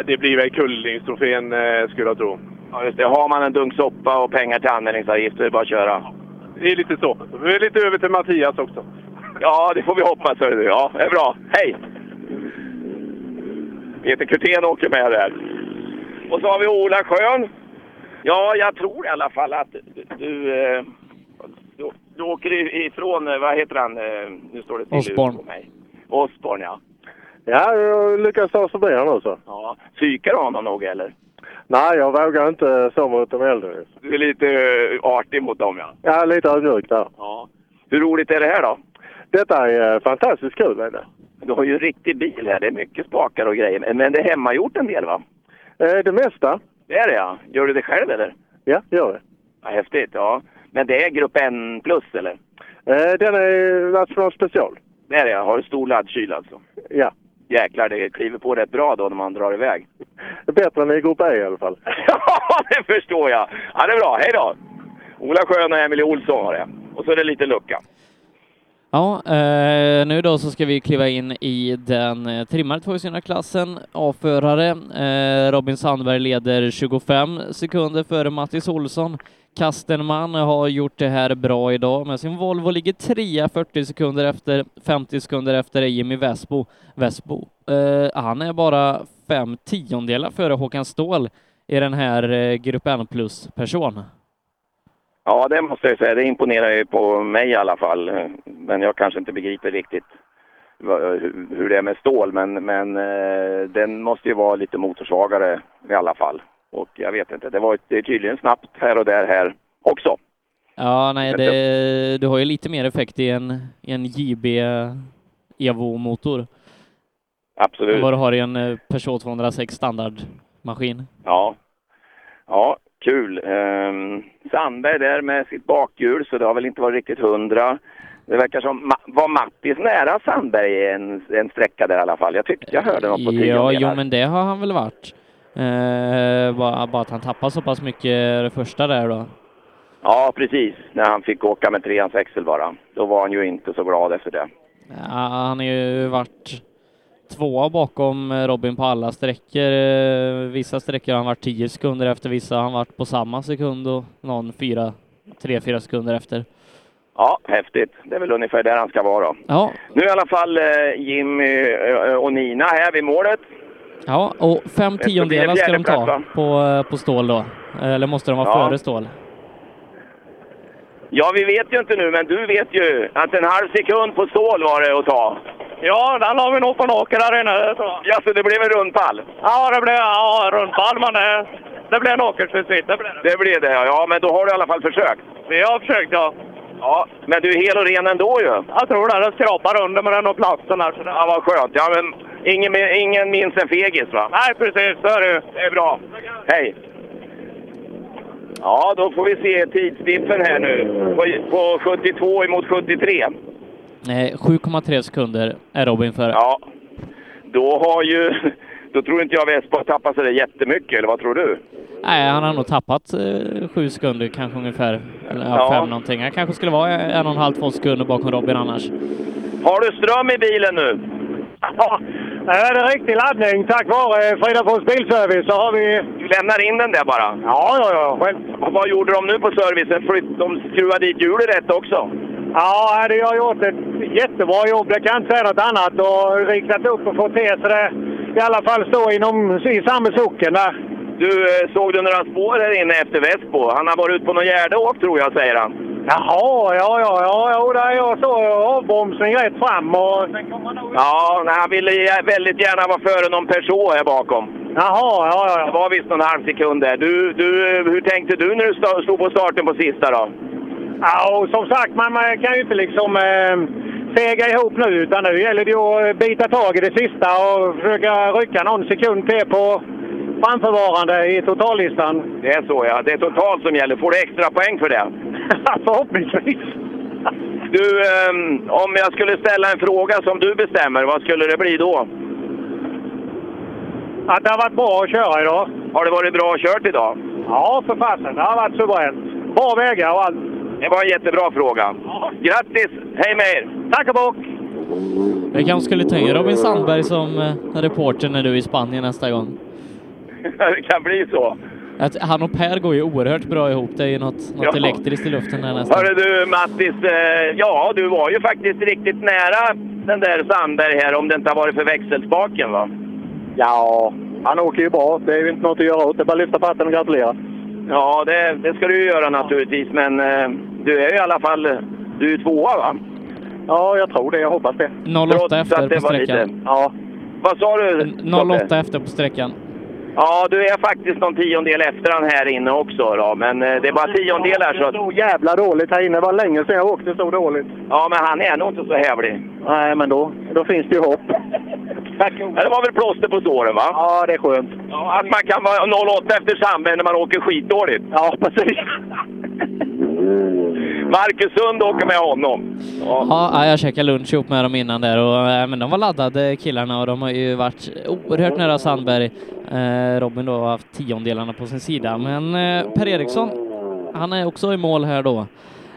S14: Det blir väl Kullingstrofén eh, skulle jag tro.
S26: Ja, just det. Har man en dunk soppa och pengar till anmälningsavgift så är det bara att köra.
S14: Det är lite så. Vi är lite över till Mattias också.
S26: Ja, det får vi hoppas. hörru du. Ja, det är bra. Hej! Peter Kurtén åker med där. Och så har vi Ola Schön. Ja, jag tror i alla fall att du... Du, eh, du, du åker i- ifrån... eh, Vad heter han? eh, Nu står det till
S16: Osborn.
S26: på mig. Osborn, ja.
S16: Ja, jag lyckas ta oss förbi honom så.
S26: ja. Psykar du honom nog, eller?
S16: Nej, jag vågar inte så mot de äldre.
S26: Du är lite eh, artig mot dem, ja.
S16: Jag är lite ödmjuk där.
S26: ja. Hur roligt är det här då?
S16: Detta är eh, fantastiskt kul. Är det?
S26: Du har ju en riktig bil här. Det är mycket spakar och grejer. Men det är hemmagjort en del, va?
S16: Eh, det mesta.
S26: Det är det ja. Gör du det själv eller?
S16: Ja, det gör det.
S26: Ja, häftigt, ja. Men det är grupp N plus eller?
S16: Eh, den är National Special.
S26: Det är det ja. Har du stor laddkyl alltså?
S16: Ja.
S26: Jäklar, det kliver på rätt bra då när man drar iväg.
S16: Bättre än i Grupp E i alla fall.
S26: Ja, det förstår jag. Ja, det är bra. Hej då! Ola Schön och Emil Olsson har det. Och så är det lite lucka.
S10: Ja, eh, nu då så ska vi kliva in i den eh, trimmade 200-klassen, A-förare. Eh, Robin Sandberg leder 25 sekunder före Mattis Olsson. Kastenman har gjort det här bra idag med sin Volvo, ligger trea 40 sekunder efter, 50 sekunder efter är Jimmy Vesbo. Vesbo, eh, han är bara fem tiondelar före Håkan Ståhl i den här eh, Grupp N plus-person.
S26: Ja, det måste jag säga. Det imponerar ju på mig i alla fall. Men jag kanske inte begriper riktigt vad- hur- hur det är med stål. Men, men eh, den måste ju vara lite motorsvagare i alla fall. Och jag vet inte, det var ett- det är tydligen snabbt här och där här också.
S10: Ja, nej, det, du har ju lite mer effekt i en, i en JB Evo-motor än
S26: Absolut.
S10: vad du har i en eh, Peugeot 206 standardmaskin.
S26: Ja. Ja, kul. Ehm, Sandberg där med sitt bakhjul, så det har väl inte varit riktigt hundra. Det verkar som, Ma- var Mattis nära Sandberg en, en sträcka där i alla fall? Jag tyckte jag hörde något på
S10: Ja,
S26: tiondelen.
S10: jo, men det har han väl varit. Eh, bara, bara att han tappar så pass mycket det första där då.
S26: Ja, precis. När han fick åka med treans växel bara. Då var han ju inte så glad efter det.
S10: Ja, han har ju varit tvåa bakom eh, Robin på alla sträckor. Eh, Vissa sträckor har han varit tio sekunder efter, vissa har han varit på samma sekund och någon fyra, tre, fyra sekunder efter.
S26: Ja, häftigt. Det är väl ungefär där han ska vara då.
S10: Ja,
S26: Nu i alla fall eh, Jimmy eh, och Nina här vid målet.
S10: Ja, och fem
S26: blir det
S10: tiondelar ska de
S26: fjärdeplats,
S10: ta
S26: va?
S10: på, på stål då. Eh, Eller måste de vara
S26: Ja.
S10: före stål?
S26: Ja, vi vet ju inte nu, men du vet ju att en halv sekund på stål var det att ta.
S12: Ja, den har vi nog på en åker inne, tror jag.
S26: Ja, så det blev en rundpall?
S12: Ja, det blev ja, rundpall, men det, det blev en åkersfrisit. Det blev det.
S26: Det blev det, ja. ja. Men då har du i alla fall försökt.
S12: Vi har försökt, ja.
S26: Ja, men du är hel och ren ändå ju.
S12: Jag tror det. Den skrapar under, men den har platsen här. Så det...
S26: Ja, vad skönt. Ja, men ingen, ingen minns en fegis, va?
S12: Nej, precis. Så är det ju.
S26: Det är bra. Hej! Ja, då får vi se tidsdiffen här nu. På, på 72 emot 73.
S10: Nej, 7,3 sekunder är Robin före.
S26: Ja. Då har ju... Då tror inte jag Vespa har tappat sådär jättemycket, eller vad tror du?
S10: Nej, han har nog tappat eh, sju sekunder kanske ungefär. Eller ja,
S26: Ja.
S10: fem någonting. Han kanske skulle vara en och en halv, två sekunder bakom Robin annars.
S26: Har du ström i bilen nu?
S12: Ja, det är en riktig laddning. Tack vare Fridafors Bilservice så har vi...
S26: Du lämnar in den där bara?
S12: Ja, ja, ja. Själv.
S26: Och vad gjorde de nu på servicen? Flytt, de skruvade dit hjulet rätt också?
S12: Ja, det har gjort ett jättebra jobb. Det kan jag inte säga något annat. Och riktat upp och fått till så det i alla fall står inom, i samma socken där.
S26: Du, eh, såg du några spår här inne efter Vespo? Han har varit ute på någon gärdeåk tror jag, säger han.
S12: Jaha, ja, ja, ja, ja där jag såg avbromsning rätt fram och...
S26: Ja, nej, han ville gär- väldigt gärna vara före någon person här bakom.
S12: Jaha, ja, ja,
S26: Det var visst någon halv sekund där. Du, du, eh, hur tänkte du när du sta- stod på starten på sista då?
S12: Ja, och som sagt, man, man kan ju inte liksom eh, fega ihop nu utan nu gäller det ju att bita tag i det sista och försöka rycka någon sekund till på framförvarande i totallistan.
S26: Det är så ja, det är totalt som gäller. Får du extra poäng för det?
S12: Förhoppningsvis.
S26: Du, ehm, om jag skulle ställa en fråga som du bestämmer, vad skulle det bli då?
S12: Att det har varit bra att köra idag.
S26: Har det varit bra kört idag?
S12: Ja, för fasen. Det har varit suveränt. Bra vägar och allt.
S26: Det var en jättebra fråga. Grattis! Hej med er!
S12: Tack och bock!
S10: Vi kanske skulle ta in Robin Sandberg som eh, reporter när du är i Spanien nästa gång.
S26: det kan bli så.
S10: Att han och Per går ju oerhört bra ihop. Det är ju något, något
S26: Ja.
S10: elektriskt i luften där nästan.
S26: Hörru du Mattis, eh, ja du var ju faktiskt riktigt nära den där Sandberg här om det inte har varit för växelspaken va?
S12: Ja,
S26: han åker ju bra. Det är ju inte något att göra åt. Det är bara lyfta på hatten och gratulera. Ja, det, det ska du ju göra naturligtvis, men eh, du är ju i alla fall du är tvåa va?
S12: Ja, jag tror det. Jag hoppas det.
S10: 08 efter på sträckan.
S26: ja. Vad sa du? Lotte?
S10: 08 efter på sträckan.
S26: Ja, du är faktiskt någon tiondel efter han här inne också då, men eh, det är bara tiondelar så att...
S12: Så jävla dåligt här inne. Det var länge sedan jag åkte så dåligt.
S26: Ja, men han är nog inte så hävlig.
S12: Nej, men då, då finns det ju hopp.
S26: Ja, Det var väl plåster på såren, va? Ja, det är skönt. Ja, att man kan vara 08 efter Sandberg när man åker skitdåligt. Ja, precis. Marcus Sund åker med honom.
S10: Ja, jag käkade lunch ihop med dem innan där och eh, men de var laddade killarna och de har ju varit oerhört nära Sandberg. Eh, Robin då har haft tiondelarna på sin sida, men eh, Per Eriksson, han är också i mål här då.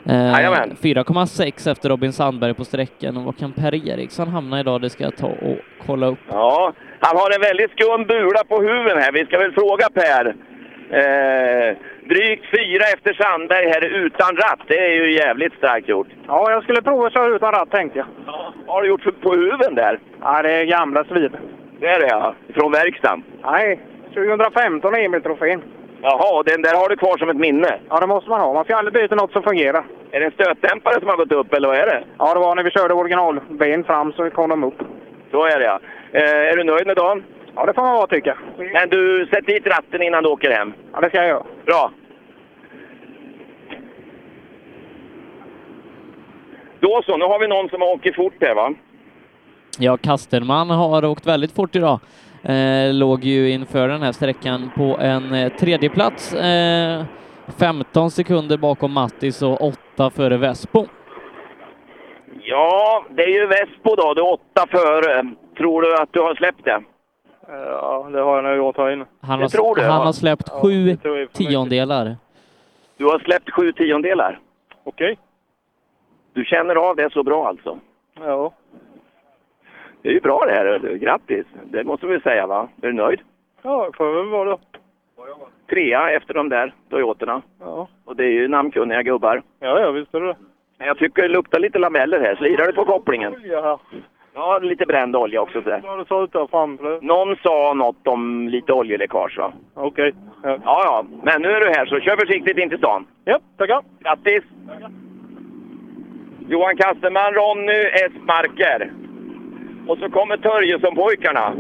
S10: Eh, 4,6 efter Robin Sandberg på sträckan och vad kan Per Eriksson hamna idag? Det ska jag ta och kolla upp.
S26: Ja, han har en väldigt skum bula på huven här. Vi ska väl fråga Per. Eh, drygt fyra efter Sandberg här utan ratt. Det är ju jävligt starkt gjort.
S30: Ja, jag skulle prova att köra utan ratt tänkte jag.
S26: Vad har du gjort för- på huven där?
S30: Ja, det är gamla svid.
S26: Det är det ja, från verkstaden.
S30: Nej, 2015 är Emil-trofén.
S26: Jaha, den där har du kvar som ett minne.
S30: Ja, det måste man ha. Man får aldrig byta något som fungerar.
S26: Är det en stötdämpare som har gått upp eller vad är det?
S30: Ja, det var när vi körde originalben fram så kom de upp.
S26: Så är det ja. Eh, är du nöjd med dagen?
S30: Ja, det får man vara tycker jag.
S26: Men du, sätt dit ratten innan du åker hem.
S30: Ja, det ska jag göra.
S26: Bra. Då så, nu har vi någon som åker fort här va?
S10: Ja, Kastenman har åkt väldigt fort idag. Eh, låg ju inför den här sträckan på en eh, tredjeplats. Eh, 15 sekunder bakom Mattis och 8 före Vespo.
S26: Ja, det är ju Vespo då. Du är åtta före. Tror du att du har släppt det?
S19: Ja, det har jag nog gjort här inne.
S10: Han,
S26: Det
S10: har,
S26: tror du,
S10: han
S26: va?
S10: har släppt
S26: Ja,
S10: sju
S26: det tror jag är för mycket.
S10: tiondelar.
S26: Du har släppt sju tiondelar.
S19: Okej.
S26: Du känner av det så bra alltså?
S19: Ja.
S26: Det är ju bra det här. du. Grattis! Det måste vi säga va? Är du nöjd?
S19: Ja, får väl vara då.
S26: Trea efter de där Toyotorna.
S19: Ja.
S26: Och det är ju namnkunniga gubbar.
S19: Ja, ja, visst är det
S26: Men Jag tycker det luktar lite lameller här. Slirar du på kopplingen?
S19: Olja här.
S26: Ja, lite bränd olja också. Så där.
S19: Vad du sa ut där framför.
S26: Någon sa något om lite oljeläckage va?
S19: Okej. Ja.
S26: Ja, ja. Men nu är du här så kör försiktigt in till stan.
S19: Ja, tackar.
S26: Grattis! Johan Kastenman, Ronny Esmarker. Och så kommer Törjesson-pojkarna.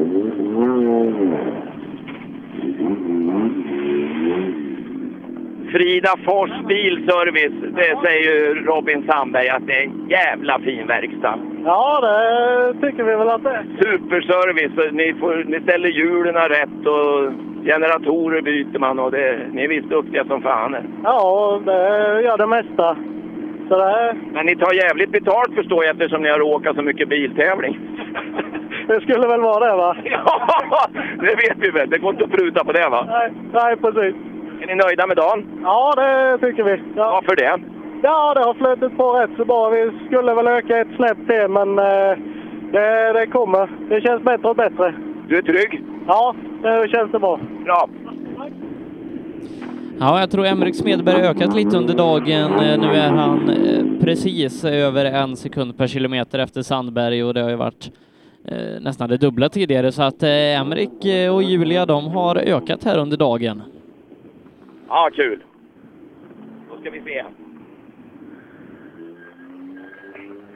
S26: Frida Fors Bilservice, det säger ju Robin Sandberg att det är en jävla fin verkstad.
S12: Ja, det tycker vi väl att det är.
S26: Superservice, ni, får, ni ställer hjulen rätt och generatorer byter man och det, ni är visst duktiga som fan.
S12: Ja, det gör det mesta. Så det,
S26: Men ni tar jävligt betalt förstår jag eftersom ni har åkat så mycket biltävling.
S12: det skulle väl vara det va?
S26: Ja, det vet vi väl. Det går inte att pruta på det va?
S12: Nej, nej precis.
S26: Är ni nöjda med dagen?
S12: Ja, det tycker vi. Ja.
S26: Varför det?
S12: ja, det har flutit på rätt så bra. Vi skulle väl öka ett snäpp till, men eh, det, det kommer. Det känns bättre och bättre.
S26: Du är trygg?
S12: Ja, nu känns det bra.
S26: Bra.
S10: Ja, jag tror Emrik Smedberg har ökat lite under dagen. Eh, Nu är han eh, precis över en sekund per kilometer efter Sandberg och det har ju varit eh, nästan det dubbla tidigare så att eh, Emrik eh, och Julia de har ökat här under dagen.
S26: Ja, kul. Då ska vi se.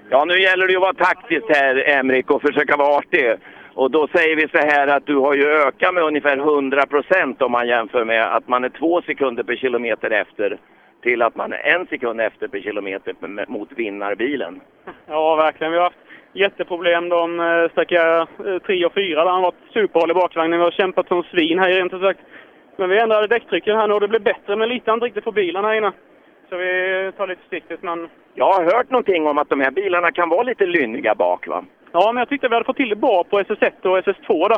S26: Ja, nu gäller det ju att vara taktisk här, Emrik, och försöka vara artig. Och då säger vi så här att du har ju ökat med ungefär 100 procent om man jämför med att man är två sekunder per kilometer efter till att man är en sekund efter per kilometer m- mot vinnarbilen.
S20: Ja, verkligen. Vi har haft jätteproblem de eh, sträcka 3 och 4 där han varit superhåll i bakvagnen. Vi har kämpat som svin här rent ut sagt. Men vi ändrade däcktrycken här nu och det blev bättre, men lite inte riktigt på bilen här inne. Så vi tar lite försiktigt, men...
S26: Jag har hört någonting om att de här bilarna kan vara lite lynniga bak, va?
S20: Ja, men jag tyckte vi hade fått till det bra på SS1 och SS2 då.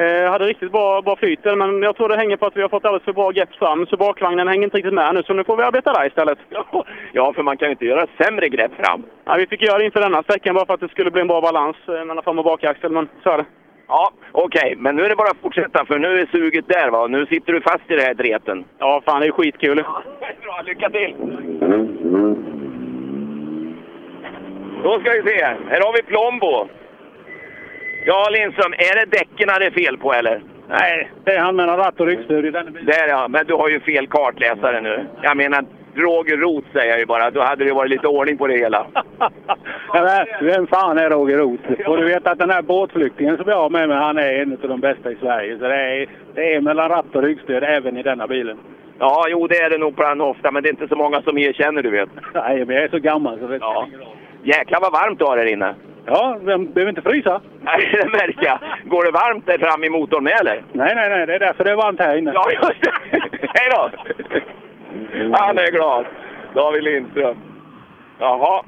S20: Eh, hade riktigt bra, bra flyt där, men jag tror det hänger på att vi har fått alldeles för bra grepp fram, så bakvagnen hänger inte riktigt med nu. Så nu får vi arbeta där istället.
S26: Ja, för man kan ju inte göra sämre grepp fram.
S20: Ja, vi fick göra det inför denna sträckan bara för att det skulle bli en bra balans eh, mellan fram och bakaxel, men så är det.
S26: Ja, okej, men nu är det bara att fortsätta för nu är suget där va. Nu sitter du fast i den här dreten.
S20: Ja, fan det är skitkul.
S26: Bra, lycka till! Då ska vi se, här har vi Plombo. Ja, Lindström, är det däcken det är fel på eller? Nej,
S31: Det är han mellan ratt och ryggstyr i den bilen.
S26: Där ja, men du har ju fel kartläsare nu. Jag menar, Roger Roth säger jag ju bara. Då hade det varit lite ordning på det hela.
S31: Ja, men Vem fan är Roger Roth? Och du vet att den här båtflyktingen som jag har med mig, han är en av de bästa i Sverige. Så det är, det är mellan ratt och ryggstöd även i denna bilen.
S26: Ja, jo det är det nog bland ofta, men det är inte så många som erkänner du vet.
S31: Nej, men jag är så gammal så det
S26: Ja. Jäklar vad varmt du har här inne.
S31: Ja, vem behöver inte frysa.
S26: Nej, det märker jag. Går det varmt där fram i motorn med eller?
S32: Nej, nej, nej. Det är därför det är varmt här inne.
S26: Ja, just det. Hej då! Han är glad. David Lindström. Jaha.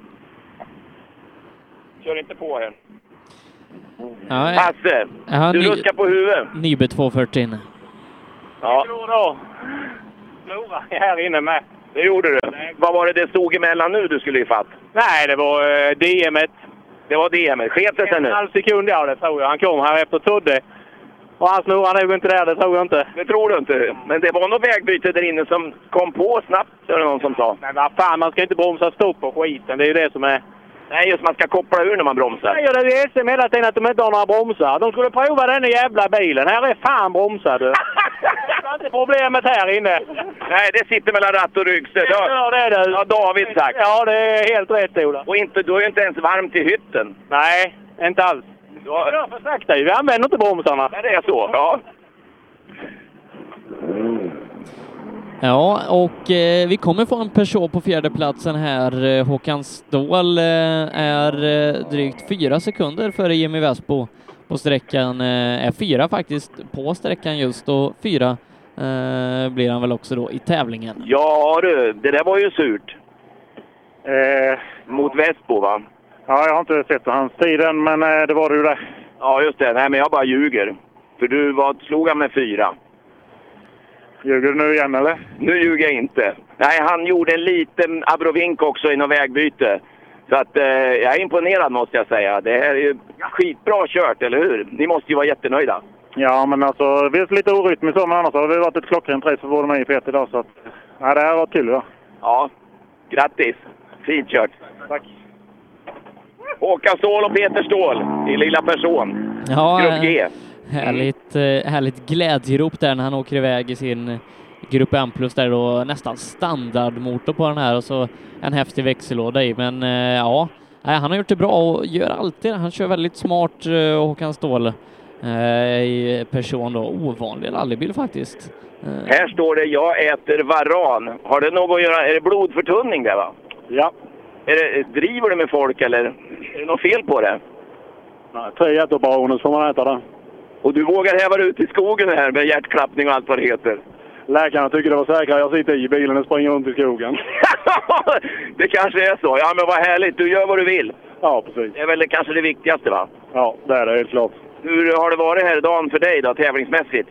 S26: Kör inte på här.
S10: Ja, jag-
S26: Hasse,
S10: jag har
S26: du
S10: ny-
S26: ruskar på huvudet.
S10: Nybe 240 in.
S26: Ja.
S20: då. Flora är här inne med.
S26: Det gjorde du. Vad var det det stod emellan nu du skulle ifatt?
S20: Nej, det var eh, DM. -et.
S26: Det var DM. -et. Sket det sig
S20: En
S26: nu?
S20: halv sekund, ja det tror jag. Han kom här efter Todde. Och han snurrar nog inte där, det tror jag inte.
S26: Det tror du inte. Men det var något vägbyte där inne som kom på snabbt, är det någon som sa.
S20: Men vad fan, man ska inte bromsa stopp på skiten. Det är ju det som är...
S26: Nej, just man ska koppla ur när man bromsar.
S20: säger
S12: niin
S20: det i SM hela tiden att de inte har några bromsar. De skulle prova den jävla bilen. Här är fan bromsar du. Det är inte problemet här inne.
S26: Nej, det sitter mellan ratt och ryggstöd. Det
S20: har det,
S26: har David sagt.
S20: Ja, det är helt rätt Ola.
S26: Och inte, du är ju inte ens varm till hytten.
S20: Nej, inte alls.
S26: Du har...
S20: Det för sakta Vi använder inte bromsarna.
S26: Det är så, ja.
S10: Ja, och eh, vi kommer få en Peugeot på fjärde platsen här. Eh, Håkan Ståhl eh, är eh, drygt fyra sekunder före Jimmy Vespo på sträckan. Eh, är fyra faktiskt på sträckan just och fyra eh, blir han väl också då i tävlingen.
S26: Ja du, det där var ju surt. Mot Vespo va?
S33: Eh. Ja, jag har inte sett hans tid än, men eh, det var det ju det.
S26: Ja just det, nej men jag bara ljuger. För du var, slog han med fyra.
S33: Ljuger du nu igen eller?
S26: Nu ljuger jag inte. Nej, han gjorde en liten abrovink också i något vägbyte. Så att eh, jag är imponerad måste jag säga. Det här är ju skitbra kört, eller hur? Ni måste ju vara jättenöjda.
S33: Ja, men alltså vi är lite orytmiskt så, men annars har det varit ett klockrent race för både mig och Peter idag. Så att, nej, det här var kul ja.
S26: Ja, grattis! Fint kört! Tack! Håkan Ståhl och Peter Ståhl i lilla person.
S10: Ja, eh,
S26: Grupp G. Mm.
S10: Härligt, eh, härligt glädjerop där när han åker iväg i sin Grupp M plus där då nästan standardmotor på den här och så en häftig växellåda i. Men eh, ja, nej, han har gjort det bra och gör alltid det. Han kör väldigt smart eh, Håkan Ståhl eh, i person då. Ovanlig rallybil faktiskt. Eh,
S26: Här står det “Jag äter varan”. Har det något att göra... Är det blodförtunning det va?
S33: Ja.
S26: Är det, driver du med folk eller? Är det något fel på det?
S33: Nej, Tre jättebra får man äta den.
S26: Och du vågar häva dig ut i skogen här med hjärtklappning och allt vad det heter.
S33: Läkarna tycker det var säkrare. Jag sitter i bilen och springer runt i skogen.
S26: det kanske är så. Ja, men vad härligt. Du gör vad du vill.
S33: Ja, precis.
S26: Det är väl det- kanske det viktigaste, va?
S33: Ja, det är det helt klart.
S26: Hur har det varit här dagen för dig då, tävlingsmässigt?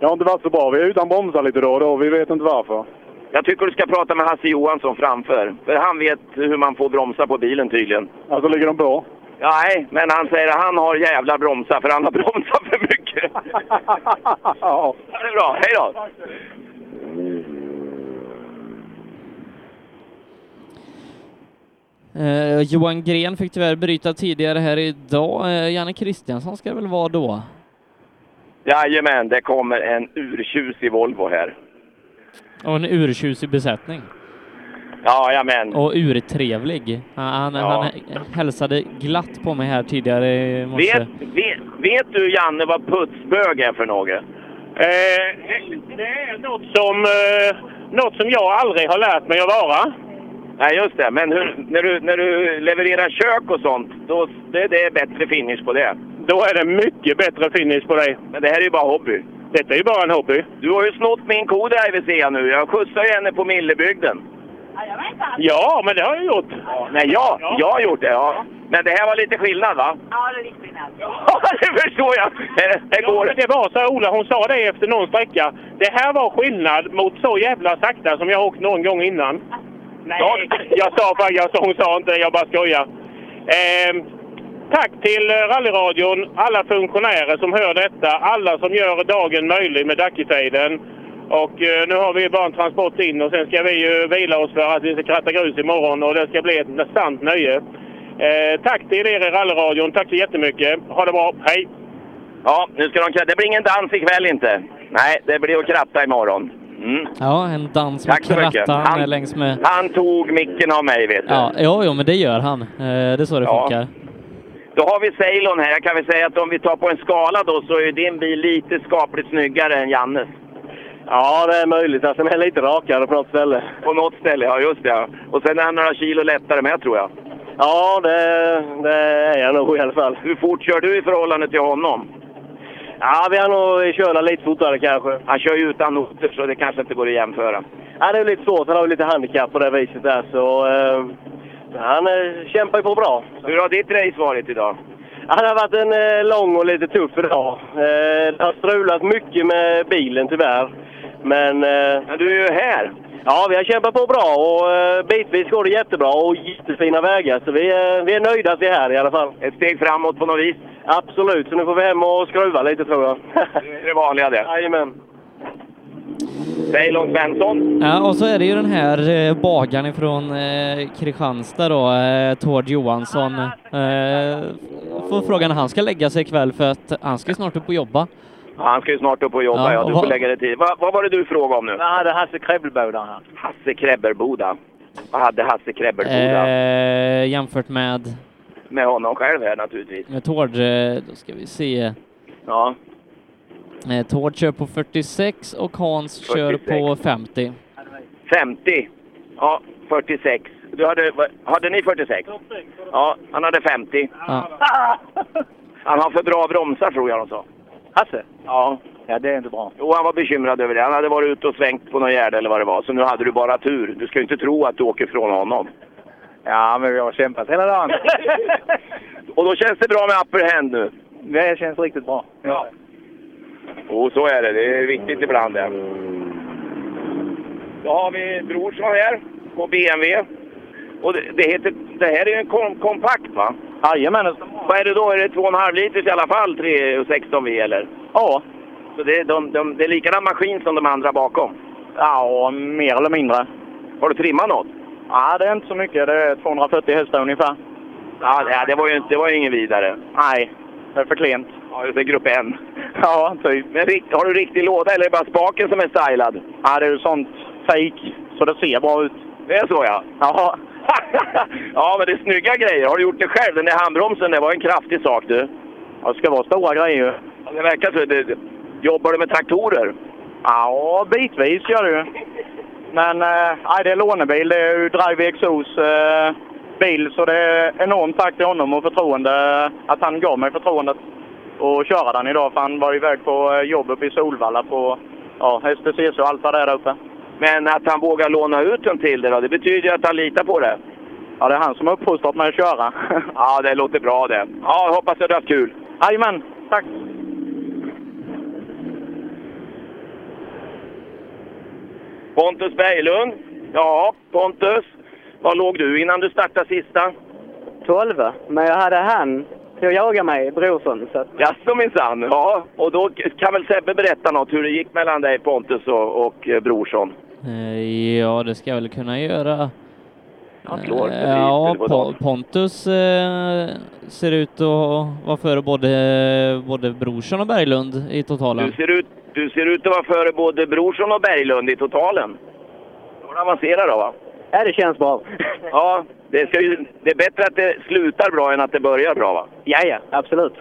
S33: Det har inte varit så bra. Vi är utan bromsar lite då och då. Vi vet inte varför.
S26: Jag tycker du ska prata med Hasse Johansson framför. För han vet hur man får bromsa på bilen tydligen.
S33: Alltså ligger de bra?
S26: Ja, nej, men han säger att han har jävla bromsar för han har bromsat för mycket.
S33: ja.
S26: Det är bra. Hej då!
S10: Eh, Johan Gren fick tyvärr bryta tidigare här idag. Eh, Janne Kristiansson ska det väl vara då?
S26: Jajamän, det kommer en urtjusig Volvo här.
S10: Och en urtjusig besättning.
S26: Jajamän.
S10: Och urtrevlig. Han, han,
S26: Ja.
S10: han hälsade glatt på mig här tidigare i morse.
S26: Vet, vet, vet du Janne vad putsbög är för något?
S20: Eh, det är något som, eh, något som jag aldrig har lärt mig att vara.
S26: Nej, just det. Men hur, när, du, när du levererar kök och sånt, då, det, det är bättre finish på det.
S20: Då är det mycket bättre finish på dig.
S26: Men det här är ju bara hobby.
S20: Detta är ju bara en hobby.
S26: Du har ju snott min co-driver ser jag nu. Jag skjutsar ju henne på Millebygden.
S20: Ja, men det har jag gjort.
S26: Nej, jag, jag har gjort det, ja. Men det här var lite skillnad, va?
S24: Ja, det är lite skillnad.
S26: Ja, det förstår jag! Det, det
S20: Ja, men
S26: går...
S20: det var så här, Ola, hon sa det efter någon sträcka. Det här var skillnad mot så jävla sakta som jag har åkt någon gång innan. No,
S24: Nej.
S20: Jag sa faktiskt, jag sa- hon sa inte det, jag bara skojar. Ehm, tack till eh, rallyradion, alla funktionärer som hör detta, alla som gör dagen möjlig med Dackefejden. Och eh, nu har vi bara en transport in och sen ska vi ju vila oss för att vi ska kratta grus imorgon och det ska bli ett sant nöje. Eh, tack till er i rallyradion, tack så jättemycket. Ha det bra, hej!
S26: Ja, nu ska de... Det blir ingen dans ikväll inte. Nej, det blir att kratta imorgon. Mm.
S10: Ja, en dans med
S26: Tack så mycket.
S10: kratta. Han är
S26: Han-
S10: längs med...
S26: Han tog micken av mig, vet du.
S10: Ja, jo, jo, men det gör han. Eh, Det är så det funkar.
S26: Då har vi Ceylon här. Jag kan väl säga att om vi tar på en skala då så är din bil lite skapligt snyggare än Jannes.
S20: Ja, det är möjligt. Alltså, den är lite rakare på något ställe.
S26: På något ställe, ja just det. ja. Och sen är han några kilo lättare med tror jag.
S12: Ja, det, det är jag nog i alla fall.
S26: Hur fort kör du i förhållande till honom?
S12: Ja, vi har nog kört lite fortare kanske.
S26: Han kör ju utan noter, så det kanske inte går att jämföra.
S12: Ja, det är lite svårt. Han har ju lite handikapp på det viset där. Så, eh, han eh, kämpar ju på bra.
S26: Hur har ditt race varit idag?
S12: Ja, det har varit en eh, lång och lite tuff idag. Eh, det har strulat mycket med bilen tyvärr. Men... Eh,
S26: Men du är ju här!
S12: Ja, vi har kämpat på bra och eh, bitvis går det jättebra och jättefina vägar. Så vi, eh, vi är nöjda att vi är här i alla fall.
S26: Ett steg framåt på något vis?
S12: Absolut, så nu får vi hem och skruva lite tror jag.
S26: Det är det vanliga det.
S12: Jajamän.
S26: Säg långt Svensson.
S10: Ja, och så är det ju den här eh, bagaren från eh, Kristianstad då, eh, Tord Johansson. Eh, får frågan när han ska lägga sig ikväll för att han ska snart upp och jobba.
S26: Ja, Han ska ju snart upp och jobba,
S10: Ja,
S26: ja. Du
S10: och
S26: får
S10: vad-
S26: lägga dig till. Va, vad var det du frågade om nu?
S12: Vad hade Hasse Krebbelboda här?
S26: Hasse Krebberboda. Vad hade Hasse Krebberboda?
S10: Eh, jämfört med,
S26: Med honom själv här naturligtvis.
S10: med Tord, eh, då ska vi se.
S26: Ja.
S10: Eh, Tord kör på 46 och Hans kör
S26: 46.
S10: på 50.
S26: 50. Ja, 46. Du hade, va- hade ni 46? Ja, han hade 50.
S10: Ja.
S26: Han har för bra bromsar tror jag de sa.
S12: Hasse?
S26: Ja.
S12: Ja, det är inte bra.
S26: Jo, han var bekymrad över det. Han hade varit ute och svängt på någon gärde eller vad det var. Så nu hade du bara tur. Du ska ju inte tro att du åker från honom.
S12: Ja, men vi har kämpat hela dagen.
S26: Och då känns det bra med upper hand nu.
S12: Det känns riktigt bra.
S26: Ja. Jo, så är det. Det är viktigt ibland det. Då har vi Brorsson här på BMW. Och det, det, heter, det här är ju en kom, kompakt va?
S12: Jajamän.
S26: Vad är det då? Är det 2,5 liters i alla fall, 316 V eller?
S12: Ja.
S26: Så det, är de, de, det är likadan maskin som de andra bakom?
S12: Ja, mer eller mindre.
S26: Har du trimmat något?
S12: Ja, det är inte så mycket. Det är 240 hästar ungefär.
S26: Ja, det- det var ju, inte- det var ju ingen vidare.
S12: Nej, det är för klent.
S26: Ja, just det, grupp N.
S12: Ja, typ.
S26: Men rikt- har du riktig låda eller är det bara spaken som är stylad?
S12: Ja, det är ju sånt fake så det ser bra ut.
S26: Det är så ja.
S12: Ja.
S26: ja, men det är snygga grejer. Har du gjort det själv? Den där handbromsen, det var en kraftig sak du.
S12: Ja, det ska vara stora grejer.
S26: Ja, Det verkar så. Det, det- jobbar du med traktorer?
S12: Ja, bitvis gör det ju. Men eh, nej, det är lånebil. Det är ju Drive Exos eh, bil. Så det är enormt tack till honom och förtroende. Att han gav mig förtroendet att köra den idag. För han var iväg på eh, jobb uppe i Solvalla på ja, STCC och allt vad det är där uppe.
S26: Men att han vågar låna ut den till dig då, det betyder ju att han litar på det.
S12: Ja, det är han som har uppfostrat mig att köra.
S26: Ja, det låter bra det. Ja, jag hoppas att du har haft kul.
S12: Jajamän, tack!
S26: Pontus Berglund. Ja, Pontus. Var låg du innan du startade sista?
S21: 12, men jag hade han till att jaga mig, Brorsson. Så att,
S26: Jaså minsann. Ja, och då kan väl Sebbe berätta något hur det gick mellan dig Pontus och, och eh, Brorsson.
S10: Eh, ja, det ska jag väl kunna göra.
S26: Han slår
S10: Eh,
S26: precis,
S10: ja,
S26: det var
S10: Po-
S26: dåligt.
S10: Pontus eh, ser ut att vara före både, både Brorsson och Berglund i
S26: Du
S10: totalen.
S26: ser, ut, du ser ut att vara före både Brorsson och Berglund i totalen. Då får du avancera då va?
S21: ja, det känns bra.
S26: Ja, det, ska ju, det är bättre att det slutar bra än att det börjar bra va?
S21: Ja, ja, absolut.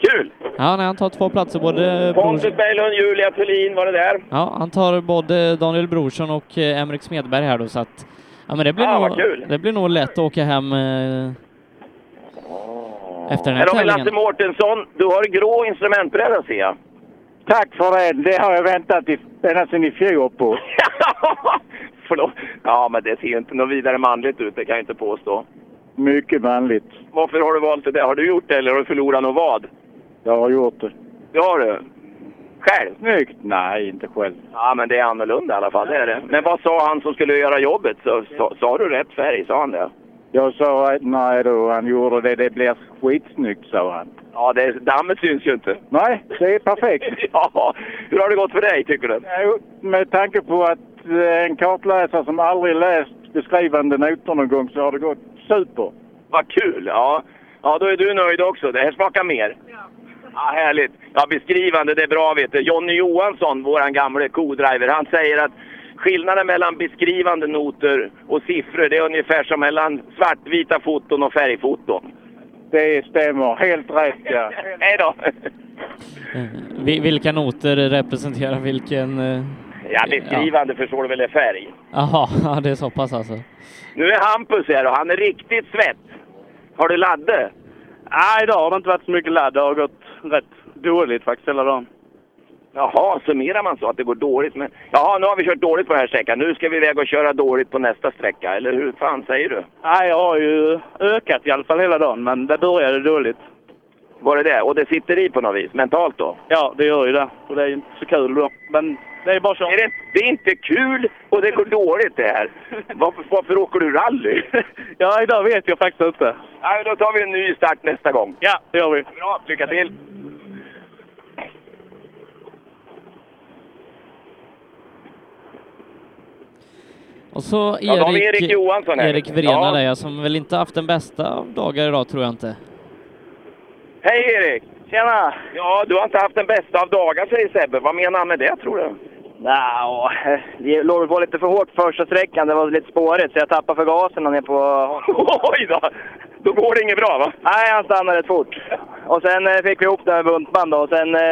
S26: Kul!
S10: Ja, nej, han tar två platser, både Brorsson,
S26: Pontus Berglund, Julia Thulin var det där.
S10: ja, han tar både Daniel Brorsson och eh, Emrik Smedberg här då, så att ja, men det blir,
S26: Ah, vad
S10: nog,
S26: kul.
S10: det blir nog lätt att åka hem eh, efter den
S26: Här
S10: här
S26: har vi Lasse
S10: tävlingen.
S26: Mårtensson. Du har grå instrumentbräda ser jag.
S20: Tack för det. Det har jag väntat i, ända sedan i fjol på.
S26: Förlåt. Ja, men det ser ju inte något vidare manligt ut, det kan jag inte påstå.
S20: Mycket manligt.
S26: Varför har du valt det där? Har du gjort det eller har du förlorat något vad?
S20: Jag har gjort det.
S26: Det har du. Själv?
S20: Snyggt! Nej, inte själv.
S26: Ja, men det är annorlunda i alla fall, det är det. Men vad sa han som skulle göra jobbet? Så, sa, sa du rätt färg? Sa han det?
S20: Jag sa att nej då, han gjorde det. Det blir skitsnyggt, sa han.
S26: Ja, det, dammet syns ju inte.
S20: Nej, det är perfekt.
S26: ja, hur har det gått för dig tycker du?
S20: Jo, Eh, Med tanke på att eh, en kartläsare som aldrig läst beskrivande noter någon gång så har det gått super.
S26: Vad kul! Ja. ja, då är du nöjd också. Det här smakar mer. Ja, härligt. Ja, beskrivande, det är bra vet du. Jonny Johansson, våran gamle co-driver, han säger att skillnaden mellan beskrivande noter och siffror, det är ungefär som mellan svartvita foton och färgfoton.
S20: Det stämmer. Helt rätt, ja.
S26: Hej då!
S10: Vi, eh, vilka noter representerar vilken... eh,
S26: Ja, beskrivande förstår du väl är färg.
S10: Jaha, ja, det är så pass alltså.
S26: Nu är Hampus här och han är riktigt svett. Har du ladde?
S5: Nej, idag har det inte varit så mycket ladd. Det har gått rätt dåligt faktiskt hela dagen.
S26: Jaha, summerar man så att det går dåligt? Men, jaha, nu har vi kört dåligt på den här sträckan. Nu ska vi iväg och köra dåligt på nästa sträcka, eller hur fan säger du?
S5: Nej, jag har ju ökat i alla fall hela dagen, men det började dåligt.
S26: Var det det? Och det sitter i på något vis, mentalt då?
S5: Ja, det gör ju det. Och det är ju inte så kul då. Men det är bara så.
S26: Är det, det är inte kul och det går dåligt det här. Varför, varför åker du rally?
S5: ja, idag vet jag faktiskt inte.
S26: Nej, då tar vi en ny start nästa gång.
S5: Ja, det gör vi.
S26: Bra, lycka till!
S10: Och så
S26: Ja, då har vi
S10: Erik,
S26: Erik Johansson här.
S10: Erik Vrena
S26: Ja.
S10: där ja, som väl inte haft den bästa av dagar idag tror jag inte.
S26: Hej Erik! Tjena! Ja, du har inte haft den bästa av dagar säger Sebbe. Vad menar han med det tror du?
S9: Nja, vi låg på lite för hårt första sträckan. Det var lite spårigt så jag tappade förgasen och ner på...
S26: Oj då! Då går det inget bra va?
S9: Nej, han stannade rätt fort. Och sen eh, fick vi ihop det med buntband då. Och sen eh,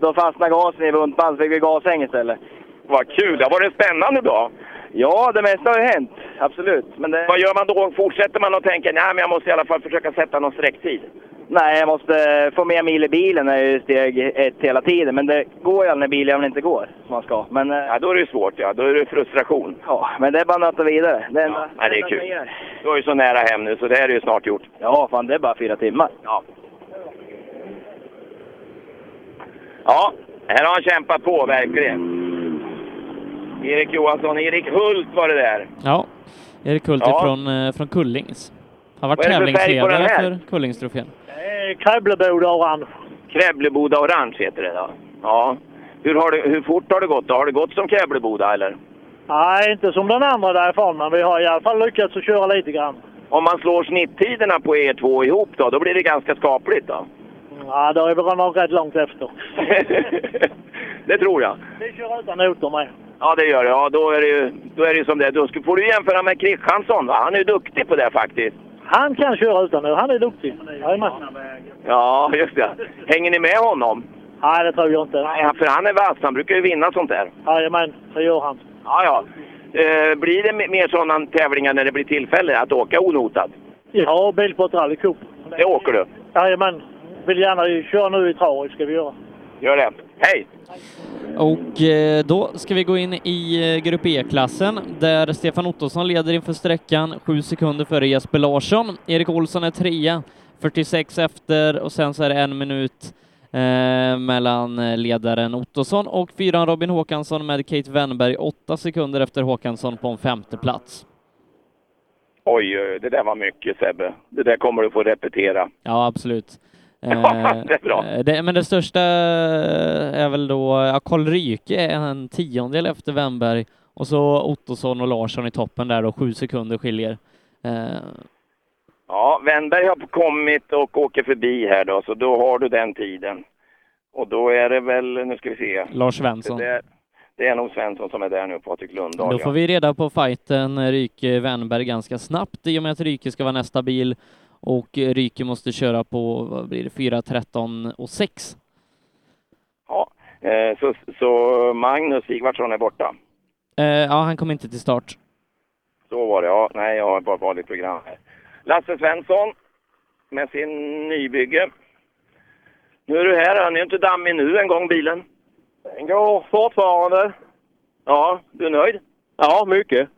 S9: då fastnade gasen i buntband så fick vi gashäng istället.
S26: Vad kul! Det har varit en spännande dag.
S9: Ja, det mesta har ju hänt. Absolut. Men det...
S26: Vad gör man då? Fortsätter man och tänker nej men jag måste i alla fall försöka sätta någon sträcktid?
S9: Nej, jag måste eh, få mer mil i bilen. Det är ju steg ett hela tiden. Men det går ju aldrig när bilen inte går som man ska. Men, eh,
S26: Ja, då är det svårt ja. Då är det frustration.
S9: ja, men det är bara att nöta vidare. Det är enda-
S26: Ja, det är
S9: enda som
S26: kul.
S9: gör.
S26: Du är ju så nära hem nu så det här är ju snart gjort.
S9: Ja, fan det är bara fyra timmar.
S26: Ja. Ja, här har han kämpat på verkligen. Erik Johansson, Erik Hult var det där.
S10: Ja, Erik Hult
S26: Ja.
S10: från, eh, från Kullings. Han var
S26: Vad är det för färg på den
S10: tävlingsledare
S26: här?
S10: för Kullingstrofén.
S1: Krävleboda orange.
S26: Krävleboda Orange heter det då. Ja. Hur, har det, hur fort har det gått då? Har det gått som Krävleboda eller?
S1: Nej, inte som den andra därifrån, men vi har i alla fall lyckats att köra lite grann.
S26: Om man slår snitttiderna på er två ihop då, då blir det ganska skapligt då.
S1: Ja, då är vi nog rätt långt efter.
S26: det tror jag.
S1: Vi kör utan noter med.
S26: Ja, det gör det. Ja, då är det ju då är det ju som det är. Då ska- får du jämföra med Kristiansson. Va? Han är ju duktig på det faktiskt.
S1: Han kan köra utan noter. Han är duktig. Jajamän.
S26: Ja, just det. Hänger ni med honom?
S1: Nej, det tror jag inte.
S26: Nej, han- för han är vass. Han brukar ju vinna sånt där.
S1: Jajamän, det gör han.
S26: Ja, ja. Eh, blir det me- mer sådana tävlingar när det blir tillfälle att åka onotad?
S1: Ja, bil på ett rallycup.
S26: Det åker du.
S1: Jajamän. Vill gärna köra nu i trav, ska vi göra.
S26: Gör det. Hej!
S10: Och eh, då ska vi gå in i eh, Grupp E-klassen där Stefan Ottosson leder inför sträckan, sju sekunder före Jesper Larsson. Erik Olsson är trea, 46 efter och sen så är det en minut eh, mellan eh, ledaren Ottosson och fyran Robin Håkansson med Kate Wennberg, åtta sekunder efter Håkansson på en femte plats.
S26: Oj, oj, det där var mycket Sebbe. Det där kommer du få repetera.
S10: Ja, absolut.
S26: Ja, det är bra.
S10: Eh, det, men det största eh, är väl då, ja, Karl Ryke är en tiondel efter Wennberg och så Ottosson och Larsson i toppen där då, sju sekunder skiljer. Eh,
S26: Ja, Wennberg har kommit och åker förbi här då, så då har du den tiden. Och då är det väl, nu ska vi se.
S10: Lars Svensson.
S26: Det, där- det är nog Svensson som är där nu, Patrik Lundahl.
S10: Då
S26: ja.
S10: får vi reda på fighten Ryke-Wennberg ganska snabbt i och med att Ryke ska vara nästa bil och eh, Ryke måste köra på, vad blir det, 4.13 och 6.
S26: Eh, Så, så Magnus Sigvardsson är borta.
S10: Eh, ja, han kom inte till start.
S26: Så var det, ja. Nej, jag har bara vanligt program här. Lasse Svensson med sin nybygge. Nu är du här, han är ju inte dammig nu en gång bilen.
S21: Den går fortfarande.
S26: Ja, du är nöjd?
S21: Ja, mycket.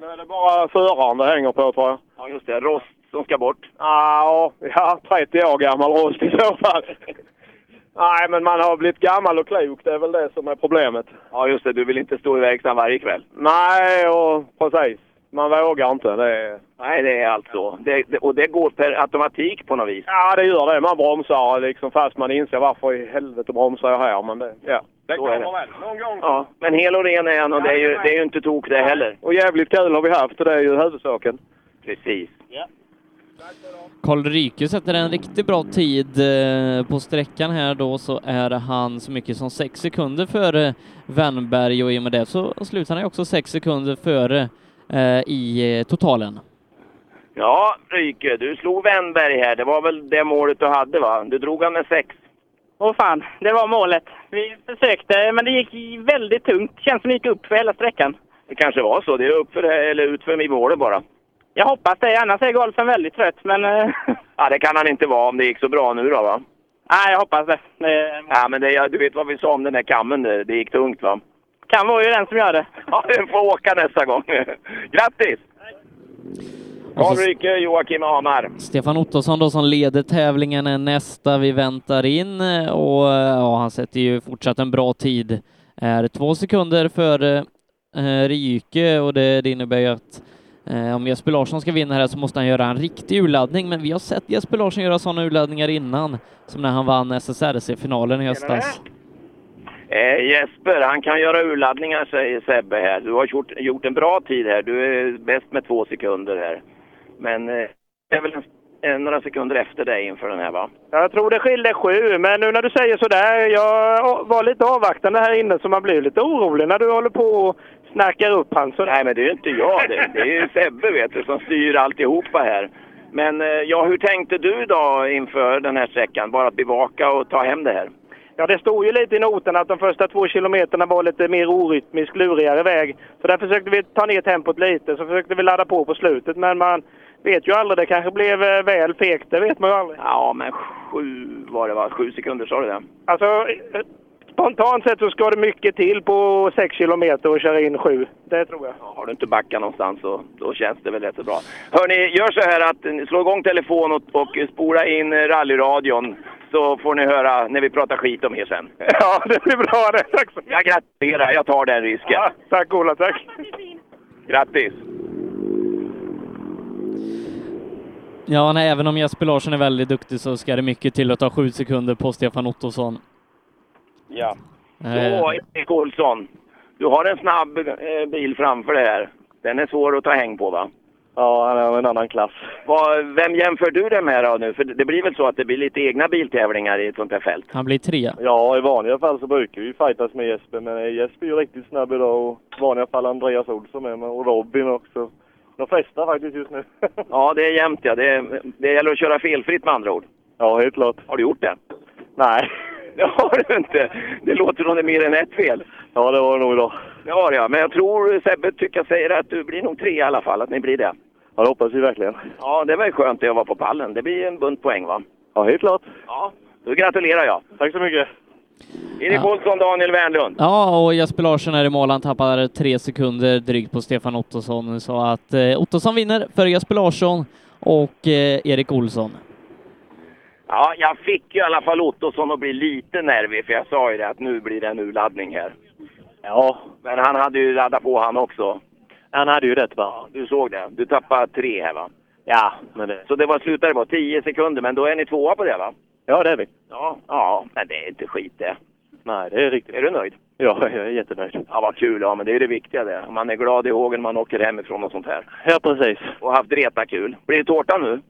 S21: Nu är det bara föraren det hänger på tror jag.
S26: Ja, just det. Rost som ska bort.
S21: Ja, ja 30 år gammal rost i så fall. Nej, men man har blivit gammal och klok. Det är väl det som är problemet.
S26: Ja, just det. Du vill inte stå i verkstaden varje kväll.
S21: Nej, och precis. Man vågar inte. Det är...
S26: Nej, det är allt så. Det, det, och det går per automatik på något vis.
S21: Ja, det gör det. Man bromsar liksom fast man inser varför i helvete bromsar jag här. Men det, ja.
S26: Det
S21: kommer
S26: väl någon gång. Ja, men hel och ren är han och det är ju, det är ju inte tok det heller.
S21: Och jävligt kul har vi haft och det är ju huvudsaken.
S26: Precis.
S10: Karl Ryke sätter en riktigt bra tid eh, på sträckan här då så är han så mycket som sex sekunder före Wennberg och i och med det så slutar han ju också sex sekunder före eh, i eh, totalen.
S26: Ja, Ryke, du slog Wennberg här. Det var väl det målet du hade, va? Du drog han med sex.
S7: Åh fan, det var målet. Vi försökte, men det gick väldigt tungt. Känns som det gick upp för hela sträckan.
S26: Det kanske var så. Det är uppför, eller utför i målet bara.
S7: Jag hoppas det. Annars är golfen väldigt trött. Men eh,
S26: Ja, det kan han inte vara om det gick så bra nu då va?
S7: nej, jag hoppas det. Det
S26: Ja, men det, du vet vad vi sa om den där kammen, det, det gick tungt va?
S7: kan vara ju den som gör det.
S26: Ja, den får åka nästa gång. Grattis! Carl
S10: Alltså-
S26: Ryke, Joakim Hamar.
S10: Stefan Ottosson då som leder tävlingen är nästa vi väntar in eh, och eh, ja, han sätter ju fortsatt en bra tid. Är två sekunder före eh, Ryke och det, det innebär ju att eh, om Jesper Larsson ska vinna här så måste han göra en riktig urladdning, men vi har sett Jesper Larsson göra sådana urladdningar innan, som när han vann SSRC-finalen i höstas.
S26: Eh, Jesper, han kan göra urladdningar säger Sebbe här. Du har gjort, gjort en bra tid här. Du är bäst med två sekunder här. Men eh, det är väl en, eh, några sekunder efter dig inför den här va?
S21: Jag tror det skilde sju, men nu när du säger sådär, jag var lite avvaktande här inne så man blir lite orolig när du håller på och snackar upp han sådär.
S26: Nej, men det är ju inte jag det. Det är ju Sebbe vet du, som styr alltihopa här. Men eh, ja, hur tänkte du då inför den här sträckan? Bara att bevaka och ta hem det här?
S21: Ja, det stod ju lite i noten att de första två kilometerna var lite mer orytmisk, lurigare väg. Så där försökte vi ta ner tempot lite, så försökte vi ladda på på slutet. Men man vet ju aldrig, det kanske blev eh, väl fegt, det vet man ju aldrig.
S26: Ja, men sju var det va? Sju sekunder sa du det?
S21: Alltså, eh, spontant sett så ska det mycket till på sex kilometer och köra in sju. Det tror jag.
S26: Har du inte backat någonstans så då känns det väl rätt så bra. Hörni, gör så här att eh, slå igång telefon och, och spola in eh, rallyradion så får ni höra när vi pratar skit om er sen.
S14: Ja, det blir bra det. Tack så mycket.
S26: Jag gratulerar, jag tar den risken.
S14: Tack Ola, tack.
S26: Grattis!
S10: Ja, nej, även om Jesper Larsson är väldigt duktig så ska det mycket till att ta sju sekunder på Stefan Ottosson.
S26: Ja.
S10: Eh.
S26: Så, Erik Olsson. Du har en snabb eh, bil framför dig här. Den är svår att ta häng på va?
S19: Ja, han är av en annan klass.
S26: Vad- Vem jämför du den med då nu? För det blir väl så att det blir lite egna biltävlingar i ett sånt här fält?
S10: Han blir trea.
S19: Ja, i vanliga fall så brukar vi fightas med Jesper, men eh, Jesper är ju riktigt snabb idag och i vanliga fall Andreas Olsson med mig och Robin också. De flesta faktiskt just nu.
S26: Ja, det är jämnt ja. Det, det gäller att köra felfritt med andra ord.
S19: ja, helt klart.
S26: Har du gjort det?
S19: Nej.
S26: Det har du inte. Det låter som det är mer än ett fel.
S19: Ja, det var det nog idag.
S26: Det har jag. Men jag tror Sebbe tycker jag säger att du blir nog tre i alla fall, att ni blir det.
S19: Ja, det hoppas vi verkligen.
S26: Ja, det var ju skönt att jag var på pallen. Det blir en bunt poäng va?
S19: Ja, helt klart.
S26: Ja, då gratulerar jag.
S19: Tack så mycket.
S26: Erik
S10: Ja.
S26: Olsson, Daniel Wernlund.
S10: Ja, och Jesper Larsson är i mål. Han tappar tre sekunder drygt på Stefan Ottosson, så att eh, Ottosson vinner för Jesper Larsson och eh, Erik Olsson.
S26: Ja, jag fick ju i alla fall Ottosson att bli lite nervig, för jag sa ju det att nu blir det en urladdning här.
S19: Ja,
S26: Men han hade ju laddat på han också.
S19: han hade ju rätt va?
S26: Du såg det. Du tappade tre här va?
S19: Ja, men det...
S26: Så det var slutade på 10 sekunder, men då är ni tvåa på det va?
S19: Ja, det är vi.
S26: Ja. Ja, men det är inte skit det.
S19: Nej, det är riktigt.
S26: Är du nöjd?
S19: Ja, jag är jättenöjd.
S26: Ja, vad kul. Ja, men det är det viktiga det. Man är glad i hågen man åker hemifrån och sånt här.
S19: Ja, precis.
S26: Och haft reta kul. Blir det tårta nu?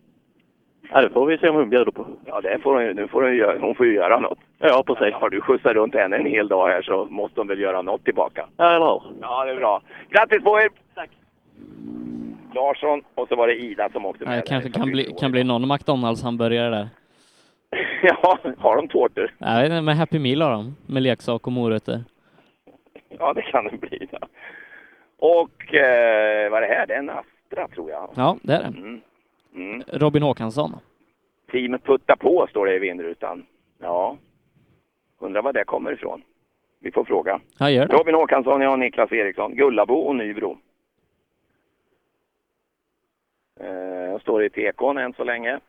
S19: Ja, det får vi se om hon bjuder på.
S26: Ja, det får hon ju. Nu får hon, ju göra, hon får ju göra något.
S19: Ja, precis.
S26: Har du skjutsat runt henne en hel dag här så måste hon väl göra något tillbaka.
S19: Ja, eller hur?
S26: Ja, det är bra. Grattis på er! Tack. Larsson och så var det Ida som åkte med.
S10: Det kanske kan bli, kan bli någon McDonalds-hamburgare där.
S26: Ja, har de tårtor?
S10: Jag vet inte, men Happy Meal har de, med leksak och morötter.
S26: Ja, det kan det bli. Ja. Och eh, vad är det här? Det är en Astra tror jag.
S10: Ja, det är det.
S26: Mm. Mm.
S10: Robin Håkansson.
S26: Teamet puttar på står det i vindrutan. Ja, undrar var det kommer ifrån. Vi får fråga.
S10: Han gör det.
S26: Robin Håkansson, jag och Niklas Eriksson. Gullabo och Nybro. Eh, står i tekon än så länge.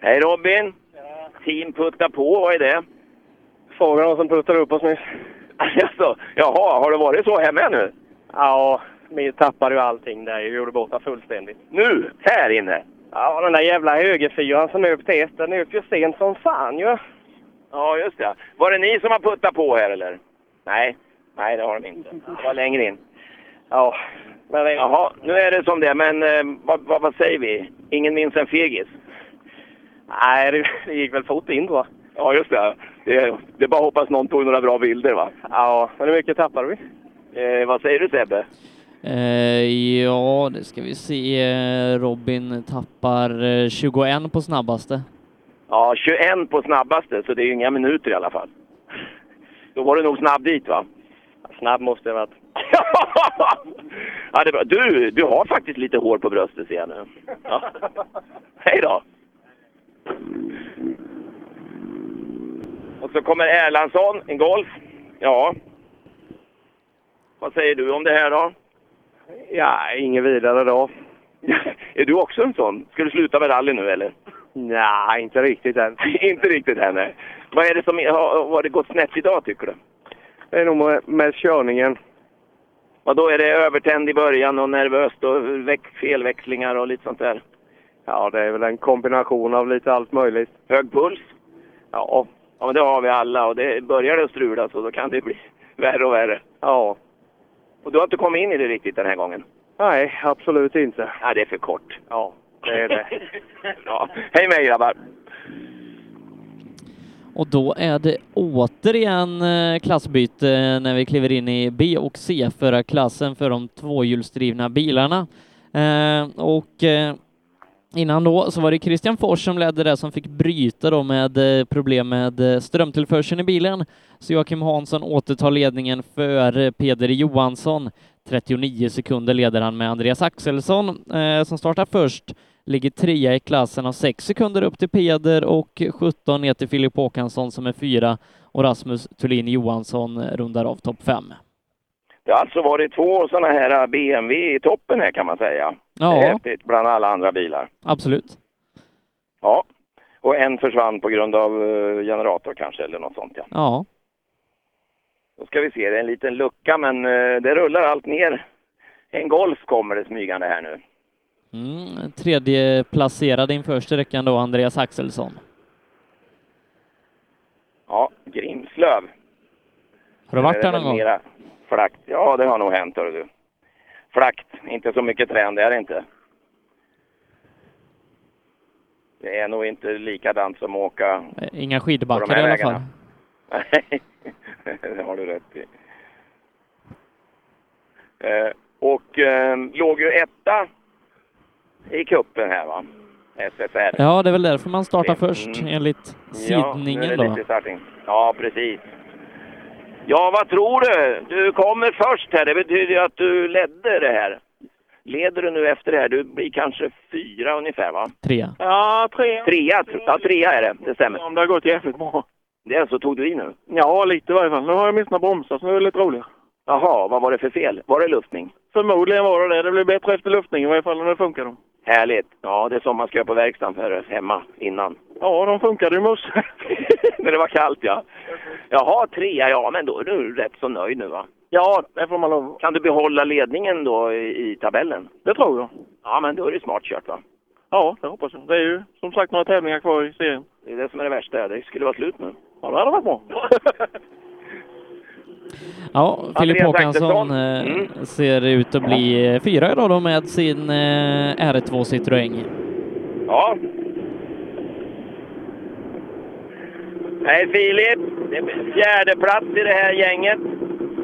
S26: Hej Robin! Team puttar på, vad är det?
S19: Frågan var som puttade upp oss nyss.
S26: Alltså, jaha, har det varit så här med nu?
S19: Ja, vi tappade ju allting där. Vi gjorde bort det fullständigt.
S26: Nu? Här inne?
S19: Ja, den där jävla högerfyran som upp till den är upp ju sent som fan ju.
S26: Ja, just det. Var det ni som har puttat på här eller? Nej, nej det har de inte. Det var längre in.
S19: Ja, men det...
S26: Jaha, nu är det som det men eh, vad, vad, vad säger vi? Ingen minns en fegis?
S19: Nej, det, det gick väl fort in va?
S26: Ja, just det. Det är, det är bara att hoppas någon tog några bra bilder va?
S19: Ja, men hur mycket tappade vi?
S26: Eh, vad säger du Sebbe?
S10: Eh, ja, det ska vi se. Eh, Robin tappar eh, 21 på snabbaste.
S26: Ja, 21 på snabbaste, så det är ju inga minuter i alla fall. Då var du nog snabb dit va?
S9: Snabb måste jag ha varit.
S26: Ja, det är bra. Du, du har faktiskt lite hår på bröstet ser jag nu. Ja. Hej då! Och så kommer Erlandsson, en Golf. Ja. Vad säger du om det här då?
S19: Ja, inget vidare då.
S26: Är du också en sån? Ska du sluta med rally nu eller?
S19: Nej, inte riktigt än.
S26: Inte riktigt än nej. Vad är det som har har det gått snett idag tycker du?
S19: Det är nog med körningen.
S26: Vadå, är det övertänd i början och nervöst och väx- felväxlingar och lite sånt där?
S19: Ja, det är väl en kombination av lite allt möjligt.
S26: Hög puls? Ja. Ja, men det har vi alla och det börjar det att strula så då kan det bli värre och värre.
S19: Ja.
S26: Och du har inte kommit in i det riktigt den här gången?
S19: Nej, absolut inte.
S26: Nej, det är för kort.
S19: Ja, det är det.
S26: Ja. Hej med er, grabbar!
S10: Och då är det återigen eh, klassbyte när vi kliver in i B och C-förarklassen för de tvåhjulsdrivna bilarna. Eh, Och eh, innan då så var det Christian Fors som ledde det som fick bryta då med eh, problem med eh, strömtillförseln i bilen. Så Joakim Hansson återtar ledningen före Peder Johansson. 39 sekunder leder han med Andreas Axelsson eh, som startar först ligger trea i klassen och sex sekunder upp till Peder och 17 ner till Filip Håkansson som är fyra och Rasmus Thulin Johansson rundar av topp fem.
S26: Det har alltså varit två sådana här BMW i toppen här kan man säga.
S10: Ja.
S26: Det är häftigt bland alla andra bilar.
S10: Absolut.
S26: Ja. Och en försvann på grund av eh, generator kanske eller något sånt ja.
S10: Ja.
S26: Då ska vi se, det är en liten lucka men eh, det rullar allt ner. En Golf kommer det smygande här nu.
S10: Mm, tredje placerad inför sträckan då, Andreas Axelsson.
S26: Ja, Grimslöv.
S10: Har du varit
S26: Det är
S10: där någon
S26: väl
S10: gång?
S26: mera Flakt. Ja, det har nog hänt hör du. Flakt. Inte så mycket trän, det är det inte. Det är nog inte likadant som att åka...
S10: Eh, Inga
S26: På
S10: skidbackar
S26: de
S10: i
S26: här
S10: alla fall.
S26: vägarna. Nej, det har du rätt i. Eh, och eh, låg ju etta i kuppen här va? SSR.
S10: Ja, det är väl därför man startar först,
S26: Mm.
S10: enligt
S26: ja, nu är
S10: sidningen
S26: det
S10: då.
S26: lite starting. Ja, precis. Ja, vad tror du? Du kommer först här. Det betyder ju att du ledde det här. Leder du nu efter det här? Du blir kanske fyra ungefär, va?
S10: Trea.
S20: Ja, tre.
S26: Trea, tr- ja, trea är det. Det stämmer.
S20: Om det har gått jävligt bra.
S26: Det är så tog du i nu?
S20: Ja, lite i varje fall. Nu har jag åtminstone bromsat, så nu är det lite roligare.
S26: Jaha, vad var det för fel? Var det luftning?
S20: Förmodligen var det det. Det blir bättre efter luftningen i varje fall, när det funkar. Då.
S26: Härligt. Ja, det är som man ska göra på verkstaden för hemma innan.
S20: Ja, de funkade ju mus.
S26: När det var kallt, ja. Jaha, trea, ja, men då är du rätt så nöjd nu, va?
S20: Ja, det får man lov
S26: Kan du behålla ledningen då i, i tabellen?
S20: Det tror jag.
S26: Ja, men då är det smart kört, va?
S20: Ja, det hoppas jag. Det är ju som sagt några tävlingar kvar i serien.
S26: Det är det som är det värsta. Det skulle vara slut nu.
S20: Ja, det hade varit bra.
S10: Ja, Filip
S26: Andreas
S10: Håkansson eh,
S26: Axelsson. Mm.
S10: ser ut att bli eh, fyra idag då med sin eh, R2 Citroën.
S26: Ja. Nej, Filip. Det är fjärde plats i det här gänget.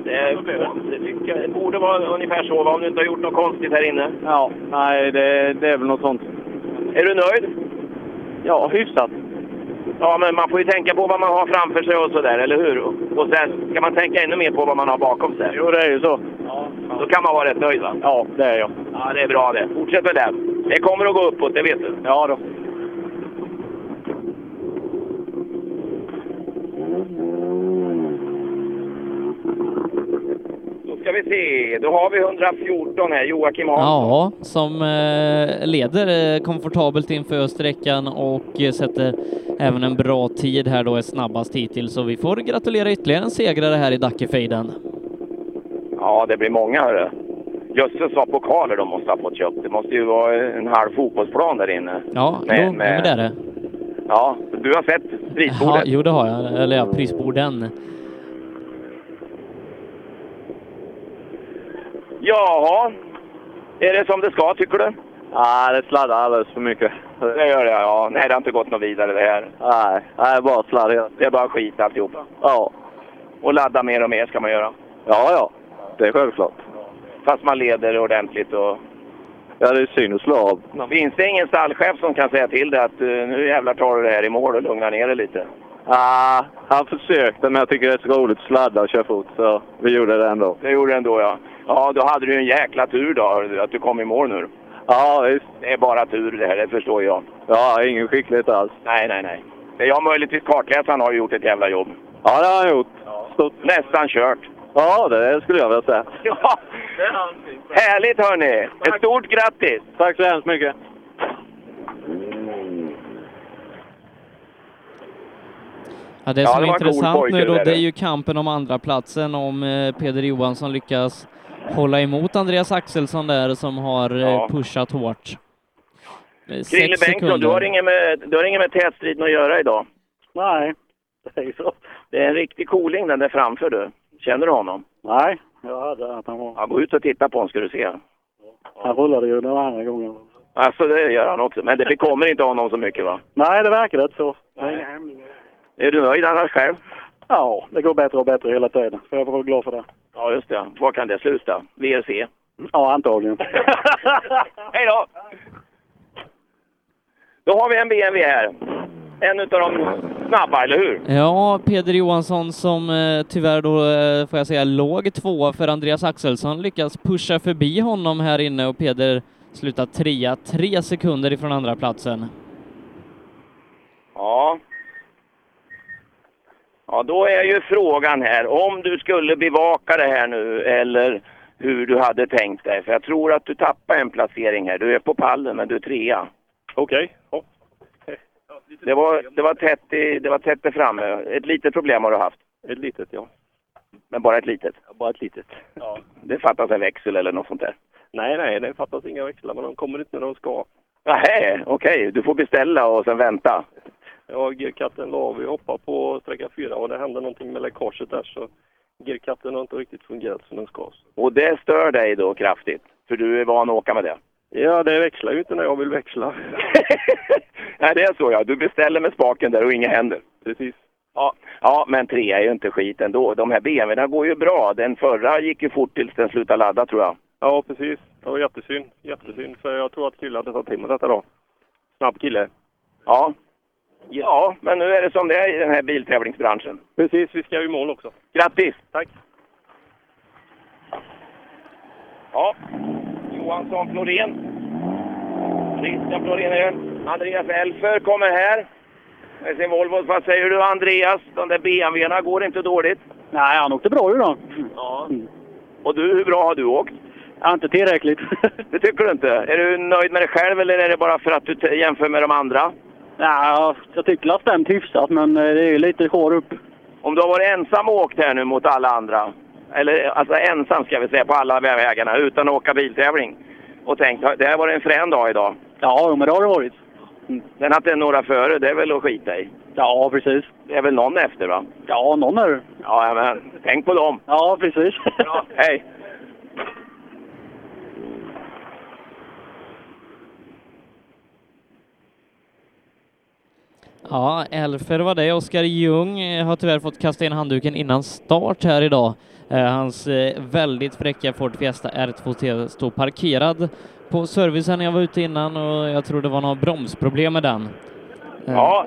S26: Det, det, tycker jag, det borde vara ungefär så, va, om du inte har gjort något konstigt här inne.
S5: Ja, nej, det, det är väl något sånt.
S26: Är du nöjd?
S5: Ja, hyfsat.
S26: Ja, men man får ju tänka på vad man har framför sig och sådär, eller hur? Och sen ska man tänka ännu mer på vad man har bakom sig.
S5: Jo, det är ju så.
S26: Då kan man vara rätt nöjd, va?
S5: Ja, det är jag.
S26: Ja, det är bra det. Fortsätt med det. Det kommer att gå uppåt, det vet du.
S5: Ja då.
S26: Då ska vi se. Då har vi 114 här, Joakim Hansson.
S10: Ja, som eh, leder eh, komfortabelt inför sträckan och eh, sätter även en bra tid här då, är snabbast hittills. Så vi får gratulera ytterligare en segrare här i Dackefejden.
S26: Ja, det blir många hörru. Jösses vad pokaler de måste ha fått köpt. Det måste ju vara en halv fotbollsplan där inne.
S10: Ja,
S26: Nej,
S10: jo,
S26: men-
S10: men det är det.
S26: Ja, du har sett
S10: Ja,
S26: prisbordet?
S10: jo, det har jag. Eller ja, prisborden.
S26: Jaha. Är det som det ska tycker du?
S5: Nej, det sladdar alldeles för mycket.
S26: Det gör det ja. Nej, det har inte gått något vidare det här.
S5: Nej, nej bara sladdar.
S26: Det är bara skit alltihopa.
S5: Ja.
S26: Och ladda mer och mer ska man göra.
S5: Ja, ja. Det är självklart.
S26: Fast man leder ordentligt och...
S5: Ja, det är synd att slå av.
S26: Finns det ingen stallchef som kan säga till dig att eh, nu jävlar tar du det här i mål och lugnar ner dig lite?
S19: Ah, han försökte, men jag tycker det är så roligt att sladda och köra fort, så vi gjorde det ändå.
S26: Det gjorde den då ja. Ja, då hade du en jäkla tur då, hörde du, att du kom i mål nu.
S19: Ja, visst.
S26: Det är bara tur det här, det förstår jag.
S19: Ja, ingen skicklighet alls.
S26: Nej, nej, nej. Det är jag möjligtvis kartläsaren har ju gjort ett jävla jobb.
S19: Ja, det har han gjort.
S26: Stort. Nästan kört.
S19: Ja, det skulle jag vilja säga.
S26: Ja, härligt hörni! Ett stort grattis!
S19: Tack så hemskt mycket.
S11: Mm.
S10: Ja, det
S26: Ja,
S10: som
S26: det
S10: är
S26: var en cool
S10: intressant
S26: pojke
S10: nu då,
S26: det där.
S10: det är ju kampen om andra platsen om eh, Peder Johansson lyckas hålla emot Andreas Axelsson där som har eh,
S26: Ja.
S10: pushat hårt. Det är
S26: Krille
S10: Sex
S26: Bengtsson, du
S10: sekunder.
S26: har, inget med, du har inget med tätstriden att göra idag.
S4: Nej.
S26: Det är så. Det är en riktig koling den där framför du. Känner du honom?
S4: Nej, jag hade att han var...
S26: Ja, gå ut och titta på honom ska du se.
S4: Han rullade ju den andra gången.
S26: Alltså det gör han också, men det bekommer inte honom så mycket va?
S4: Nej, det verkar inte så.
S26: Är du nöjd annars själv?
S4: Ja, det går bättre och bättre hela tiden. Så jag får vara glad för det.
S26: Ja, just det. Var kan det sluta? VRC?
S20: Mm.
S4: Ja, antagligen.
S26: Hej då! Då har vi en BMW här. En utav de snabba, eller hur?
S10: Ja, Peder Johansson som eh, tyvärr då, eh, får jag säga, låg tvåa för Andreas Axelsson lyckas pusha förbi honom här inne och Peder slutar trea, tre sekunder ifrån andra platsen.
S26: Ja. Ja, då är ju frågan här, om du skulle bevaka det här nu eller hur du hade tänkt dig. För jag tror att du tappar en placering här. Du är på pallen, men du är trea.
S19: Okej. Ja.
S26: Det var, det var, tätt, i, det var tätt där framme. Ett litet problem har du haft.
S19: Ett litet, ja.
S26: Men bara ett litet.
S19: Bara ett litet.
S26: Ja. Det fattas en växel eller något sånt där.
S19: Nej, nej, det fattas inga växlar, men de kommer inte när de ska.
S26: Nej, okej. Du får beställa och sen vänta.
S4: Girkatten la av. Vi hoppade på sträcka fyra och det hände någonting med läckaget där så girkatten har inte riktigt fungerat som den ska.
S26: Och det stör dig då kraftigt? För du är van att åka med det?
S4: Ja, det växlar ju inte när jag vill växla.
S26: Nej, det är så ja. Du beställer med spaken där och inget händer.
S4: Precis.
S26: Ja, ja men tre är ju inte skit ändå. De här BMWna går ju bra. Den förra gick ju fort tills den slutade ladda tror jag.
S4: Ja, precis. Det var jättesynd. Jättesynd. För jag tror att killen hade tagit till med detta då. Snabb kille.
S26: Ja. Ja, men nu är det som det är i den här biltävlingsbranschen.
S4: Precis, vi ska ju i mål också.
S26: Grattis!
S4: Tack.
S26: Ja, Johansson Florén. Christian Florén är det. Andreas Elfer kommer här. Med sin Volvo. Vad säger du Andreas? De där BMWna går inte dåligt.
S4: Nej, han åkte bra ju då.
S26: Ja. Och du, hur bra har du åkt?
S4: Ja, inte tillräckligt.
S26: Det tycker du inte? Är du nöjd med dig själv eller är det bara för att du t- jämför med de andra?
S4: Nej, jag tycker det har stämt hyfsat men eh, det är ju lite hår upp.
S26: Om du har varit ensam och åkt här nu mot alla andra, eller alltså ensam ska vi säga på alla vägarna utan att åka biltävling och tänkt det här var en frän dag idag.
S4: Ja, jo, men det har det varit. Mm.
S26: Sen att det är några före, det är väl att skita i.
S4: Ja, precis.
S26: Det är väl någon efter va?
S4: Ja, någon är det.
S26: Ja, men tänk på dem.
S4: Ja, precis.
S26: Bra, hej!
S10: Ja, Elfer var det. Oskar Ljung eh, har tyvärr fått kasta in handduken innan start här idag. Eh, Hans eh, väldigt fräcka Ford Fiesta R2T står parkerad på servicen när jag var ute innan och jag tror det var några bromsproblem med den. Eh,
S26: Ja,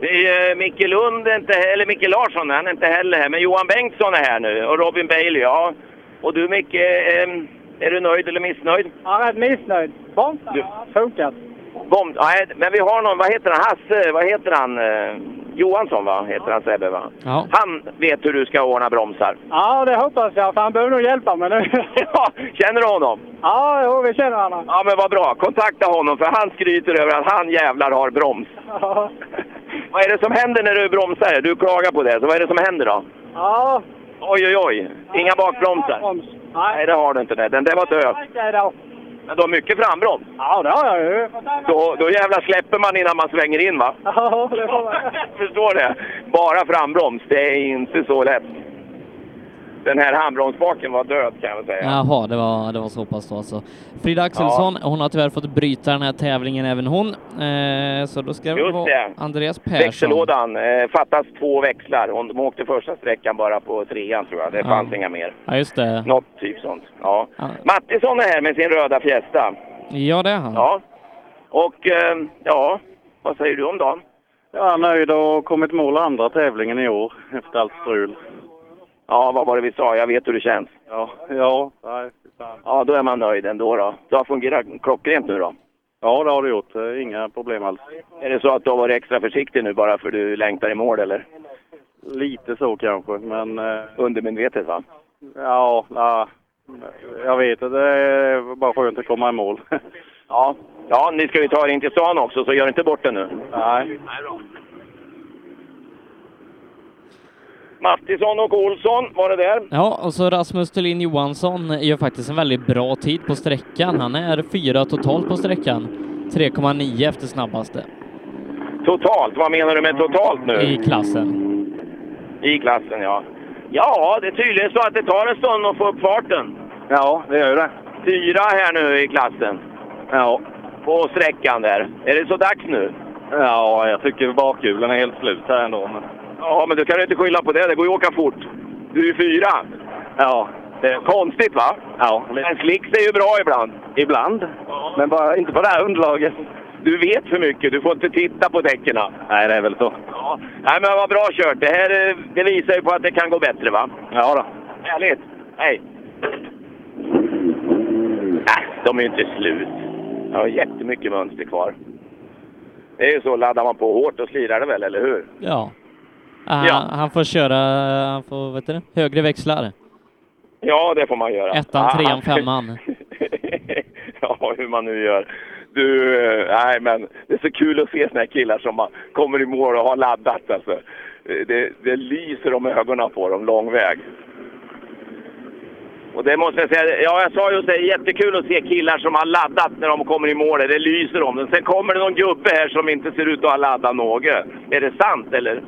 S26: det är, eh, Micke Lund, är inte, eller Micke Larsson, han är inte heller här. Men Johan Bengtsson är här nu och Robin Bailey, ja. Och du Micke, ehm, är du nöjd eller missnöjd?
S4: Ja, rätt missnöjd. Bomsarna
S26: har
S4: funkat.
S26: Bom, nej, eh, men vi har någon, vad heter han, Hasse, vad heter han? Eh, Johansson va, heter han Sebbe va?
S10: Ja.
S26: Han vet hur du ska ordna bromsar.
S4: Ja, det hoppas jag. För han behöver nog hjälpa mig nu.
S26: ja, känner du honom?
S4: Ja, jo, vi känner honom.
S26: Ja men vad bra, kontakta honom för han skryter över att han jävlar har broms.
S4: Ja.
S26: Vad är det som händer när du bromsar? Du klagar på det, så vad är det som händer då?
S4: Ja.
S26: Oj oj oj, inga bakbromsar? Nej det har du inte, nej. den där var död. Men du har mycket frambroms.
S4: Ja, det har jag ju.
S26: Då, då jävlar släpper man innan man svänger in va?
S4: Ja, det får man.
S26: Förstår det? Bara frambroms, det är inte så lätt. Den här handbromsspaken var död kan jag säga.
S10: Jaha, det var, det var så pass då alltså. Frida Axelsson, hon har tyvärr fått bryta den här tävlingen även hon. Eh, så då ska det
S26: Just
S10: vara
S26: det.
S10: Andreas Persson.
S26: Växellådan, eh, fattas två växlar. Hon de åkte första sträckan bara på trean tror jag. Det
S10: Ja.
S26: fanns inga mer.
S10: Ja, just det.
S26: Något typ sånt. Ja.
S10: Ja.
S26: Mattisson är här med sin röda Fiesta.
S10: Ja, det är han.
S26: Ja. Och eh, ja, vad säger du om dagen?
S11: Jag är nöjd och kommit mål andra tävlingen i år efter allt strul.
S26: Ja, vad var det vi sa? Jag vet hur det känns.
S11: Ja, ja, nej, fy fan.
S26: Ja, då är man nöjd ändå då. Det har fungerat klockrent nu då.
S11: ja, det har du gjort. Eh, Inga problem alls.
S26: Är det så att du har varit extra försiktig nu bara för du längtar i mål eller?
S11: Lite så kanske, men... eh,
S26: Undermedvetet va?
S11: Ja, nej, jag vet att det är bara skönt att komma i mål.
S26: Ja. Ja, nu ska vi ta er in till stan också så gör inte bort det nu.
S11: Nej.
S26: Mattisson och Olsson var det där.
S10: Ja, och så Rasmus Thulin Johansson gör faktiskt en väldigt bra tid på sträckan. Han är fyra totalt på sträckan. 3,9 efter snabbaste
S26: Totalt, vad menar du med totalt nu?
S10: i klassen.
S26: I klassen, ja. Ja, det är tydligen så att det tar en stund att få upp farten.
S11: Ja, det gör ju det.
S26: Fyra här nu i klassen.
S11: Ja.
S26: På sträckan där. Är det så dags nu?
S11: Ja, jag tycker bakhjulen är helt slut här ändå. Men...
S26: Ja, men du kan ju inte skylla på det. Det går ju att åka fort. Du är ju fyra.
S11: Ja.
S26: Det är konstigt, va?
S11: Ja.
S26: Men slicks är ju bra ibland.
S11: Ibland. Men bara inte på det här underlaget.
S26: Du vet för mycket. Du får inte titta på däcken.
S11: Nej, det är väl så.
S26: Ja. Nej, men vad bra kört. Det här eh, det visar ju på att det kan gå bättre, va?
S11: Ja då.
S26: Härligt. Hej. Äh, de är ju inte slut. Jag har jättemycket mönster kvar. Det är ju så, laddar man på hårt och slirar det väl, eller hur?
S10: Ja. Han, han får köra, han får, vet du, det, högre växlar.
S26: Ja, det får man göra.
S10: Ettan, trean,
S26: Ah.
S10: femman.
S26: ja, hur man nu gör. Du, eh, nej men det är så kul att se såna här killar som man kommer i mål och har laddat alltså. Eh, Det, det lyser om ögonen på dem lång väg. Och det måste jag säga, ja jag sa just det, jättekul att se killar som har laddat när de kommer i mål. Det lyser om dem. Sen kommer det någon gubbe här som inte ser ut att ha laddat något. Är det sant eller?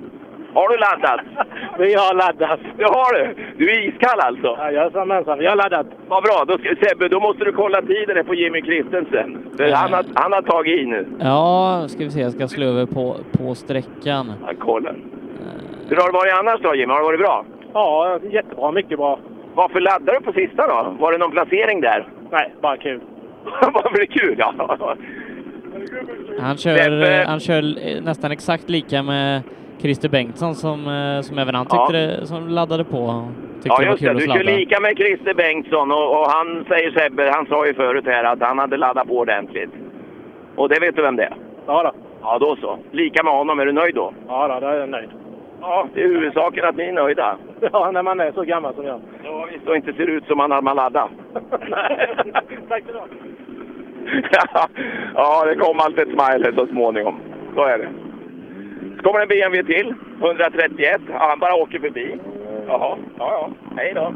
S26: Har du laddat?
S6: Vi har laddat.
S26: Det har du? Du är iskall alltså?
S6: Jajamensan, vi har laddat.
S26: Vad bra, då, ska- Sebbe, då måste du kolla tiden här på Jimmy Kristensen. För Han, har, han har tagit i nu.
S10: Ja, ska vi se, jag ska slå över på, på sträckan.
S26: Han kollar. Hur har det varit annars då Jimmy? Har det varit bra?
S6: Ja, jättebra. Mycket bra.
S26: Varför laddade du på sista då? Var det någon placering där?
S6: Nej, bara kul.
S26: Vad blir kul ja.
S10: Han kör, han kör eh, nästan exakt lika med Christer Bengtsson som, eh, som även han tyckte
S26: Ja.
S10: det, som laddade på. Tyckte
S26: ja
S10: det var
S26: just det,
S10: kul
S26: du
S10: att
S26: kör
S10: sladda.
S26: lika med Christer Bengtsson och, och han säger Sebbe, han sa ju förut här att han hade laddat på ordentligt. Och det vet du vem det är?
S6: Ja då.
S26: Ja då så. Lika med honom, är du nöjd då?
S6: Ja då, då är jag nöjd.
S26: Ja, det är huvudsaken att ni är nöjda.
S6: Ja, när man är så gammal som jag.
S26: Ja, visst. Och inte ser ut som han har man laddat.
S6: Tack för det.
S26: ja, det kom alltid ett smile så småningom. Så är det. Så kommer en BMW till. 131. Ja, han bara åker förbi. Jaha. Ja, ja. Hej då.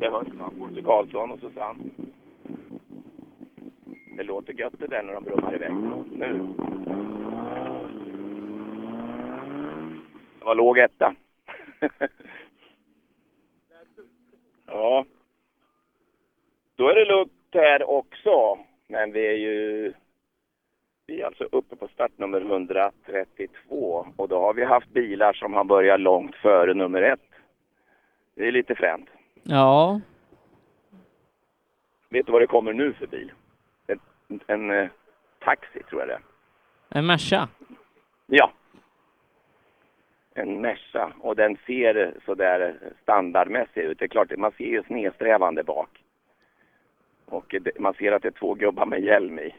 S26: Det hörs man. Bosse Karlsson och Susanne. Det låter gött det där när de brummar iväg. Nu. Det var låg etta. ja. Då är det lugnt här också. Men vi är ju vi är alltså uppe på startnummer 132 och då har vi haft bilar som har börjat långt före nummer ett. Det är lite fränt.
S10: Ja,
S26: Vet du vad det kommer nu för bil? En, en eh, taxi tror jag det är.
S10: en Merca.
S26: Ja. En Merca och den ser sådär standardmässig ut. Det är klart, man ser ju snedsträvande bak. Och det, man ser att det är två gubbar med hjälm i.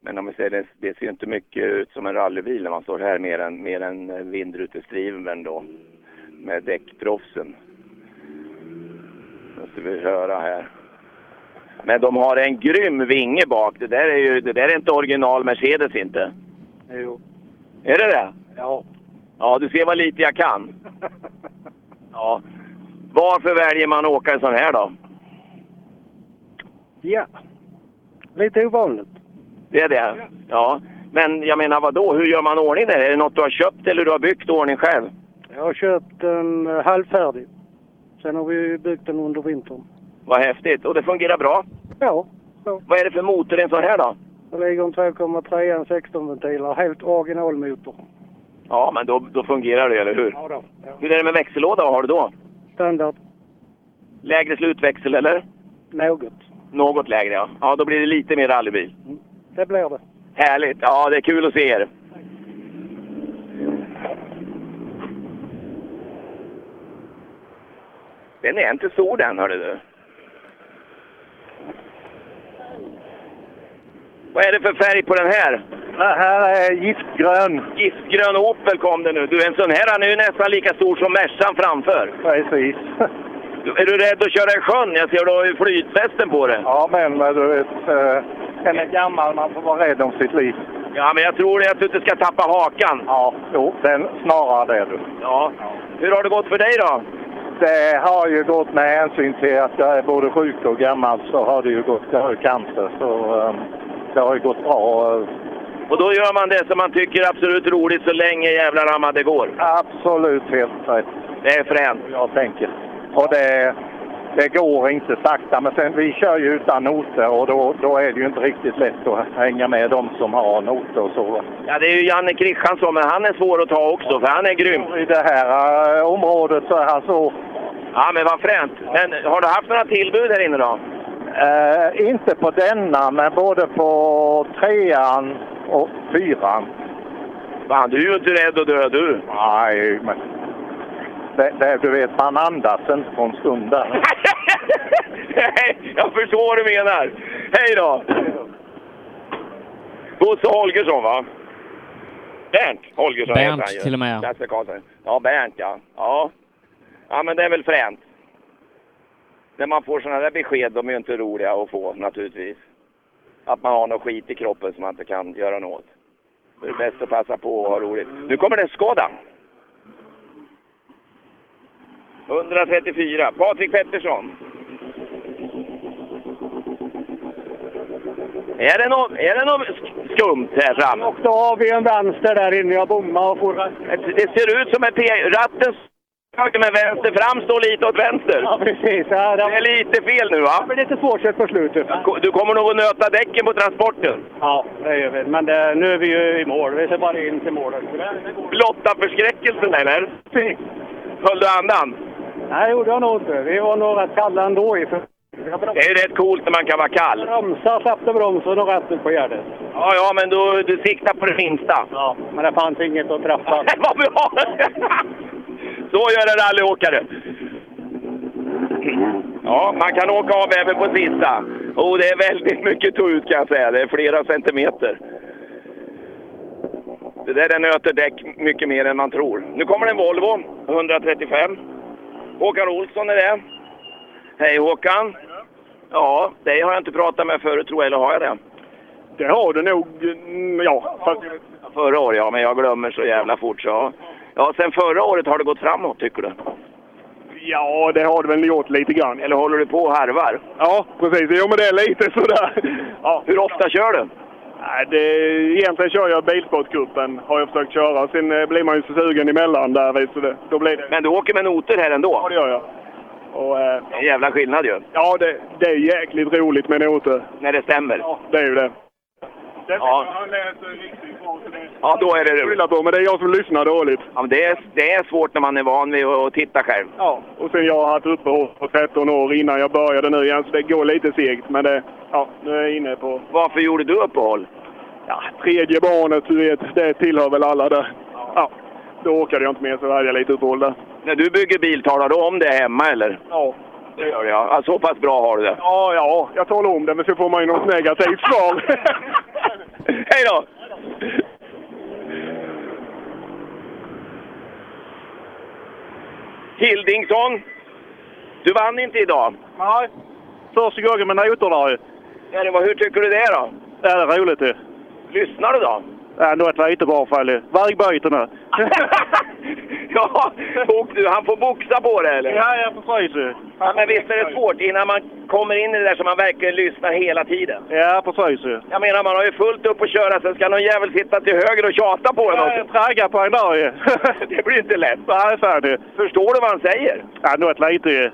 S26: Men om vi säger det, det ser ju inte mycket ut som en rallybil när man står här mer än, mer än vindrutestriven då. Med däckproffsen. Nu ska vi höra här. Men de har en grym vinge bak. Det där är ju det där är inte original Mercedes inte.
S6: Jo.
S26: Är det det?
S6: Ja.
S26: Ja, du ser vad lite jag kan. Ja. Varför väljer man att åka en sån här då?
S6: Ja. Lite ovanligt.
S26: Det är det? Ja. Men jag menar vad då? hur gör man ordning där? Är det något du har köpt eller du har byggt ordning själv?
S6: Jag har köpt en eh, halvfärdig. Sen har vi byggt den under vintern.
S26: Vad häftigt! Och det fungerar bra?
S6: Ja.
S26: Vad är det för motor i en sån här då?
S6: Det ligger en 2,3 16-ventiler. Helt originalmotor.
S26: Ja, men då, då fungerar det, eller hur?
S6: Ja då.
S26: Hur är det med växellåda? Vad har du då?
S6: Standard.
S26: Lägre slutväxel eller?
S6: Något.
S26: Något lägre ja. Ja, då blir det lite mer rallybil.
S6: Det blir det.
S26: Härligt! Ja, det är kul att se er. Den är inte stor den, hörde du. Vad är det för färg på den här?
S11: Det här är giftgrön.
S26: Giftgrön Opel kom det nu. Du, en sån här han är ju nästan lika stor som Mercan framför.
S11: Precis.
S26: Du, Är du rädd att köra i sjön? Jag ser du har ju flytvästen på dig.
S11: Ja, men men du vet, eh, en är gammal, man får vara rädd om sitt liv.
S26: Ja, men jag tror det att du inte ska tappa hakan.
S11: Ja, jo, den snarare det du.
S26: Ja. Hur har det gått för dig då?
S11: Det har ju gått med hänsyn till att jag är både sjuk och gammal så har det ju gått, jag har ju cancer så eh, det har ju gått bra. eh,
S26: Och då gör man det som man tycker är absolut roligt så länge jävlar anamma det går.
S11: Absolut helt rätt.
S26: Det är fränt.
S11: Jag tänker. Och det, det går inte sakta. Men sen, vi kör ju utan noter och då, då är det ju inte riktigt lätt att hänga med de som har noter och så.
S26: Ja, det är ju Janne Kristiansson, men han är svår att ta också, för han är grym.
S11: I det här eh, området så är han så.
S26: Ja, men vad fränt. Men har du haft några tillbud här inne då?
S11: Eh, inte på denna, men både på trean och fyran.
S26: Fan, du är ju inte rädd att dö du.
S11: Nej, men... Det, det, du vet, man andas inte på en stund där.
S26: jag förstår vad du menar. Hej då! Bosse Holgersson, va? Bernt Holgersson
S10: Bernt
S26: heter han ju.
S10: till och med.
S26: Lasse Karlsson. Ja, Bernt ja. ja. Ja, men det är väl fränt. När man får sådana där besked, de är ju inte roliga att få naturligtvis. Att man har något skit i kroppen som man inte kan göra något åt. Det är bäst att passa på och ha roligt. Nu kommer det en Skoda. 134. Patrik Pettersson. Är det något, är det något sk- skumt här framme?
S6: Och då har vi en vänster där inne. Jag bommade och for
S26: Det ser ut som en P... Ratten höger men vänster fram står lite åt vänster.
S6: Ja, precis. Ja,
S26: det... är lite fel nu va?
S6: Det blir lite svårkört på slutet.
S26: Ko- Du kommer nog att nöta däcken på transporten.
S6: Ja, det gör vi. Men det, nu är vi ju i mål. Vi ser bara in till målet. Så det- det går.
S26: Blotta förskräckelsen eller? Höll du andan?
S6: Nej, det gjorde jag nog inte. Vi var nog rätt kalla ändå. I för...
S26: Det är ju rätt coolt när man kan vara kall.
S6: Bromsa, släppte bromsen och rätt ut på gärdet.
S26: Ja, ja, men du, du siktar på det minsta.
S6: Ja, men det fanns inget att träffa.
S26: Vad bra! Så gör en rallyåkare. Ja, man kan åka av även på sista. Och det är väldigt mycket att ta ut kan jag säga. Det är flera centimeter. Det där den nöter däck mycket mer än man tror. Nu kommer en Volvo 135. Håkan Olsson är det. Hej Håkan! Ja, dig har jag inte pratat med förut tror jag, eller har jag det?
S13: Det har du nog, mm, ja. Fast,
S26: Förra året ja, men jag glömmer så jävla fort så ja. Ja, sen förra året har det gått framåt tycker du?
S13: ja, det har du väl gjort lite grann.
S26: Eller håller du på och harvar?
S13: Ja, precis. Jo, men det är lite sådär. Ja.
S26: Hur ofta kör du?
S13: Nej, det, egentligen kör jag bilsportcupen, har jag försökt köra. Sen eh, blir man ju så sugen emellan där, vet du det. Då blir det...
S26: Men du åker med noter här ändå?
S13: Ja, det gör jag. Och, eh,
S26: Det är en jävla skillnad ju,
S13: ja, det, det är jäkligt roligt med noter.
S26: när det stämmer.
S13: Ja, det är ju det.
S26: Ja,
S13: Han läser riktigt bra, så det...
S26: ja då är det roligt.
S13: Skylla på, men det är jag som lyssnar dåligt.
S26: Ja, men det, är, det är svårt när man är van vid att att titta själv.
S13: Ja, och sen jag har haft uppehåll på 13 år innan jag började nu igen, så det går lite segt. Men det, ja, nu är jag inne på
S26: Varför gjorde du uppehåll?
S13: ja, tredje barnet, du vet, det tillhör väl alla där. Ja, då orkade jag inte mer, så hade jag lite uppehåll där.
S26: När du bygger bil, talar du om det hemma eller?
S13: Ja.
S26: Det gör jag. Ja, så pass bra har du det.
S13: Ja, ja, jag talar om det, men så får man ju något negativt svar.
S26: Hej då! Hildingsson, du vann inte idag.
S15: Nej, första gången med noterna ju.
S26: Ja, det var, hur tycker du det då?
S15: Ja, det är roligt ju.
S26: Lyssnar du då?
S15: Ja, något lite i varje fall ju. Vägbyte nu.
S26: ja, bok, du, han får boxa på det eller?
S15: Ja, ja precis ju.
S26: Ja, men visst är det svårt innan man kommer in i det där så man verkligen lyssnar hela tiden.
S15: Ja, precis ju.
S26: Jag menar, man har ju fullt upp att köra, sen ska någon jävel sitta till höger och tjata på en också.
S15: Jag traggar på en dag ju.
S26: Det blir inte lätt.
S15: Nej, fan ju.
S26: Förstår du vad han säger?
S15: Ja, något lite ju.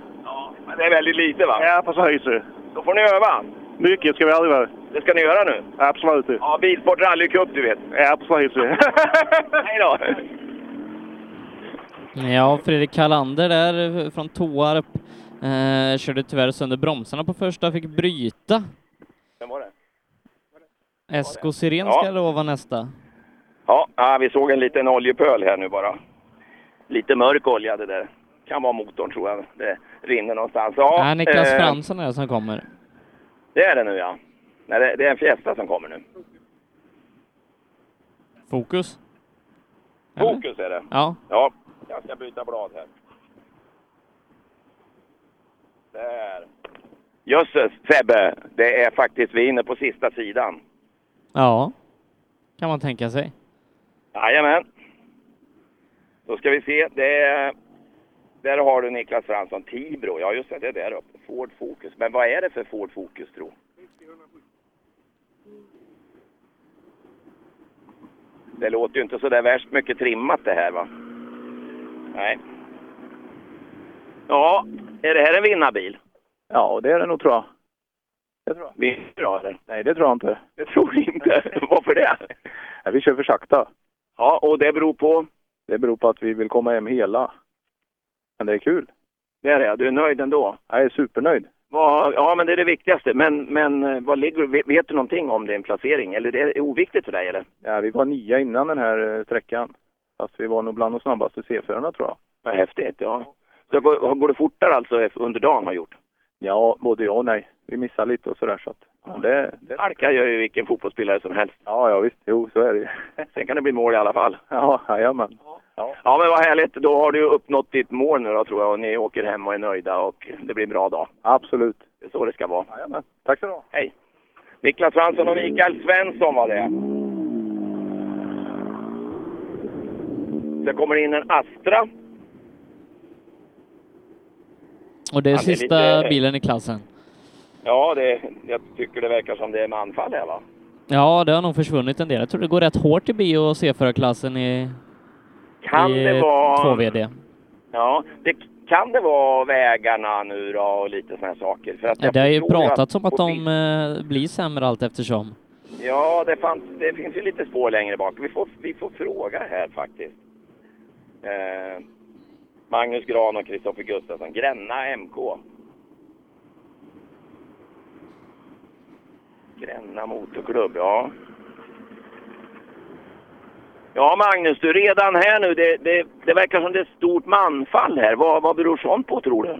S26: Men det är väldigt lite va?
S15: Ja, precis ju.
S26: Då får ni öva.
S15: Mycket ska vi öva.
S26: Det ska ni göra nu.
S15: Absolut ju.
S26: Ja, Bilsport rallycup du vet.
S15: Ja, precis ju.
S26: Hej då!
S10: Ja, Fredrik Kalander där eh, från Toarp eh, körde tyvärr sönder bromsarna på första, fick bryta.
S26: Vem var det?
S10: Esko Siren
S26: Ja.
S10: ska då vara nästa.
S26: Ja, ah, vi såg en liten oljepöl här nu bara. Lite mörk olja det där. Kan vara motorn tror jag. Det rinner någonstans. Ja,
S10: Nej, Äh, Niklas
S26: eh,
S10: Fransson är det som kommer.
S26: Det är det nu ja. Nej, det, det är en Fiesta som kommer nu.
S10: Fokus. Eller?
S26: Fokus är det.
S10: Ja.
S26: Ja, jag ska byta blad här. Där. Jösses Sebbe, det är faktiskt vi är inne på sista sidan.
S10: Ja, kan man tänka sig.
S26: Jajamän. Då ska vi se. Det är, där har du Niklas Fransson, Tibro. Ja, just det. Det är där uppe. Ford Focus. Men vad är det för Ford Focus, tro? Det låter ju inte så där värst mycket trimmat det här, va? Nej. Ja, är det här en vinnarbil?
S15: Ja, det är det nog tror jag.
S26: Vinner du eller?
S15: Nej, det tror jag inte.
S26: Jag tror inte. Varför det?
S15: Nej, vi kör för sakta.
S26: Ja, och det beror på?
S15: Det beror på att vi vill komma hem hela. Men det är kul.
S26: Det är det, du är nöjd ändå?
S15: Jag är supernöjd.
S26: Vad- Ja, men det är det viktigaste. Men, men eh, vad ligger, vet- vet du någonting om din placering? Eller det är oviktigt för dig, eller?
S15: Ja, vi var nia innan den här eh, sträckan. Fast vi var nog bland de snabbaste C4-erna tror jag.
S26: Vad häftigt, ja. Så går, går det fortare alltså under dagen har gjort?
S15: Ja, både ja och nej. Vi missade lite och sådär så att... men Det, det...
S26: Alka gör ju vilken fotbollsspelare som helst.
S15: Ja, ja visst. Jo, så är det ju.
S26: Sen kan det bli mål i alla fall.
S15: Ja, jajamän.
S26: Ja, men vad härligt. Då har du uppnått ditt mål nu då, tror jag. Och ni åker hem och är nöjda och det blir en bra dag.
S15: Absolut.
S26: Det är så det ska vara.
S15: Jajamän. Tack så du ha.
S26: Hej. Niklas Fransson och Mikael Svensson var det. Sen kommer det in en Astra.
S10: Och det är
S26: Han är
S10: sista
S26: lite-
S10: bilen i klassen.
S26: Ja, det, jag tycker det verkar som det är med anfall här va?
S10: Ja, det har nog försvunnit en del. Jag tror det går rätt hårt i bio och C4-klassen i,
S26: Kan
S10: i
S26: det vara-
S10: 2VD.
S26: Ja, det, kan det vara vägarna nu då och lite sådana här saker? För att
S10: Ja,
S26: jag
S10: Det har ju
S26: förstår
S10: pratats om att
S26: på
S10: de eh, blir sämre allt eftersom.
S26: Ja, det, fanns, det finns ju lite spår längre bak. Vi får, vi får fråga här faktiskt. Eh, Magnus Gran och Kristoffer Gustafsson, Gränna MK. Gränna Motorklubb, ja. Ja, Magnus, du är redan här nu. Det, det, det verkar som det är ett stort manfall här. Vad, vad beror sånt på, tror du?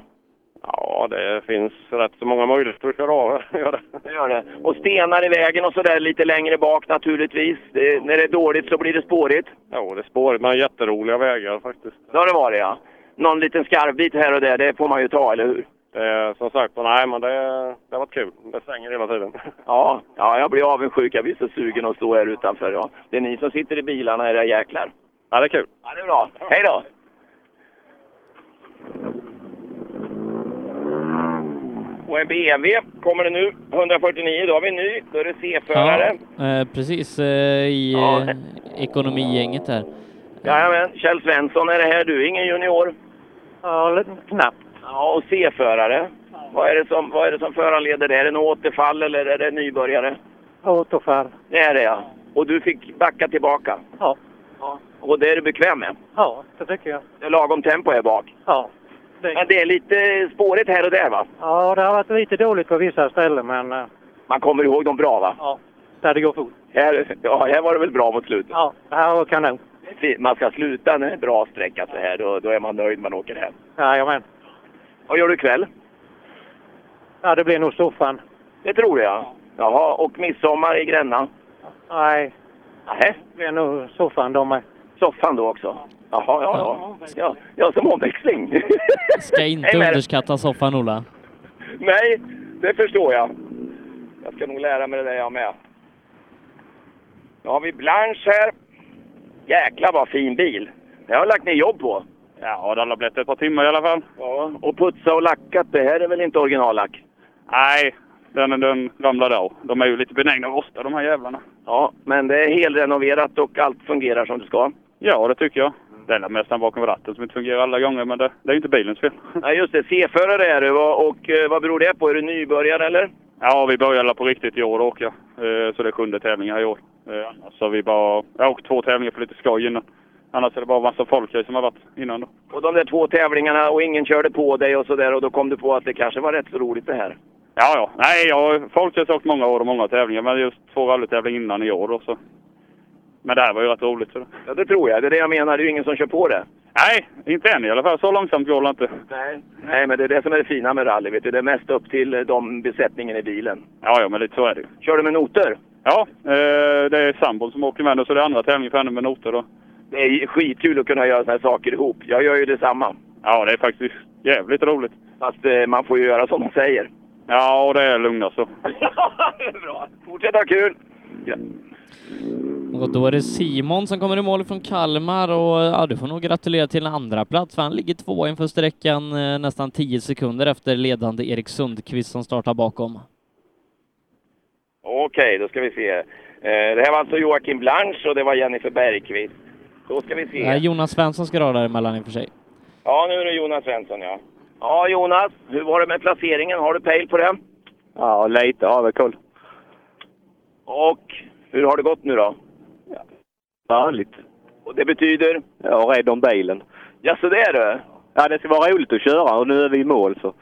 S15: Ja, det finns rätt så många möjligheter att köra av. Gör det.
S26: Det gör det. Och stenar i vägen och sådär lite längre bak naturligtvis. Det, när det är dåligt så blir det spårigt.
S15: Ja, det är spårigt men jätteroliga vägar faktiskt.
S26: Det har det varit ja. Någon liten skarvbit här och där, det får man ju ta, eller hur?
S15: Det är, som sagt, nej men det, det har varit kul. Det svänger hela tiden.
S26: Ja, ja jag blir avundsjuk. Jag blir så sugen att stå här utanför. Ja. Det är ni som sitter i bilarna, era jäklar.
S15: Ja, det är kul.
S26: Ja, det är bra. Hej då! Mm, Och en BMW kommer det nu. 149, då har vi en ny. Då är det C-förare.
S10: eh, precis, eh, i eh, ekonomigänget här.
S26: Jajamän, Kjell Svensson är det här. Du är ingen junior.
S6: Ja, knappt.
S26: Ja, och C-förare. Vad är, det som, vad är det som föranleder det? Är det något återfall eller är det nybörjare?
S6: Återfall.
S26: Det är det ja. Och du fick backa tillbaka?
S6: Ja.
S26: Och det är du bekväm med?
S6: Ja, det tycker jag.
S26: Det är lagom tempo här bak?
S6: Ja.
S26: Men det är lite spårigt här och där va?
S6: Ja, det har varit lite dåligt på vissa ställen, men eh,
S26: Man kommer ihåg dem bra va?
S6: Ja. där det går fort.
S26: Här, ja, här var det väl bra mot slutet?
S6: Ja, det här var kanon.
S26: Man ska sluta när det är en bra sträcka så här, då, då är man nöjd man åker hem.
S6: Jajamän.
S26: Vad gör du ikväll?
S6: Ja, det blir nog soffan.
S26: Det tror jag. Jaha, och midsommar i Gränna?
S6: Nej,
S26: Nähä,
S6: det blir nog soffan de med.
S26: soffan då också? Jaha, ja, ja. Ja, ja som omväxling.
S10: Ska inte
S26: Nej, men-
S10: underskatta soffan, Ola.
S26: Nej, det förstår jag. Jag ska nog lära mig det där jag med. Nu har vi Blanche här. Jäklar vad fin bil. Det har jag lagt ner jobb på.
S15: Ja, den har blivit ett par timmar i alla fall.
S26: Ja, och putsa och lackat. Det här är väl inte originallack?
S15: Nej, den, den ramlade av. De är ju lite benägna att rosta de här jävlarna.
S26: Ja, men det är helrenoverat och allt fungerar som det ska.
S15: Ja, det tycker jag. Det är den mest den bakom ratten som inte fungerar alla gånger, men det, det är ju inte bilens fel.
S26: Nej, just det. C-förare är du och, och eh, vad beror det på? Är du nybörjare eller?
S15: Ja, vi började på riktigt i år och åka. Eh, Så det är sjunde tävlingen här i år. Eh, Annars har vi bara... Jag har åkt två tävlingar för lite skoj innan. Annars är det bara massa folk här som har varit innan då.
S26: Och de där två tävlingarna och ingen körde på dig och sådär och då kom du på att det kanske var rätt så roligt det här.
S15: Ja, ja. Nej, jag har folkracet många år och många tävlingar, men just två rallytävlingar innan i år då, så. Men det här var ju rätt roligt. Så. det-
S26: Ja, det tror jag. Det är det jag menar. Det är ju ingen som kör på det.
S15: Nej, inte än i alla fall. Så långsamt går det inte.
S26: Nej. Nej, men det är det som är det fina med rally. Vet du. Det är mest upp till eh, de besättningen i bilen.
S15: Ja, ja, men lite så är det ju.
S26: Kör du med noter?
S15: Ja, eh, det är sambon som åker med nu, så det är andra tävlingen för henne med noter då.
S26: Det är skitkul att kunna göra såna här saker ihop. Jag gör ju detsamma.
S15: Ja, det är faktiskt jävligt roligt.
S26: Fast eh, man får ju göra som de säger.
S15: Ja, och det är alltså. lugna så.
S26: det är bra. Fortsätt ha kul!
S10: Och då är det Simon som kommer i mål från Kalmar och ja, du får nog gratulera till en andra plats för han ligger tvåa inför sträckan eh, nästan 10 sekunder efter ledande Erik Sundqvist som startar bakom.
S26: Okej, då ska vi se. Eh, det här var alltså Joakim Blanche och det var Jennifer Bergqvist. Då ska vi se.
S10: Nej, Eh, Jonas Svensson ska dra däremellan i och för sig.
S26: Ja, nu är det Jonas Svensson, ja. Ja, Jonas, hur var det med placeringen? Har du pejl på den?
S16: Ja, lite har vi koll.
S26: Och hur har det gått nu då?
S16: Vanligt.
S26: Och det betyder?
S16: Jag är rädd om bilen.
S26: Ja, så det är det.
S16: Ja, det ska vara roligt att köra och nu är vi i mål så.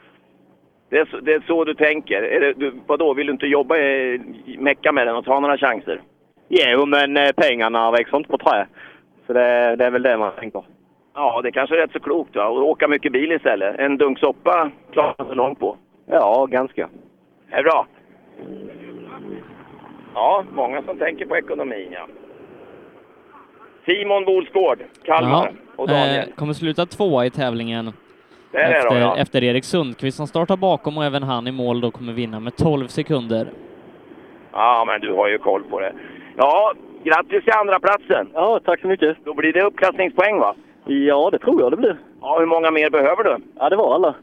S26: Det är så, det är så du tänker? Är det, du, vadå, vill du inte jobba, eh, mecka med den och ta några chanser?
S16: Jo, men eh, pengarna växer inte på trä. Så det, det är väl det man tänker.
S26: Ja, det kanske är rätt så klokt va? Och åka mycket bil istället. En dunk soppa klarar man sig långt på.
S16: Ja, ganska.
S26: Det är bra. Ja, många som tänker på ekonomin ja. Simon Bolsgård, Kalmar och Daniel.
S10: eh, kommer sluta tvåa i tävlingen.
S26: Det är det då,
S10: efter,
S26: ja.
S10: efter Erik Sundqvist som startar bakom och även han i mål då kommer vinna med 12 sekunder.
S26: Ja, men du har ju koll på det. Ja, grattis till andra platsen.
S16: Ja, tack så mycket.
S26: Då blir det uppklassningspoäng va?
S16: Ja, det tror jag det blir.
S26: Ja, hur många mer behöver du?
S16: Ja, det var alla.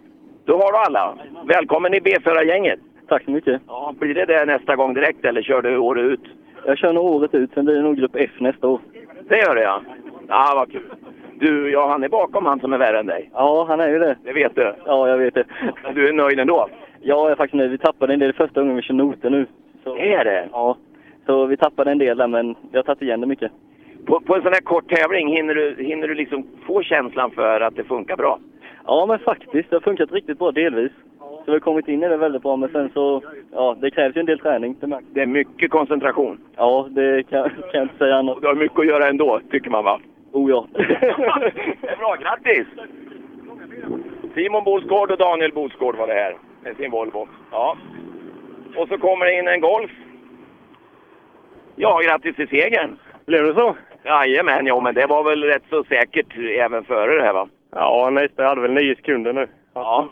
S26: Då har du alla. Välkommen i B4-gänget.
S16: Tack så mycket.
S26: Ja, blir det det nästa gång direkt eller kör du året ut?
S16: Jag kör nog året ut, sen blir det nog grupp F nästa år.
S26: Det gör det ja. Ja, vad kul. Du, ja, han är bakom han som är värre än dig.
S16: Ja, han är ju det.
S26: Det vet du.
S16: Ja, jag vet det.
S26: Men Du är nöjd ändå?
S16: Ja, jag är faktiskt nöjd. Vi tappade en del första gången vi kör noter nu.
S26: Det är det?
S16: Ja. Så vi tappade en del där, men vi har tagit igen det mycket.
S26: På, på en sån här kort tävling, hinner du, hinner du liksom få känslan för att det funkar bra?
S16: Ja, men faktiskt. Det har funkat riktigt bra delvis. Så vi har kommit in i det väldigt bra, men sen så... Ja, det krävs ju en del träning. Det märks.
S26: Det är mycket koncentration.
S16: Ja, det kan, kan jag inte säga annat.
S26: Du har mycket att göra ändå, tycker man va?
S16: Oh ja.
S26: det är bra, grattis! Simon Boskård och Daniel Boskård var det här med sin Volvo. Ja. Och så kommer det in en Golf. Ja, grattis till segern!
S12: Blev det så?
S26: Jajamän, ja men det var väl rätt så säkert även före det här va?
S12: Ja, nästa hade väl nio sekunder nu.
S26: Ja.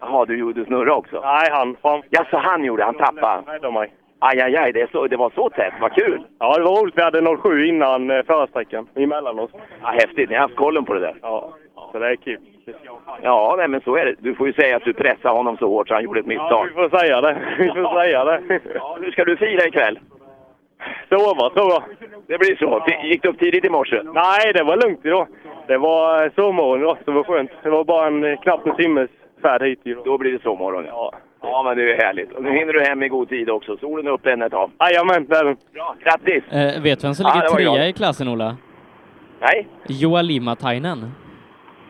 S26: Jaha, du gjorde snurra också?
S12: Nej, han fram.
S26: Jaså, han gjorde, han tappade?
S12: Rädda mig.
S26: Aj, aj, aj, det, är så, det var så tätt, vad kul!
S12: Ja, det var roligt. Vi hade 07 innan eh, förra sträckan, emellan oss.
S26: Ja, häftigt, ni har haft kollen på det där.
S12: Ja, så det är kul.
S26: Ja, nej, men så är det. Du får ju säga att du pressade honom så hårt så han gjorde ett
S12: Ja,
S26: misstag.
S12: vi får säga det. Vi får säga det.
S26: Ja, hur ska du fira ikväll?
S12: Sova, tror jag.
S26: Det blir så. T- Gick du upp tidigt i morse?
S12: Nej, det var lugnt idag. Det var eh, sovmorgon idag, så det var skönt. Det var bara en, eh, knappt en timmes färd hit idag.
S26: Då blir det sovmorgon,
S12: ja.
S26: Ja, men det är ju härligt. Och nu hinner du hem i god tid också. Solen är uppe än ett tag.
S12: Jajamän, det är den.
S26: Bra, grattis!
S10: Eh, vet du vem som
S26: Ja,
S10: ligger
S26: det var
S10: trea
S26: jag.
S10: i klassen, Ola?
S26: Nej,
S10: Joa Limatainen.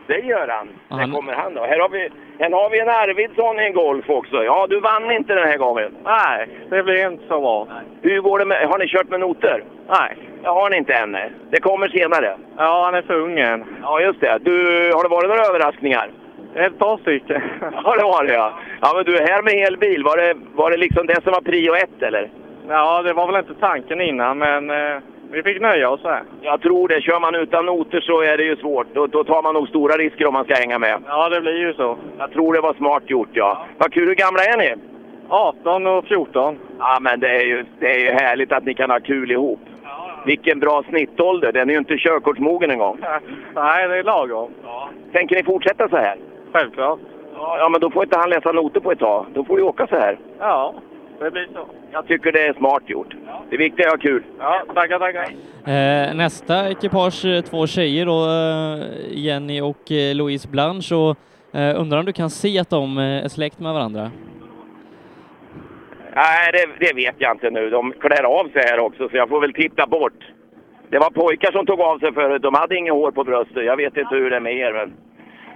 S26: det gör han.
S10: Ja,
S26: Där
S10: han-
S26: kommer han då. Här har, vi, här har vi en Arvidsson i en Golf också. Ja, du vann inte den här gången. Nej, det blev inte så bra. Hur går det med... Har ni kört med noter? Nej. Det har ni inte än. nej. Det kommer senare.
S12: Ja, han är för ung än.
S26: Ja, just det. Du, har det varit några överraskningar?
S12: Ett par stycken.
S26: Ja, det var det ja. Ja, men du är här med hel bil. Var det, var det liksom det som var prio ett, eller?
S12: Ja, det var väl inte tanken innan, men eh, vi fick nöja oss här.
S26: Jag tror det. Kör man utan noter så är det ju svårt. Då, då tar man nog stora risker om man ska hänga med.
S12: Ja, det blir ju så.
S26: Jag tror det var smart gjort, ja. Vad kul. Hur gamla är ni?
S12: 18 och 14.
S26: Ja, men det är ju, det är ju härligt att ni kan ha kul ihop. Vilken bra snittålder. Den är ju inte körkortsmogen en gång.
S12: Nej, det är lagom.
S26: Tänker ni fortsätta så här?
S12: Självklart.
S26: Ja, ja, men då får inte han läsa noter på ett tag. Då får du åka så här.
S12: Ja, det blir så.
S26: Jag tycker det är smart gjort. Det viktiga är att ha kul.
S12: Ja, tackar, tackar.
S10: Eh, nästa ekipage, eh, två tjejer då, eh, Jenny och eh, Louise Blanche och eh, undrar om du kan se att de eh, är släkt med varandra?
S26: Nej, det, det vet jag inte nu. De klär av sig här också, så jag får väl titta bort. Det var pojkar som tog av sig förut. De hade inget hår på bröstet. Jag vet inte hur det är med er. Men...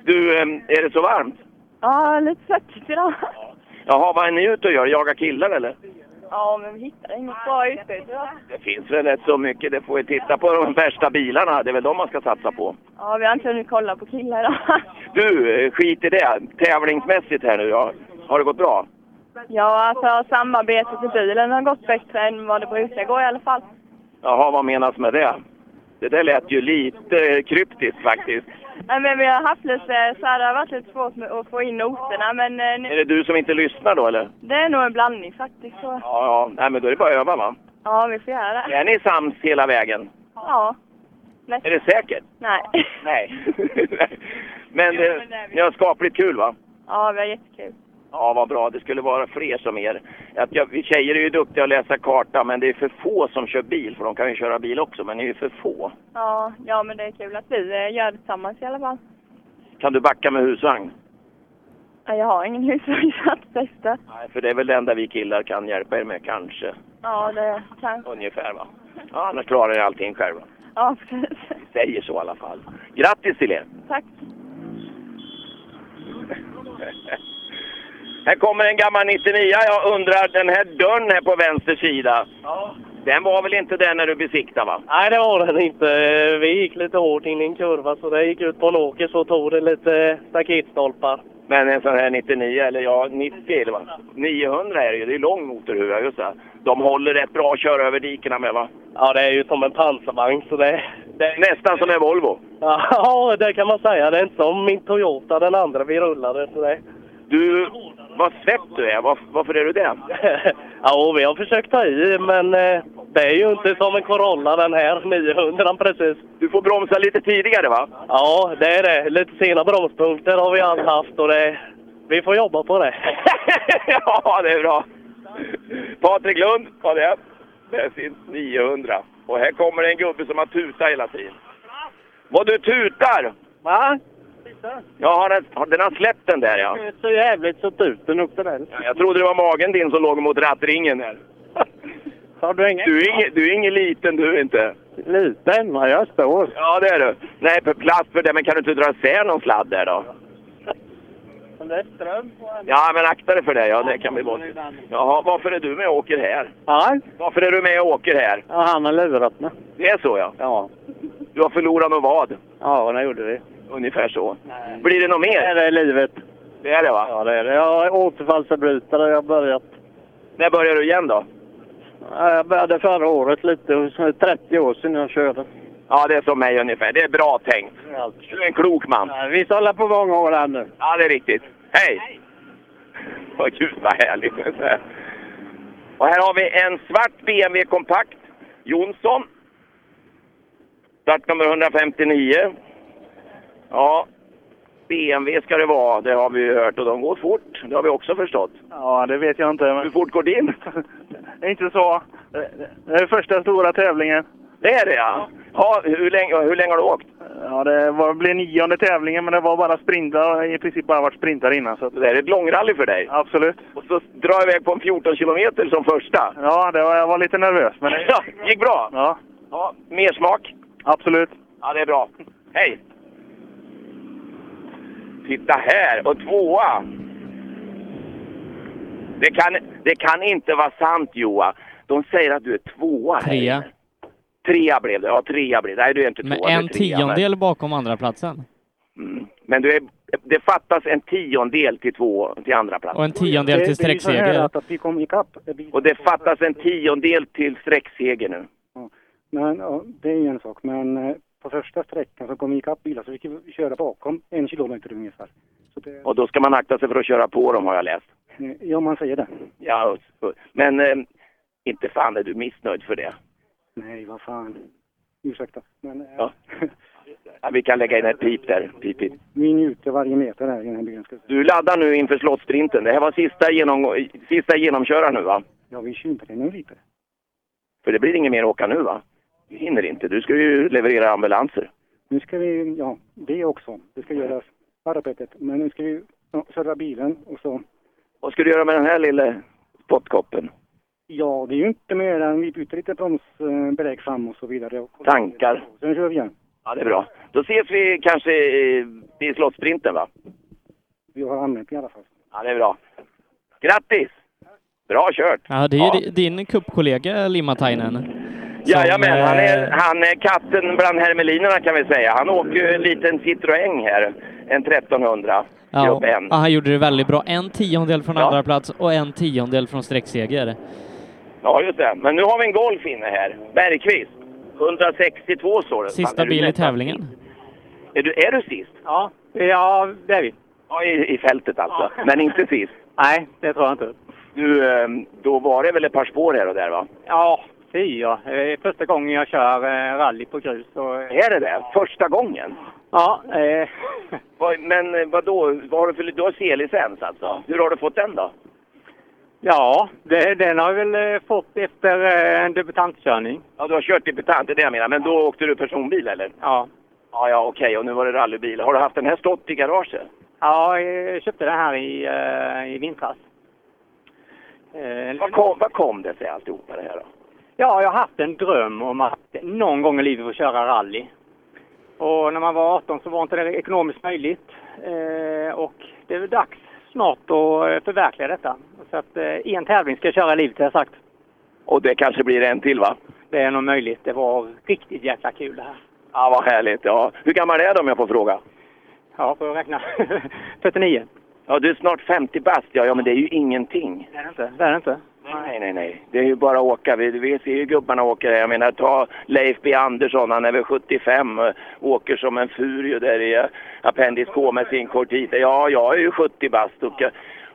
S26: Du, ehm, är det så varmt?
S18: Ja, lite svettigt idag.
S26: Jaha, vad är ni ute och gör? Jagar killar eller?
S24: Ja, men vi hittar inget bra utbyte va?
S26: Det finns väl rätt så mycket. Det får vi titta på de värsta bilarna. Det är väl de man ska satsa på.
S24: Ja, vi har inte hunnit kolla på killar idag.
S26: Du, eh, skit i det. Tävlingsmässigt här nu, ja. har det gått bra?
S24: Ja, alltså samarbetet i bilen har gått bättre än vad det brukar gå i alla fall.
S26: Jaha, vad menas med det? Det där lät ju lite eh, kryptiskt faktiskt.
S24: Nej, men vi har haft lite, så här, det har varit lite svårt med att få in noterna men eh,
S26: Är
S24: nu,
S26: det du som inte lyssnar då eller?
S24: det är nog en blandning faktiskt. Så.
S26: Ja, ja. Nej, men då är det bara att öva va?
S24: Ja, vi får göra det.
S26: Är ni sams hela vägen?
S24: Ja.
S26: Är det säkert?
S24: Nej.
S26: Nej. Men eh, ni har skapligt kul va?
S24: Ja, vi har jättekul.
S26: Ja, vad bra. Det skulle vara fler som er. Att jag, vi tjejer är ju duktiga att läsa karta, men det är för få som kör bil. För de kan ju köra bil också, men ni är ju för få.
S24: Ja, ja, men det är kul att vi eh, gör det tillsammans i alla fall.
S26: Kan du backa med husvagn?
S24: Ja, jag har ingen husvagn så att testa.
S26: Nej, för det är väl det enda vi killar kan hjälpa er med, kanske.
S24: Ja, det kan.
S26: Ungefär, va? Ja, annars klarar ni allting själva.
S24: Ja, precis.
S26: Vi säger så i alla fall. Grattis till er!
S24: Tack.
S26: Här kommer en gammal 99. Jag undrar, den här dörren här på vänster sida.
S8: Ja.
S26: Den var väl inte den när du besiktade, va?
S8: Nej, det var den inte. Vi gick lite hårt in i en kurva så det gick ut på en åker så tog det lite staketstolpar.
S26: Men en sån här 99, eller ja, 90 eller vad? 900 är det ju. Det är lång motorhuva, just det. De håller rätt bra att köra över dikena med, va?
S8: Ja, det är ju som en pansarvagn så det...
S26: Nästan som en Volvo.
S8: Ja, det kan man säga. Det är inte som min Toyota, den andra vi rullade. Så det...
S26: Du, vad svett du är. Var, varför är du det?
S8: ja, vi har försökt ta i men eh, det är ju inte som en Corolla den här 900 precis.
S26: Du får bromsa lite tidigare va?
S8: Ja, det är det. Lite sena bromspunkter har vi allt haft och det... Vi får jobba på det.
S26: ja, det är bra. Patrik Lund var det. Det är sin 900. Och här kommer det en gubbe som har tutat hela tiden. Vad du tutar!
S18: Va?
S26: Ja, har den, har, den har släppt den där ja.
S18: Så jävligt så tuten upp den där.
S26: Ja, Jag trodde det var magen din som låg mot rattringen där.
S18: Har du ingen?
S26: Du är ingen, du är ingen liten du inte.
S18: Liten, men jag står.
S26: Ja, det är du. Nej, för plats för det. Men kan du inte dra isär någon sladd där då?
S18: Det är ström på en.
S26: Ja, men akta dig för det. Ja, det kan bli bort. Jaha, varför är du med och åker här?
S18: Ja.
S26: Varför är du med och åker här?
S18: ja, han har lurat mig.
S26: Det är så ja.
S18: Ja.
S26: Du har förlorat någon vad?
S18: Ja, det gjorde vi.
S26: Ungefär så. Blir det något mer?
S18: Det är livet.
S26: Det är det va?
S18: Ja, det är det. Jag är återfallsförbrytare. Jag har börjat.
S26: När börjar du igen då?
S18: ja, Jag började förra året lite. och så är det 30 år sedan jag körde.
S26: Ja, det är som mig ungefär. Det är bra tänkt. Du är en klok man.
S18: Ja, Vi håller på många år här nu.
S26: Ja, det är riktigt. Hej! Vad gud vad härligt. Och här har vi en svart BMW kompakt. Jonsson. Startnummer 159. Ja, BMW ska det vara. Det har vi ju hört och de går fort. Det har vi också förstått.
S8: Ja, det vet jag inte. Men...
S26: Hur fort går din?
S8: Inte så. Det är första stora tävlingen.
S26: Det är det ja. ja hur, länge, hur länge har du åkt?
S8: Ja, det var, blev nionde tävlingen, men det var bara sprintar. I princip bara varit sprintar innan. Så att...
S26: Det här är ett långrally för dig.
S8: Absolut.
S26: Och så drar jag iväg på en 14 kilometer som första.
S8: Ja, det var, jag var lite nervös. Men det...
S26: Ja, gick bra.
S8: Ja,
S26: Ja, mer smak.
S8: absolut.
S26: Ja, det är bra. Hej! Titta här! Och tvåa! Det kan, det kan inte vara sant, Joa. De säger att du är tvåa. här.
S10: Trea.
S26: Trea blev det. Ja, trea blev det. Nej, du är inte tvåa.
S10: Med
S26: du är
S10: en
S26: trea, Mm.
S10: tiondel bakom andra platsen.
S26: Men, men du är, det fattas en tiondel till, två, till andra plats.
S10: Och en tiondel till
S18: Det är ju så
S10: sträckseger.
S18: här att vi kom ikapp. Vi-
S26: Och det fattas en tiondel till sträckseger nu.
S18: Men, ja, det är ju en sak. Men eh, på första sträckan så kom vi ikapp bilar så vi kunde köra bakom en kilometer ungefär.
S26: Och då ska man akta sig för att köra på dem, har jag läst.
S18: Eh, Ja, man säger det.
S26: Ja, men eh, inte fan är du missnöjd för det.
S18: Nej, vad fan. Ursäkta. Men eh,
S26: Ja. Ja, vi kan lägga in ett pip där. Pip, pip.
S18: vi njuter varje meter här i den här bilen. Ska jag säga.
S26: Du laddar nu inför slottsprinten. Det här var sista, genomgå- sista genomköraren nu va?
S18: Ja, vi tjuvtränar lite.
S26: För det blir inget mer att åka nu va? Du hinner inte. Du ska ju leverera ambulanser.
S18: Nu ska vi, ja, det också. Det ska göras arbetet. Men nu ska vi ja, serva bilen och så.
S26: Vad ska du göra med den här lilla spottkoppen?
S18: Ja, det är ju inte mer än vi byter lite bromsbelägg fram och så vidare. Och
S26: Tankar?
S18: sen kör vi igen.
S26: Ja, det är bra. Då ses vi kanske i, i slottsprinten va?
S18: Vi har använt i alla fall.
S26: Ja, det är bra. Grattis! Bra kört!
S10: Ja, det är ju di- din kuppkollega Limatainen.
S26: Jajamän, han
S10: eh,
S26: är, han är katten bland hermelinerna kan vi säga. Han åker ju en liten Citroën här, en 1300 grupp
S10: Ja,
S26: 1.
S10: och han gjorde det väldigt bra. En tiondel från andra plats och en tiondel från sträckseger.
S26: Ja, just det. Men nu har vi en Golf inne här. Bergqvist. 162 står det. Fan,
S10: Sista
S26: är du
S10: bil i
S26: nästan-
S10: tävlingen.
S26: Är du, är du sist?
S21: Ja, ja det är vi.
S26: Ja, i, i fältet alltså.
S21: Ja.
S26: Men inte sist?
S21: Nej, det tror jag inte.
S26: Du, ehm, då var det väl ett par spår här och där va?
S21: Ja, fyra. Det är första gången jag kör eh, rally på grus. Och, eh,
S26: Är det det? Första gången?
S21: Ja, eh,
S26: Vad- Men eh, vadå, vad har du för... Du har C-licens alltså? Hur har du fått den då?
S21: ja det, den har jag väl eh, fått efter eh, en debutantkörning.
S26: Ja, du har kört debutant, det är det jag menar. Men då åkte du personbil eller?
S21: Ja.
S26: Ja, ja okej. Och nu var det rallybil. Har du haft den här stått i garaget?
S21: Ja, jag köpte den här i, eh, i vintras. Eh,
S26: Vad kom, vad kom det sig alltihopa det här då?
S21: Ja, jag har haft en dröm om att någon gång i livet få köra rally. Och när man var 18 så var inte det ekonomiskt möjligt. Eh, och det är väl dags snart att eh, förverkliga detta. Så att eh, en tävling ska jag köra i livet har jag sagt.
S26: Och det kanske blir en till va?
S21: Det är nog möjligt. Det var riktigt jäkla kul det här.
S26: Ja, vad härligt. Ja. Hur gammal är du om jag får fråga?
S21: Ja, får jag räkna? 49.
S26: Ja, du är snart 50 bast. Ja, ja, men det är ju ingenting.
S21: Det är det inte. Det är det inte.
S26: Nej, nej, nej. Det är ju bara att åka. Vi, vi ser ju gubbarna åka där. Jag menar, ta Leif B Andersson, han är väl 75, eh, åker som en furio där i eh, Appendix K med sin Cortita. Ja, jag är ju 70 bast och,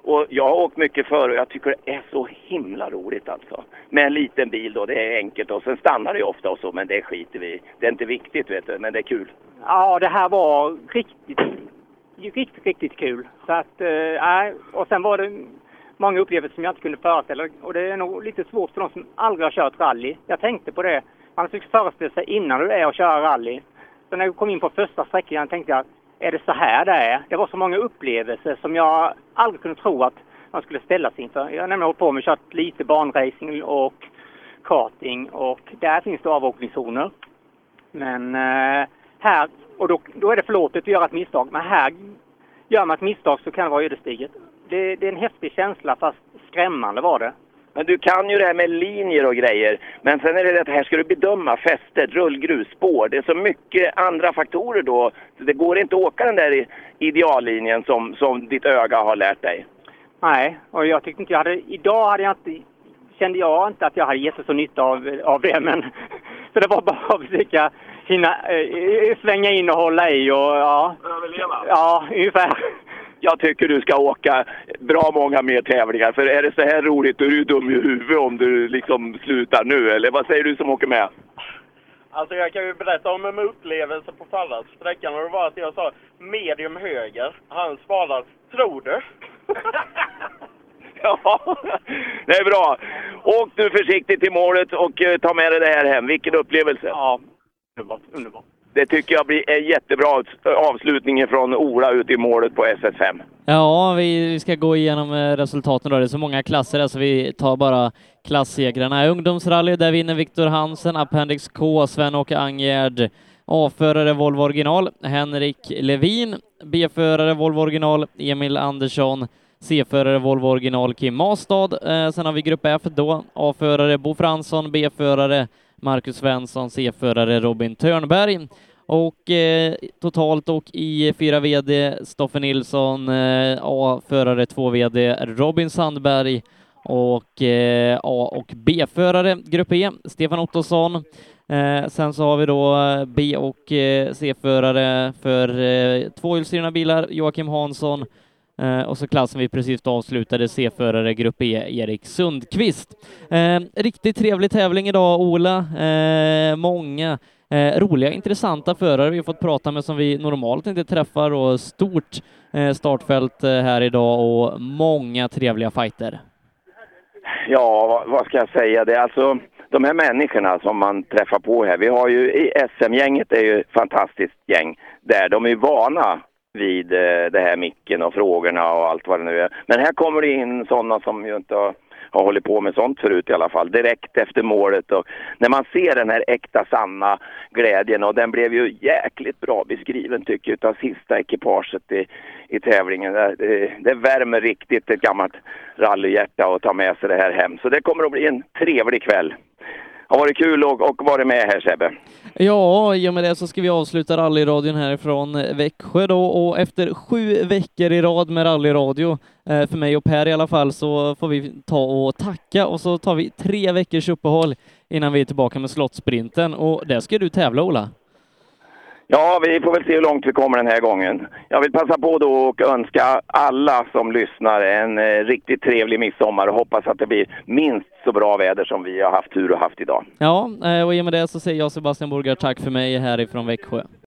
S26: och jag har åkt mycket förr och jag tycker det är så himla roligt alltså. Med en liten bil då, det är enkelt och sen stannar det ju ofta och så, men det skiter vi i. Det är inte viktigt vet du, men det är kul.
S21: Ja, det här var riktigt, riktigt, riktigt kul. Så att, eh, nej. och sen var det många upplevelser som jag inte kunde föreställa Och det är nog lite svårt för de som aldrig har kört rally. Jag tänkte på det. Man försöker föreställa sig innan hur det är att köra rally. Så när jag kom in på första sträckan tänkte jag, är det så här det är? Det var så många upplevelser som jag aldrig kunde tro att man skulle ställas inför. Jag har nämligen hållit på med kört lite banracing och karting och där finns det avåkningszoner. Men eh, här, och då, då är det förlåtet att göra ett misstag, men här gör man ett misstag så kan det vara ödesdigert. Det, det är en häftig känsla fast skrämmande var det.
S26: Men du kan ju det här med linjer och grejer. Men sen är det det att här ska du bedöma fästet, rullgrus, spår. Det är så mycket andra faktorer då. Så det går inte att åka den där i- ideallinjen som, som ditt öga har lärt dig.
S21: Nej, och jag tyckte inte jag hade, idag hade jag inte, kände jag inte att jag hade jätteså nytta av, av det men så det var bara att försöka hinna, eh, svänga in och hålla i och ja. Överleva? Ja, ungefär.
S26: Jag tycker du ska åka bra många mer tävlingar. För är det så här roligt då är du ju dum i huvudet om du liksom slutar nu. Eller vad säger du som åker med?
S3: Alltså jag kan ju berätta om en upplevelse på förra sträckan och det var att jag sa medium höger. Han svarade tror du?
S26: Ja, det är bra. Åk nu försiktigt till målet och eh, ta med dig det här hem. Vilken upplevelse!
S21: Ja, underbart. underbart.
S26: Det tycker jag blir en jättebra avslutning från Ola ute i målet på SS5.
S10: Ja, vi, vi ska gå igenom eh, resultaten då. Det är så många klasser här, så vi tar bara klassegrarna. Ungdomsrally, där vinner Viktor Hansen, Appendix K, Sven-Åke Angerd. A-förare Volvo original, Henrik Levin. B-förare Volvo original, Emil Andersson. C-förare Volvo original, Kim Mastad. Eh, sen har vi grupp F då. A-förare Bo Fransson, B-förare Marcus Svensson, C-förare Robin Törnberg. Och eh, totalt och i fyra VD Stoffe Nilsson, eh, A-förare två VD Robin Sandberg och eh, A och B-förare Grupp E, Stefan Ottosson. Eh, sen så har vi då eh, B och eh, C-förare för eh, tvåhjulsdrivna bilar, Joakim Hansson Eh, och så klassen vi precis avslutade, C-förare grupp E, Erik Sundqvist. Eh, riktigt trevlig tävling idag, Ola. Eh, många eh, roliga, intressanta förare vi har fått prata med som vi normalt inte träffar och stort eh, startfält eh, här idag och många trevliga fighter.
S26: Ja, vad, vad ska jag säga? Det är alltså de här människorna som man träffar på här. Vi har ju i SM-gänget är ju ett fantastiskt gäng där de är vana vid eh, det här micken och frågorna och allt vad det nu är. Men här kommer det in sådana som ju inte har har hållit på med sånt förut i alla fall. Direkt efter målet och när man ser den här äkta sanna glädjen och den blev ju jäkligt bra beskriven tycker jag utav sista ekipaget i, i tävlingen. Det, det, det värmer riktigt ett gammalt rallyhjärta att ta med sig det här hem. Så det kommer att bli en trevlig kväll. Har varit kul och, och varit med här Sebbe.
S10: Ja, i och med det så ska vi avsluta rallyradion härifrån eh, Växjö då och efter sju veckor i rad med rallyradio, eh, för mig och Per i alla fall, så får vi ta och tacka och så tar vi tre veckors uppehåll innan vi är tillbaka med Slottsprinten och där ska du tävla Ola.
S26: Ja, vi får väl se hur långt vi kommer den här gången. Jag vill passa på då och önska alla som lyssnar en eh, riktigt trevlig midsommar och hoppas att det blir minst så bra väder som vi har haft tur och haft idag.
S10: Ja, eh, och i och med det så säger jag Sebastian Borgard tack för mig härifrån Växjö.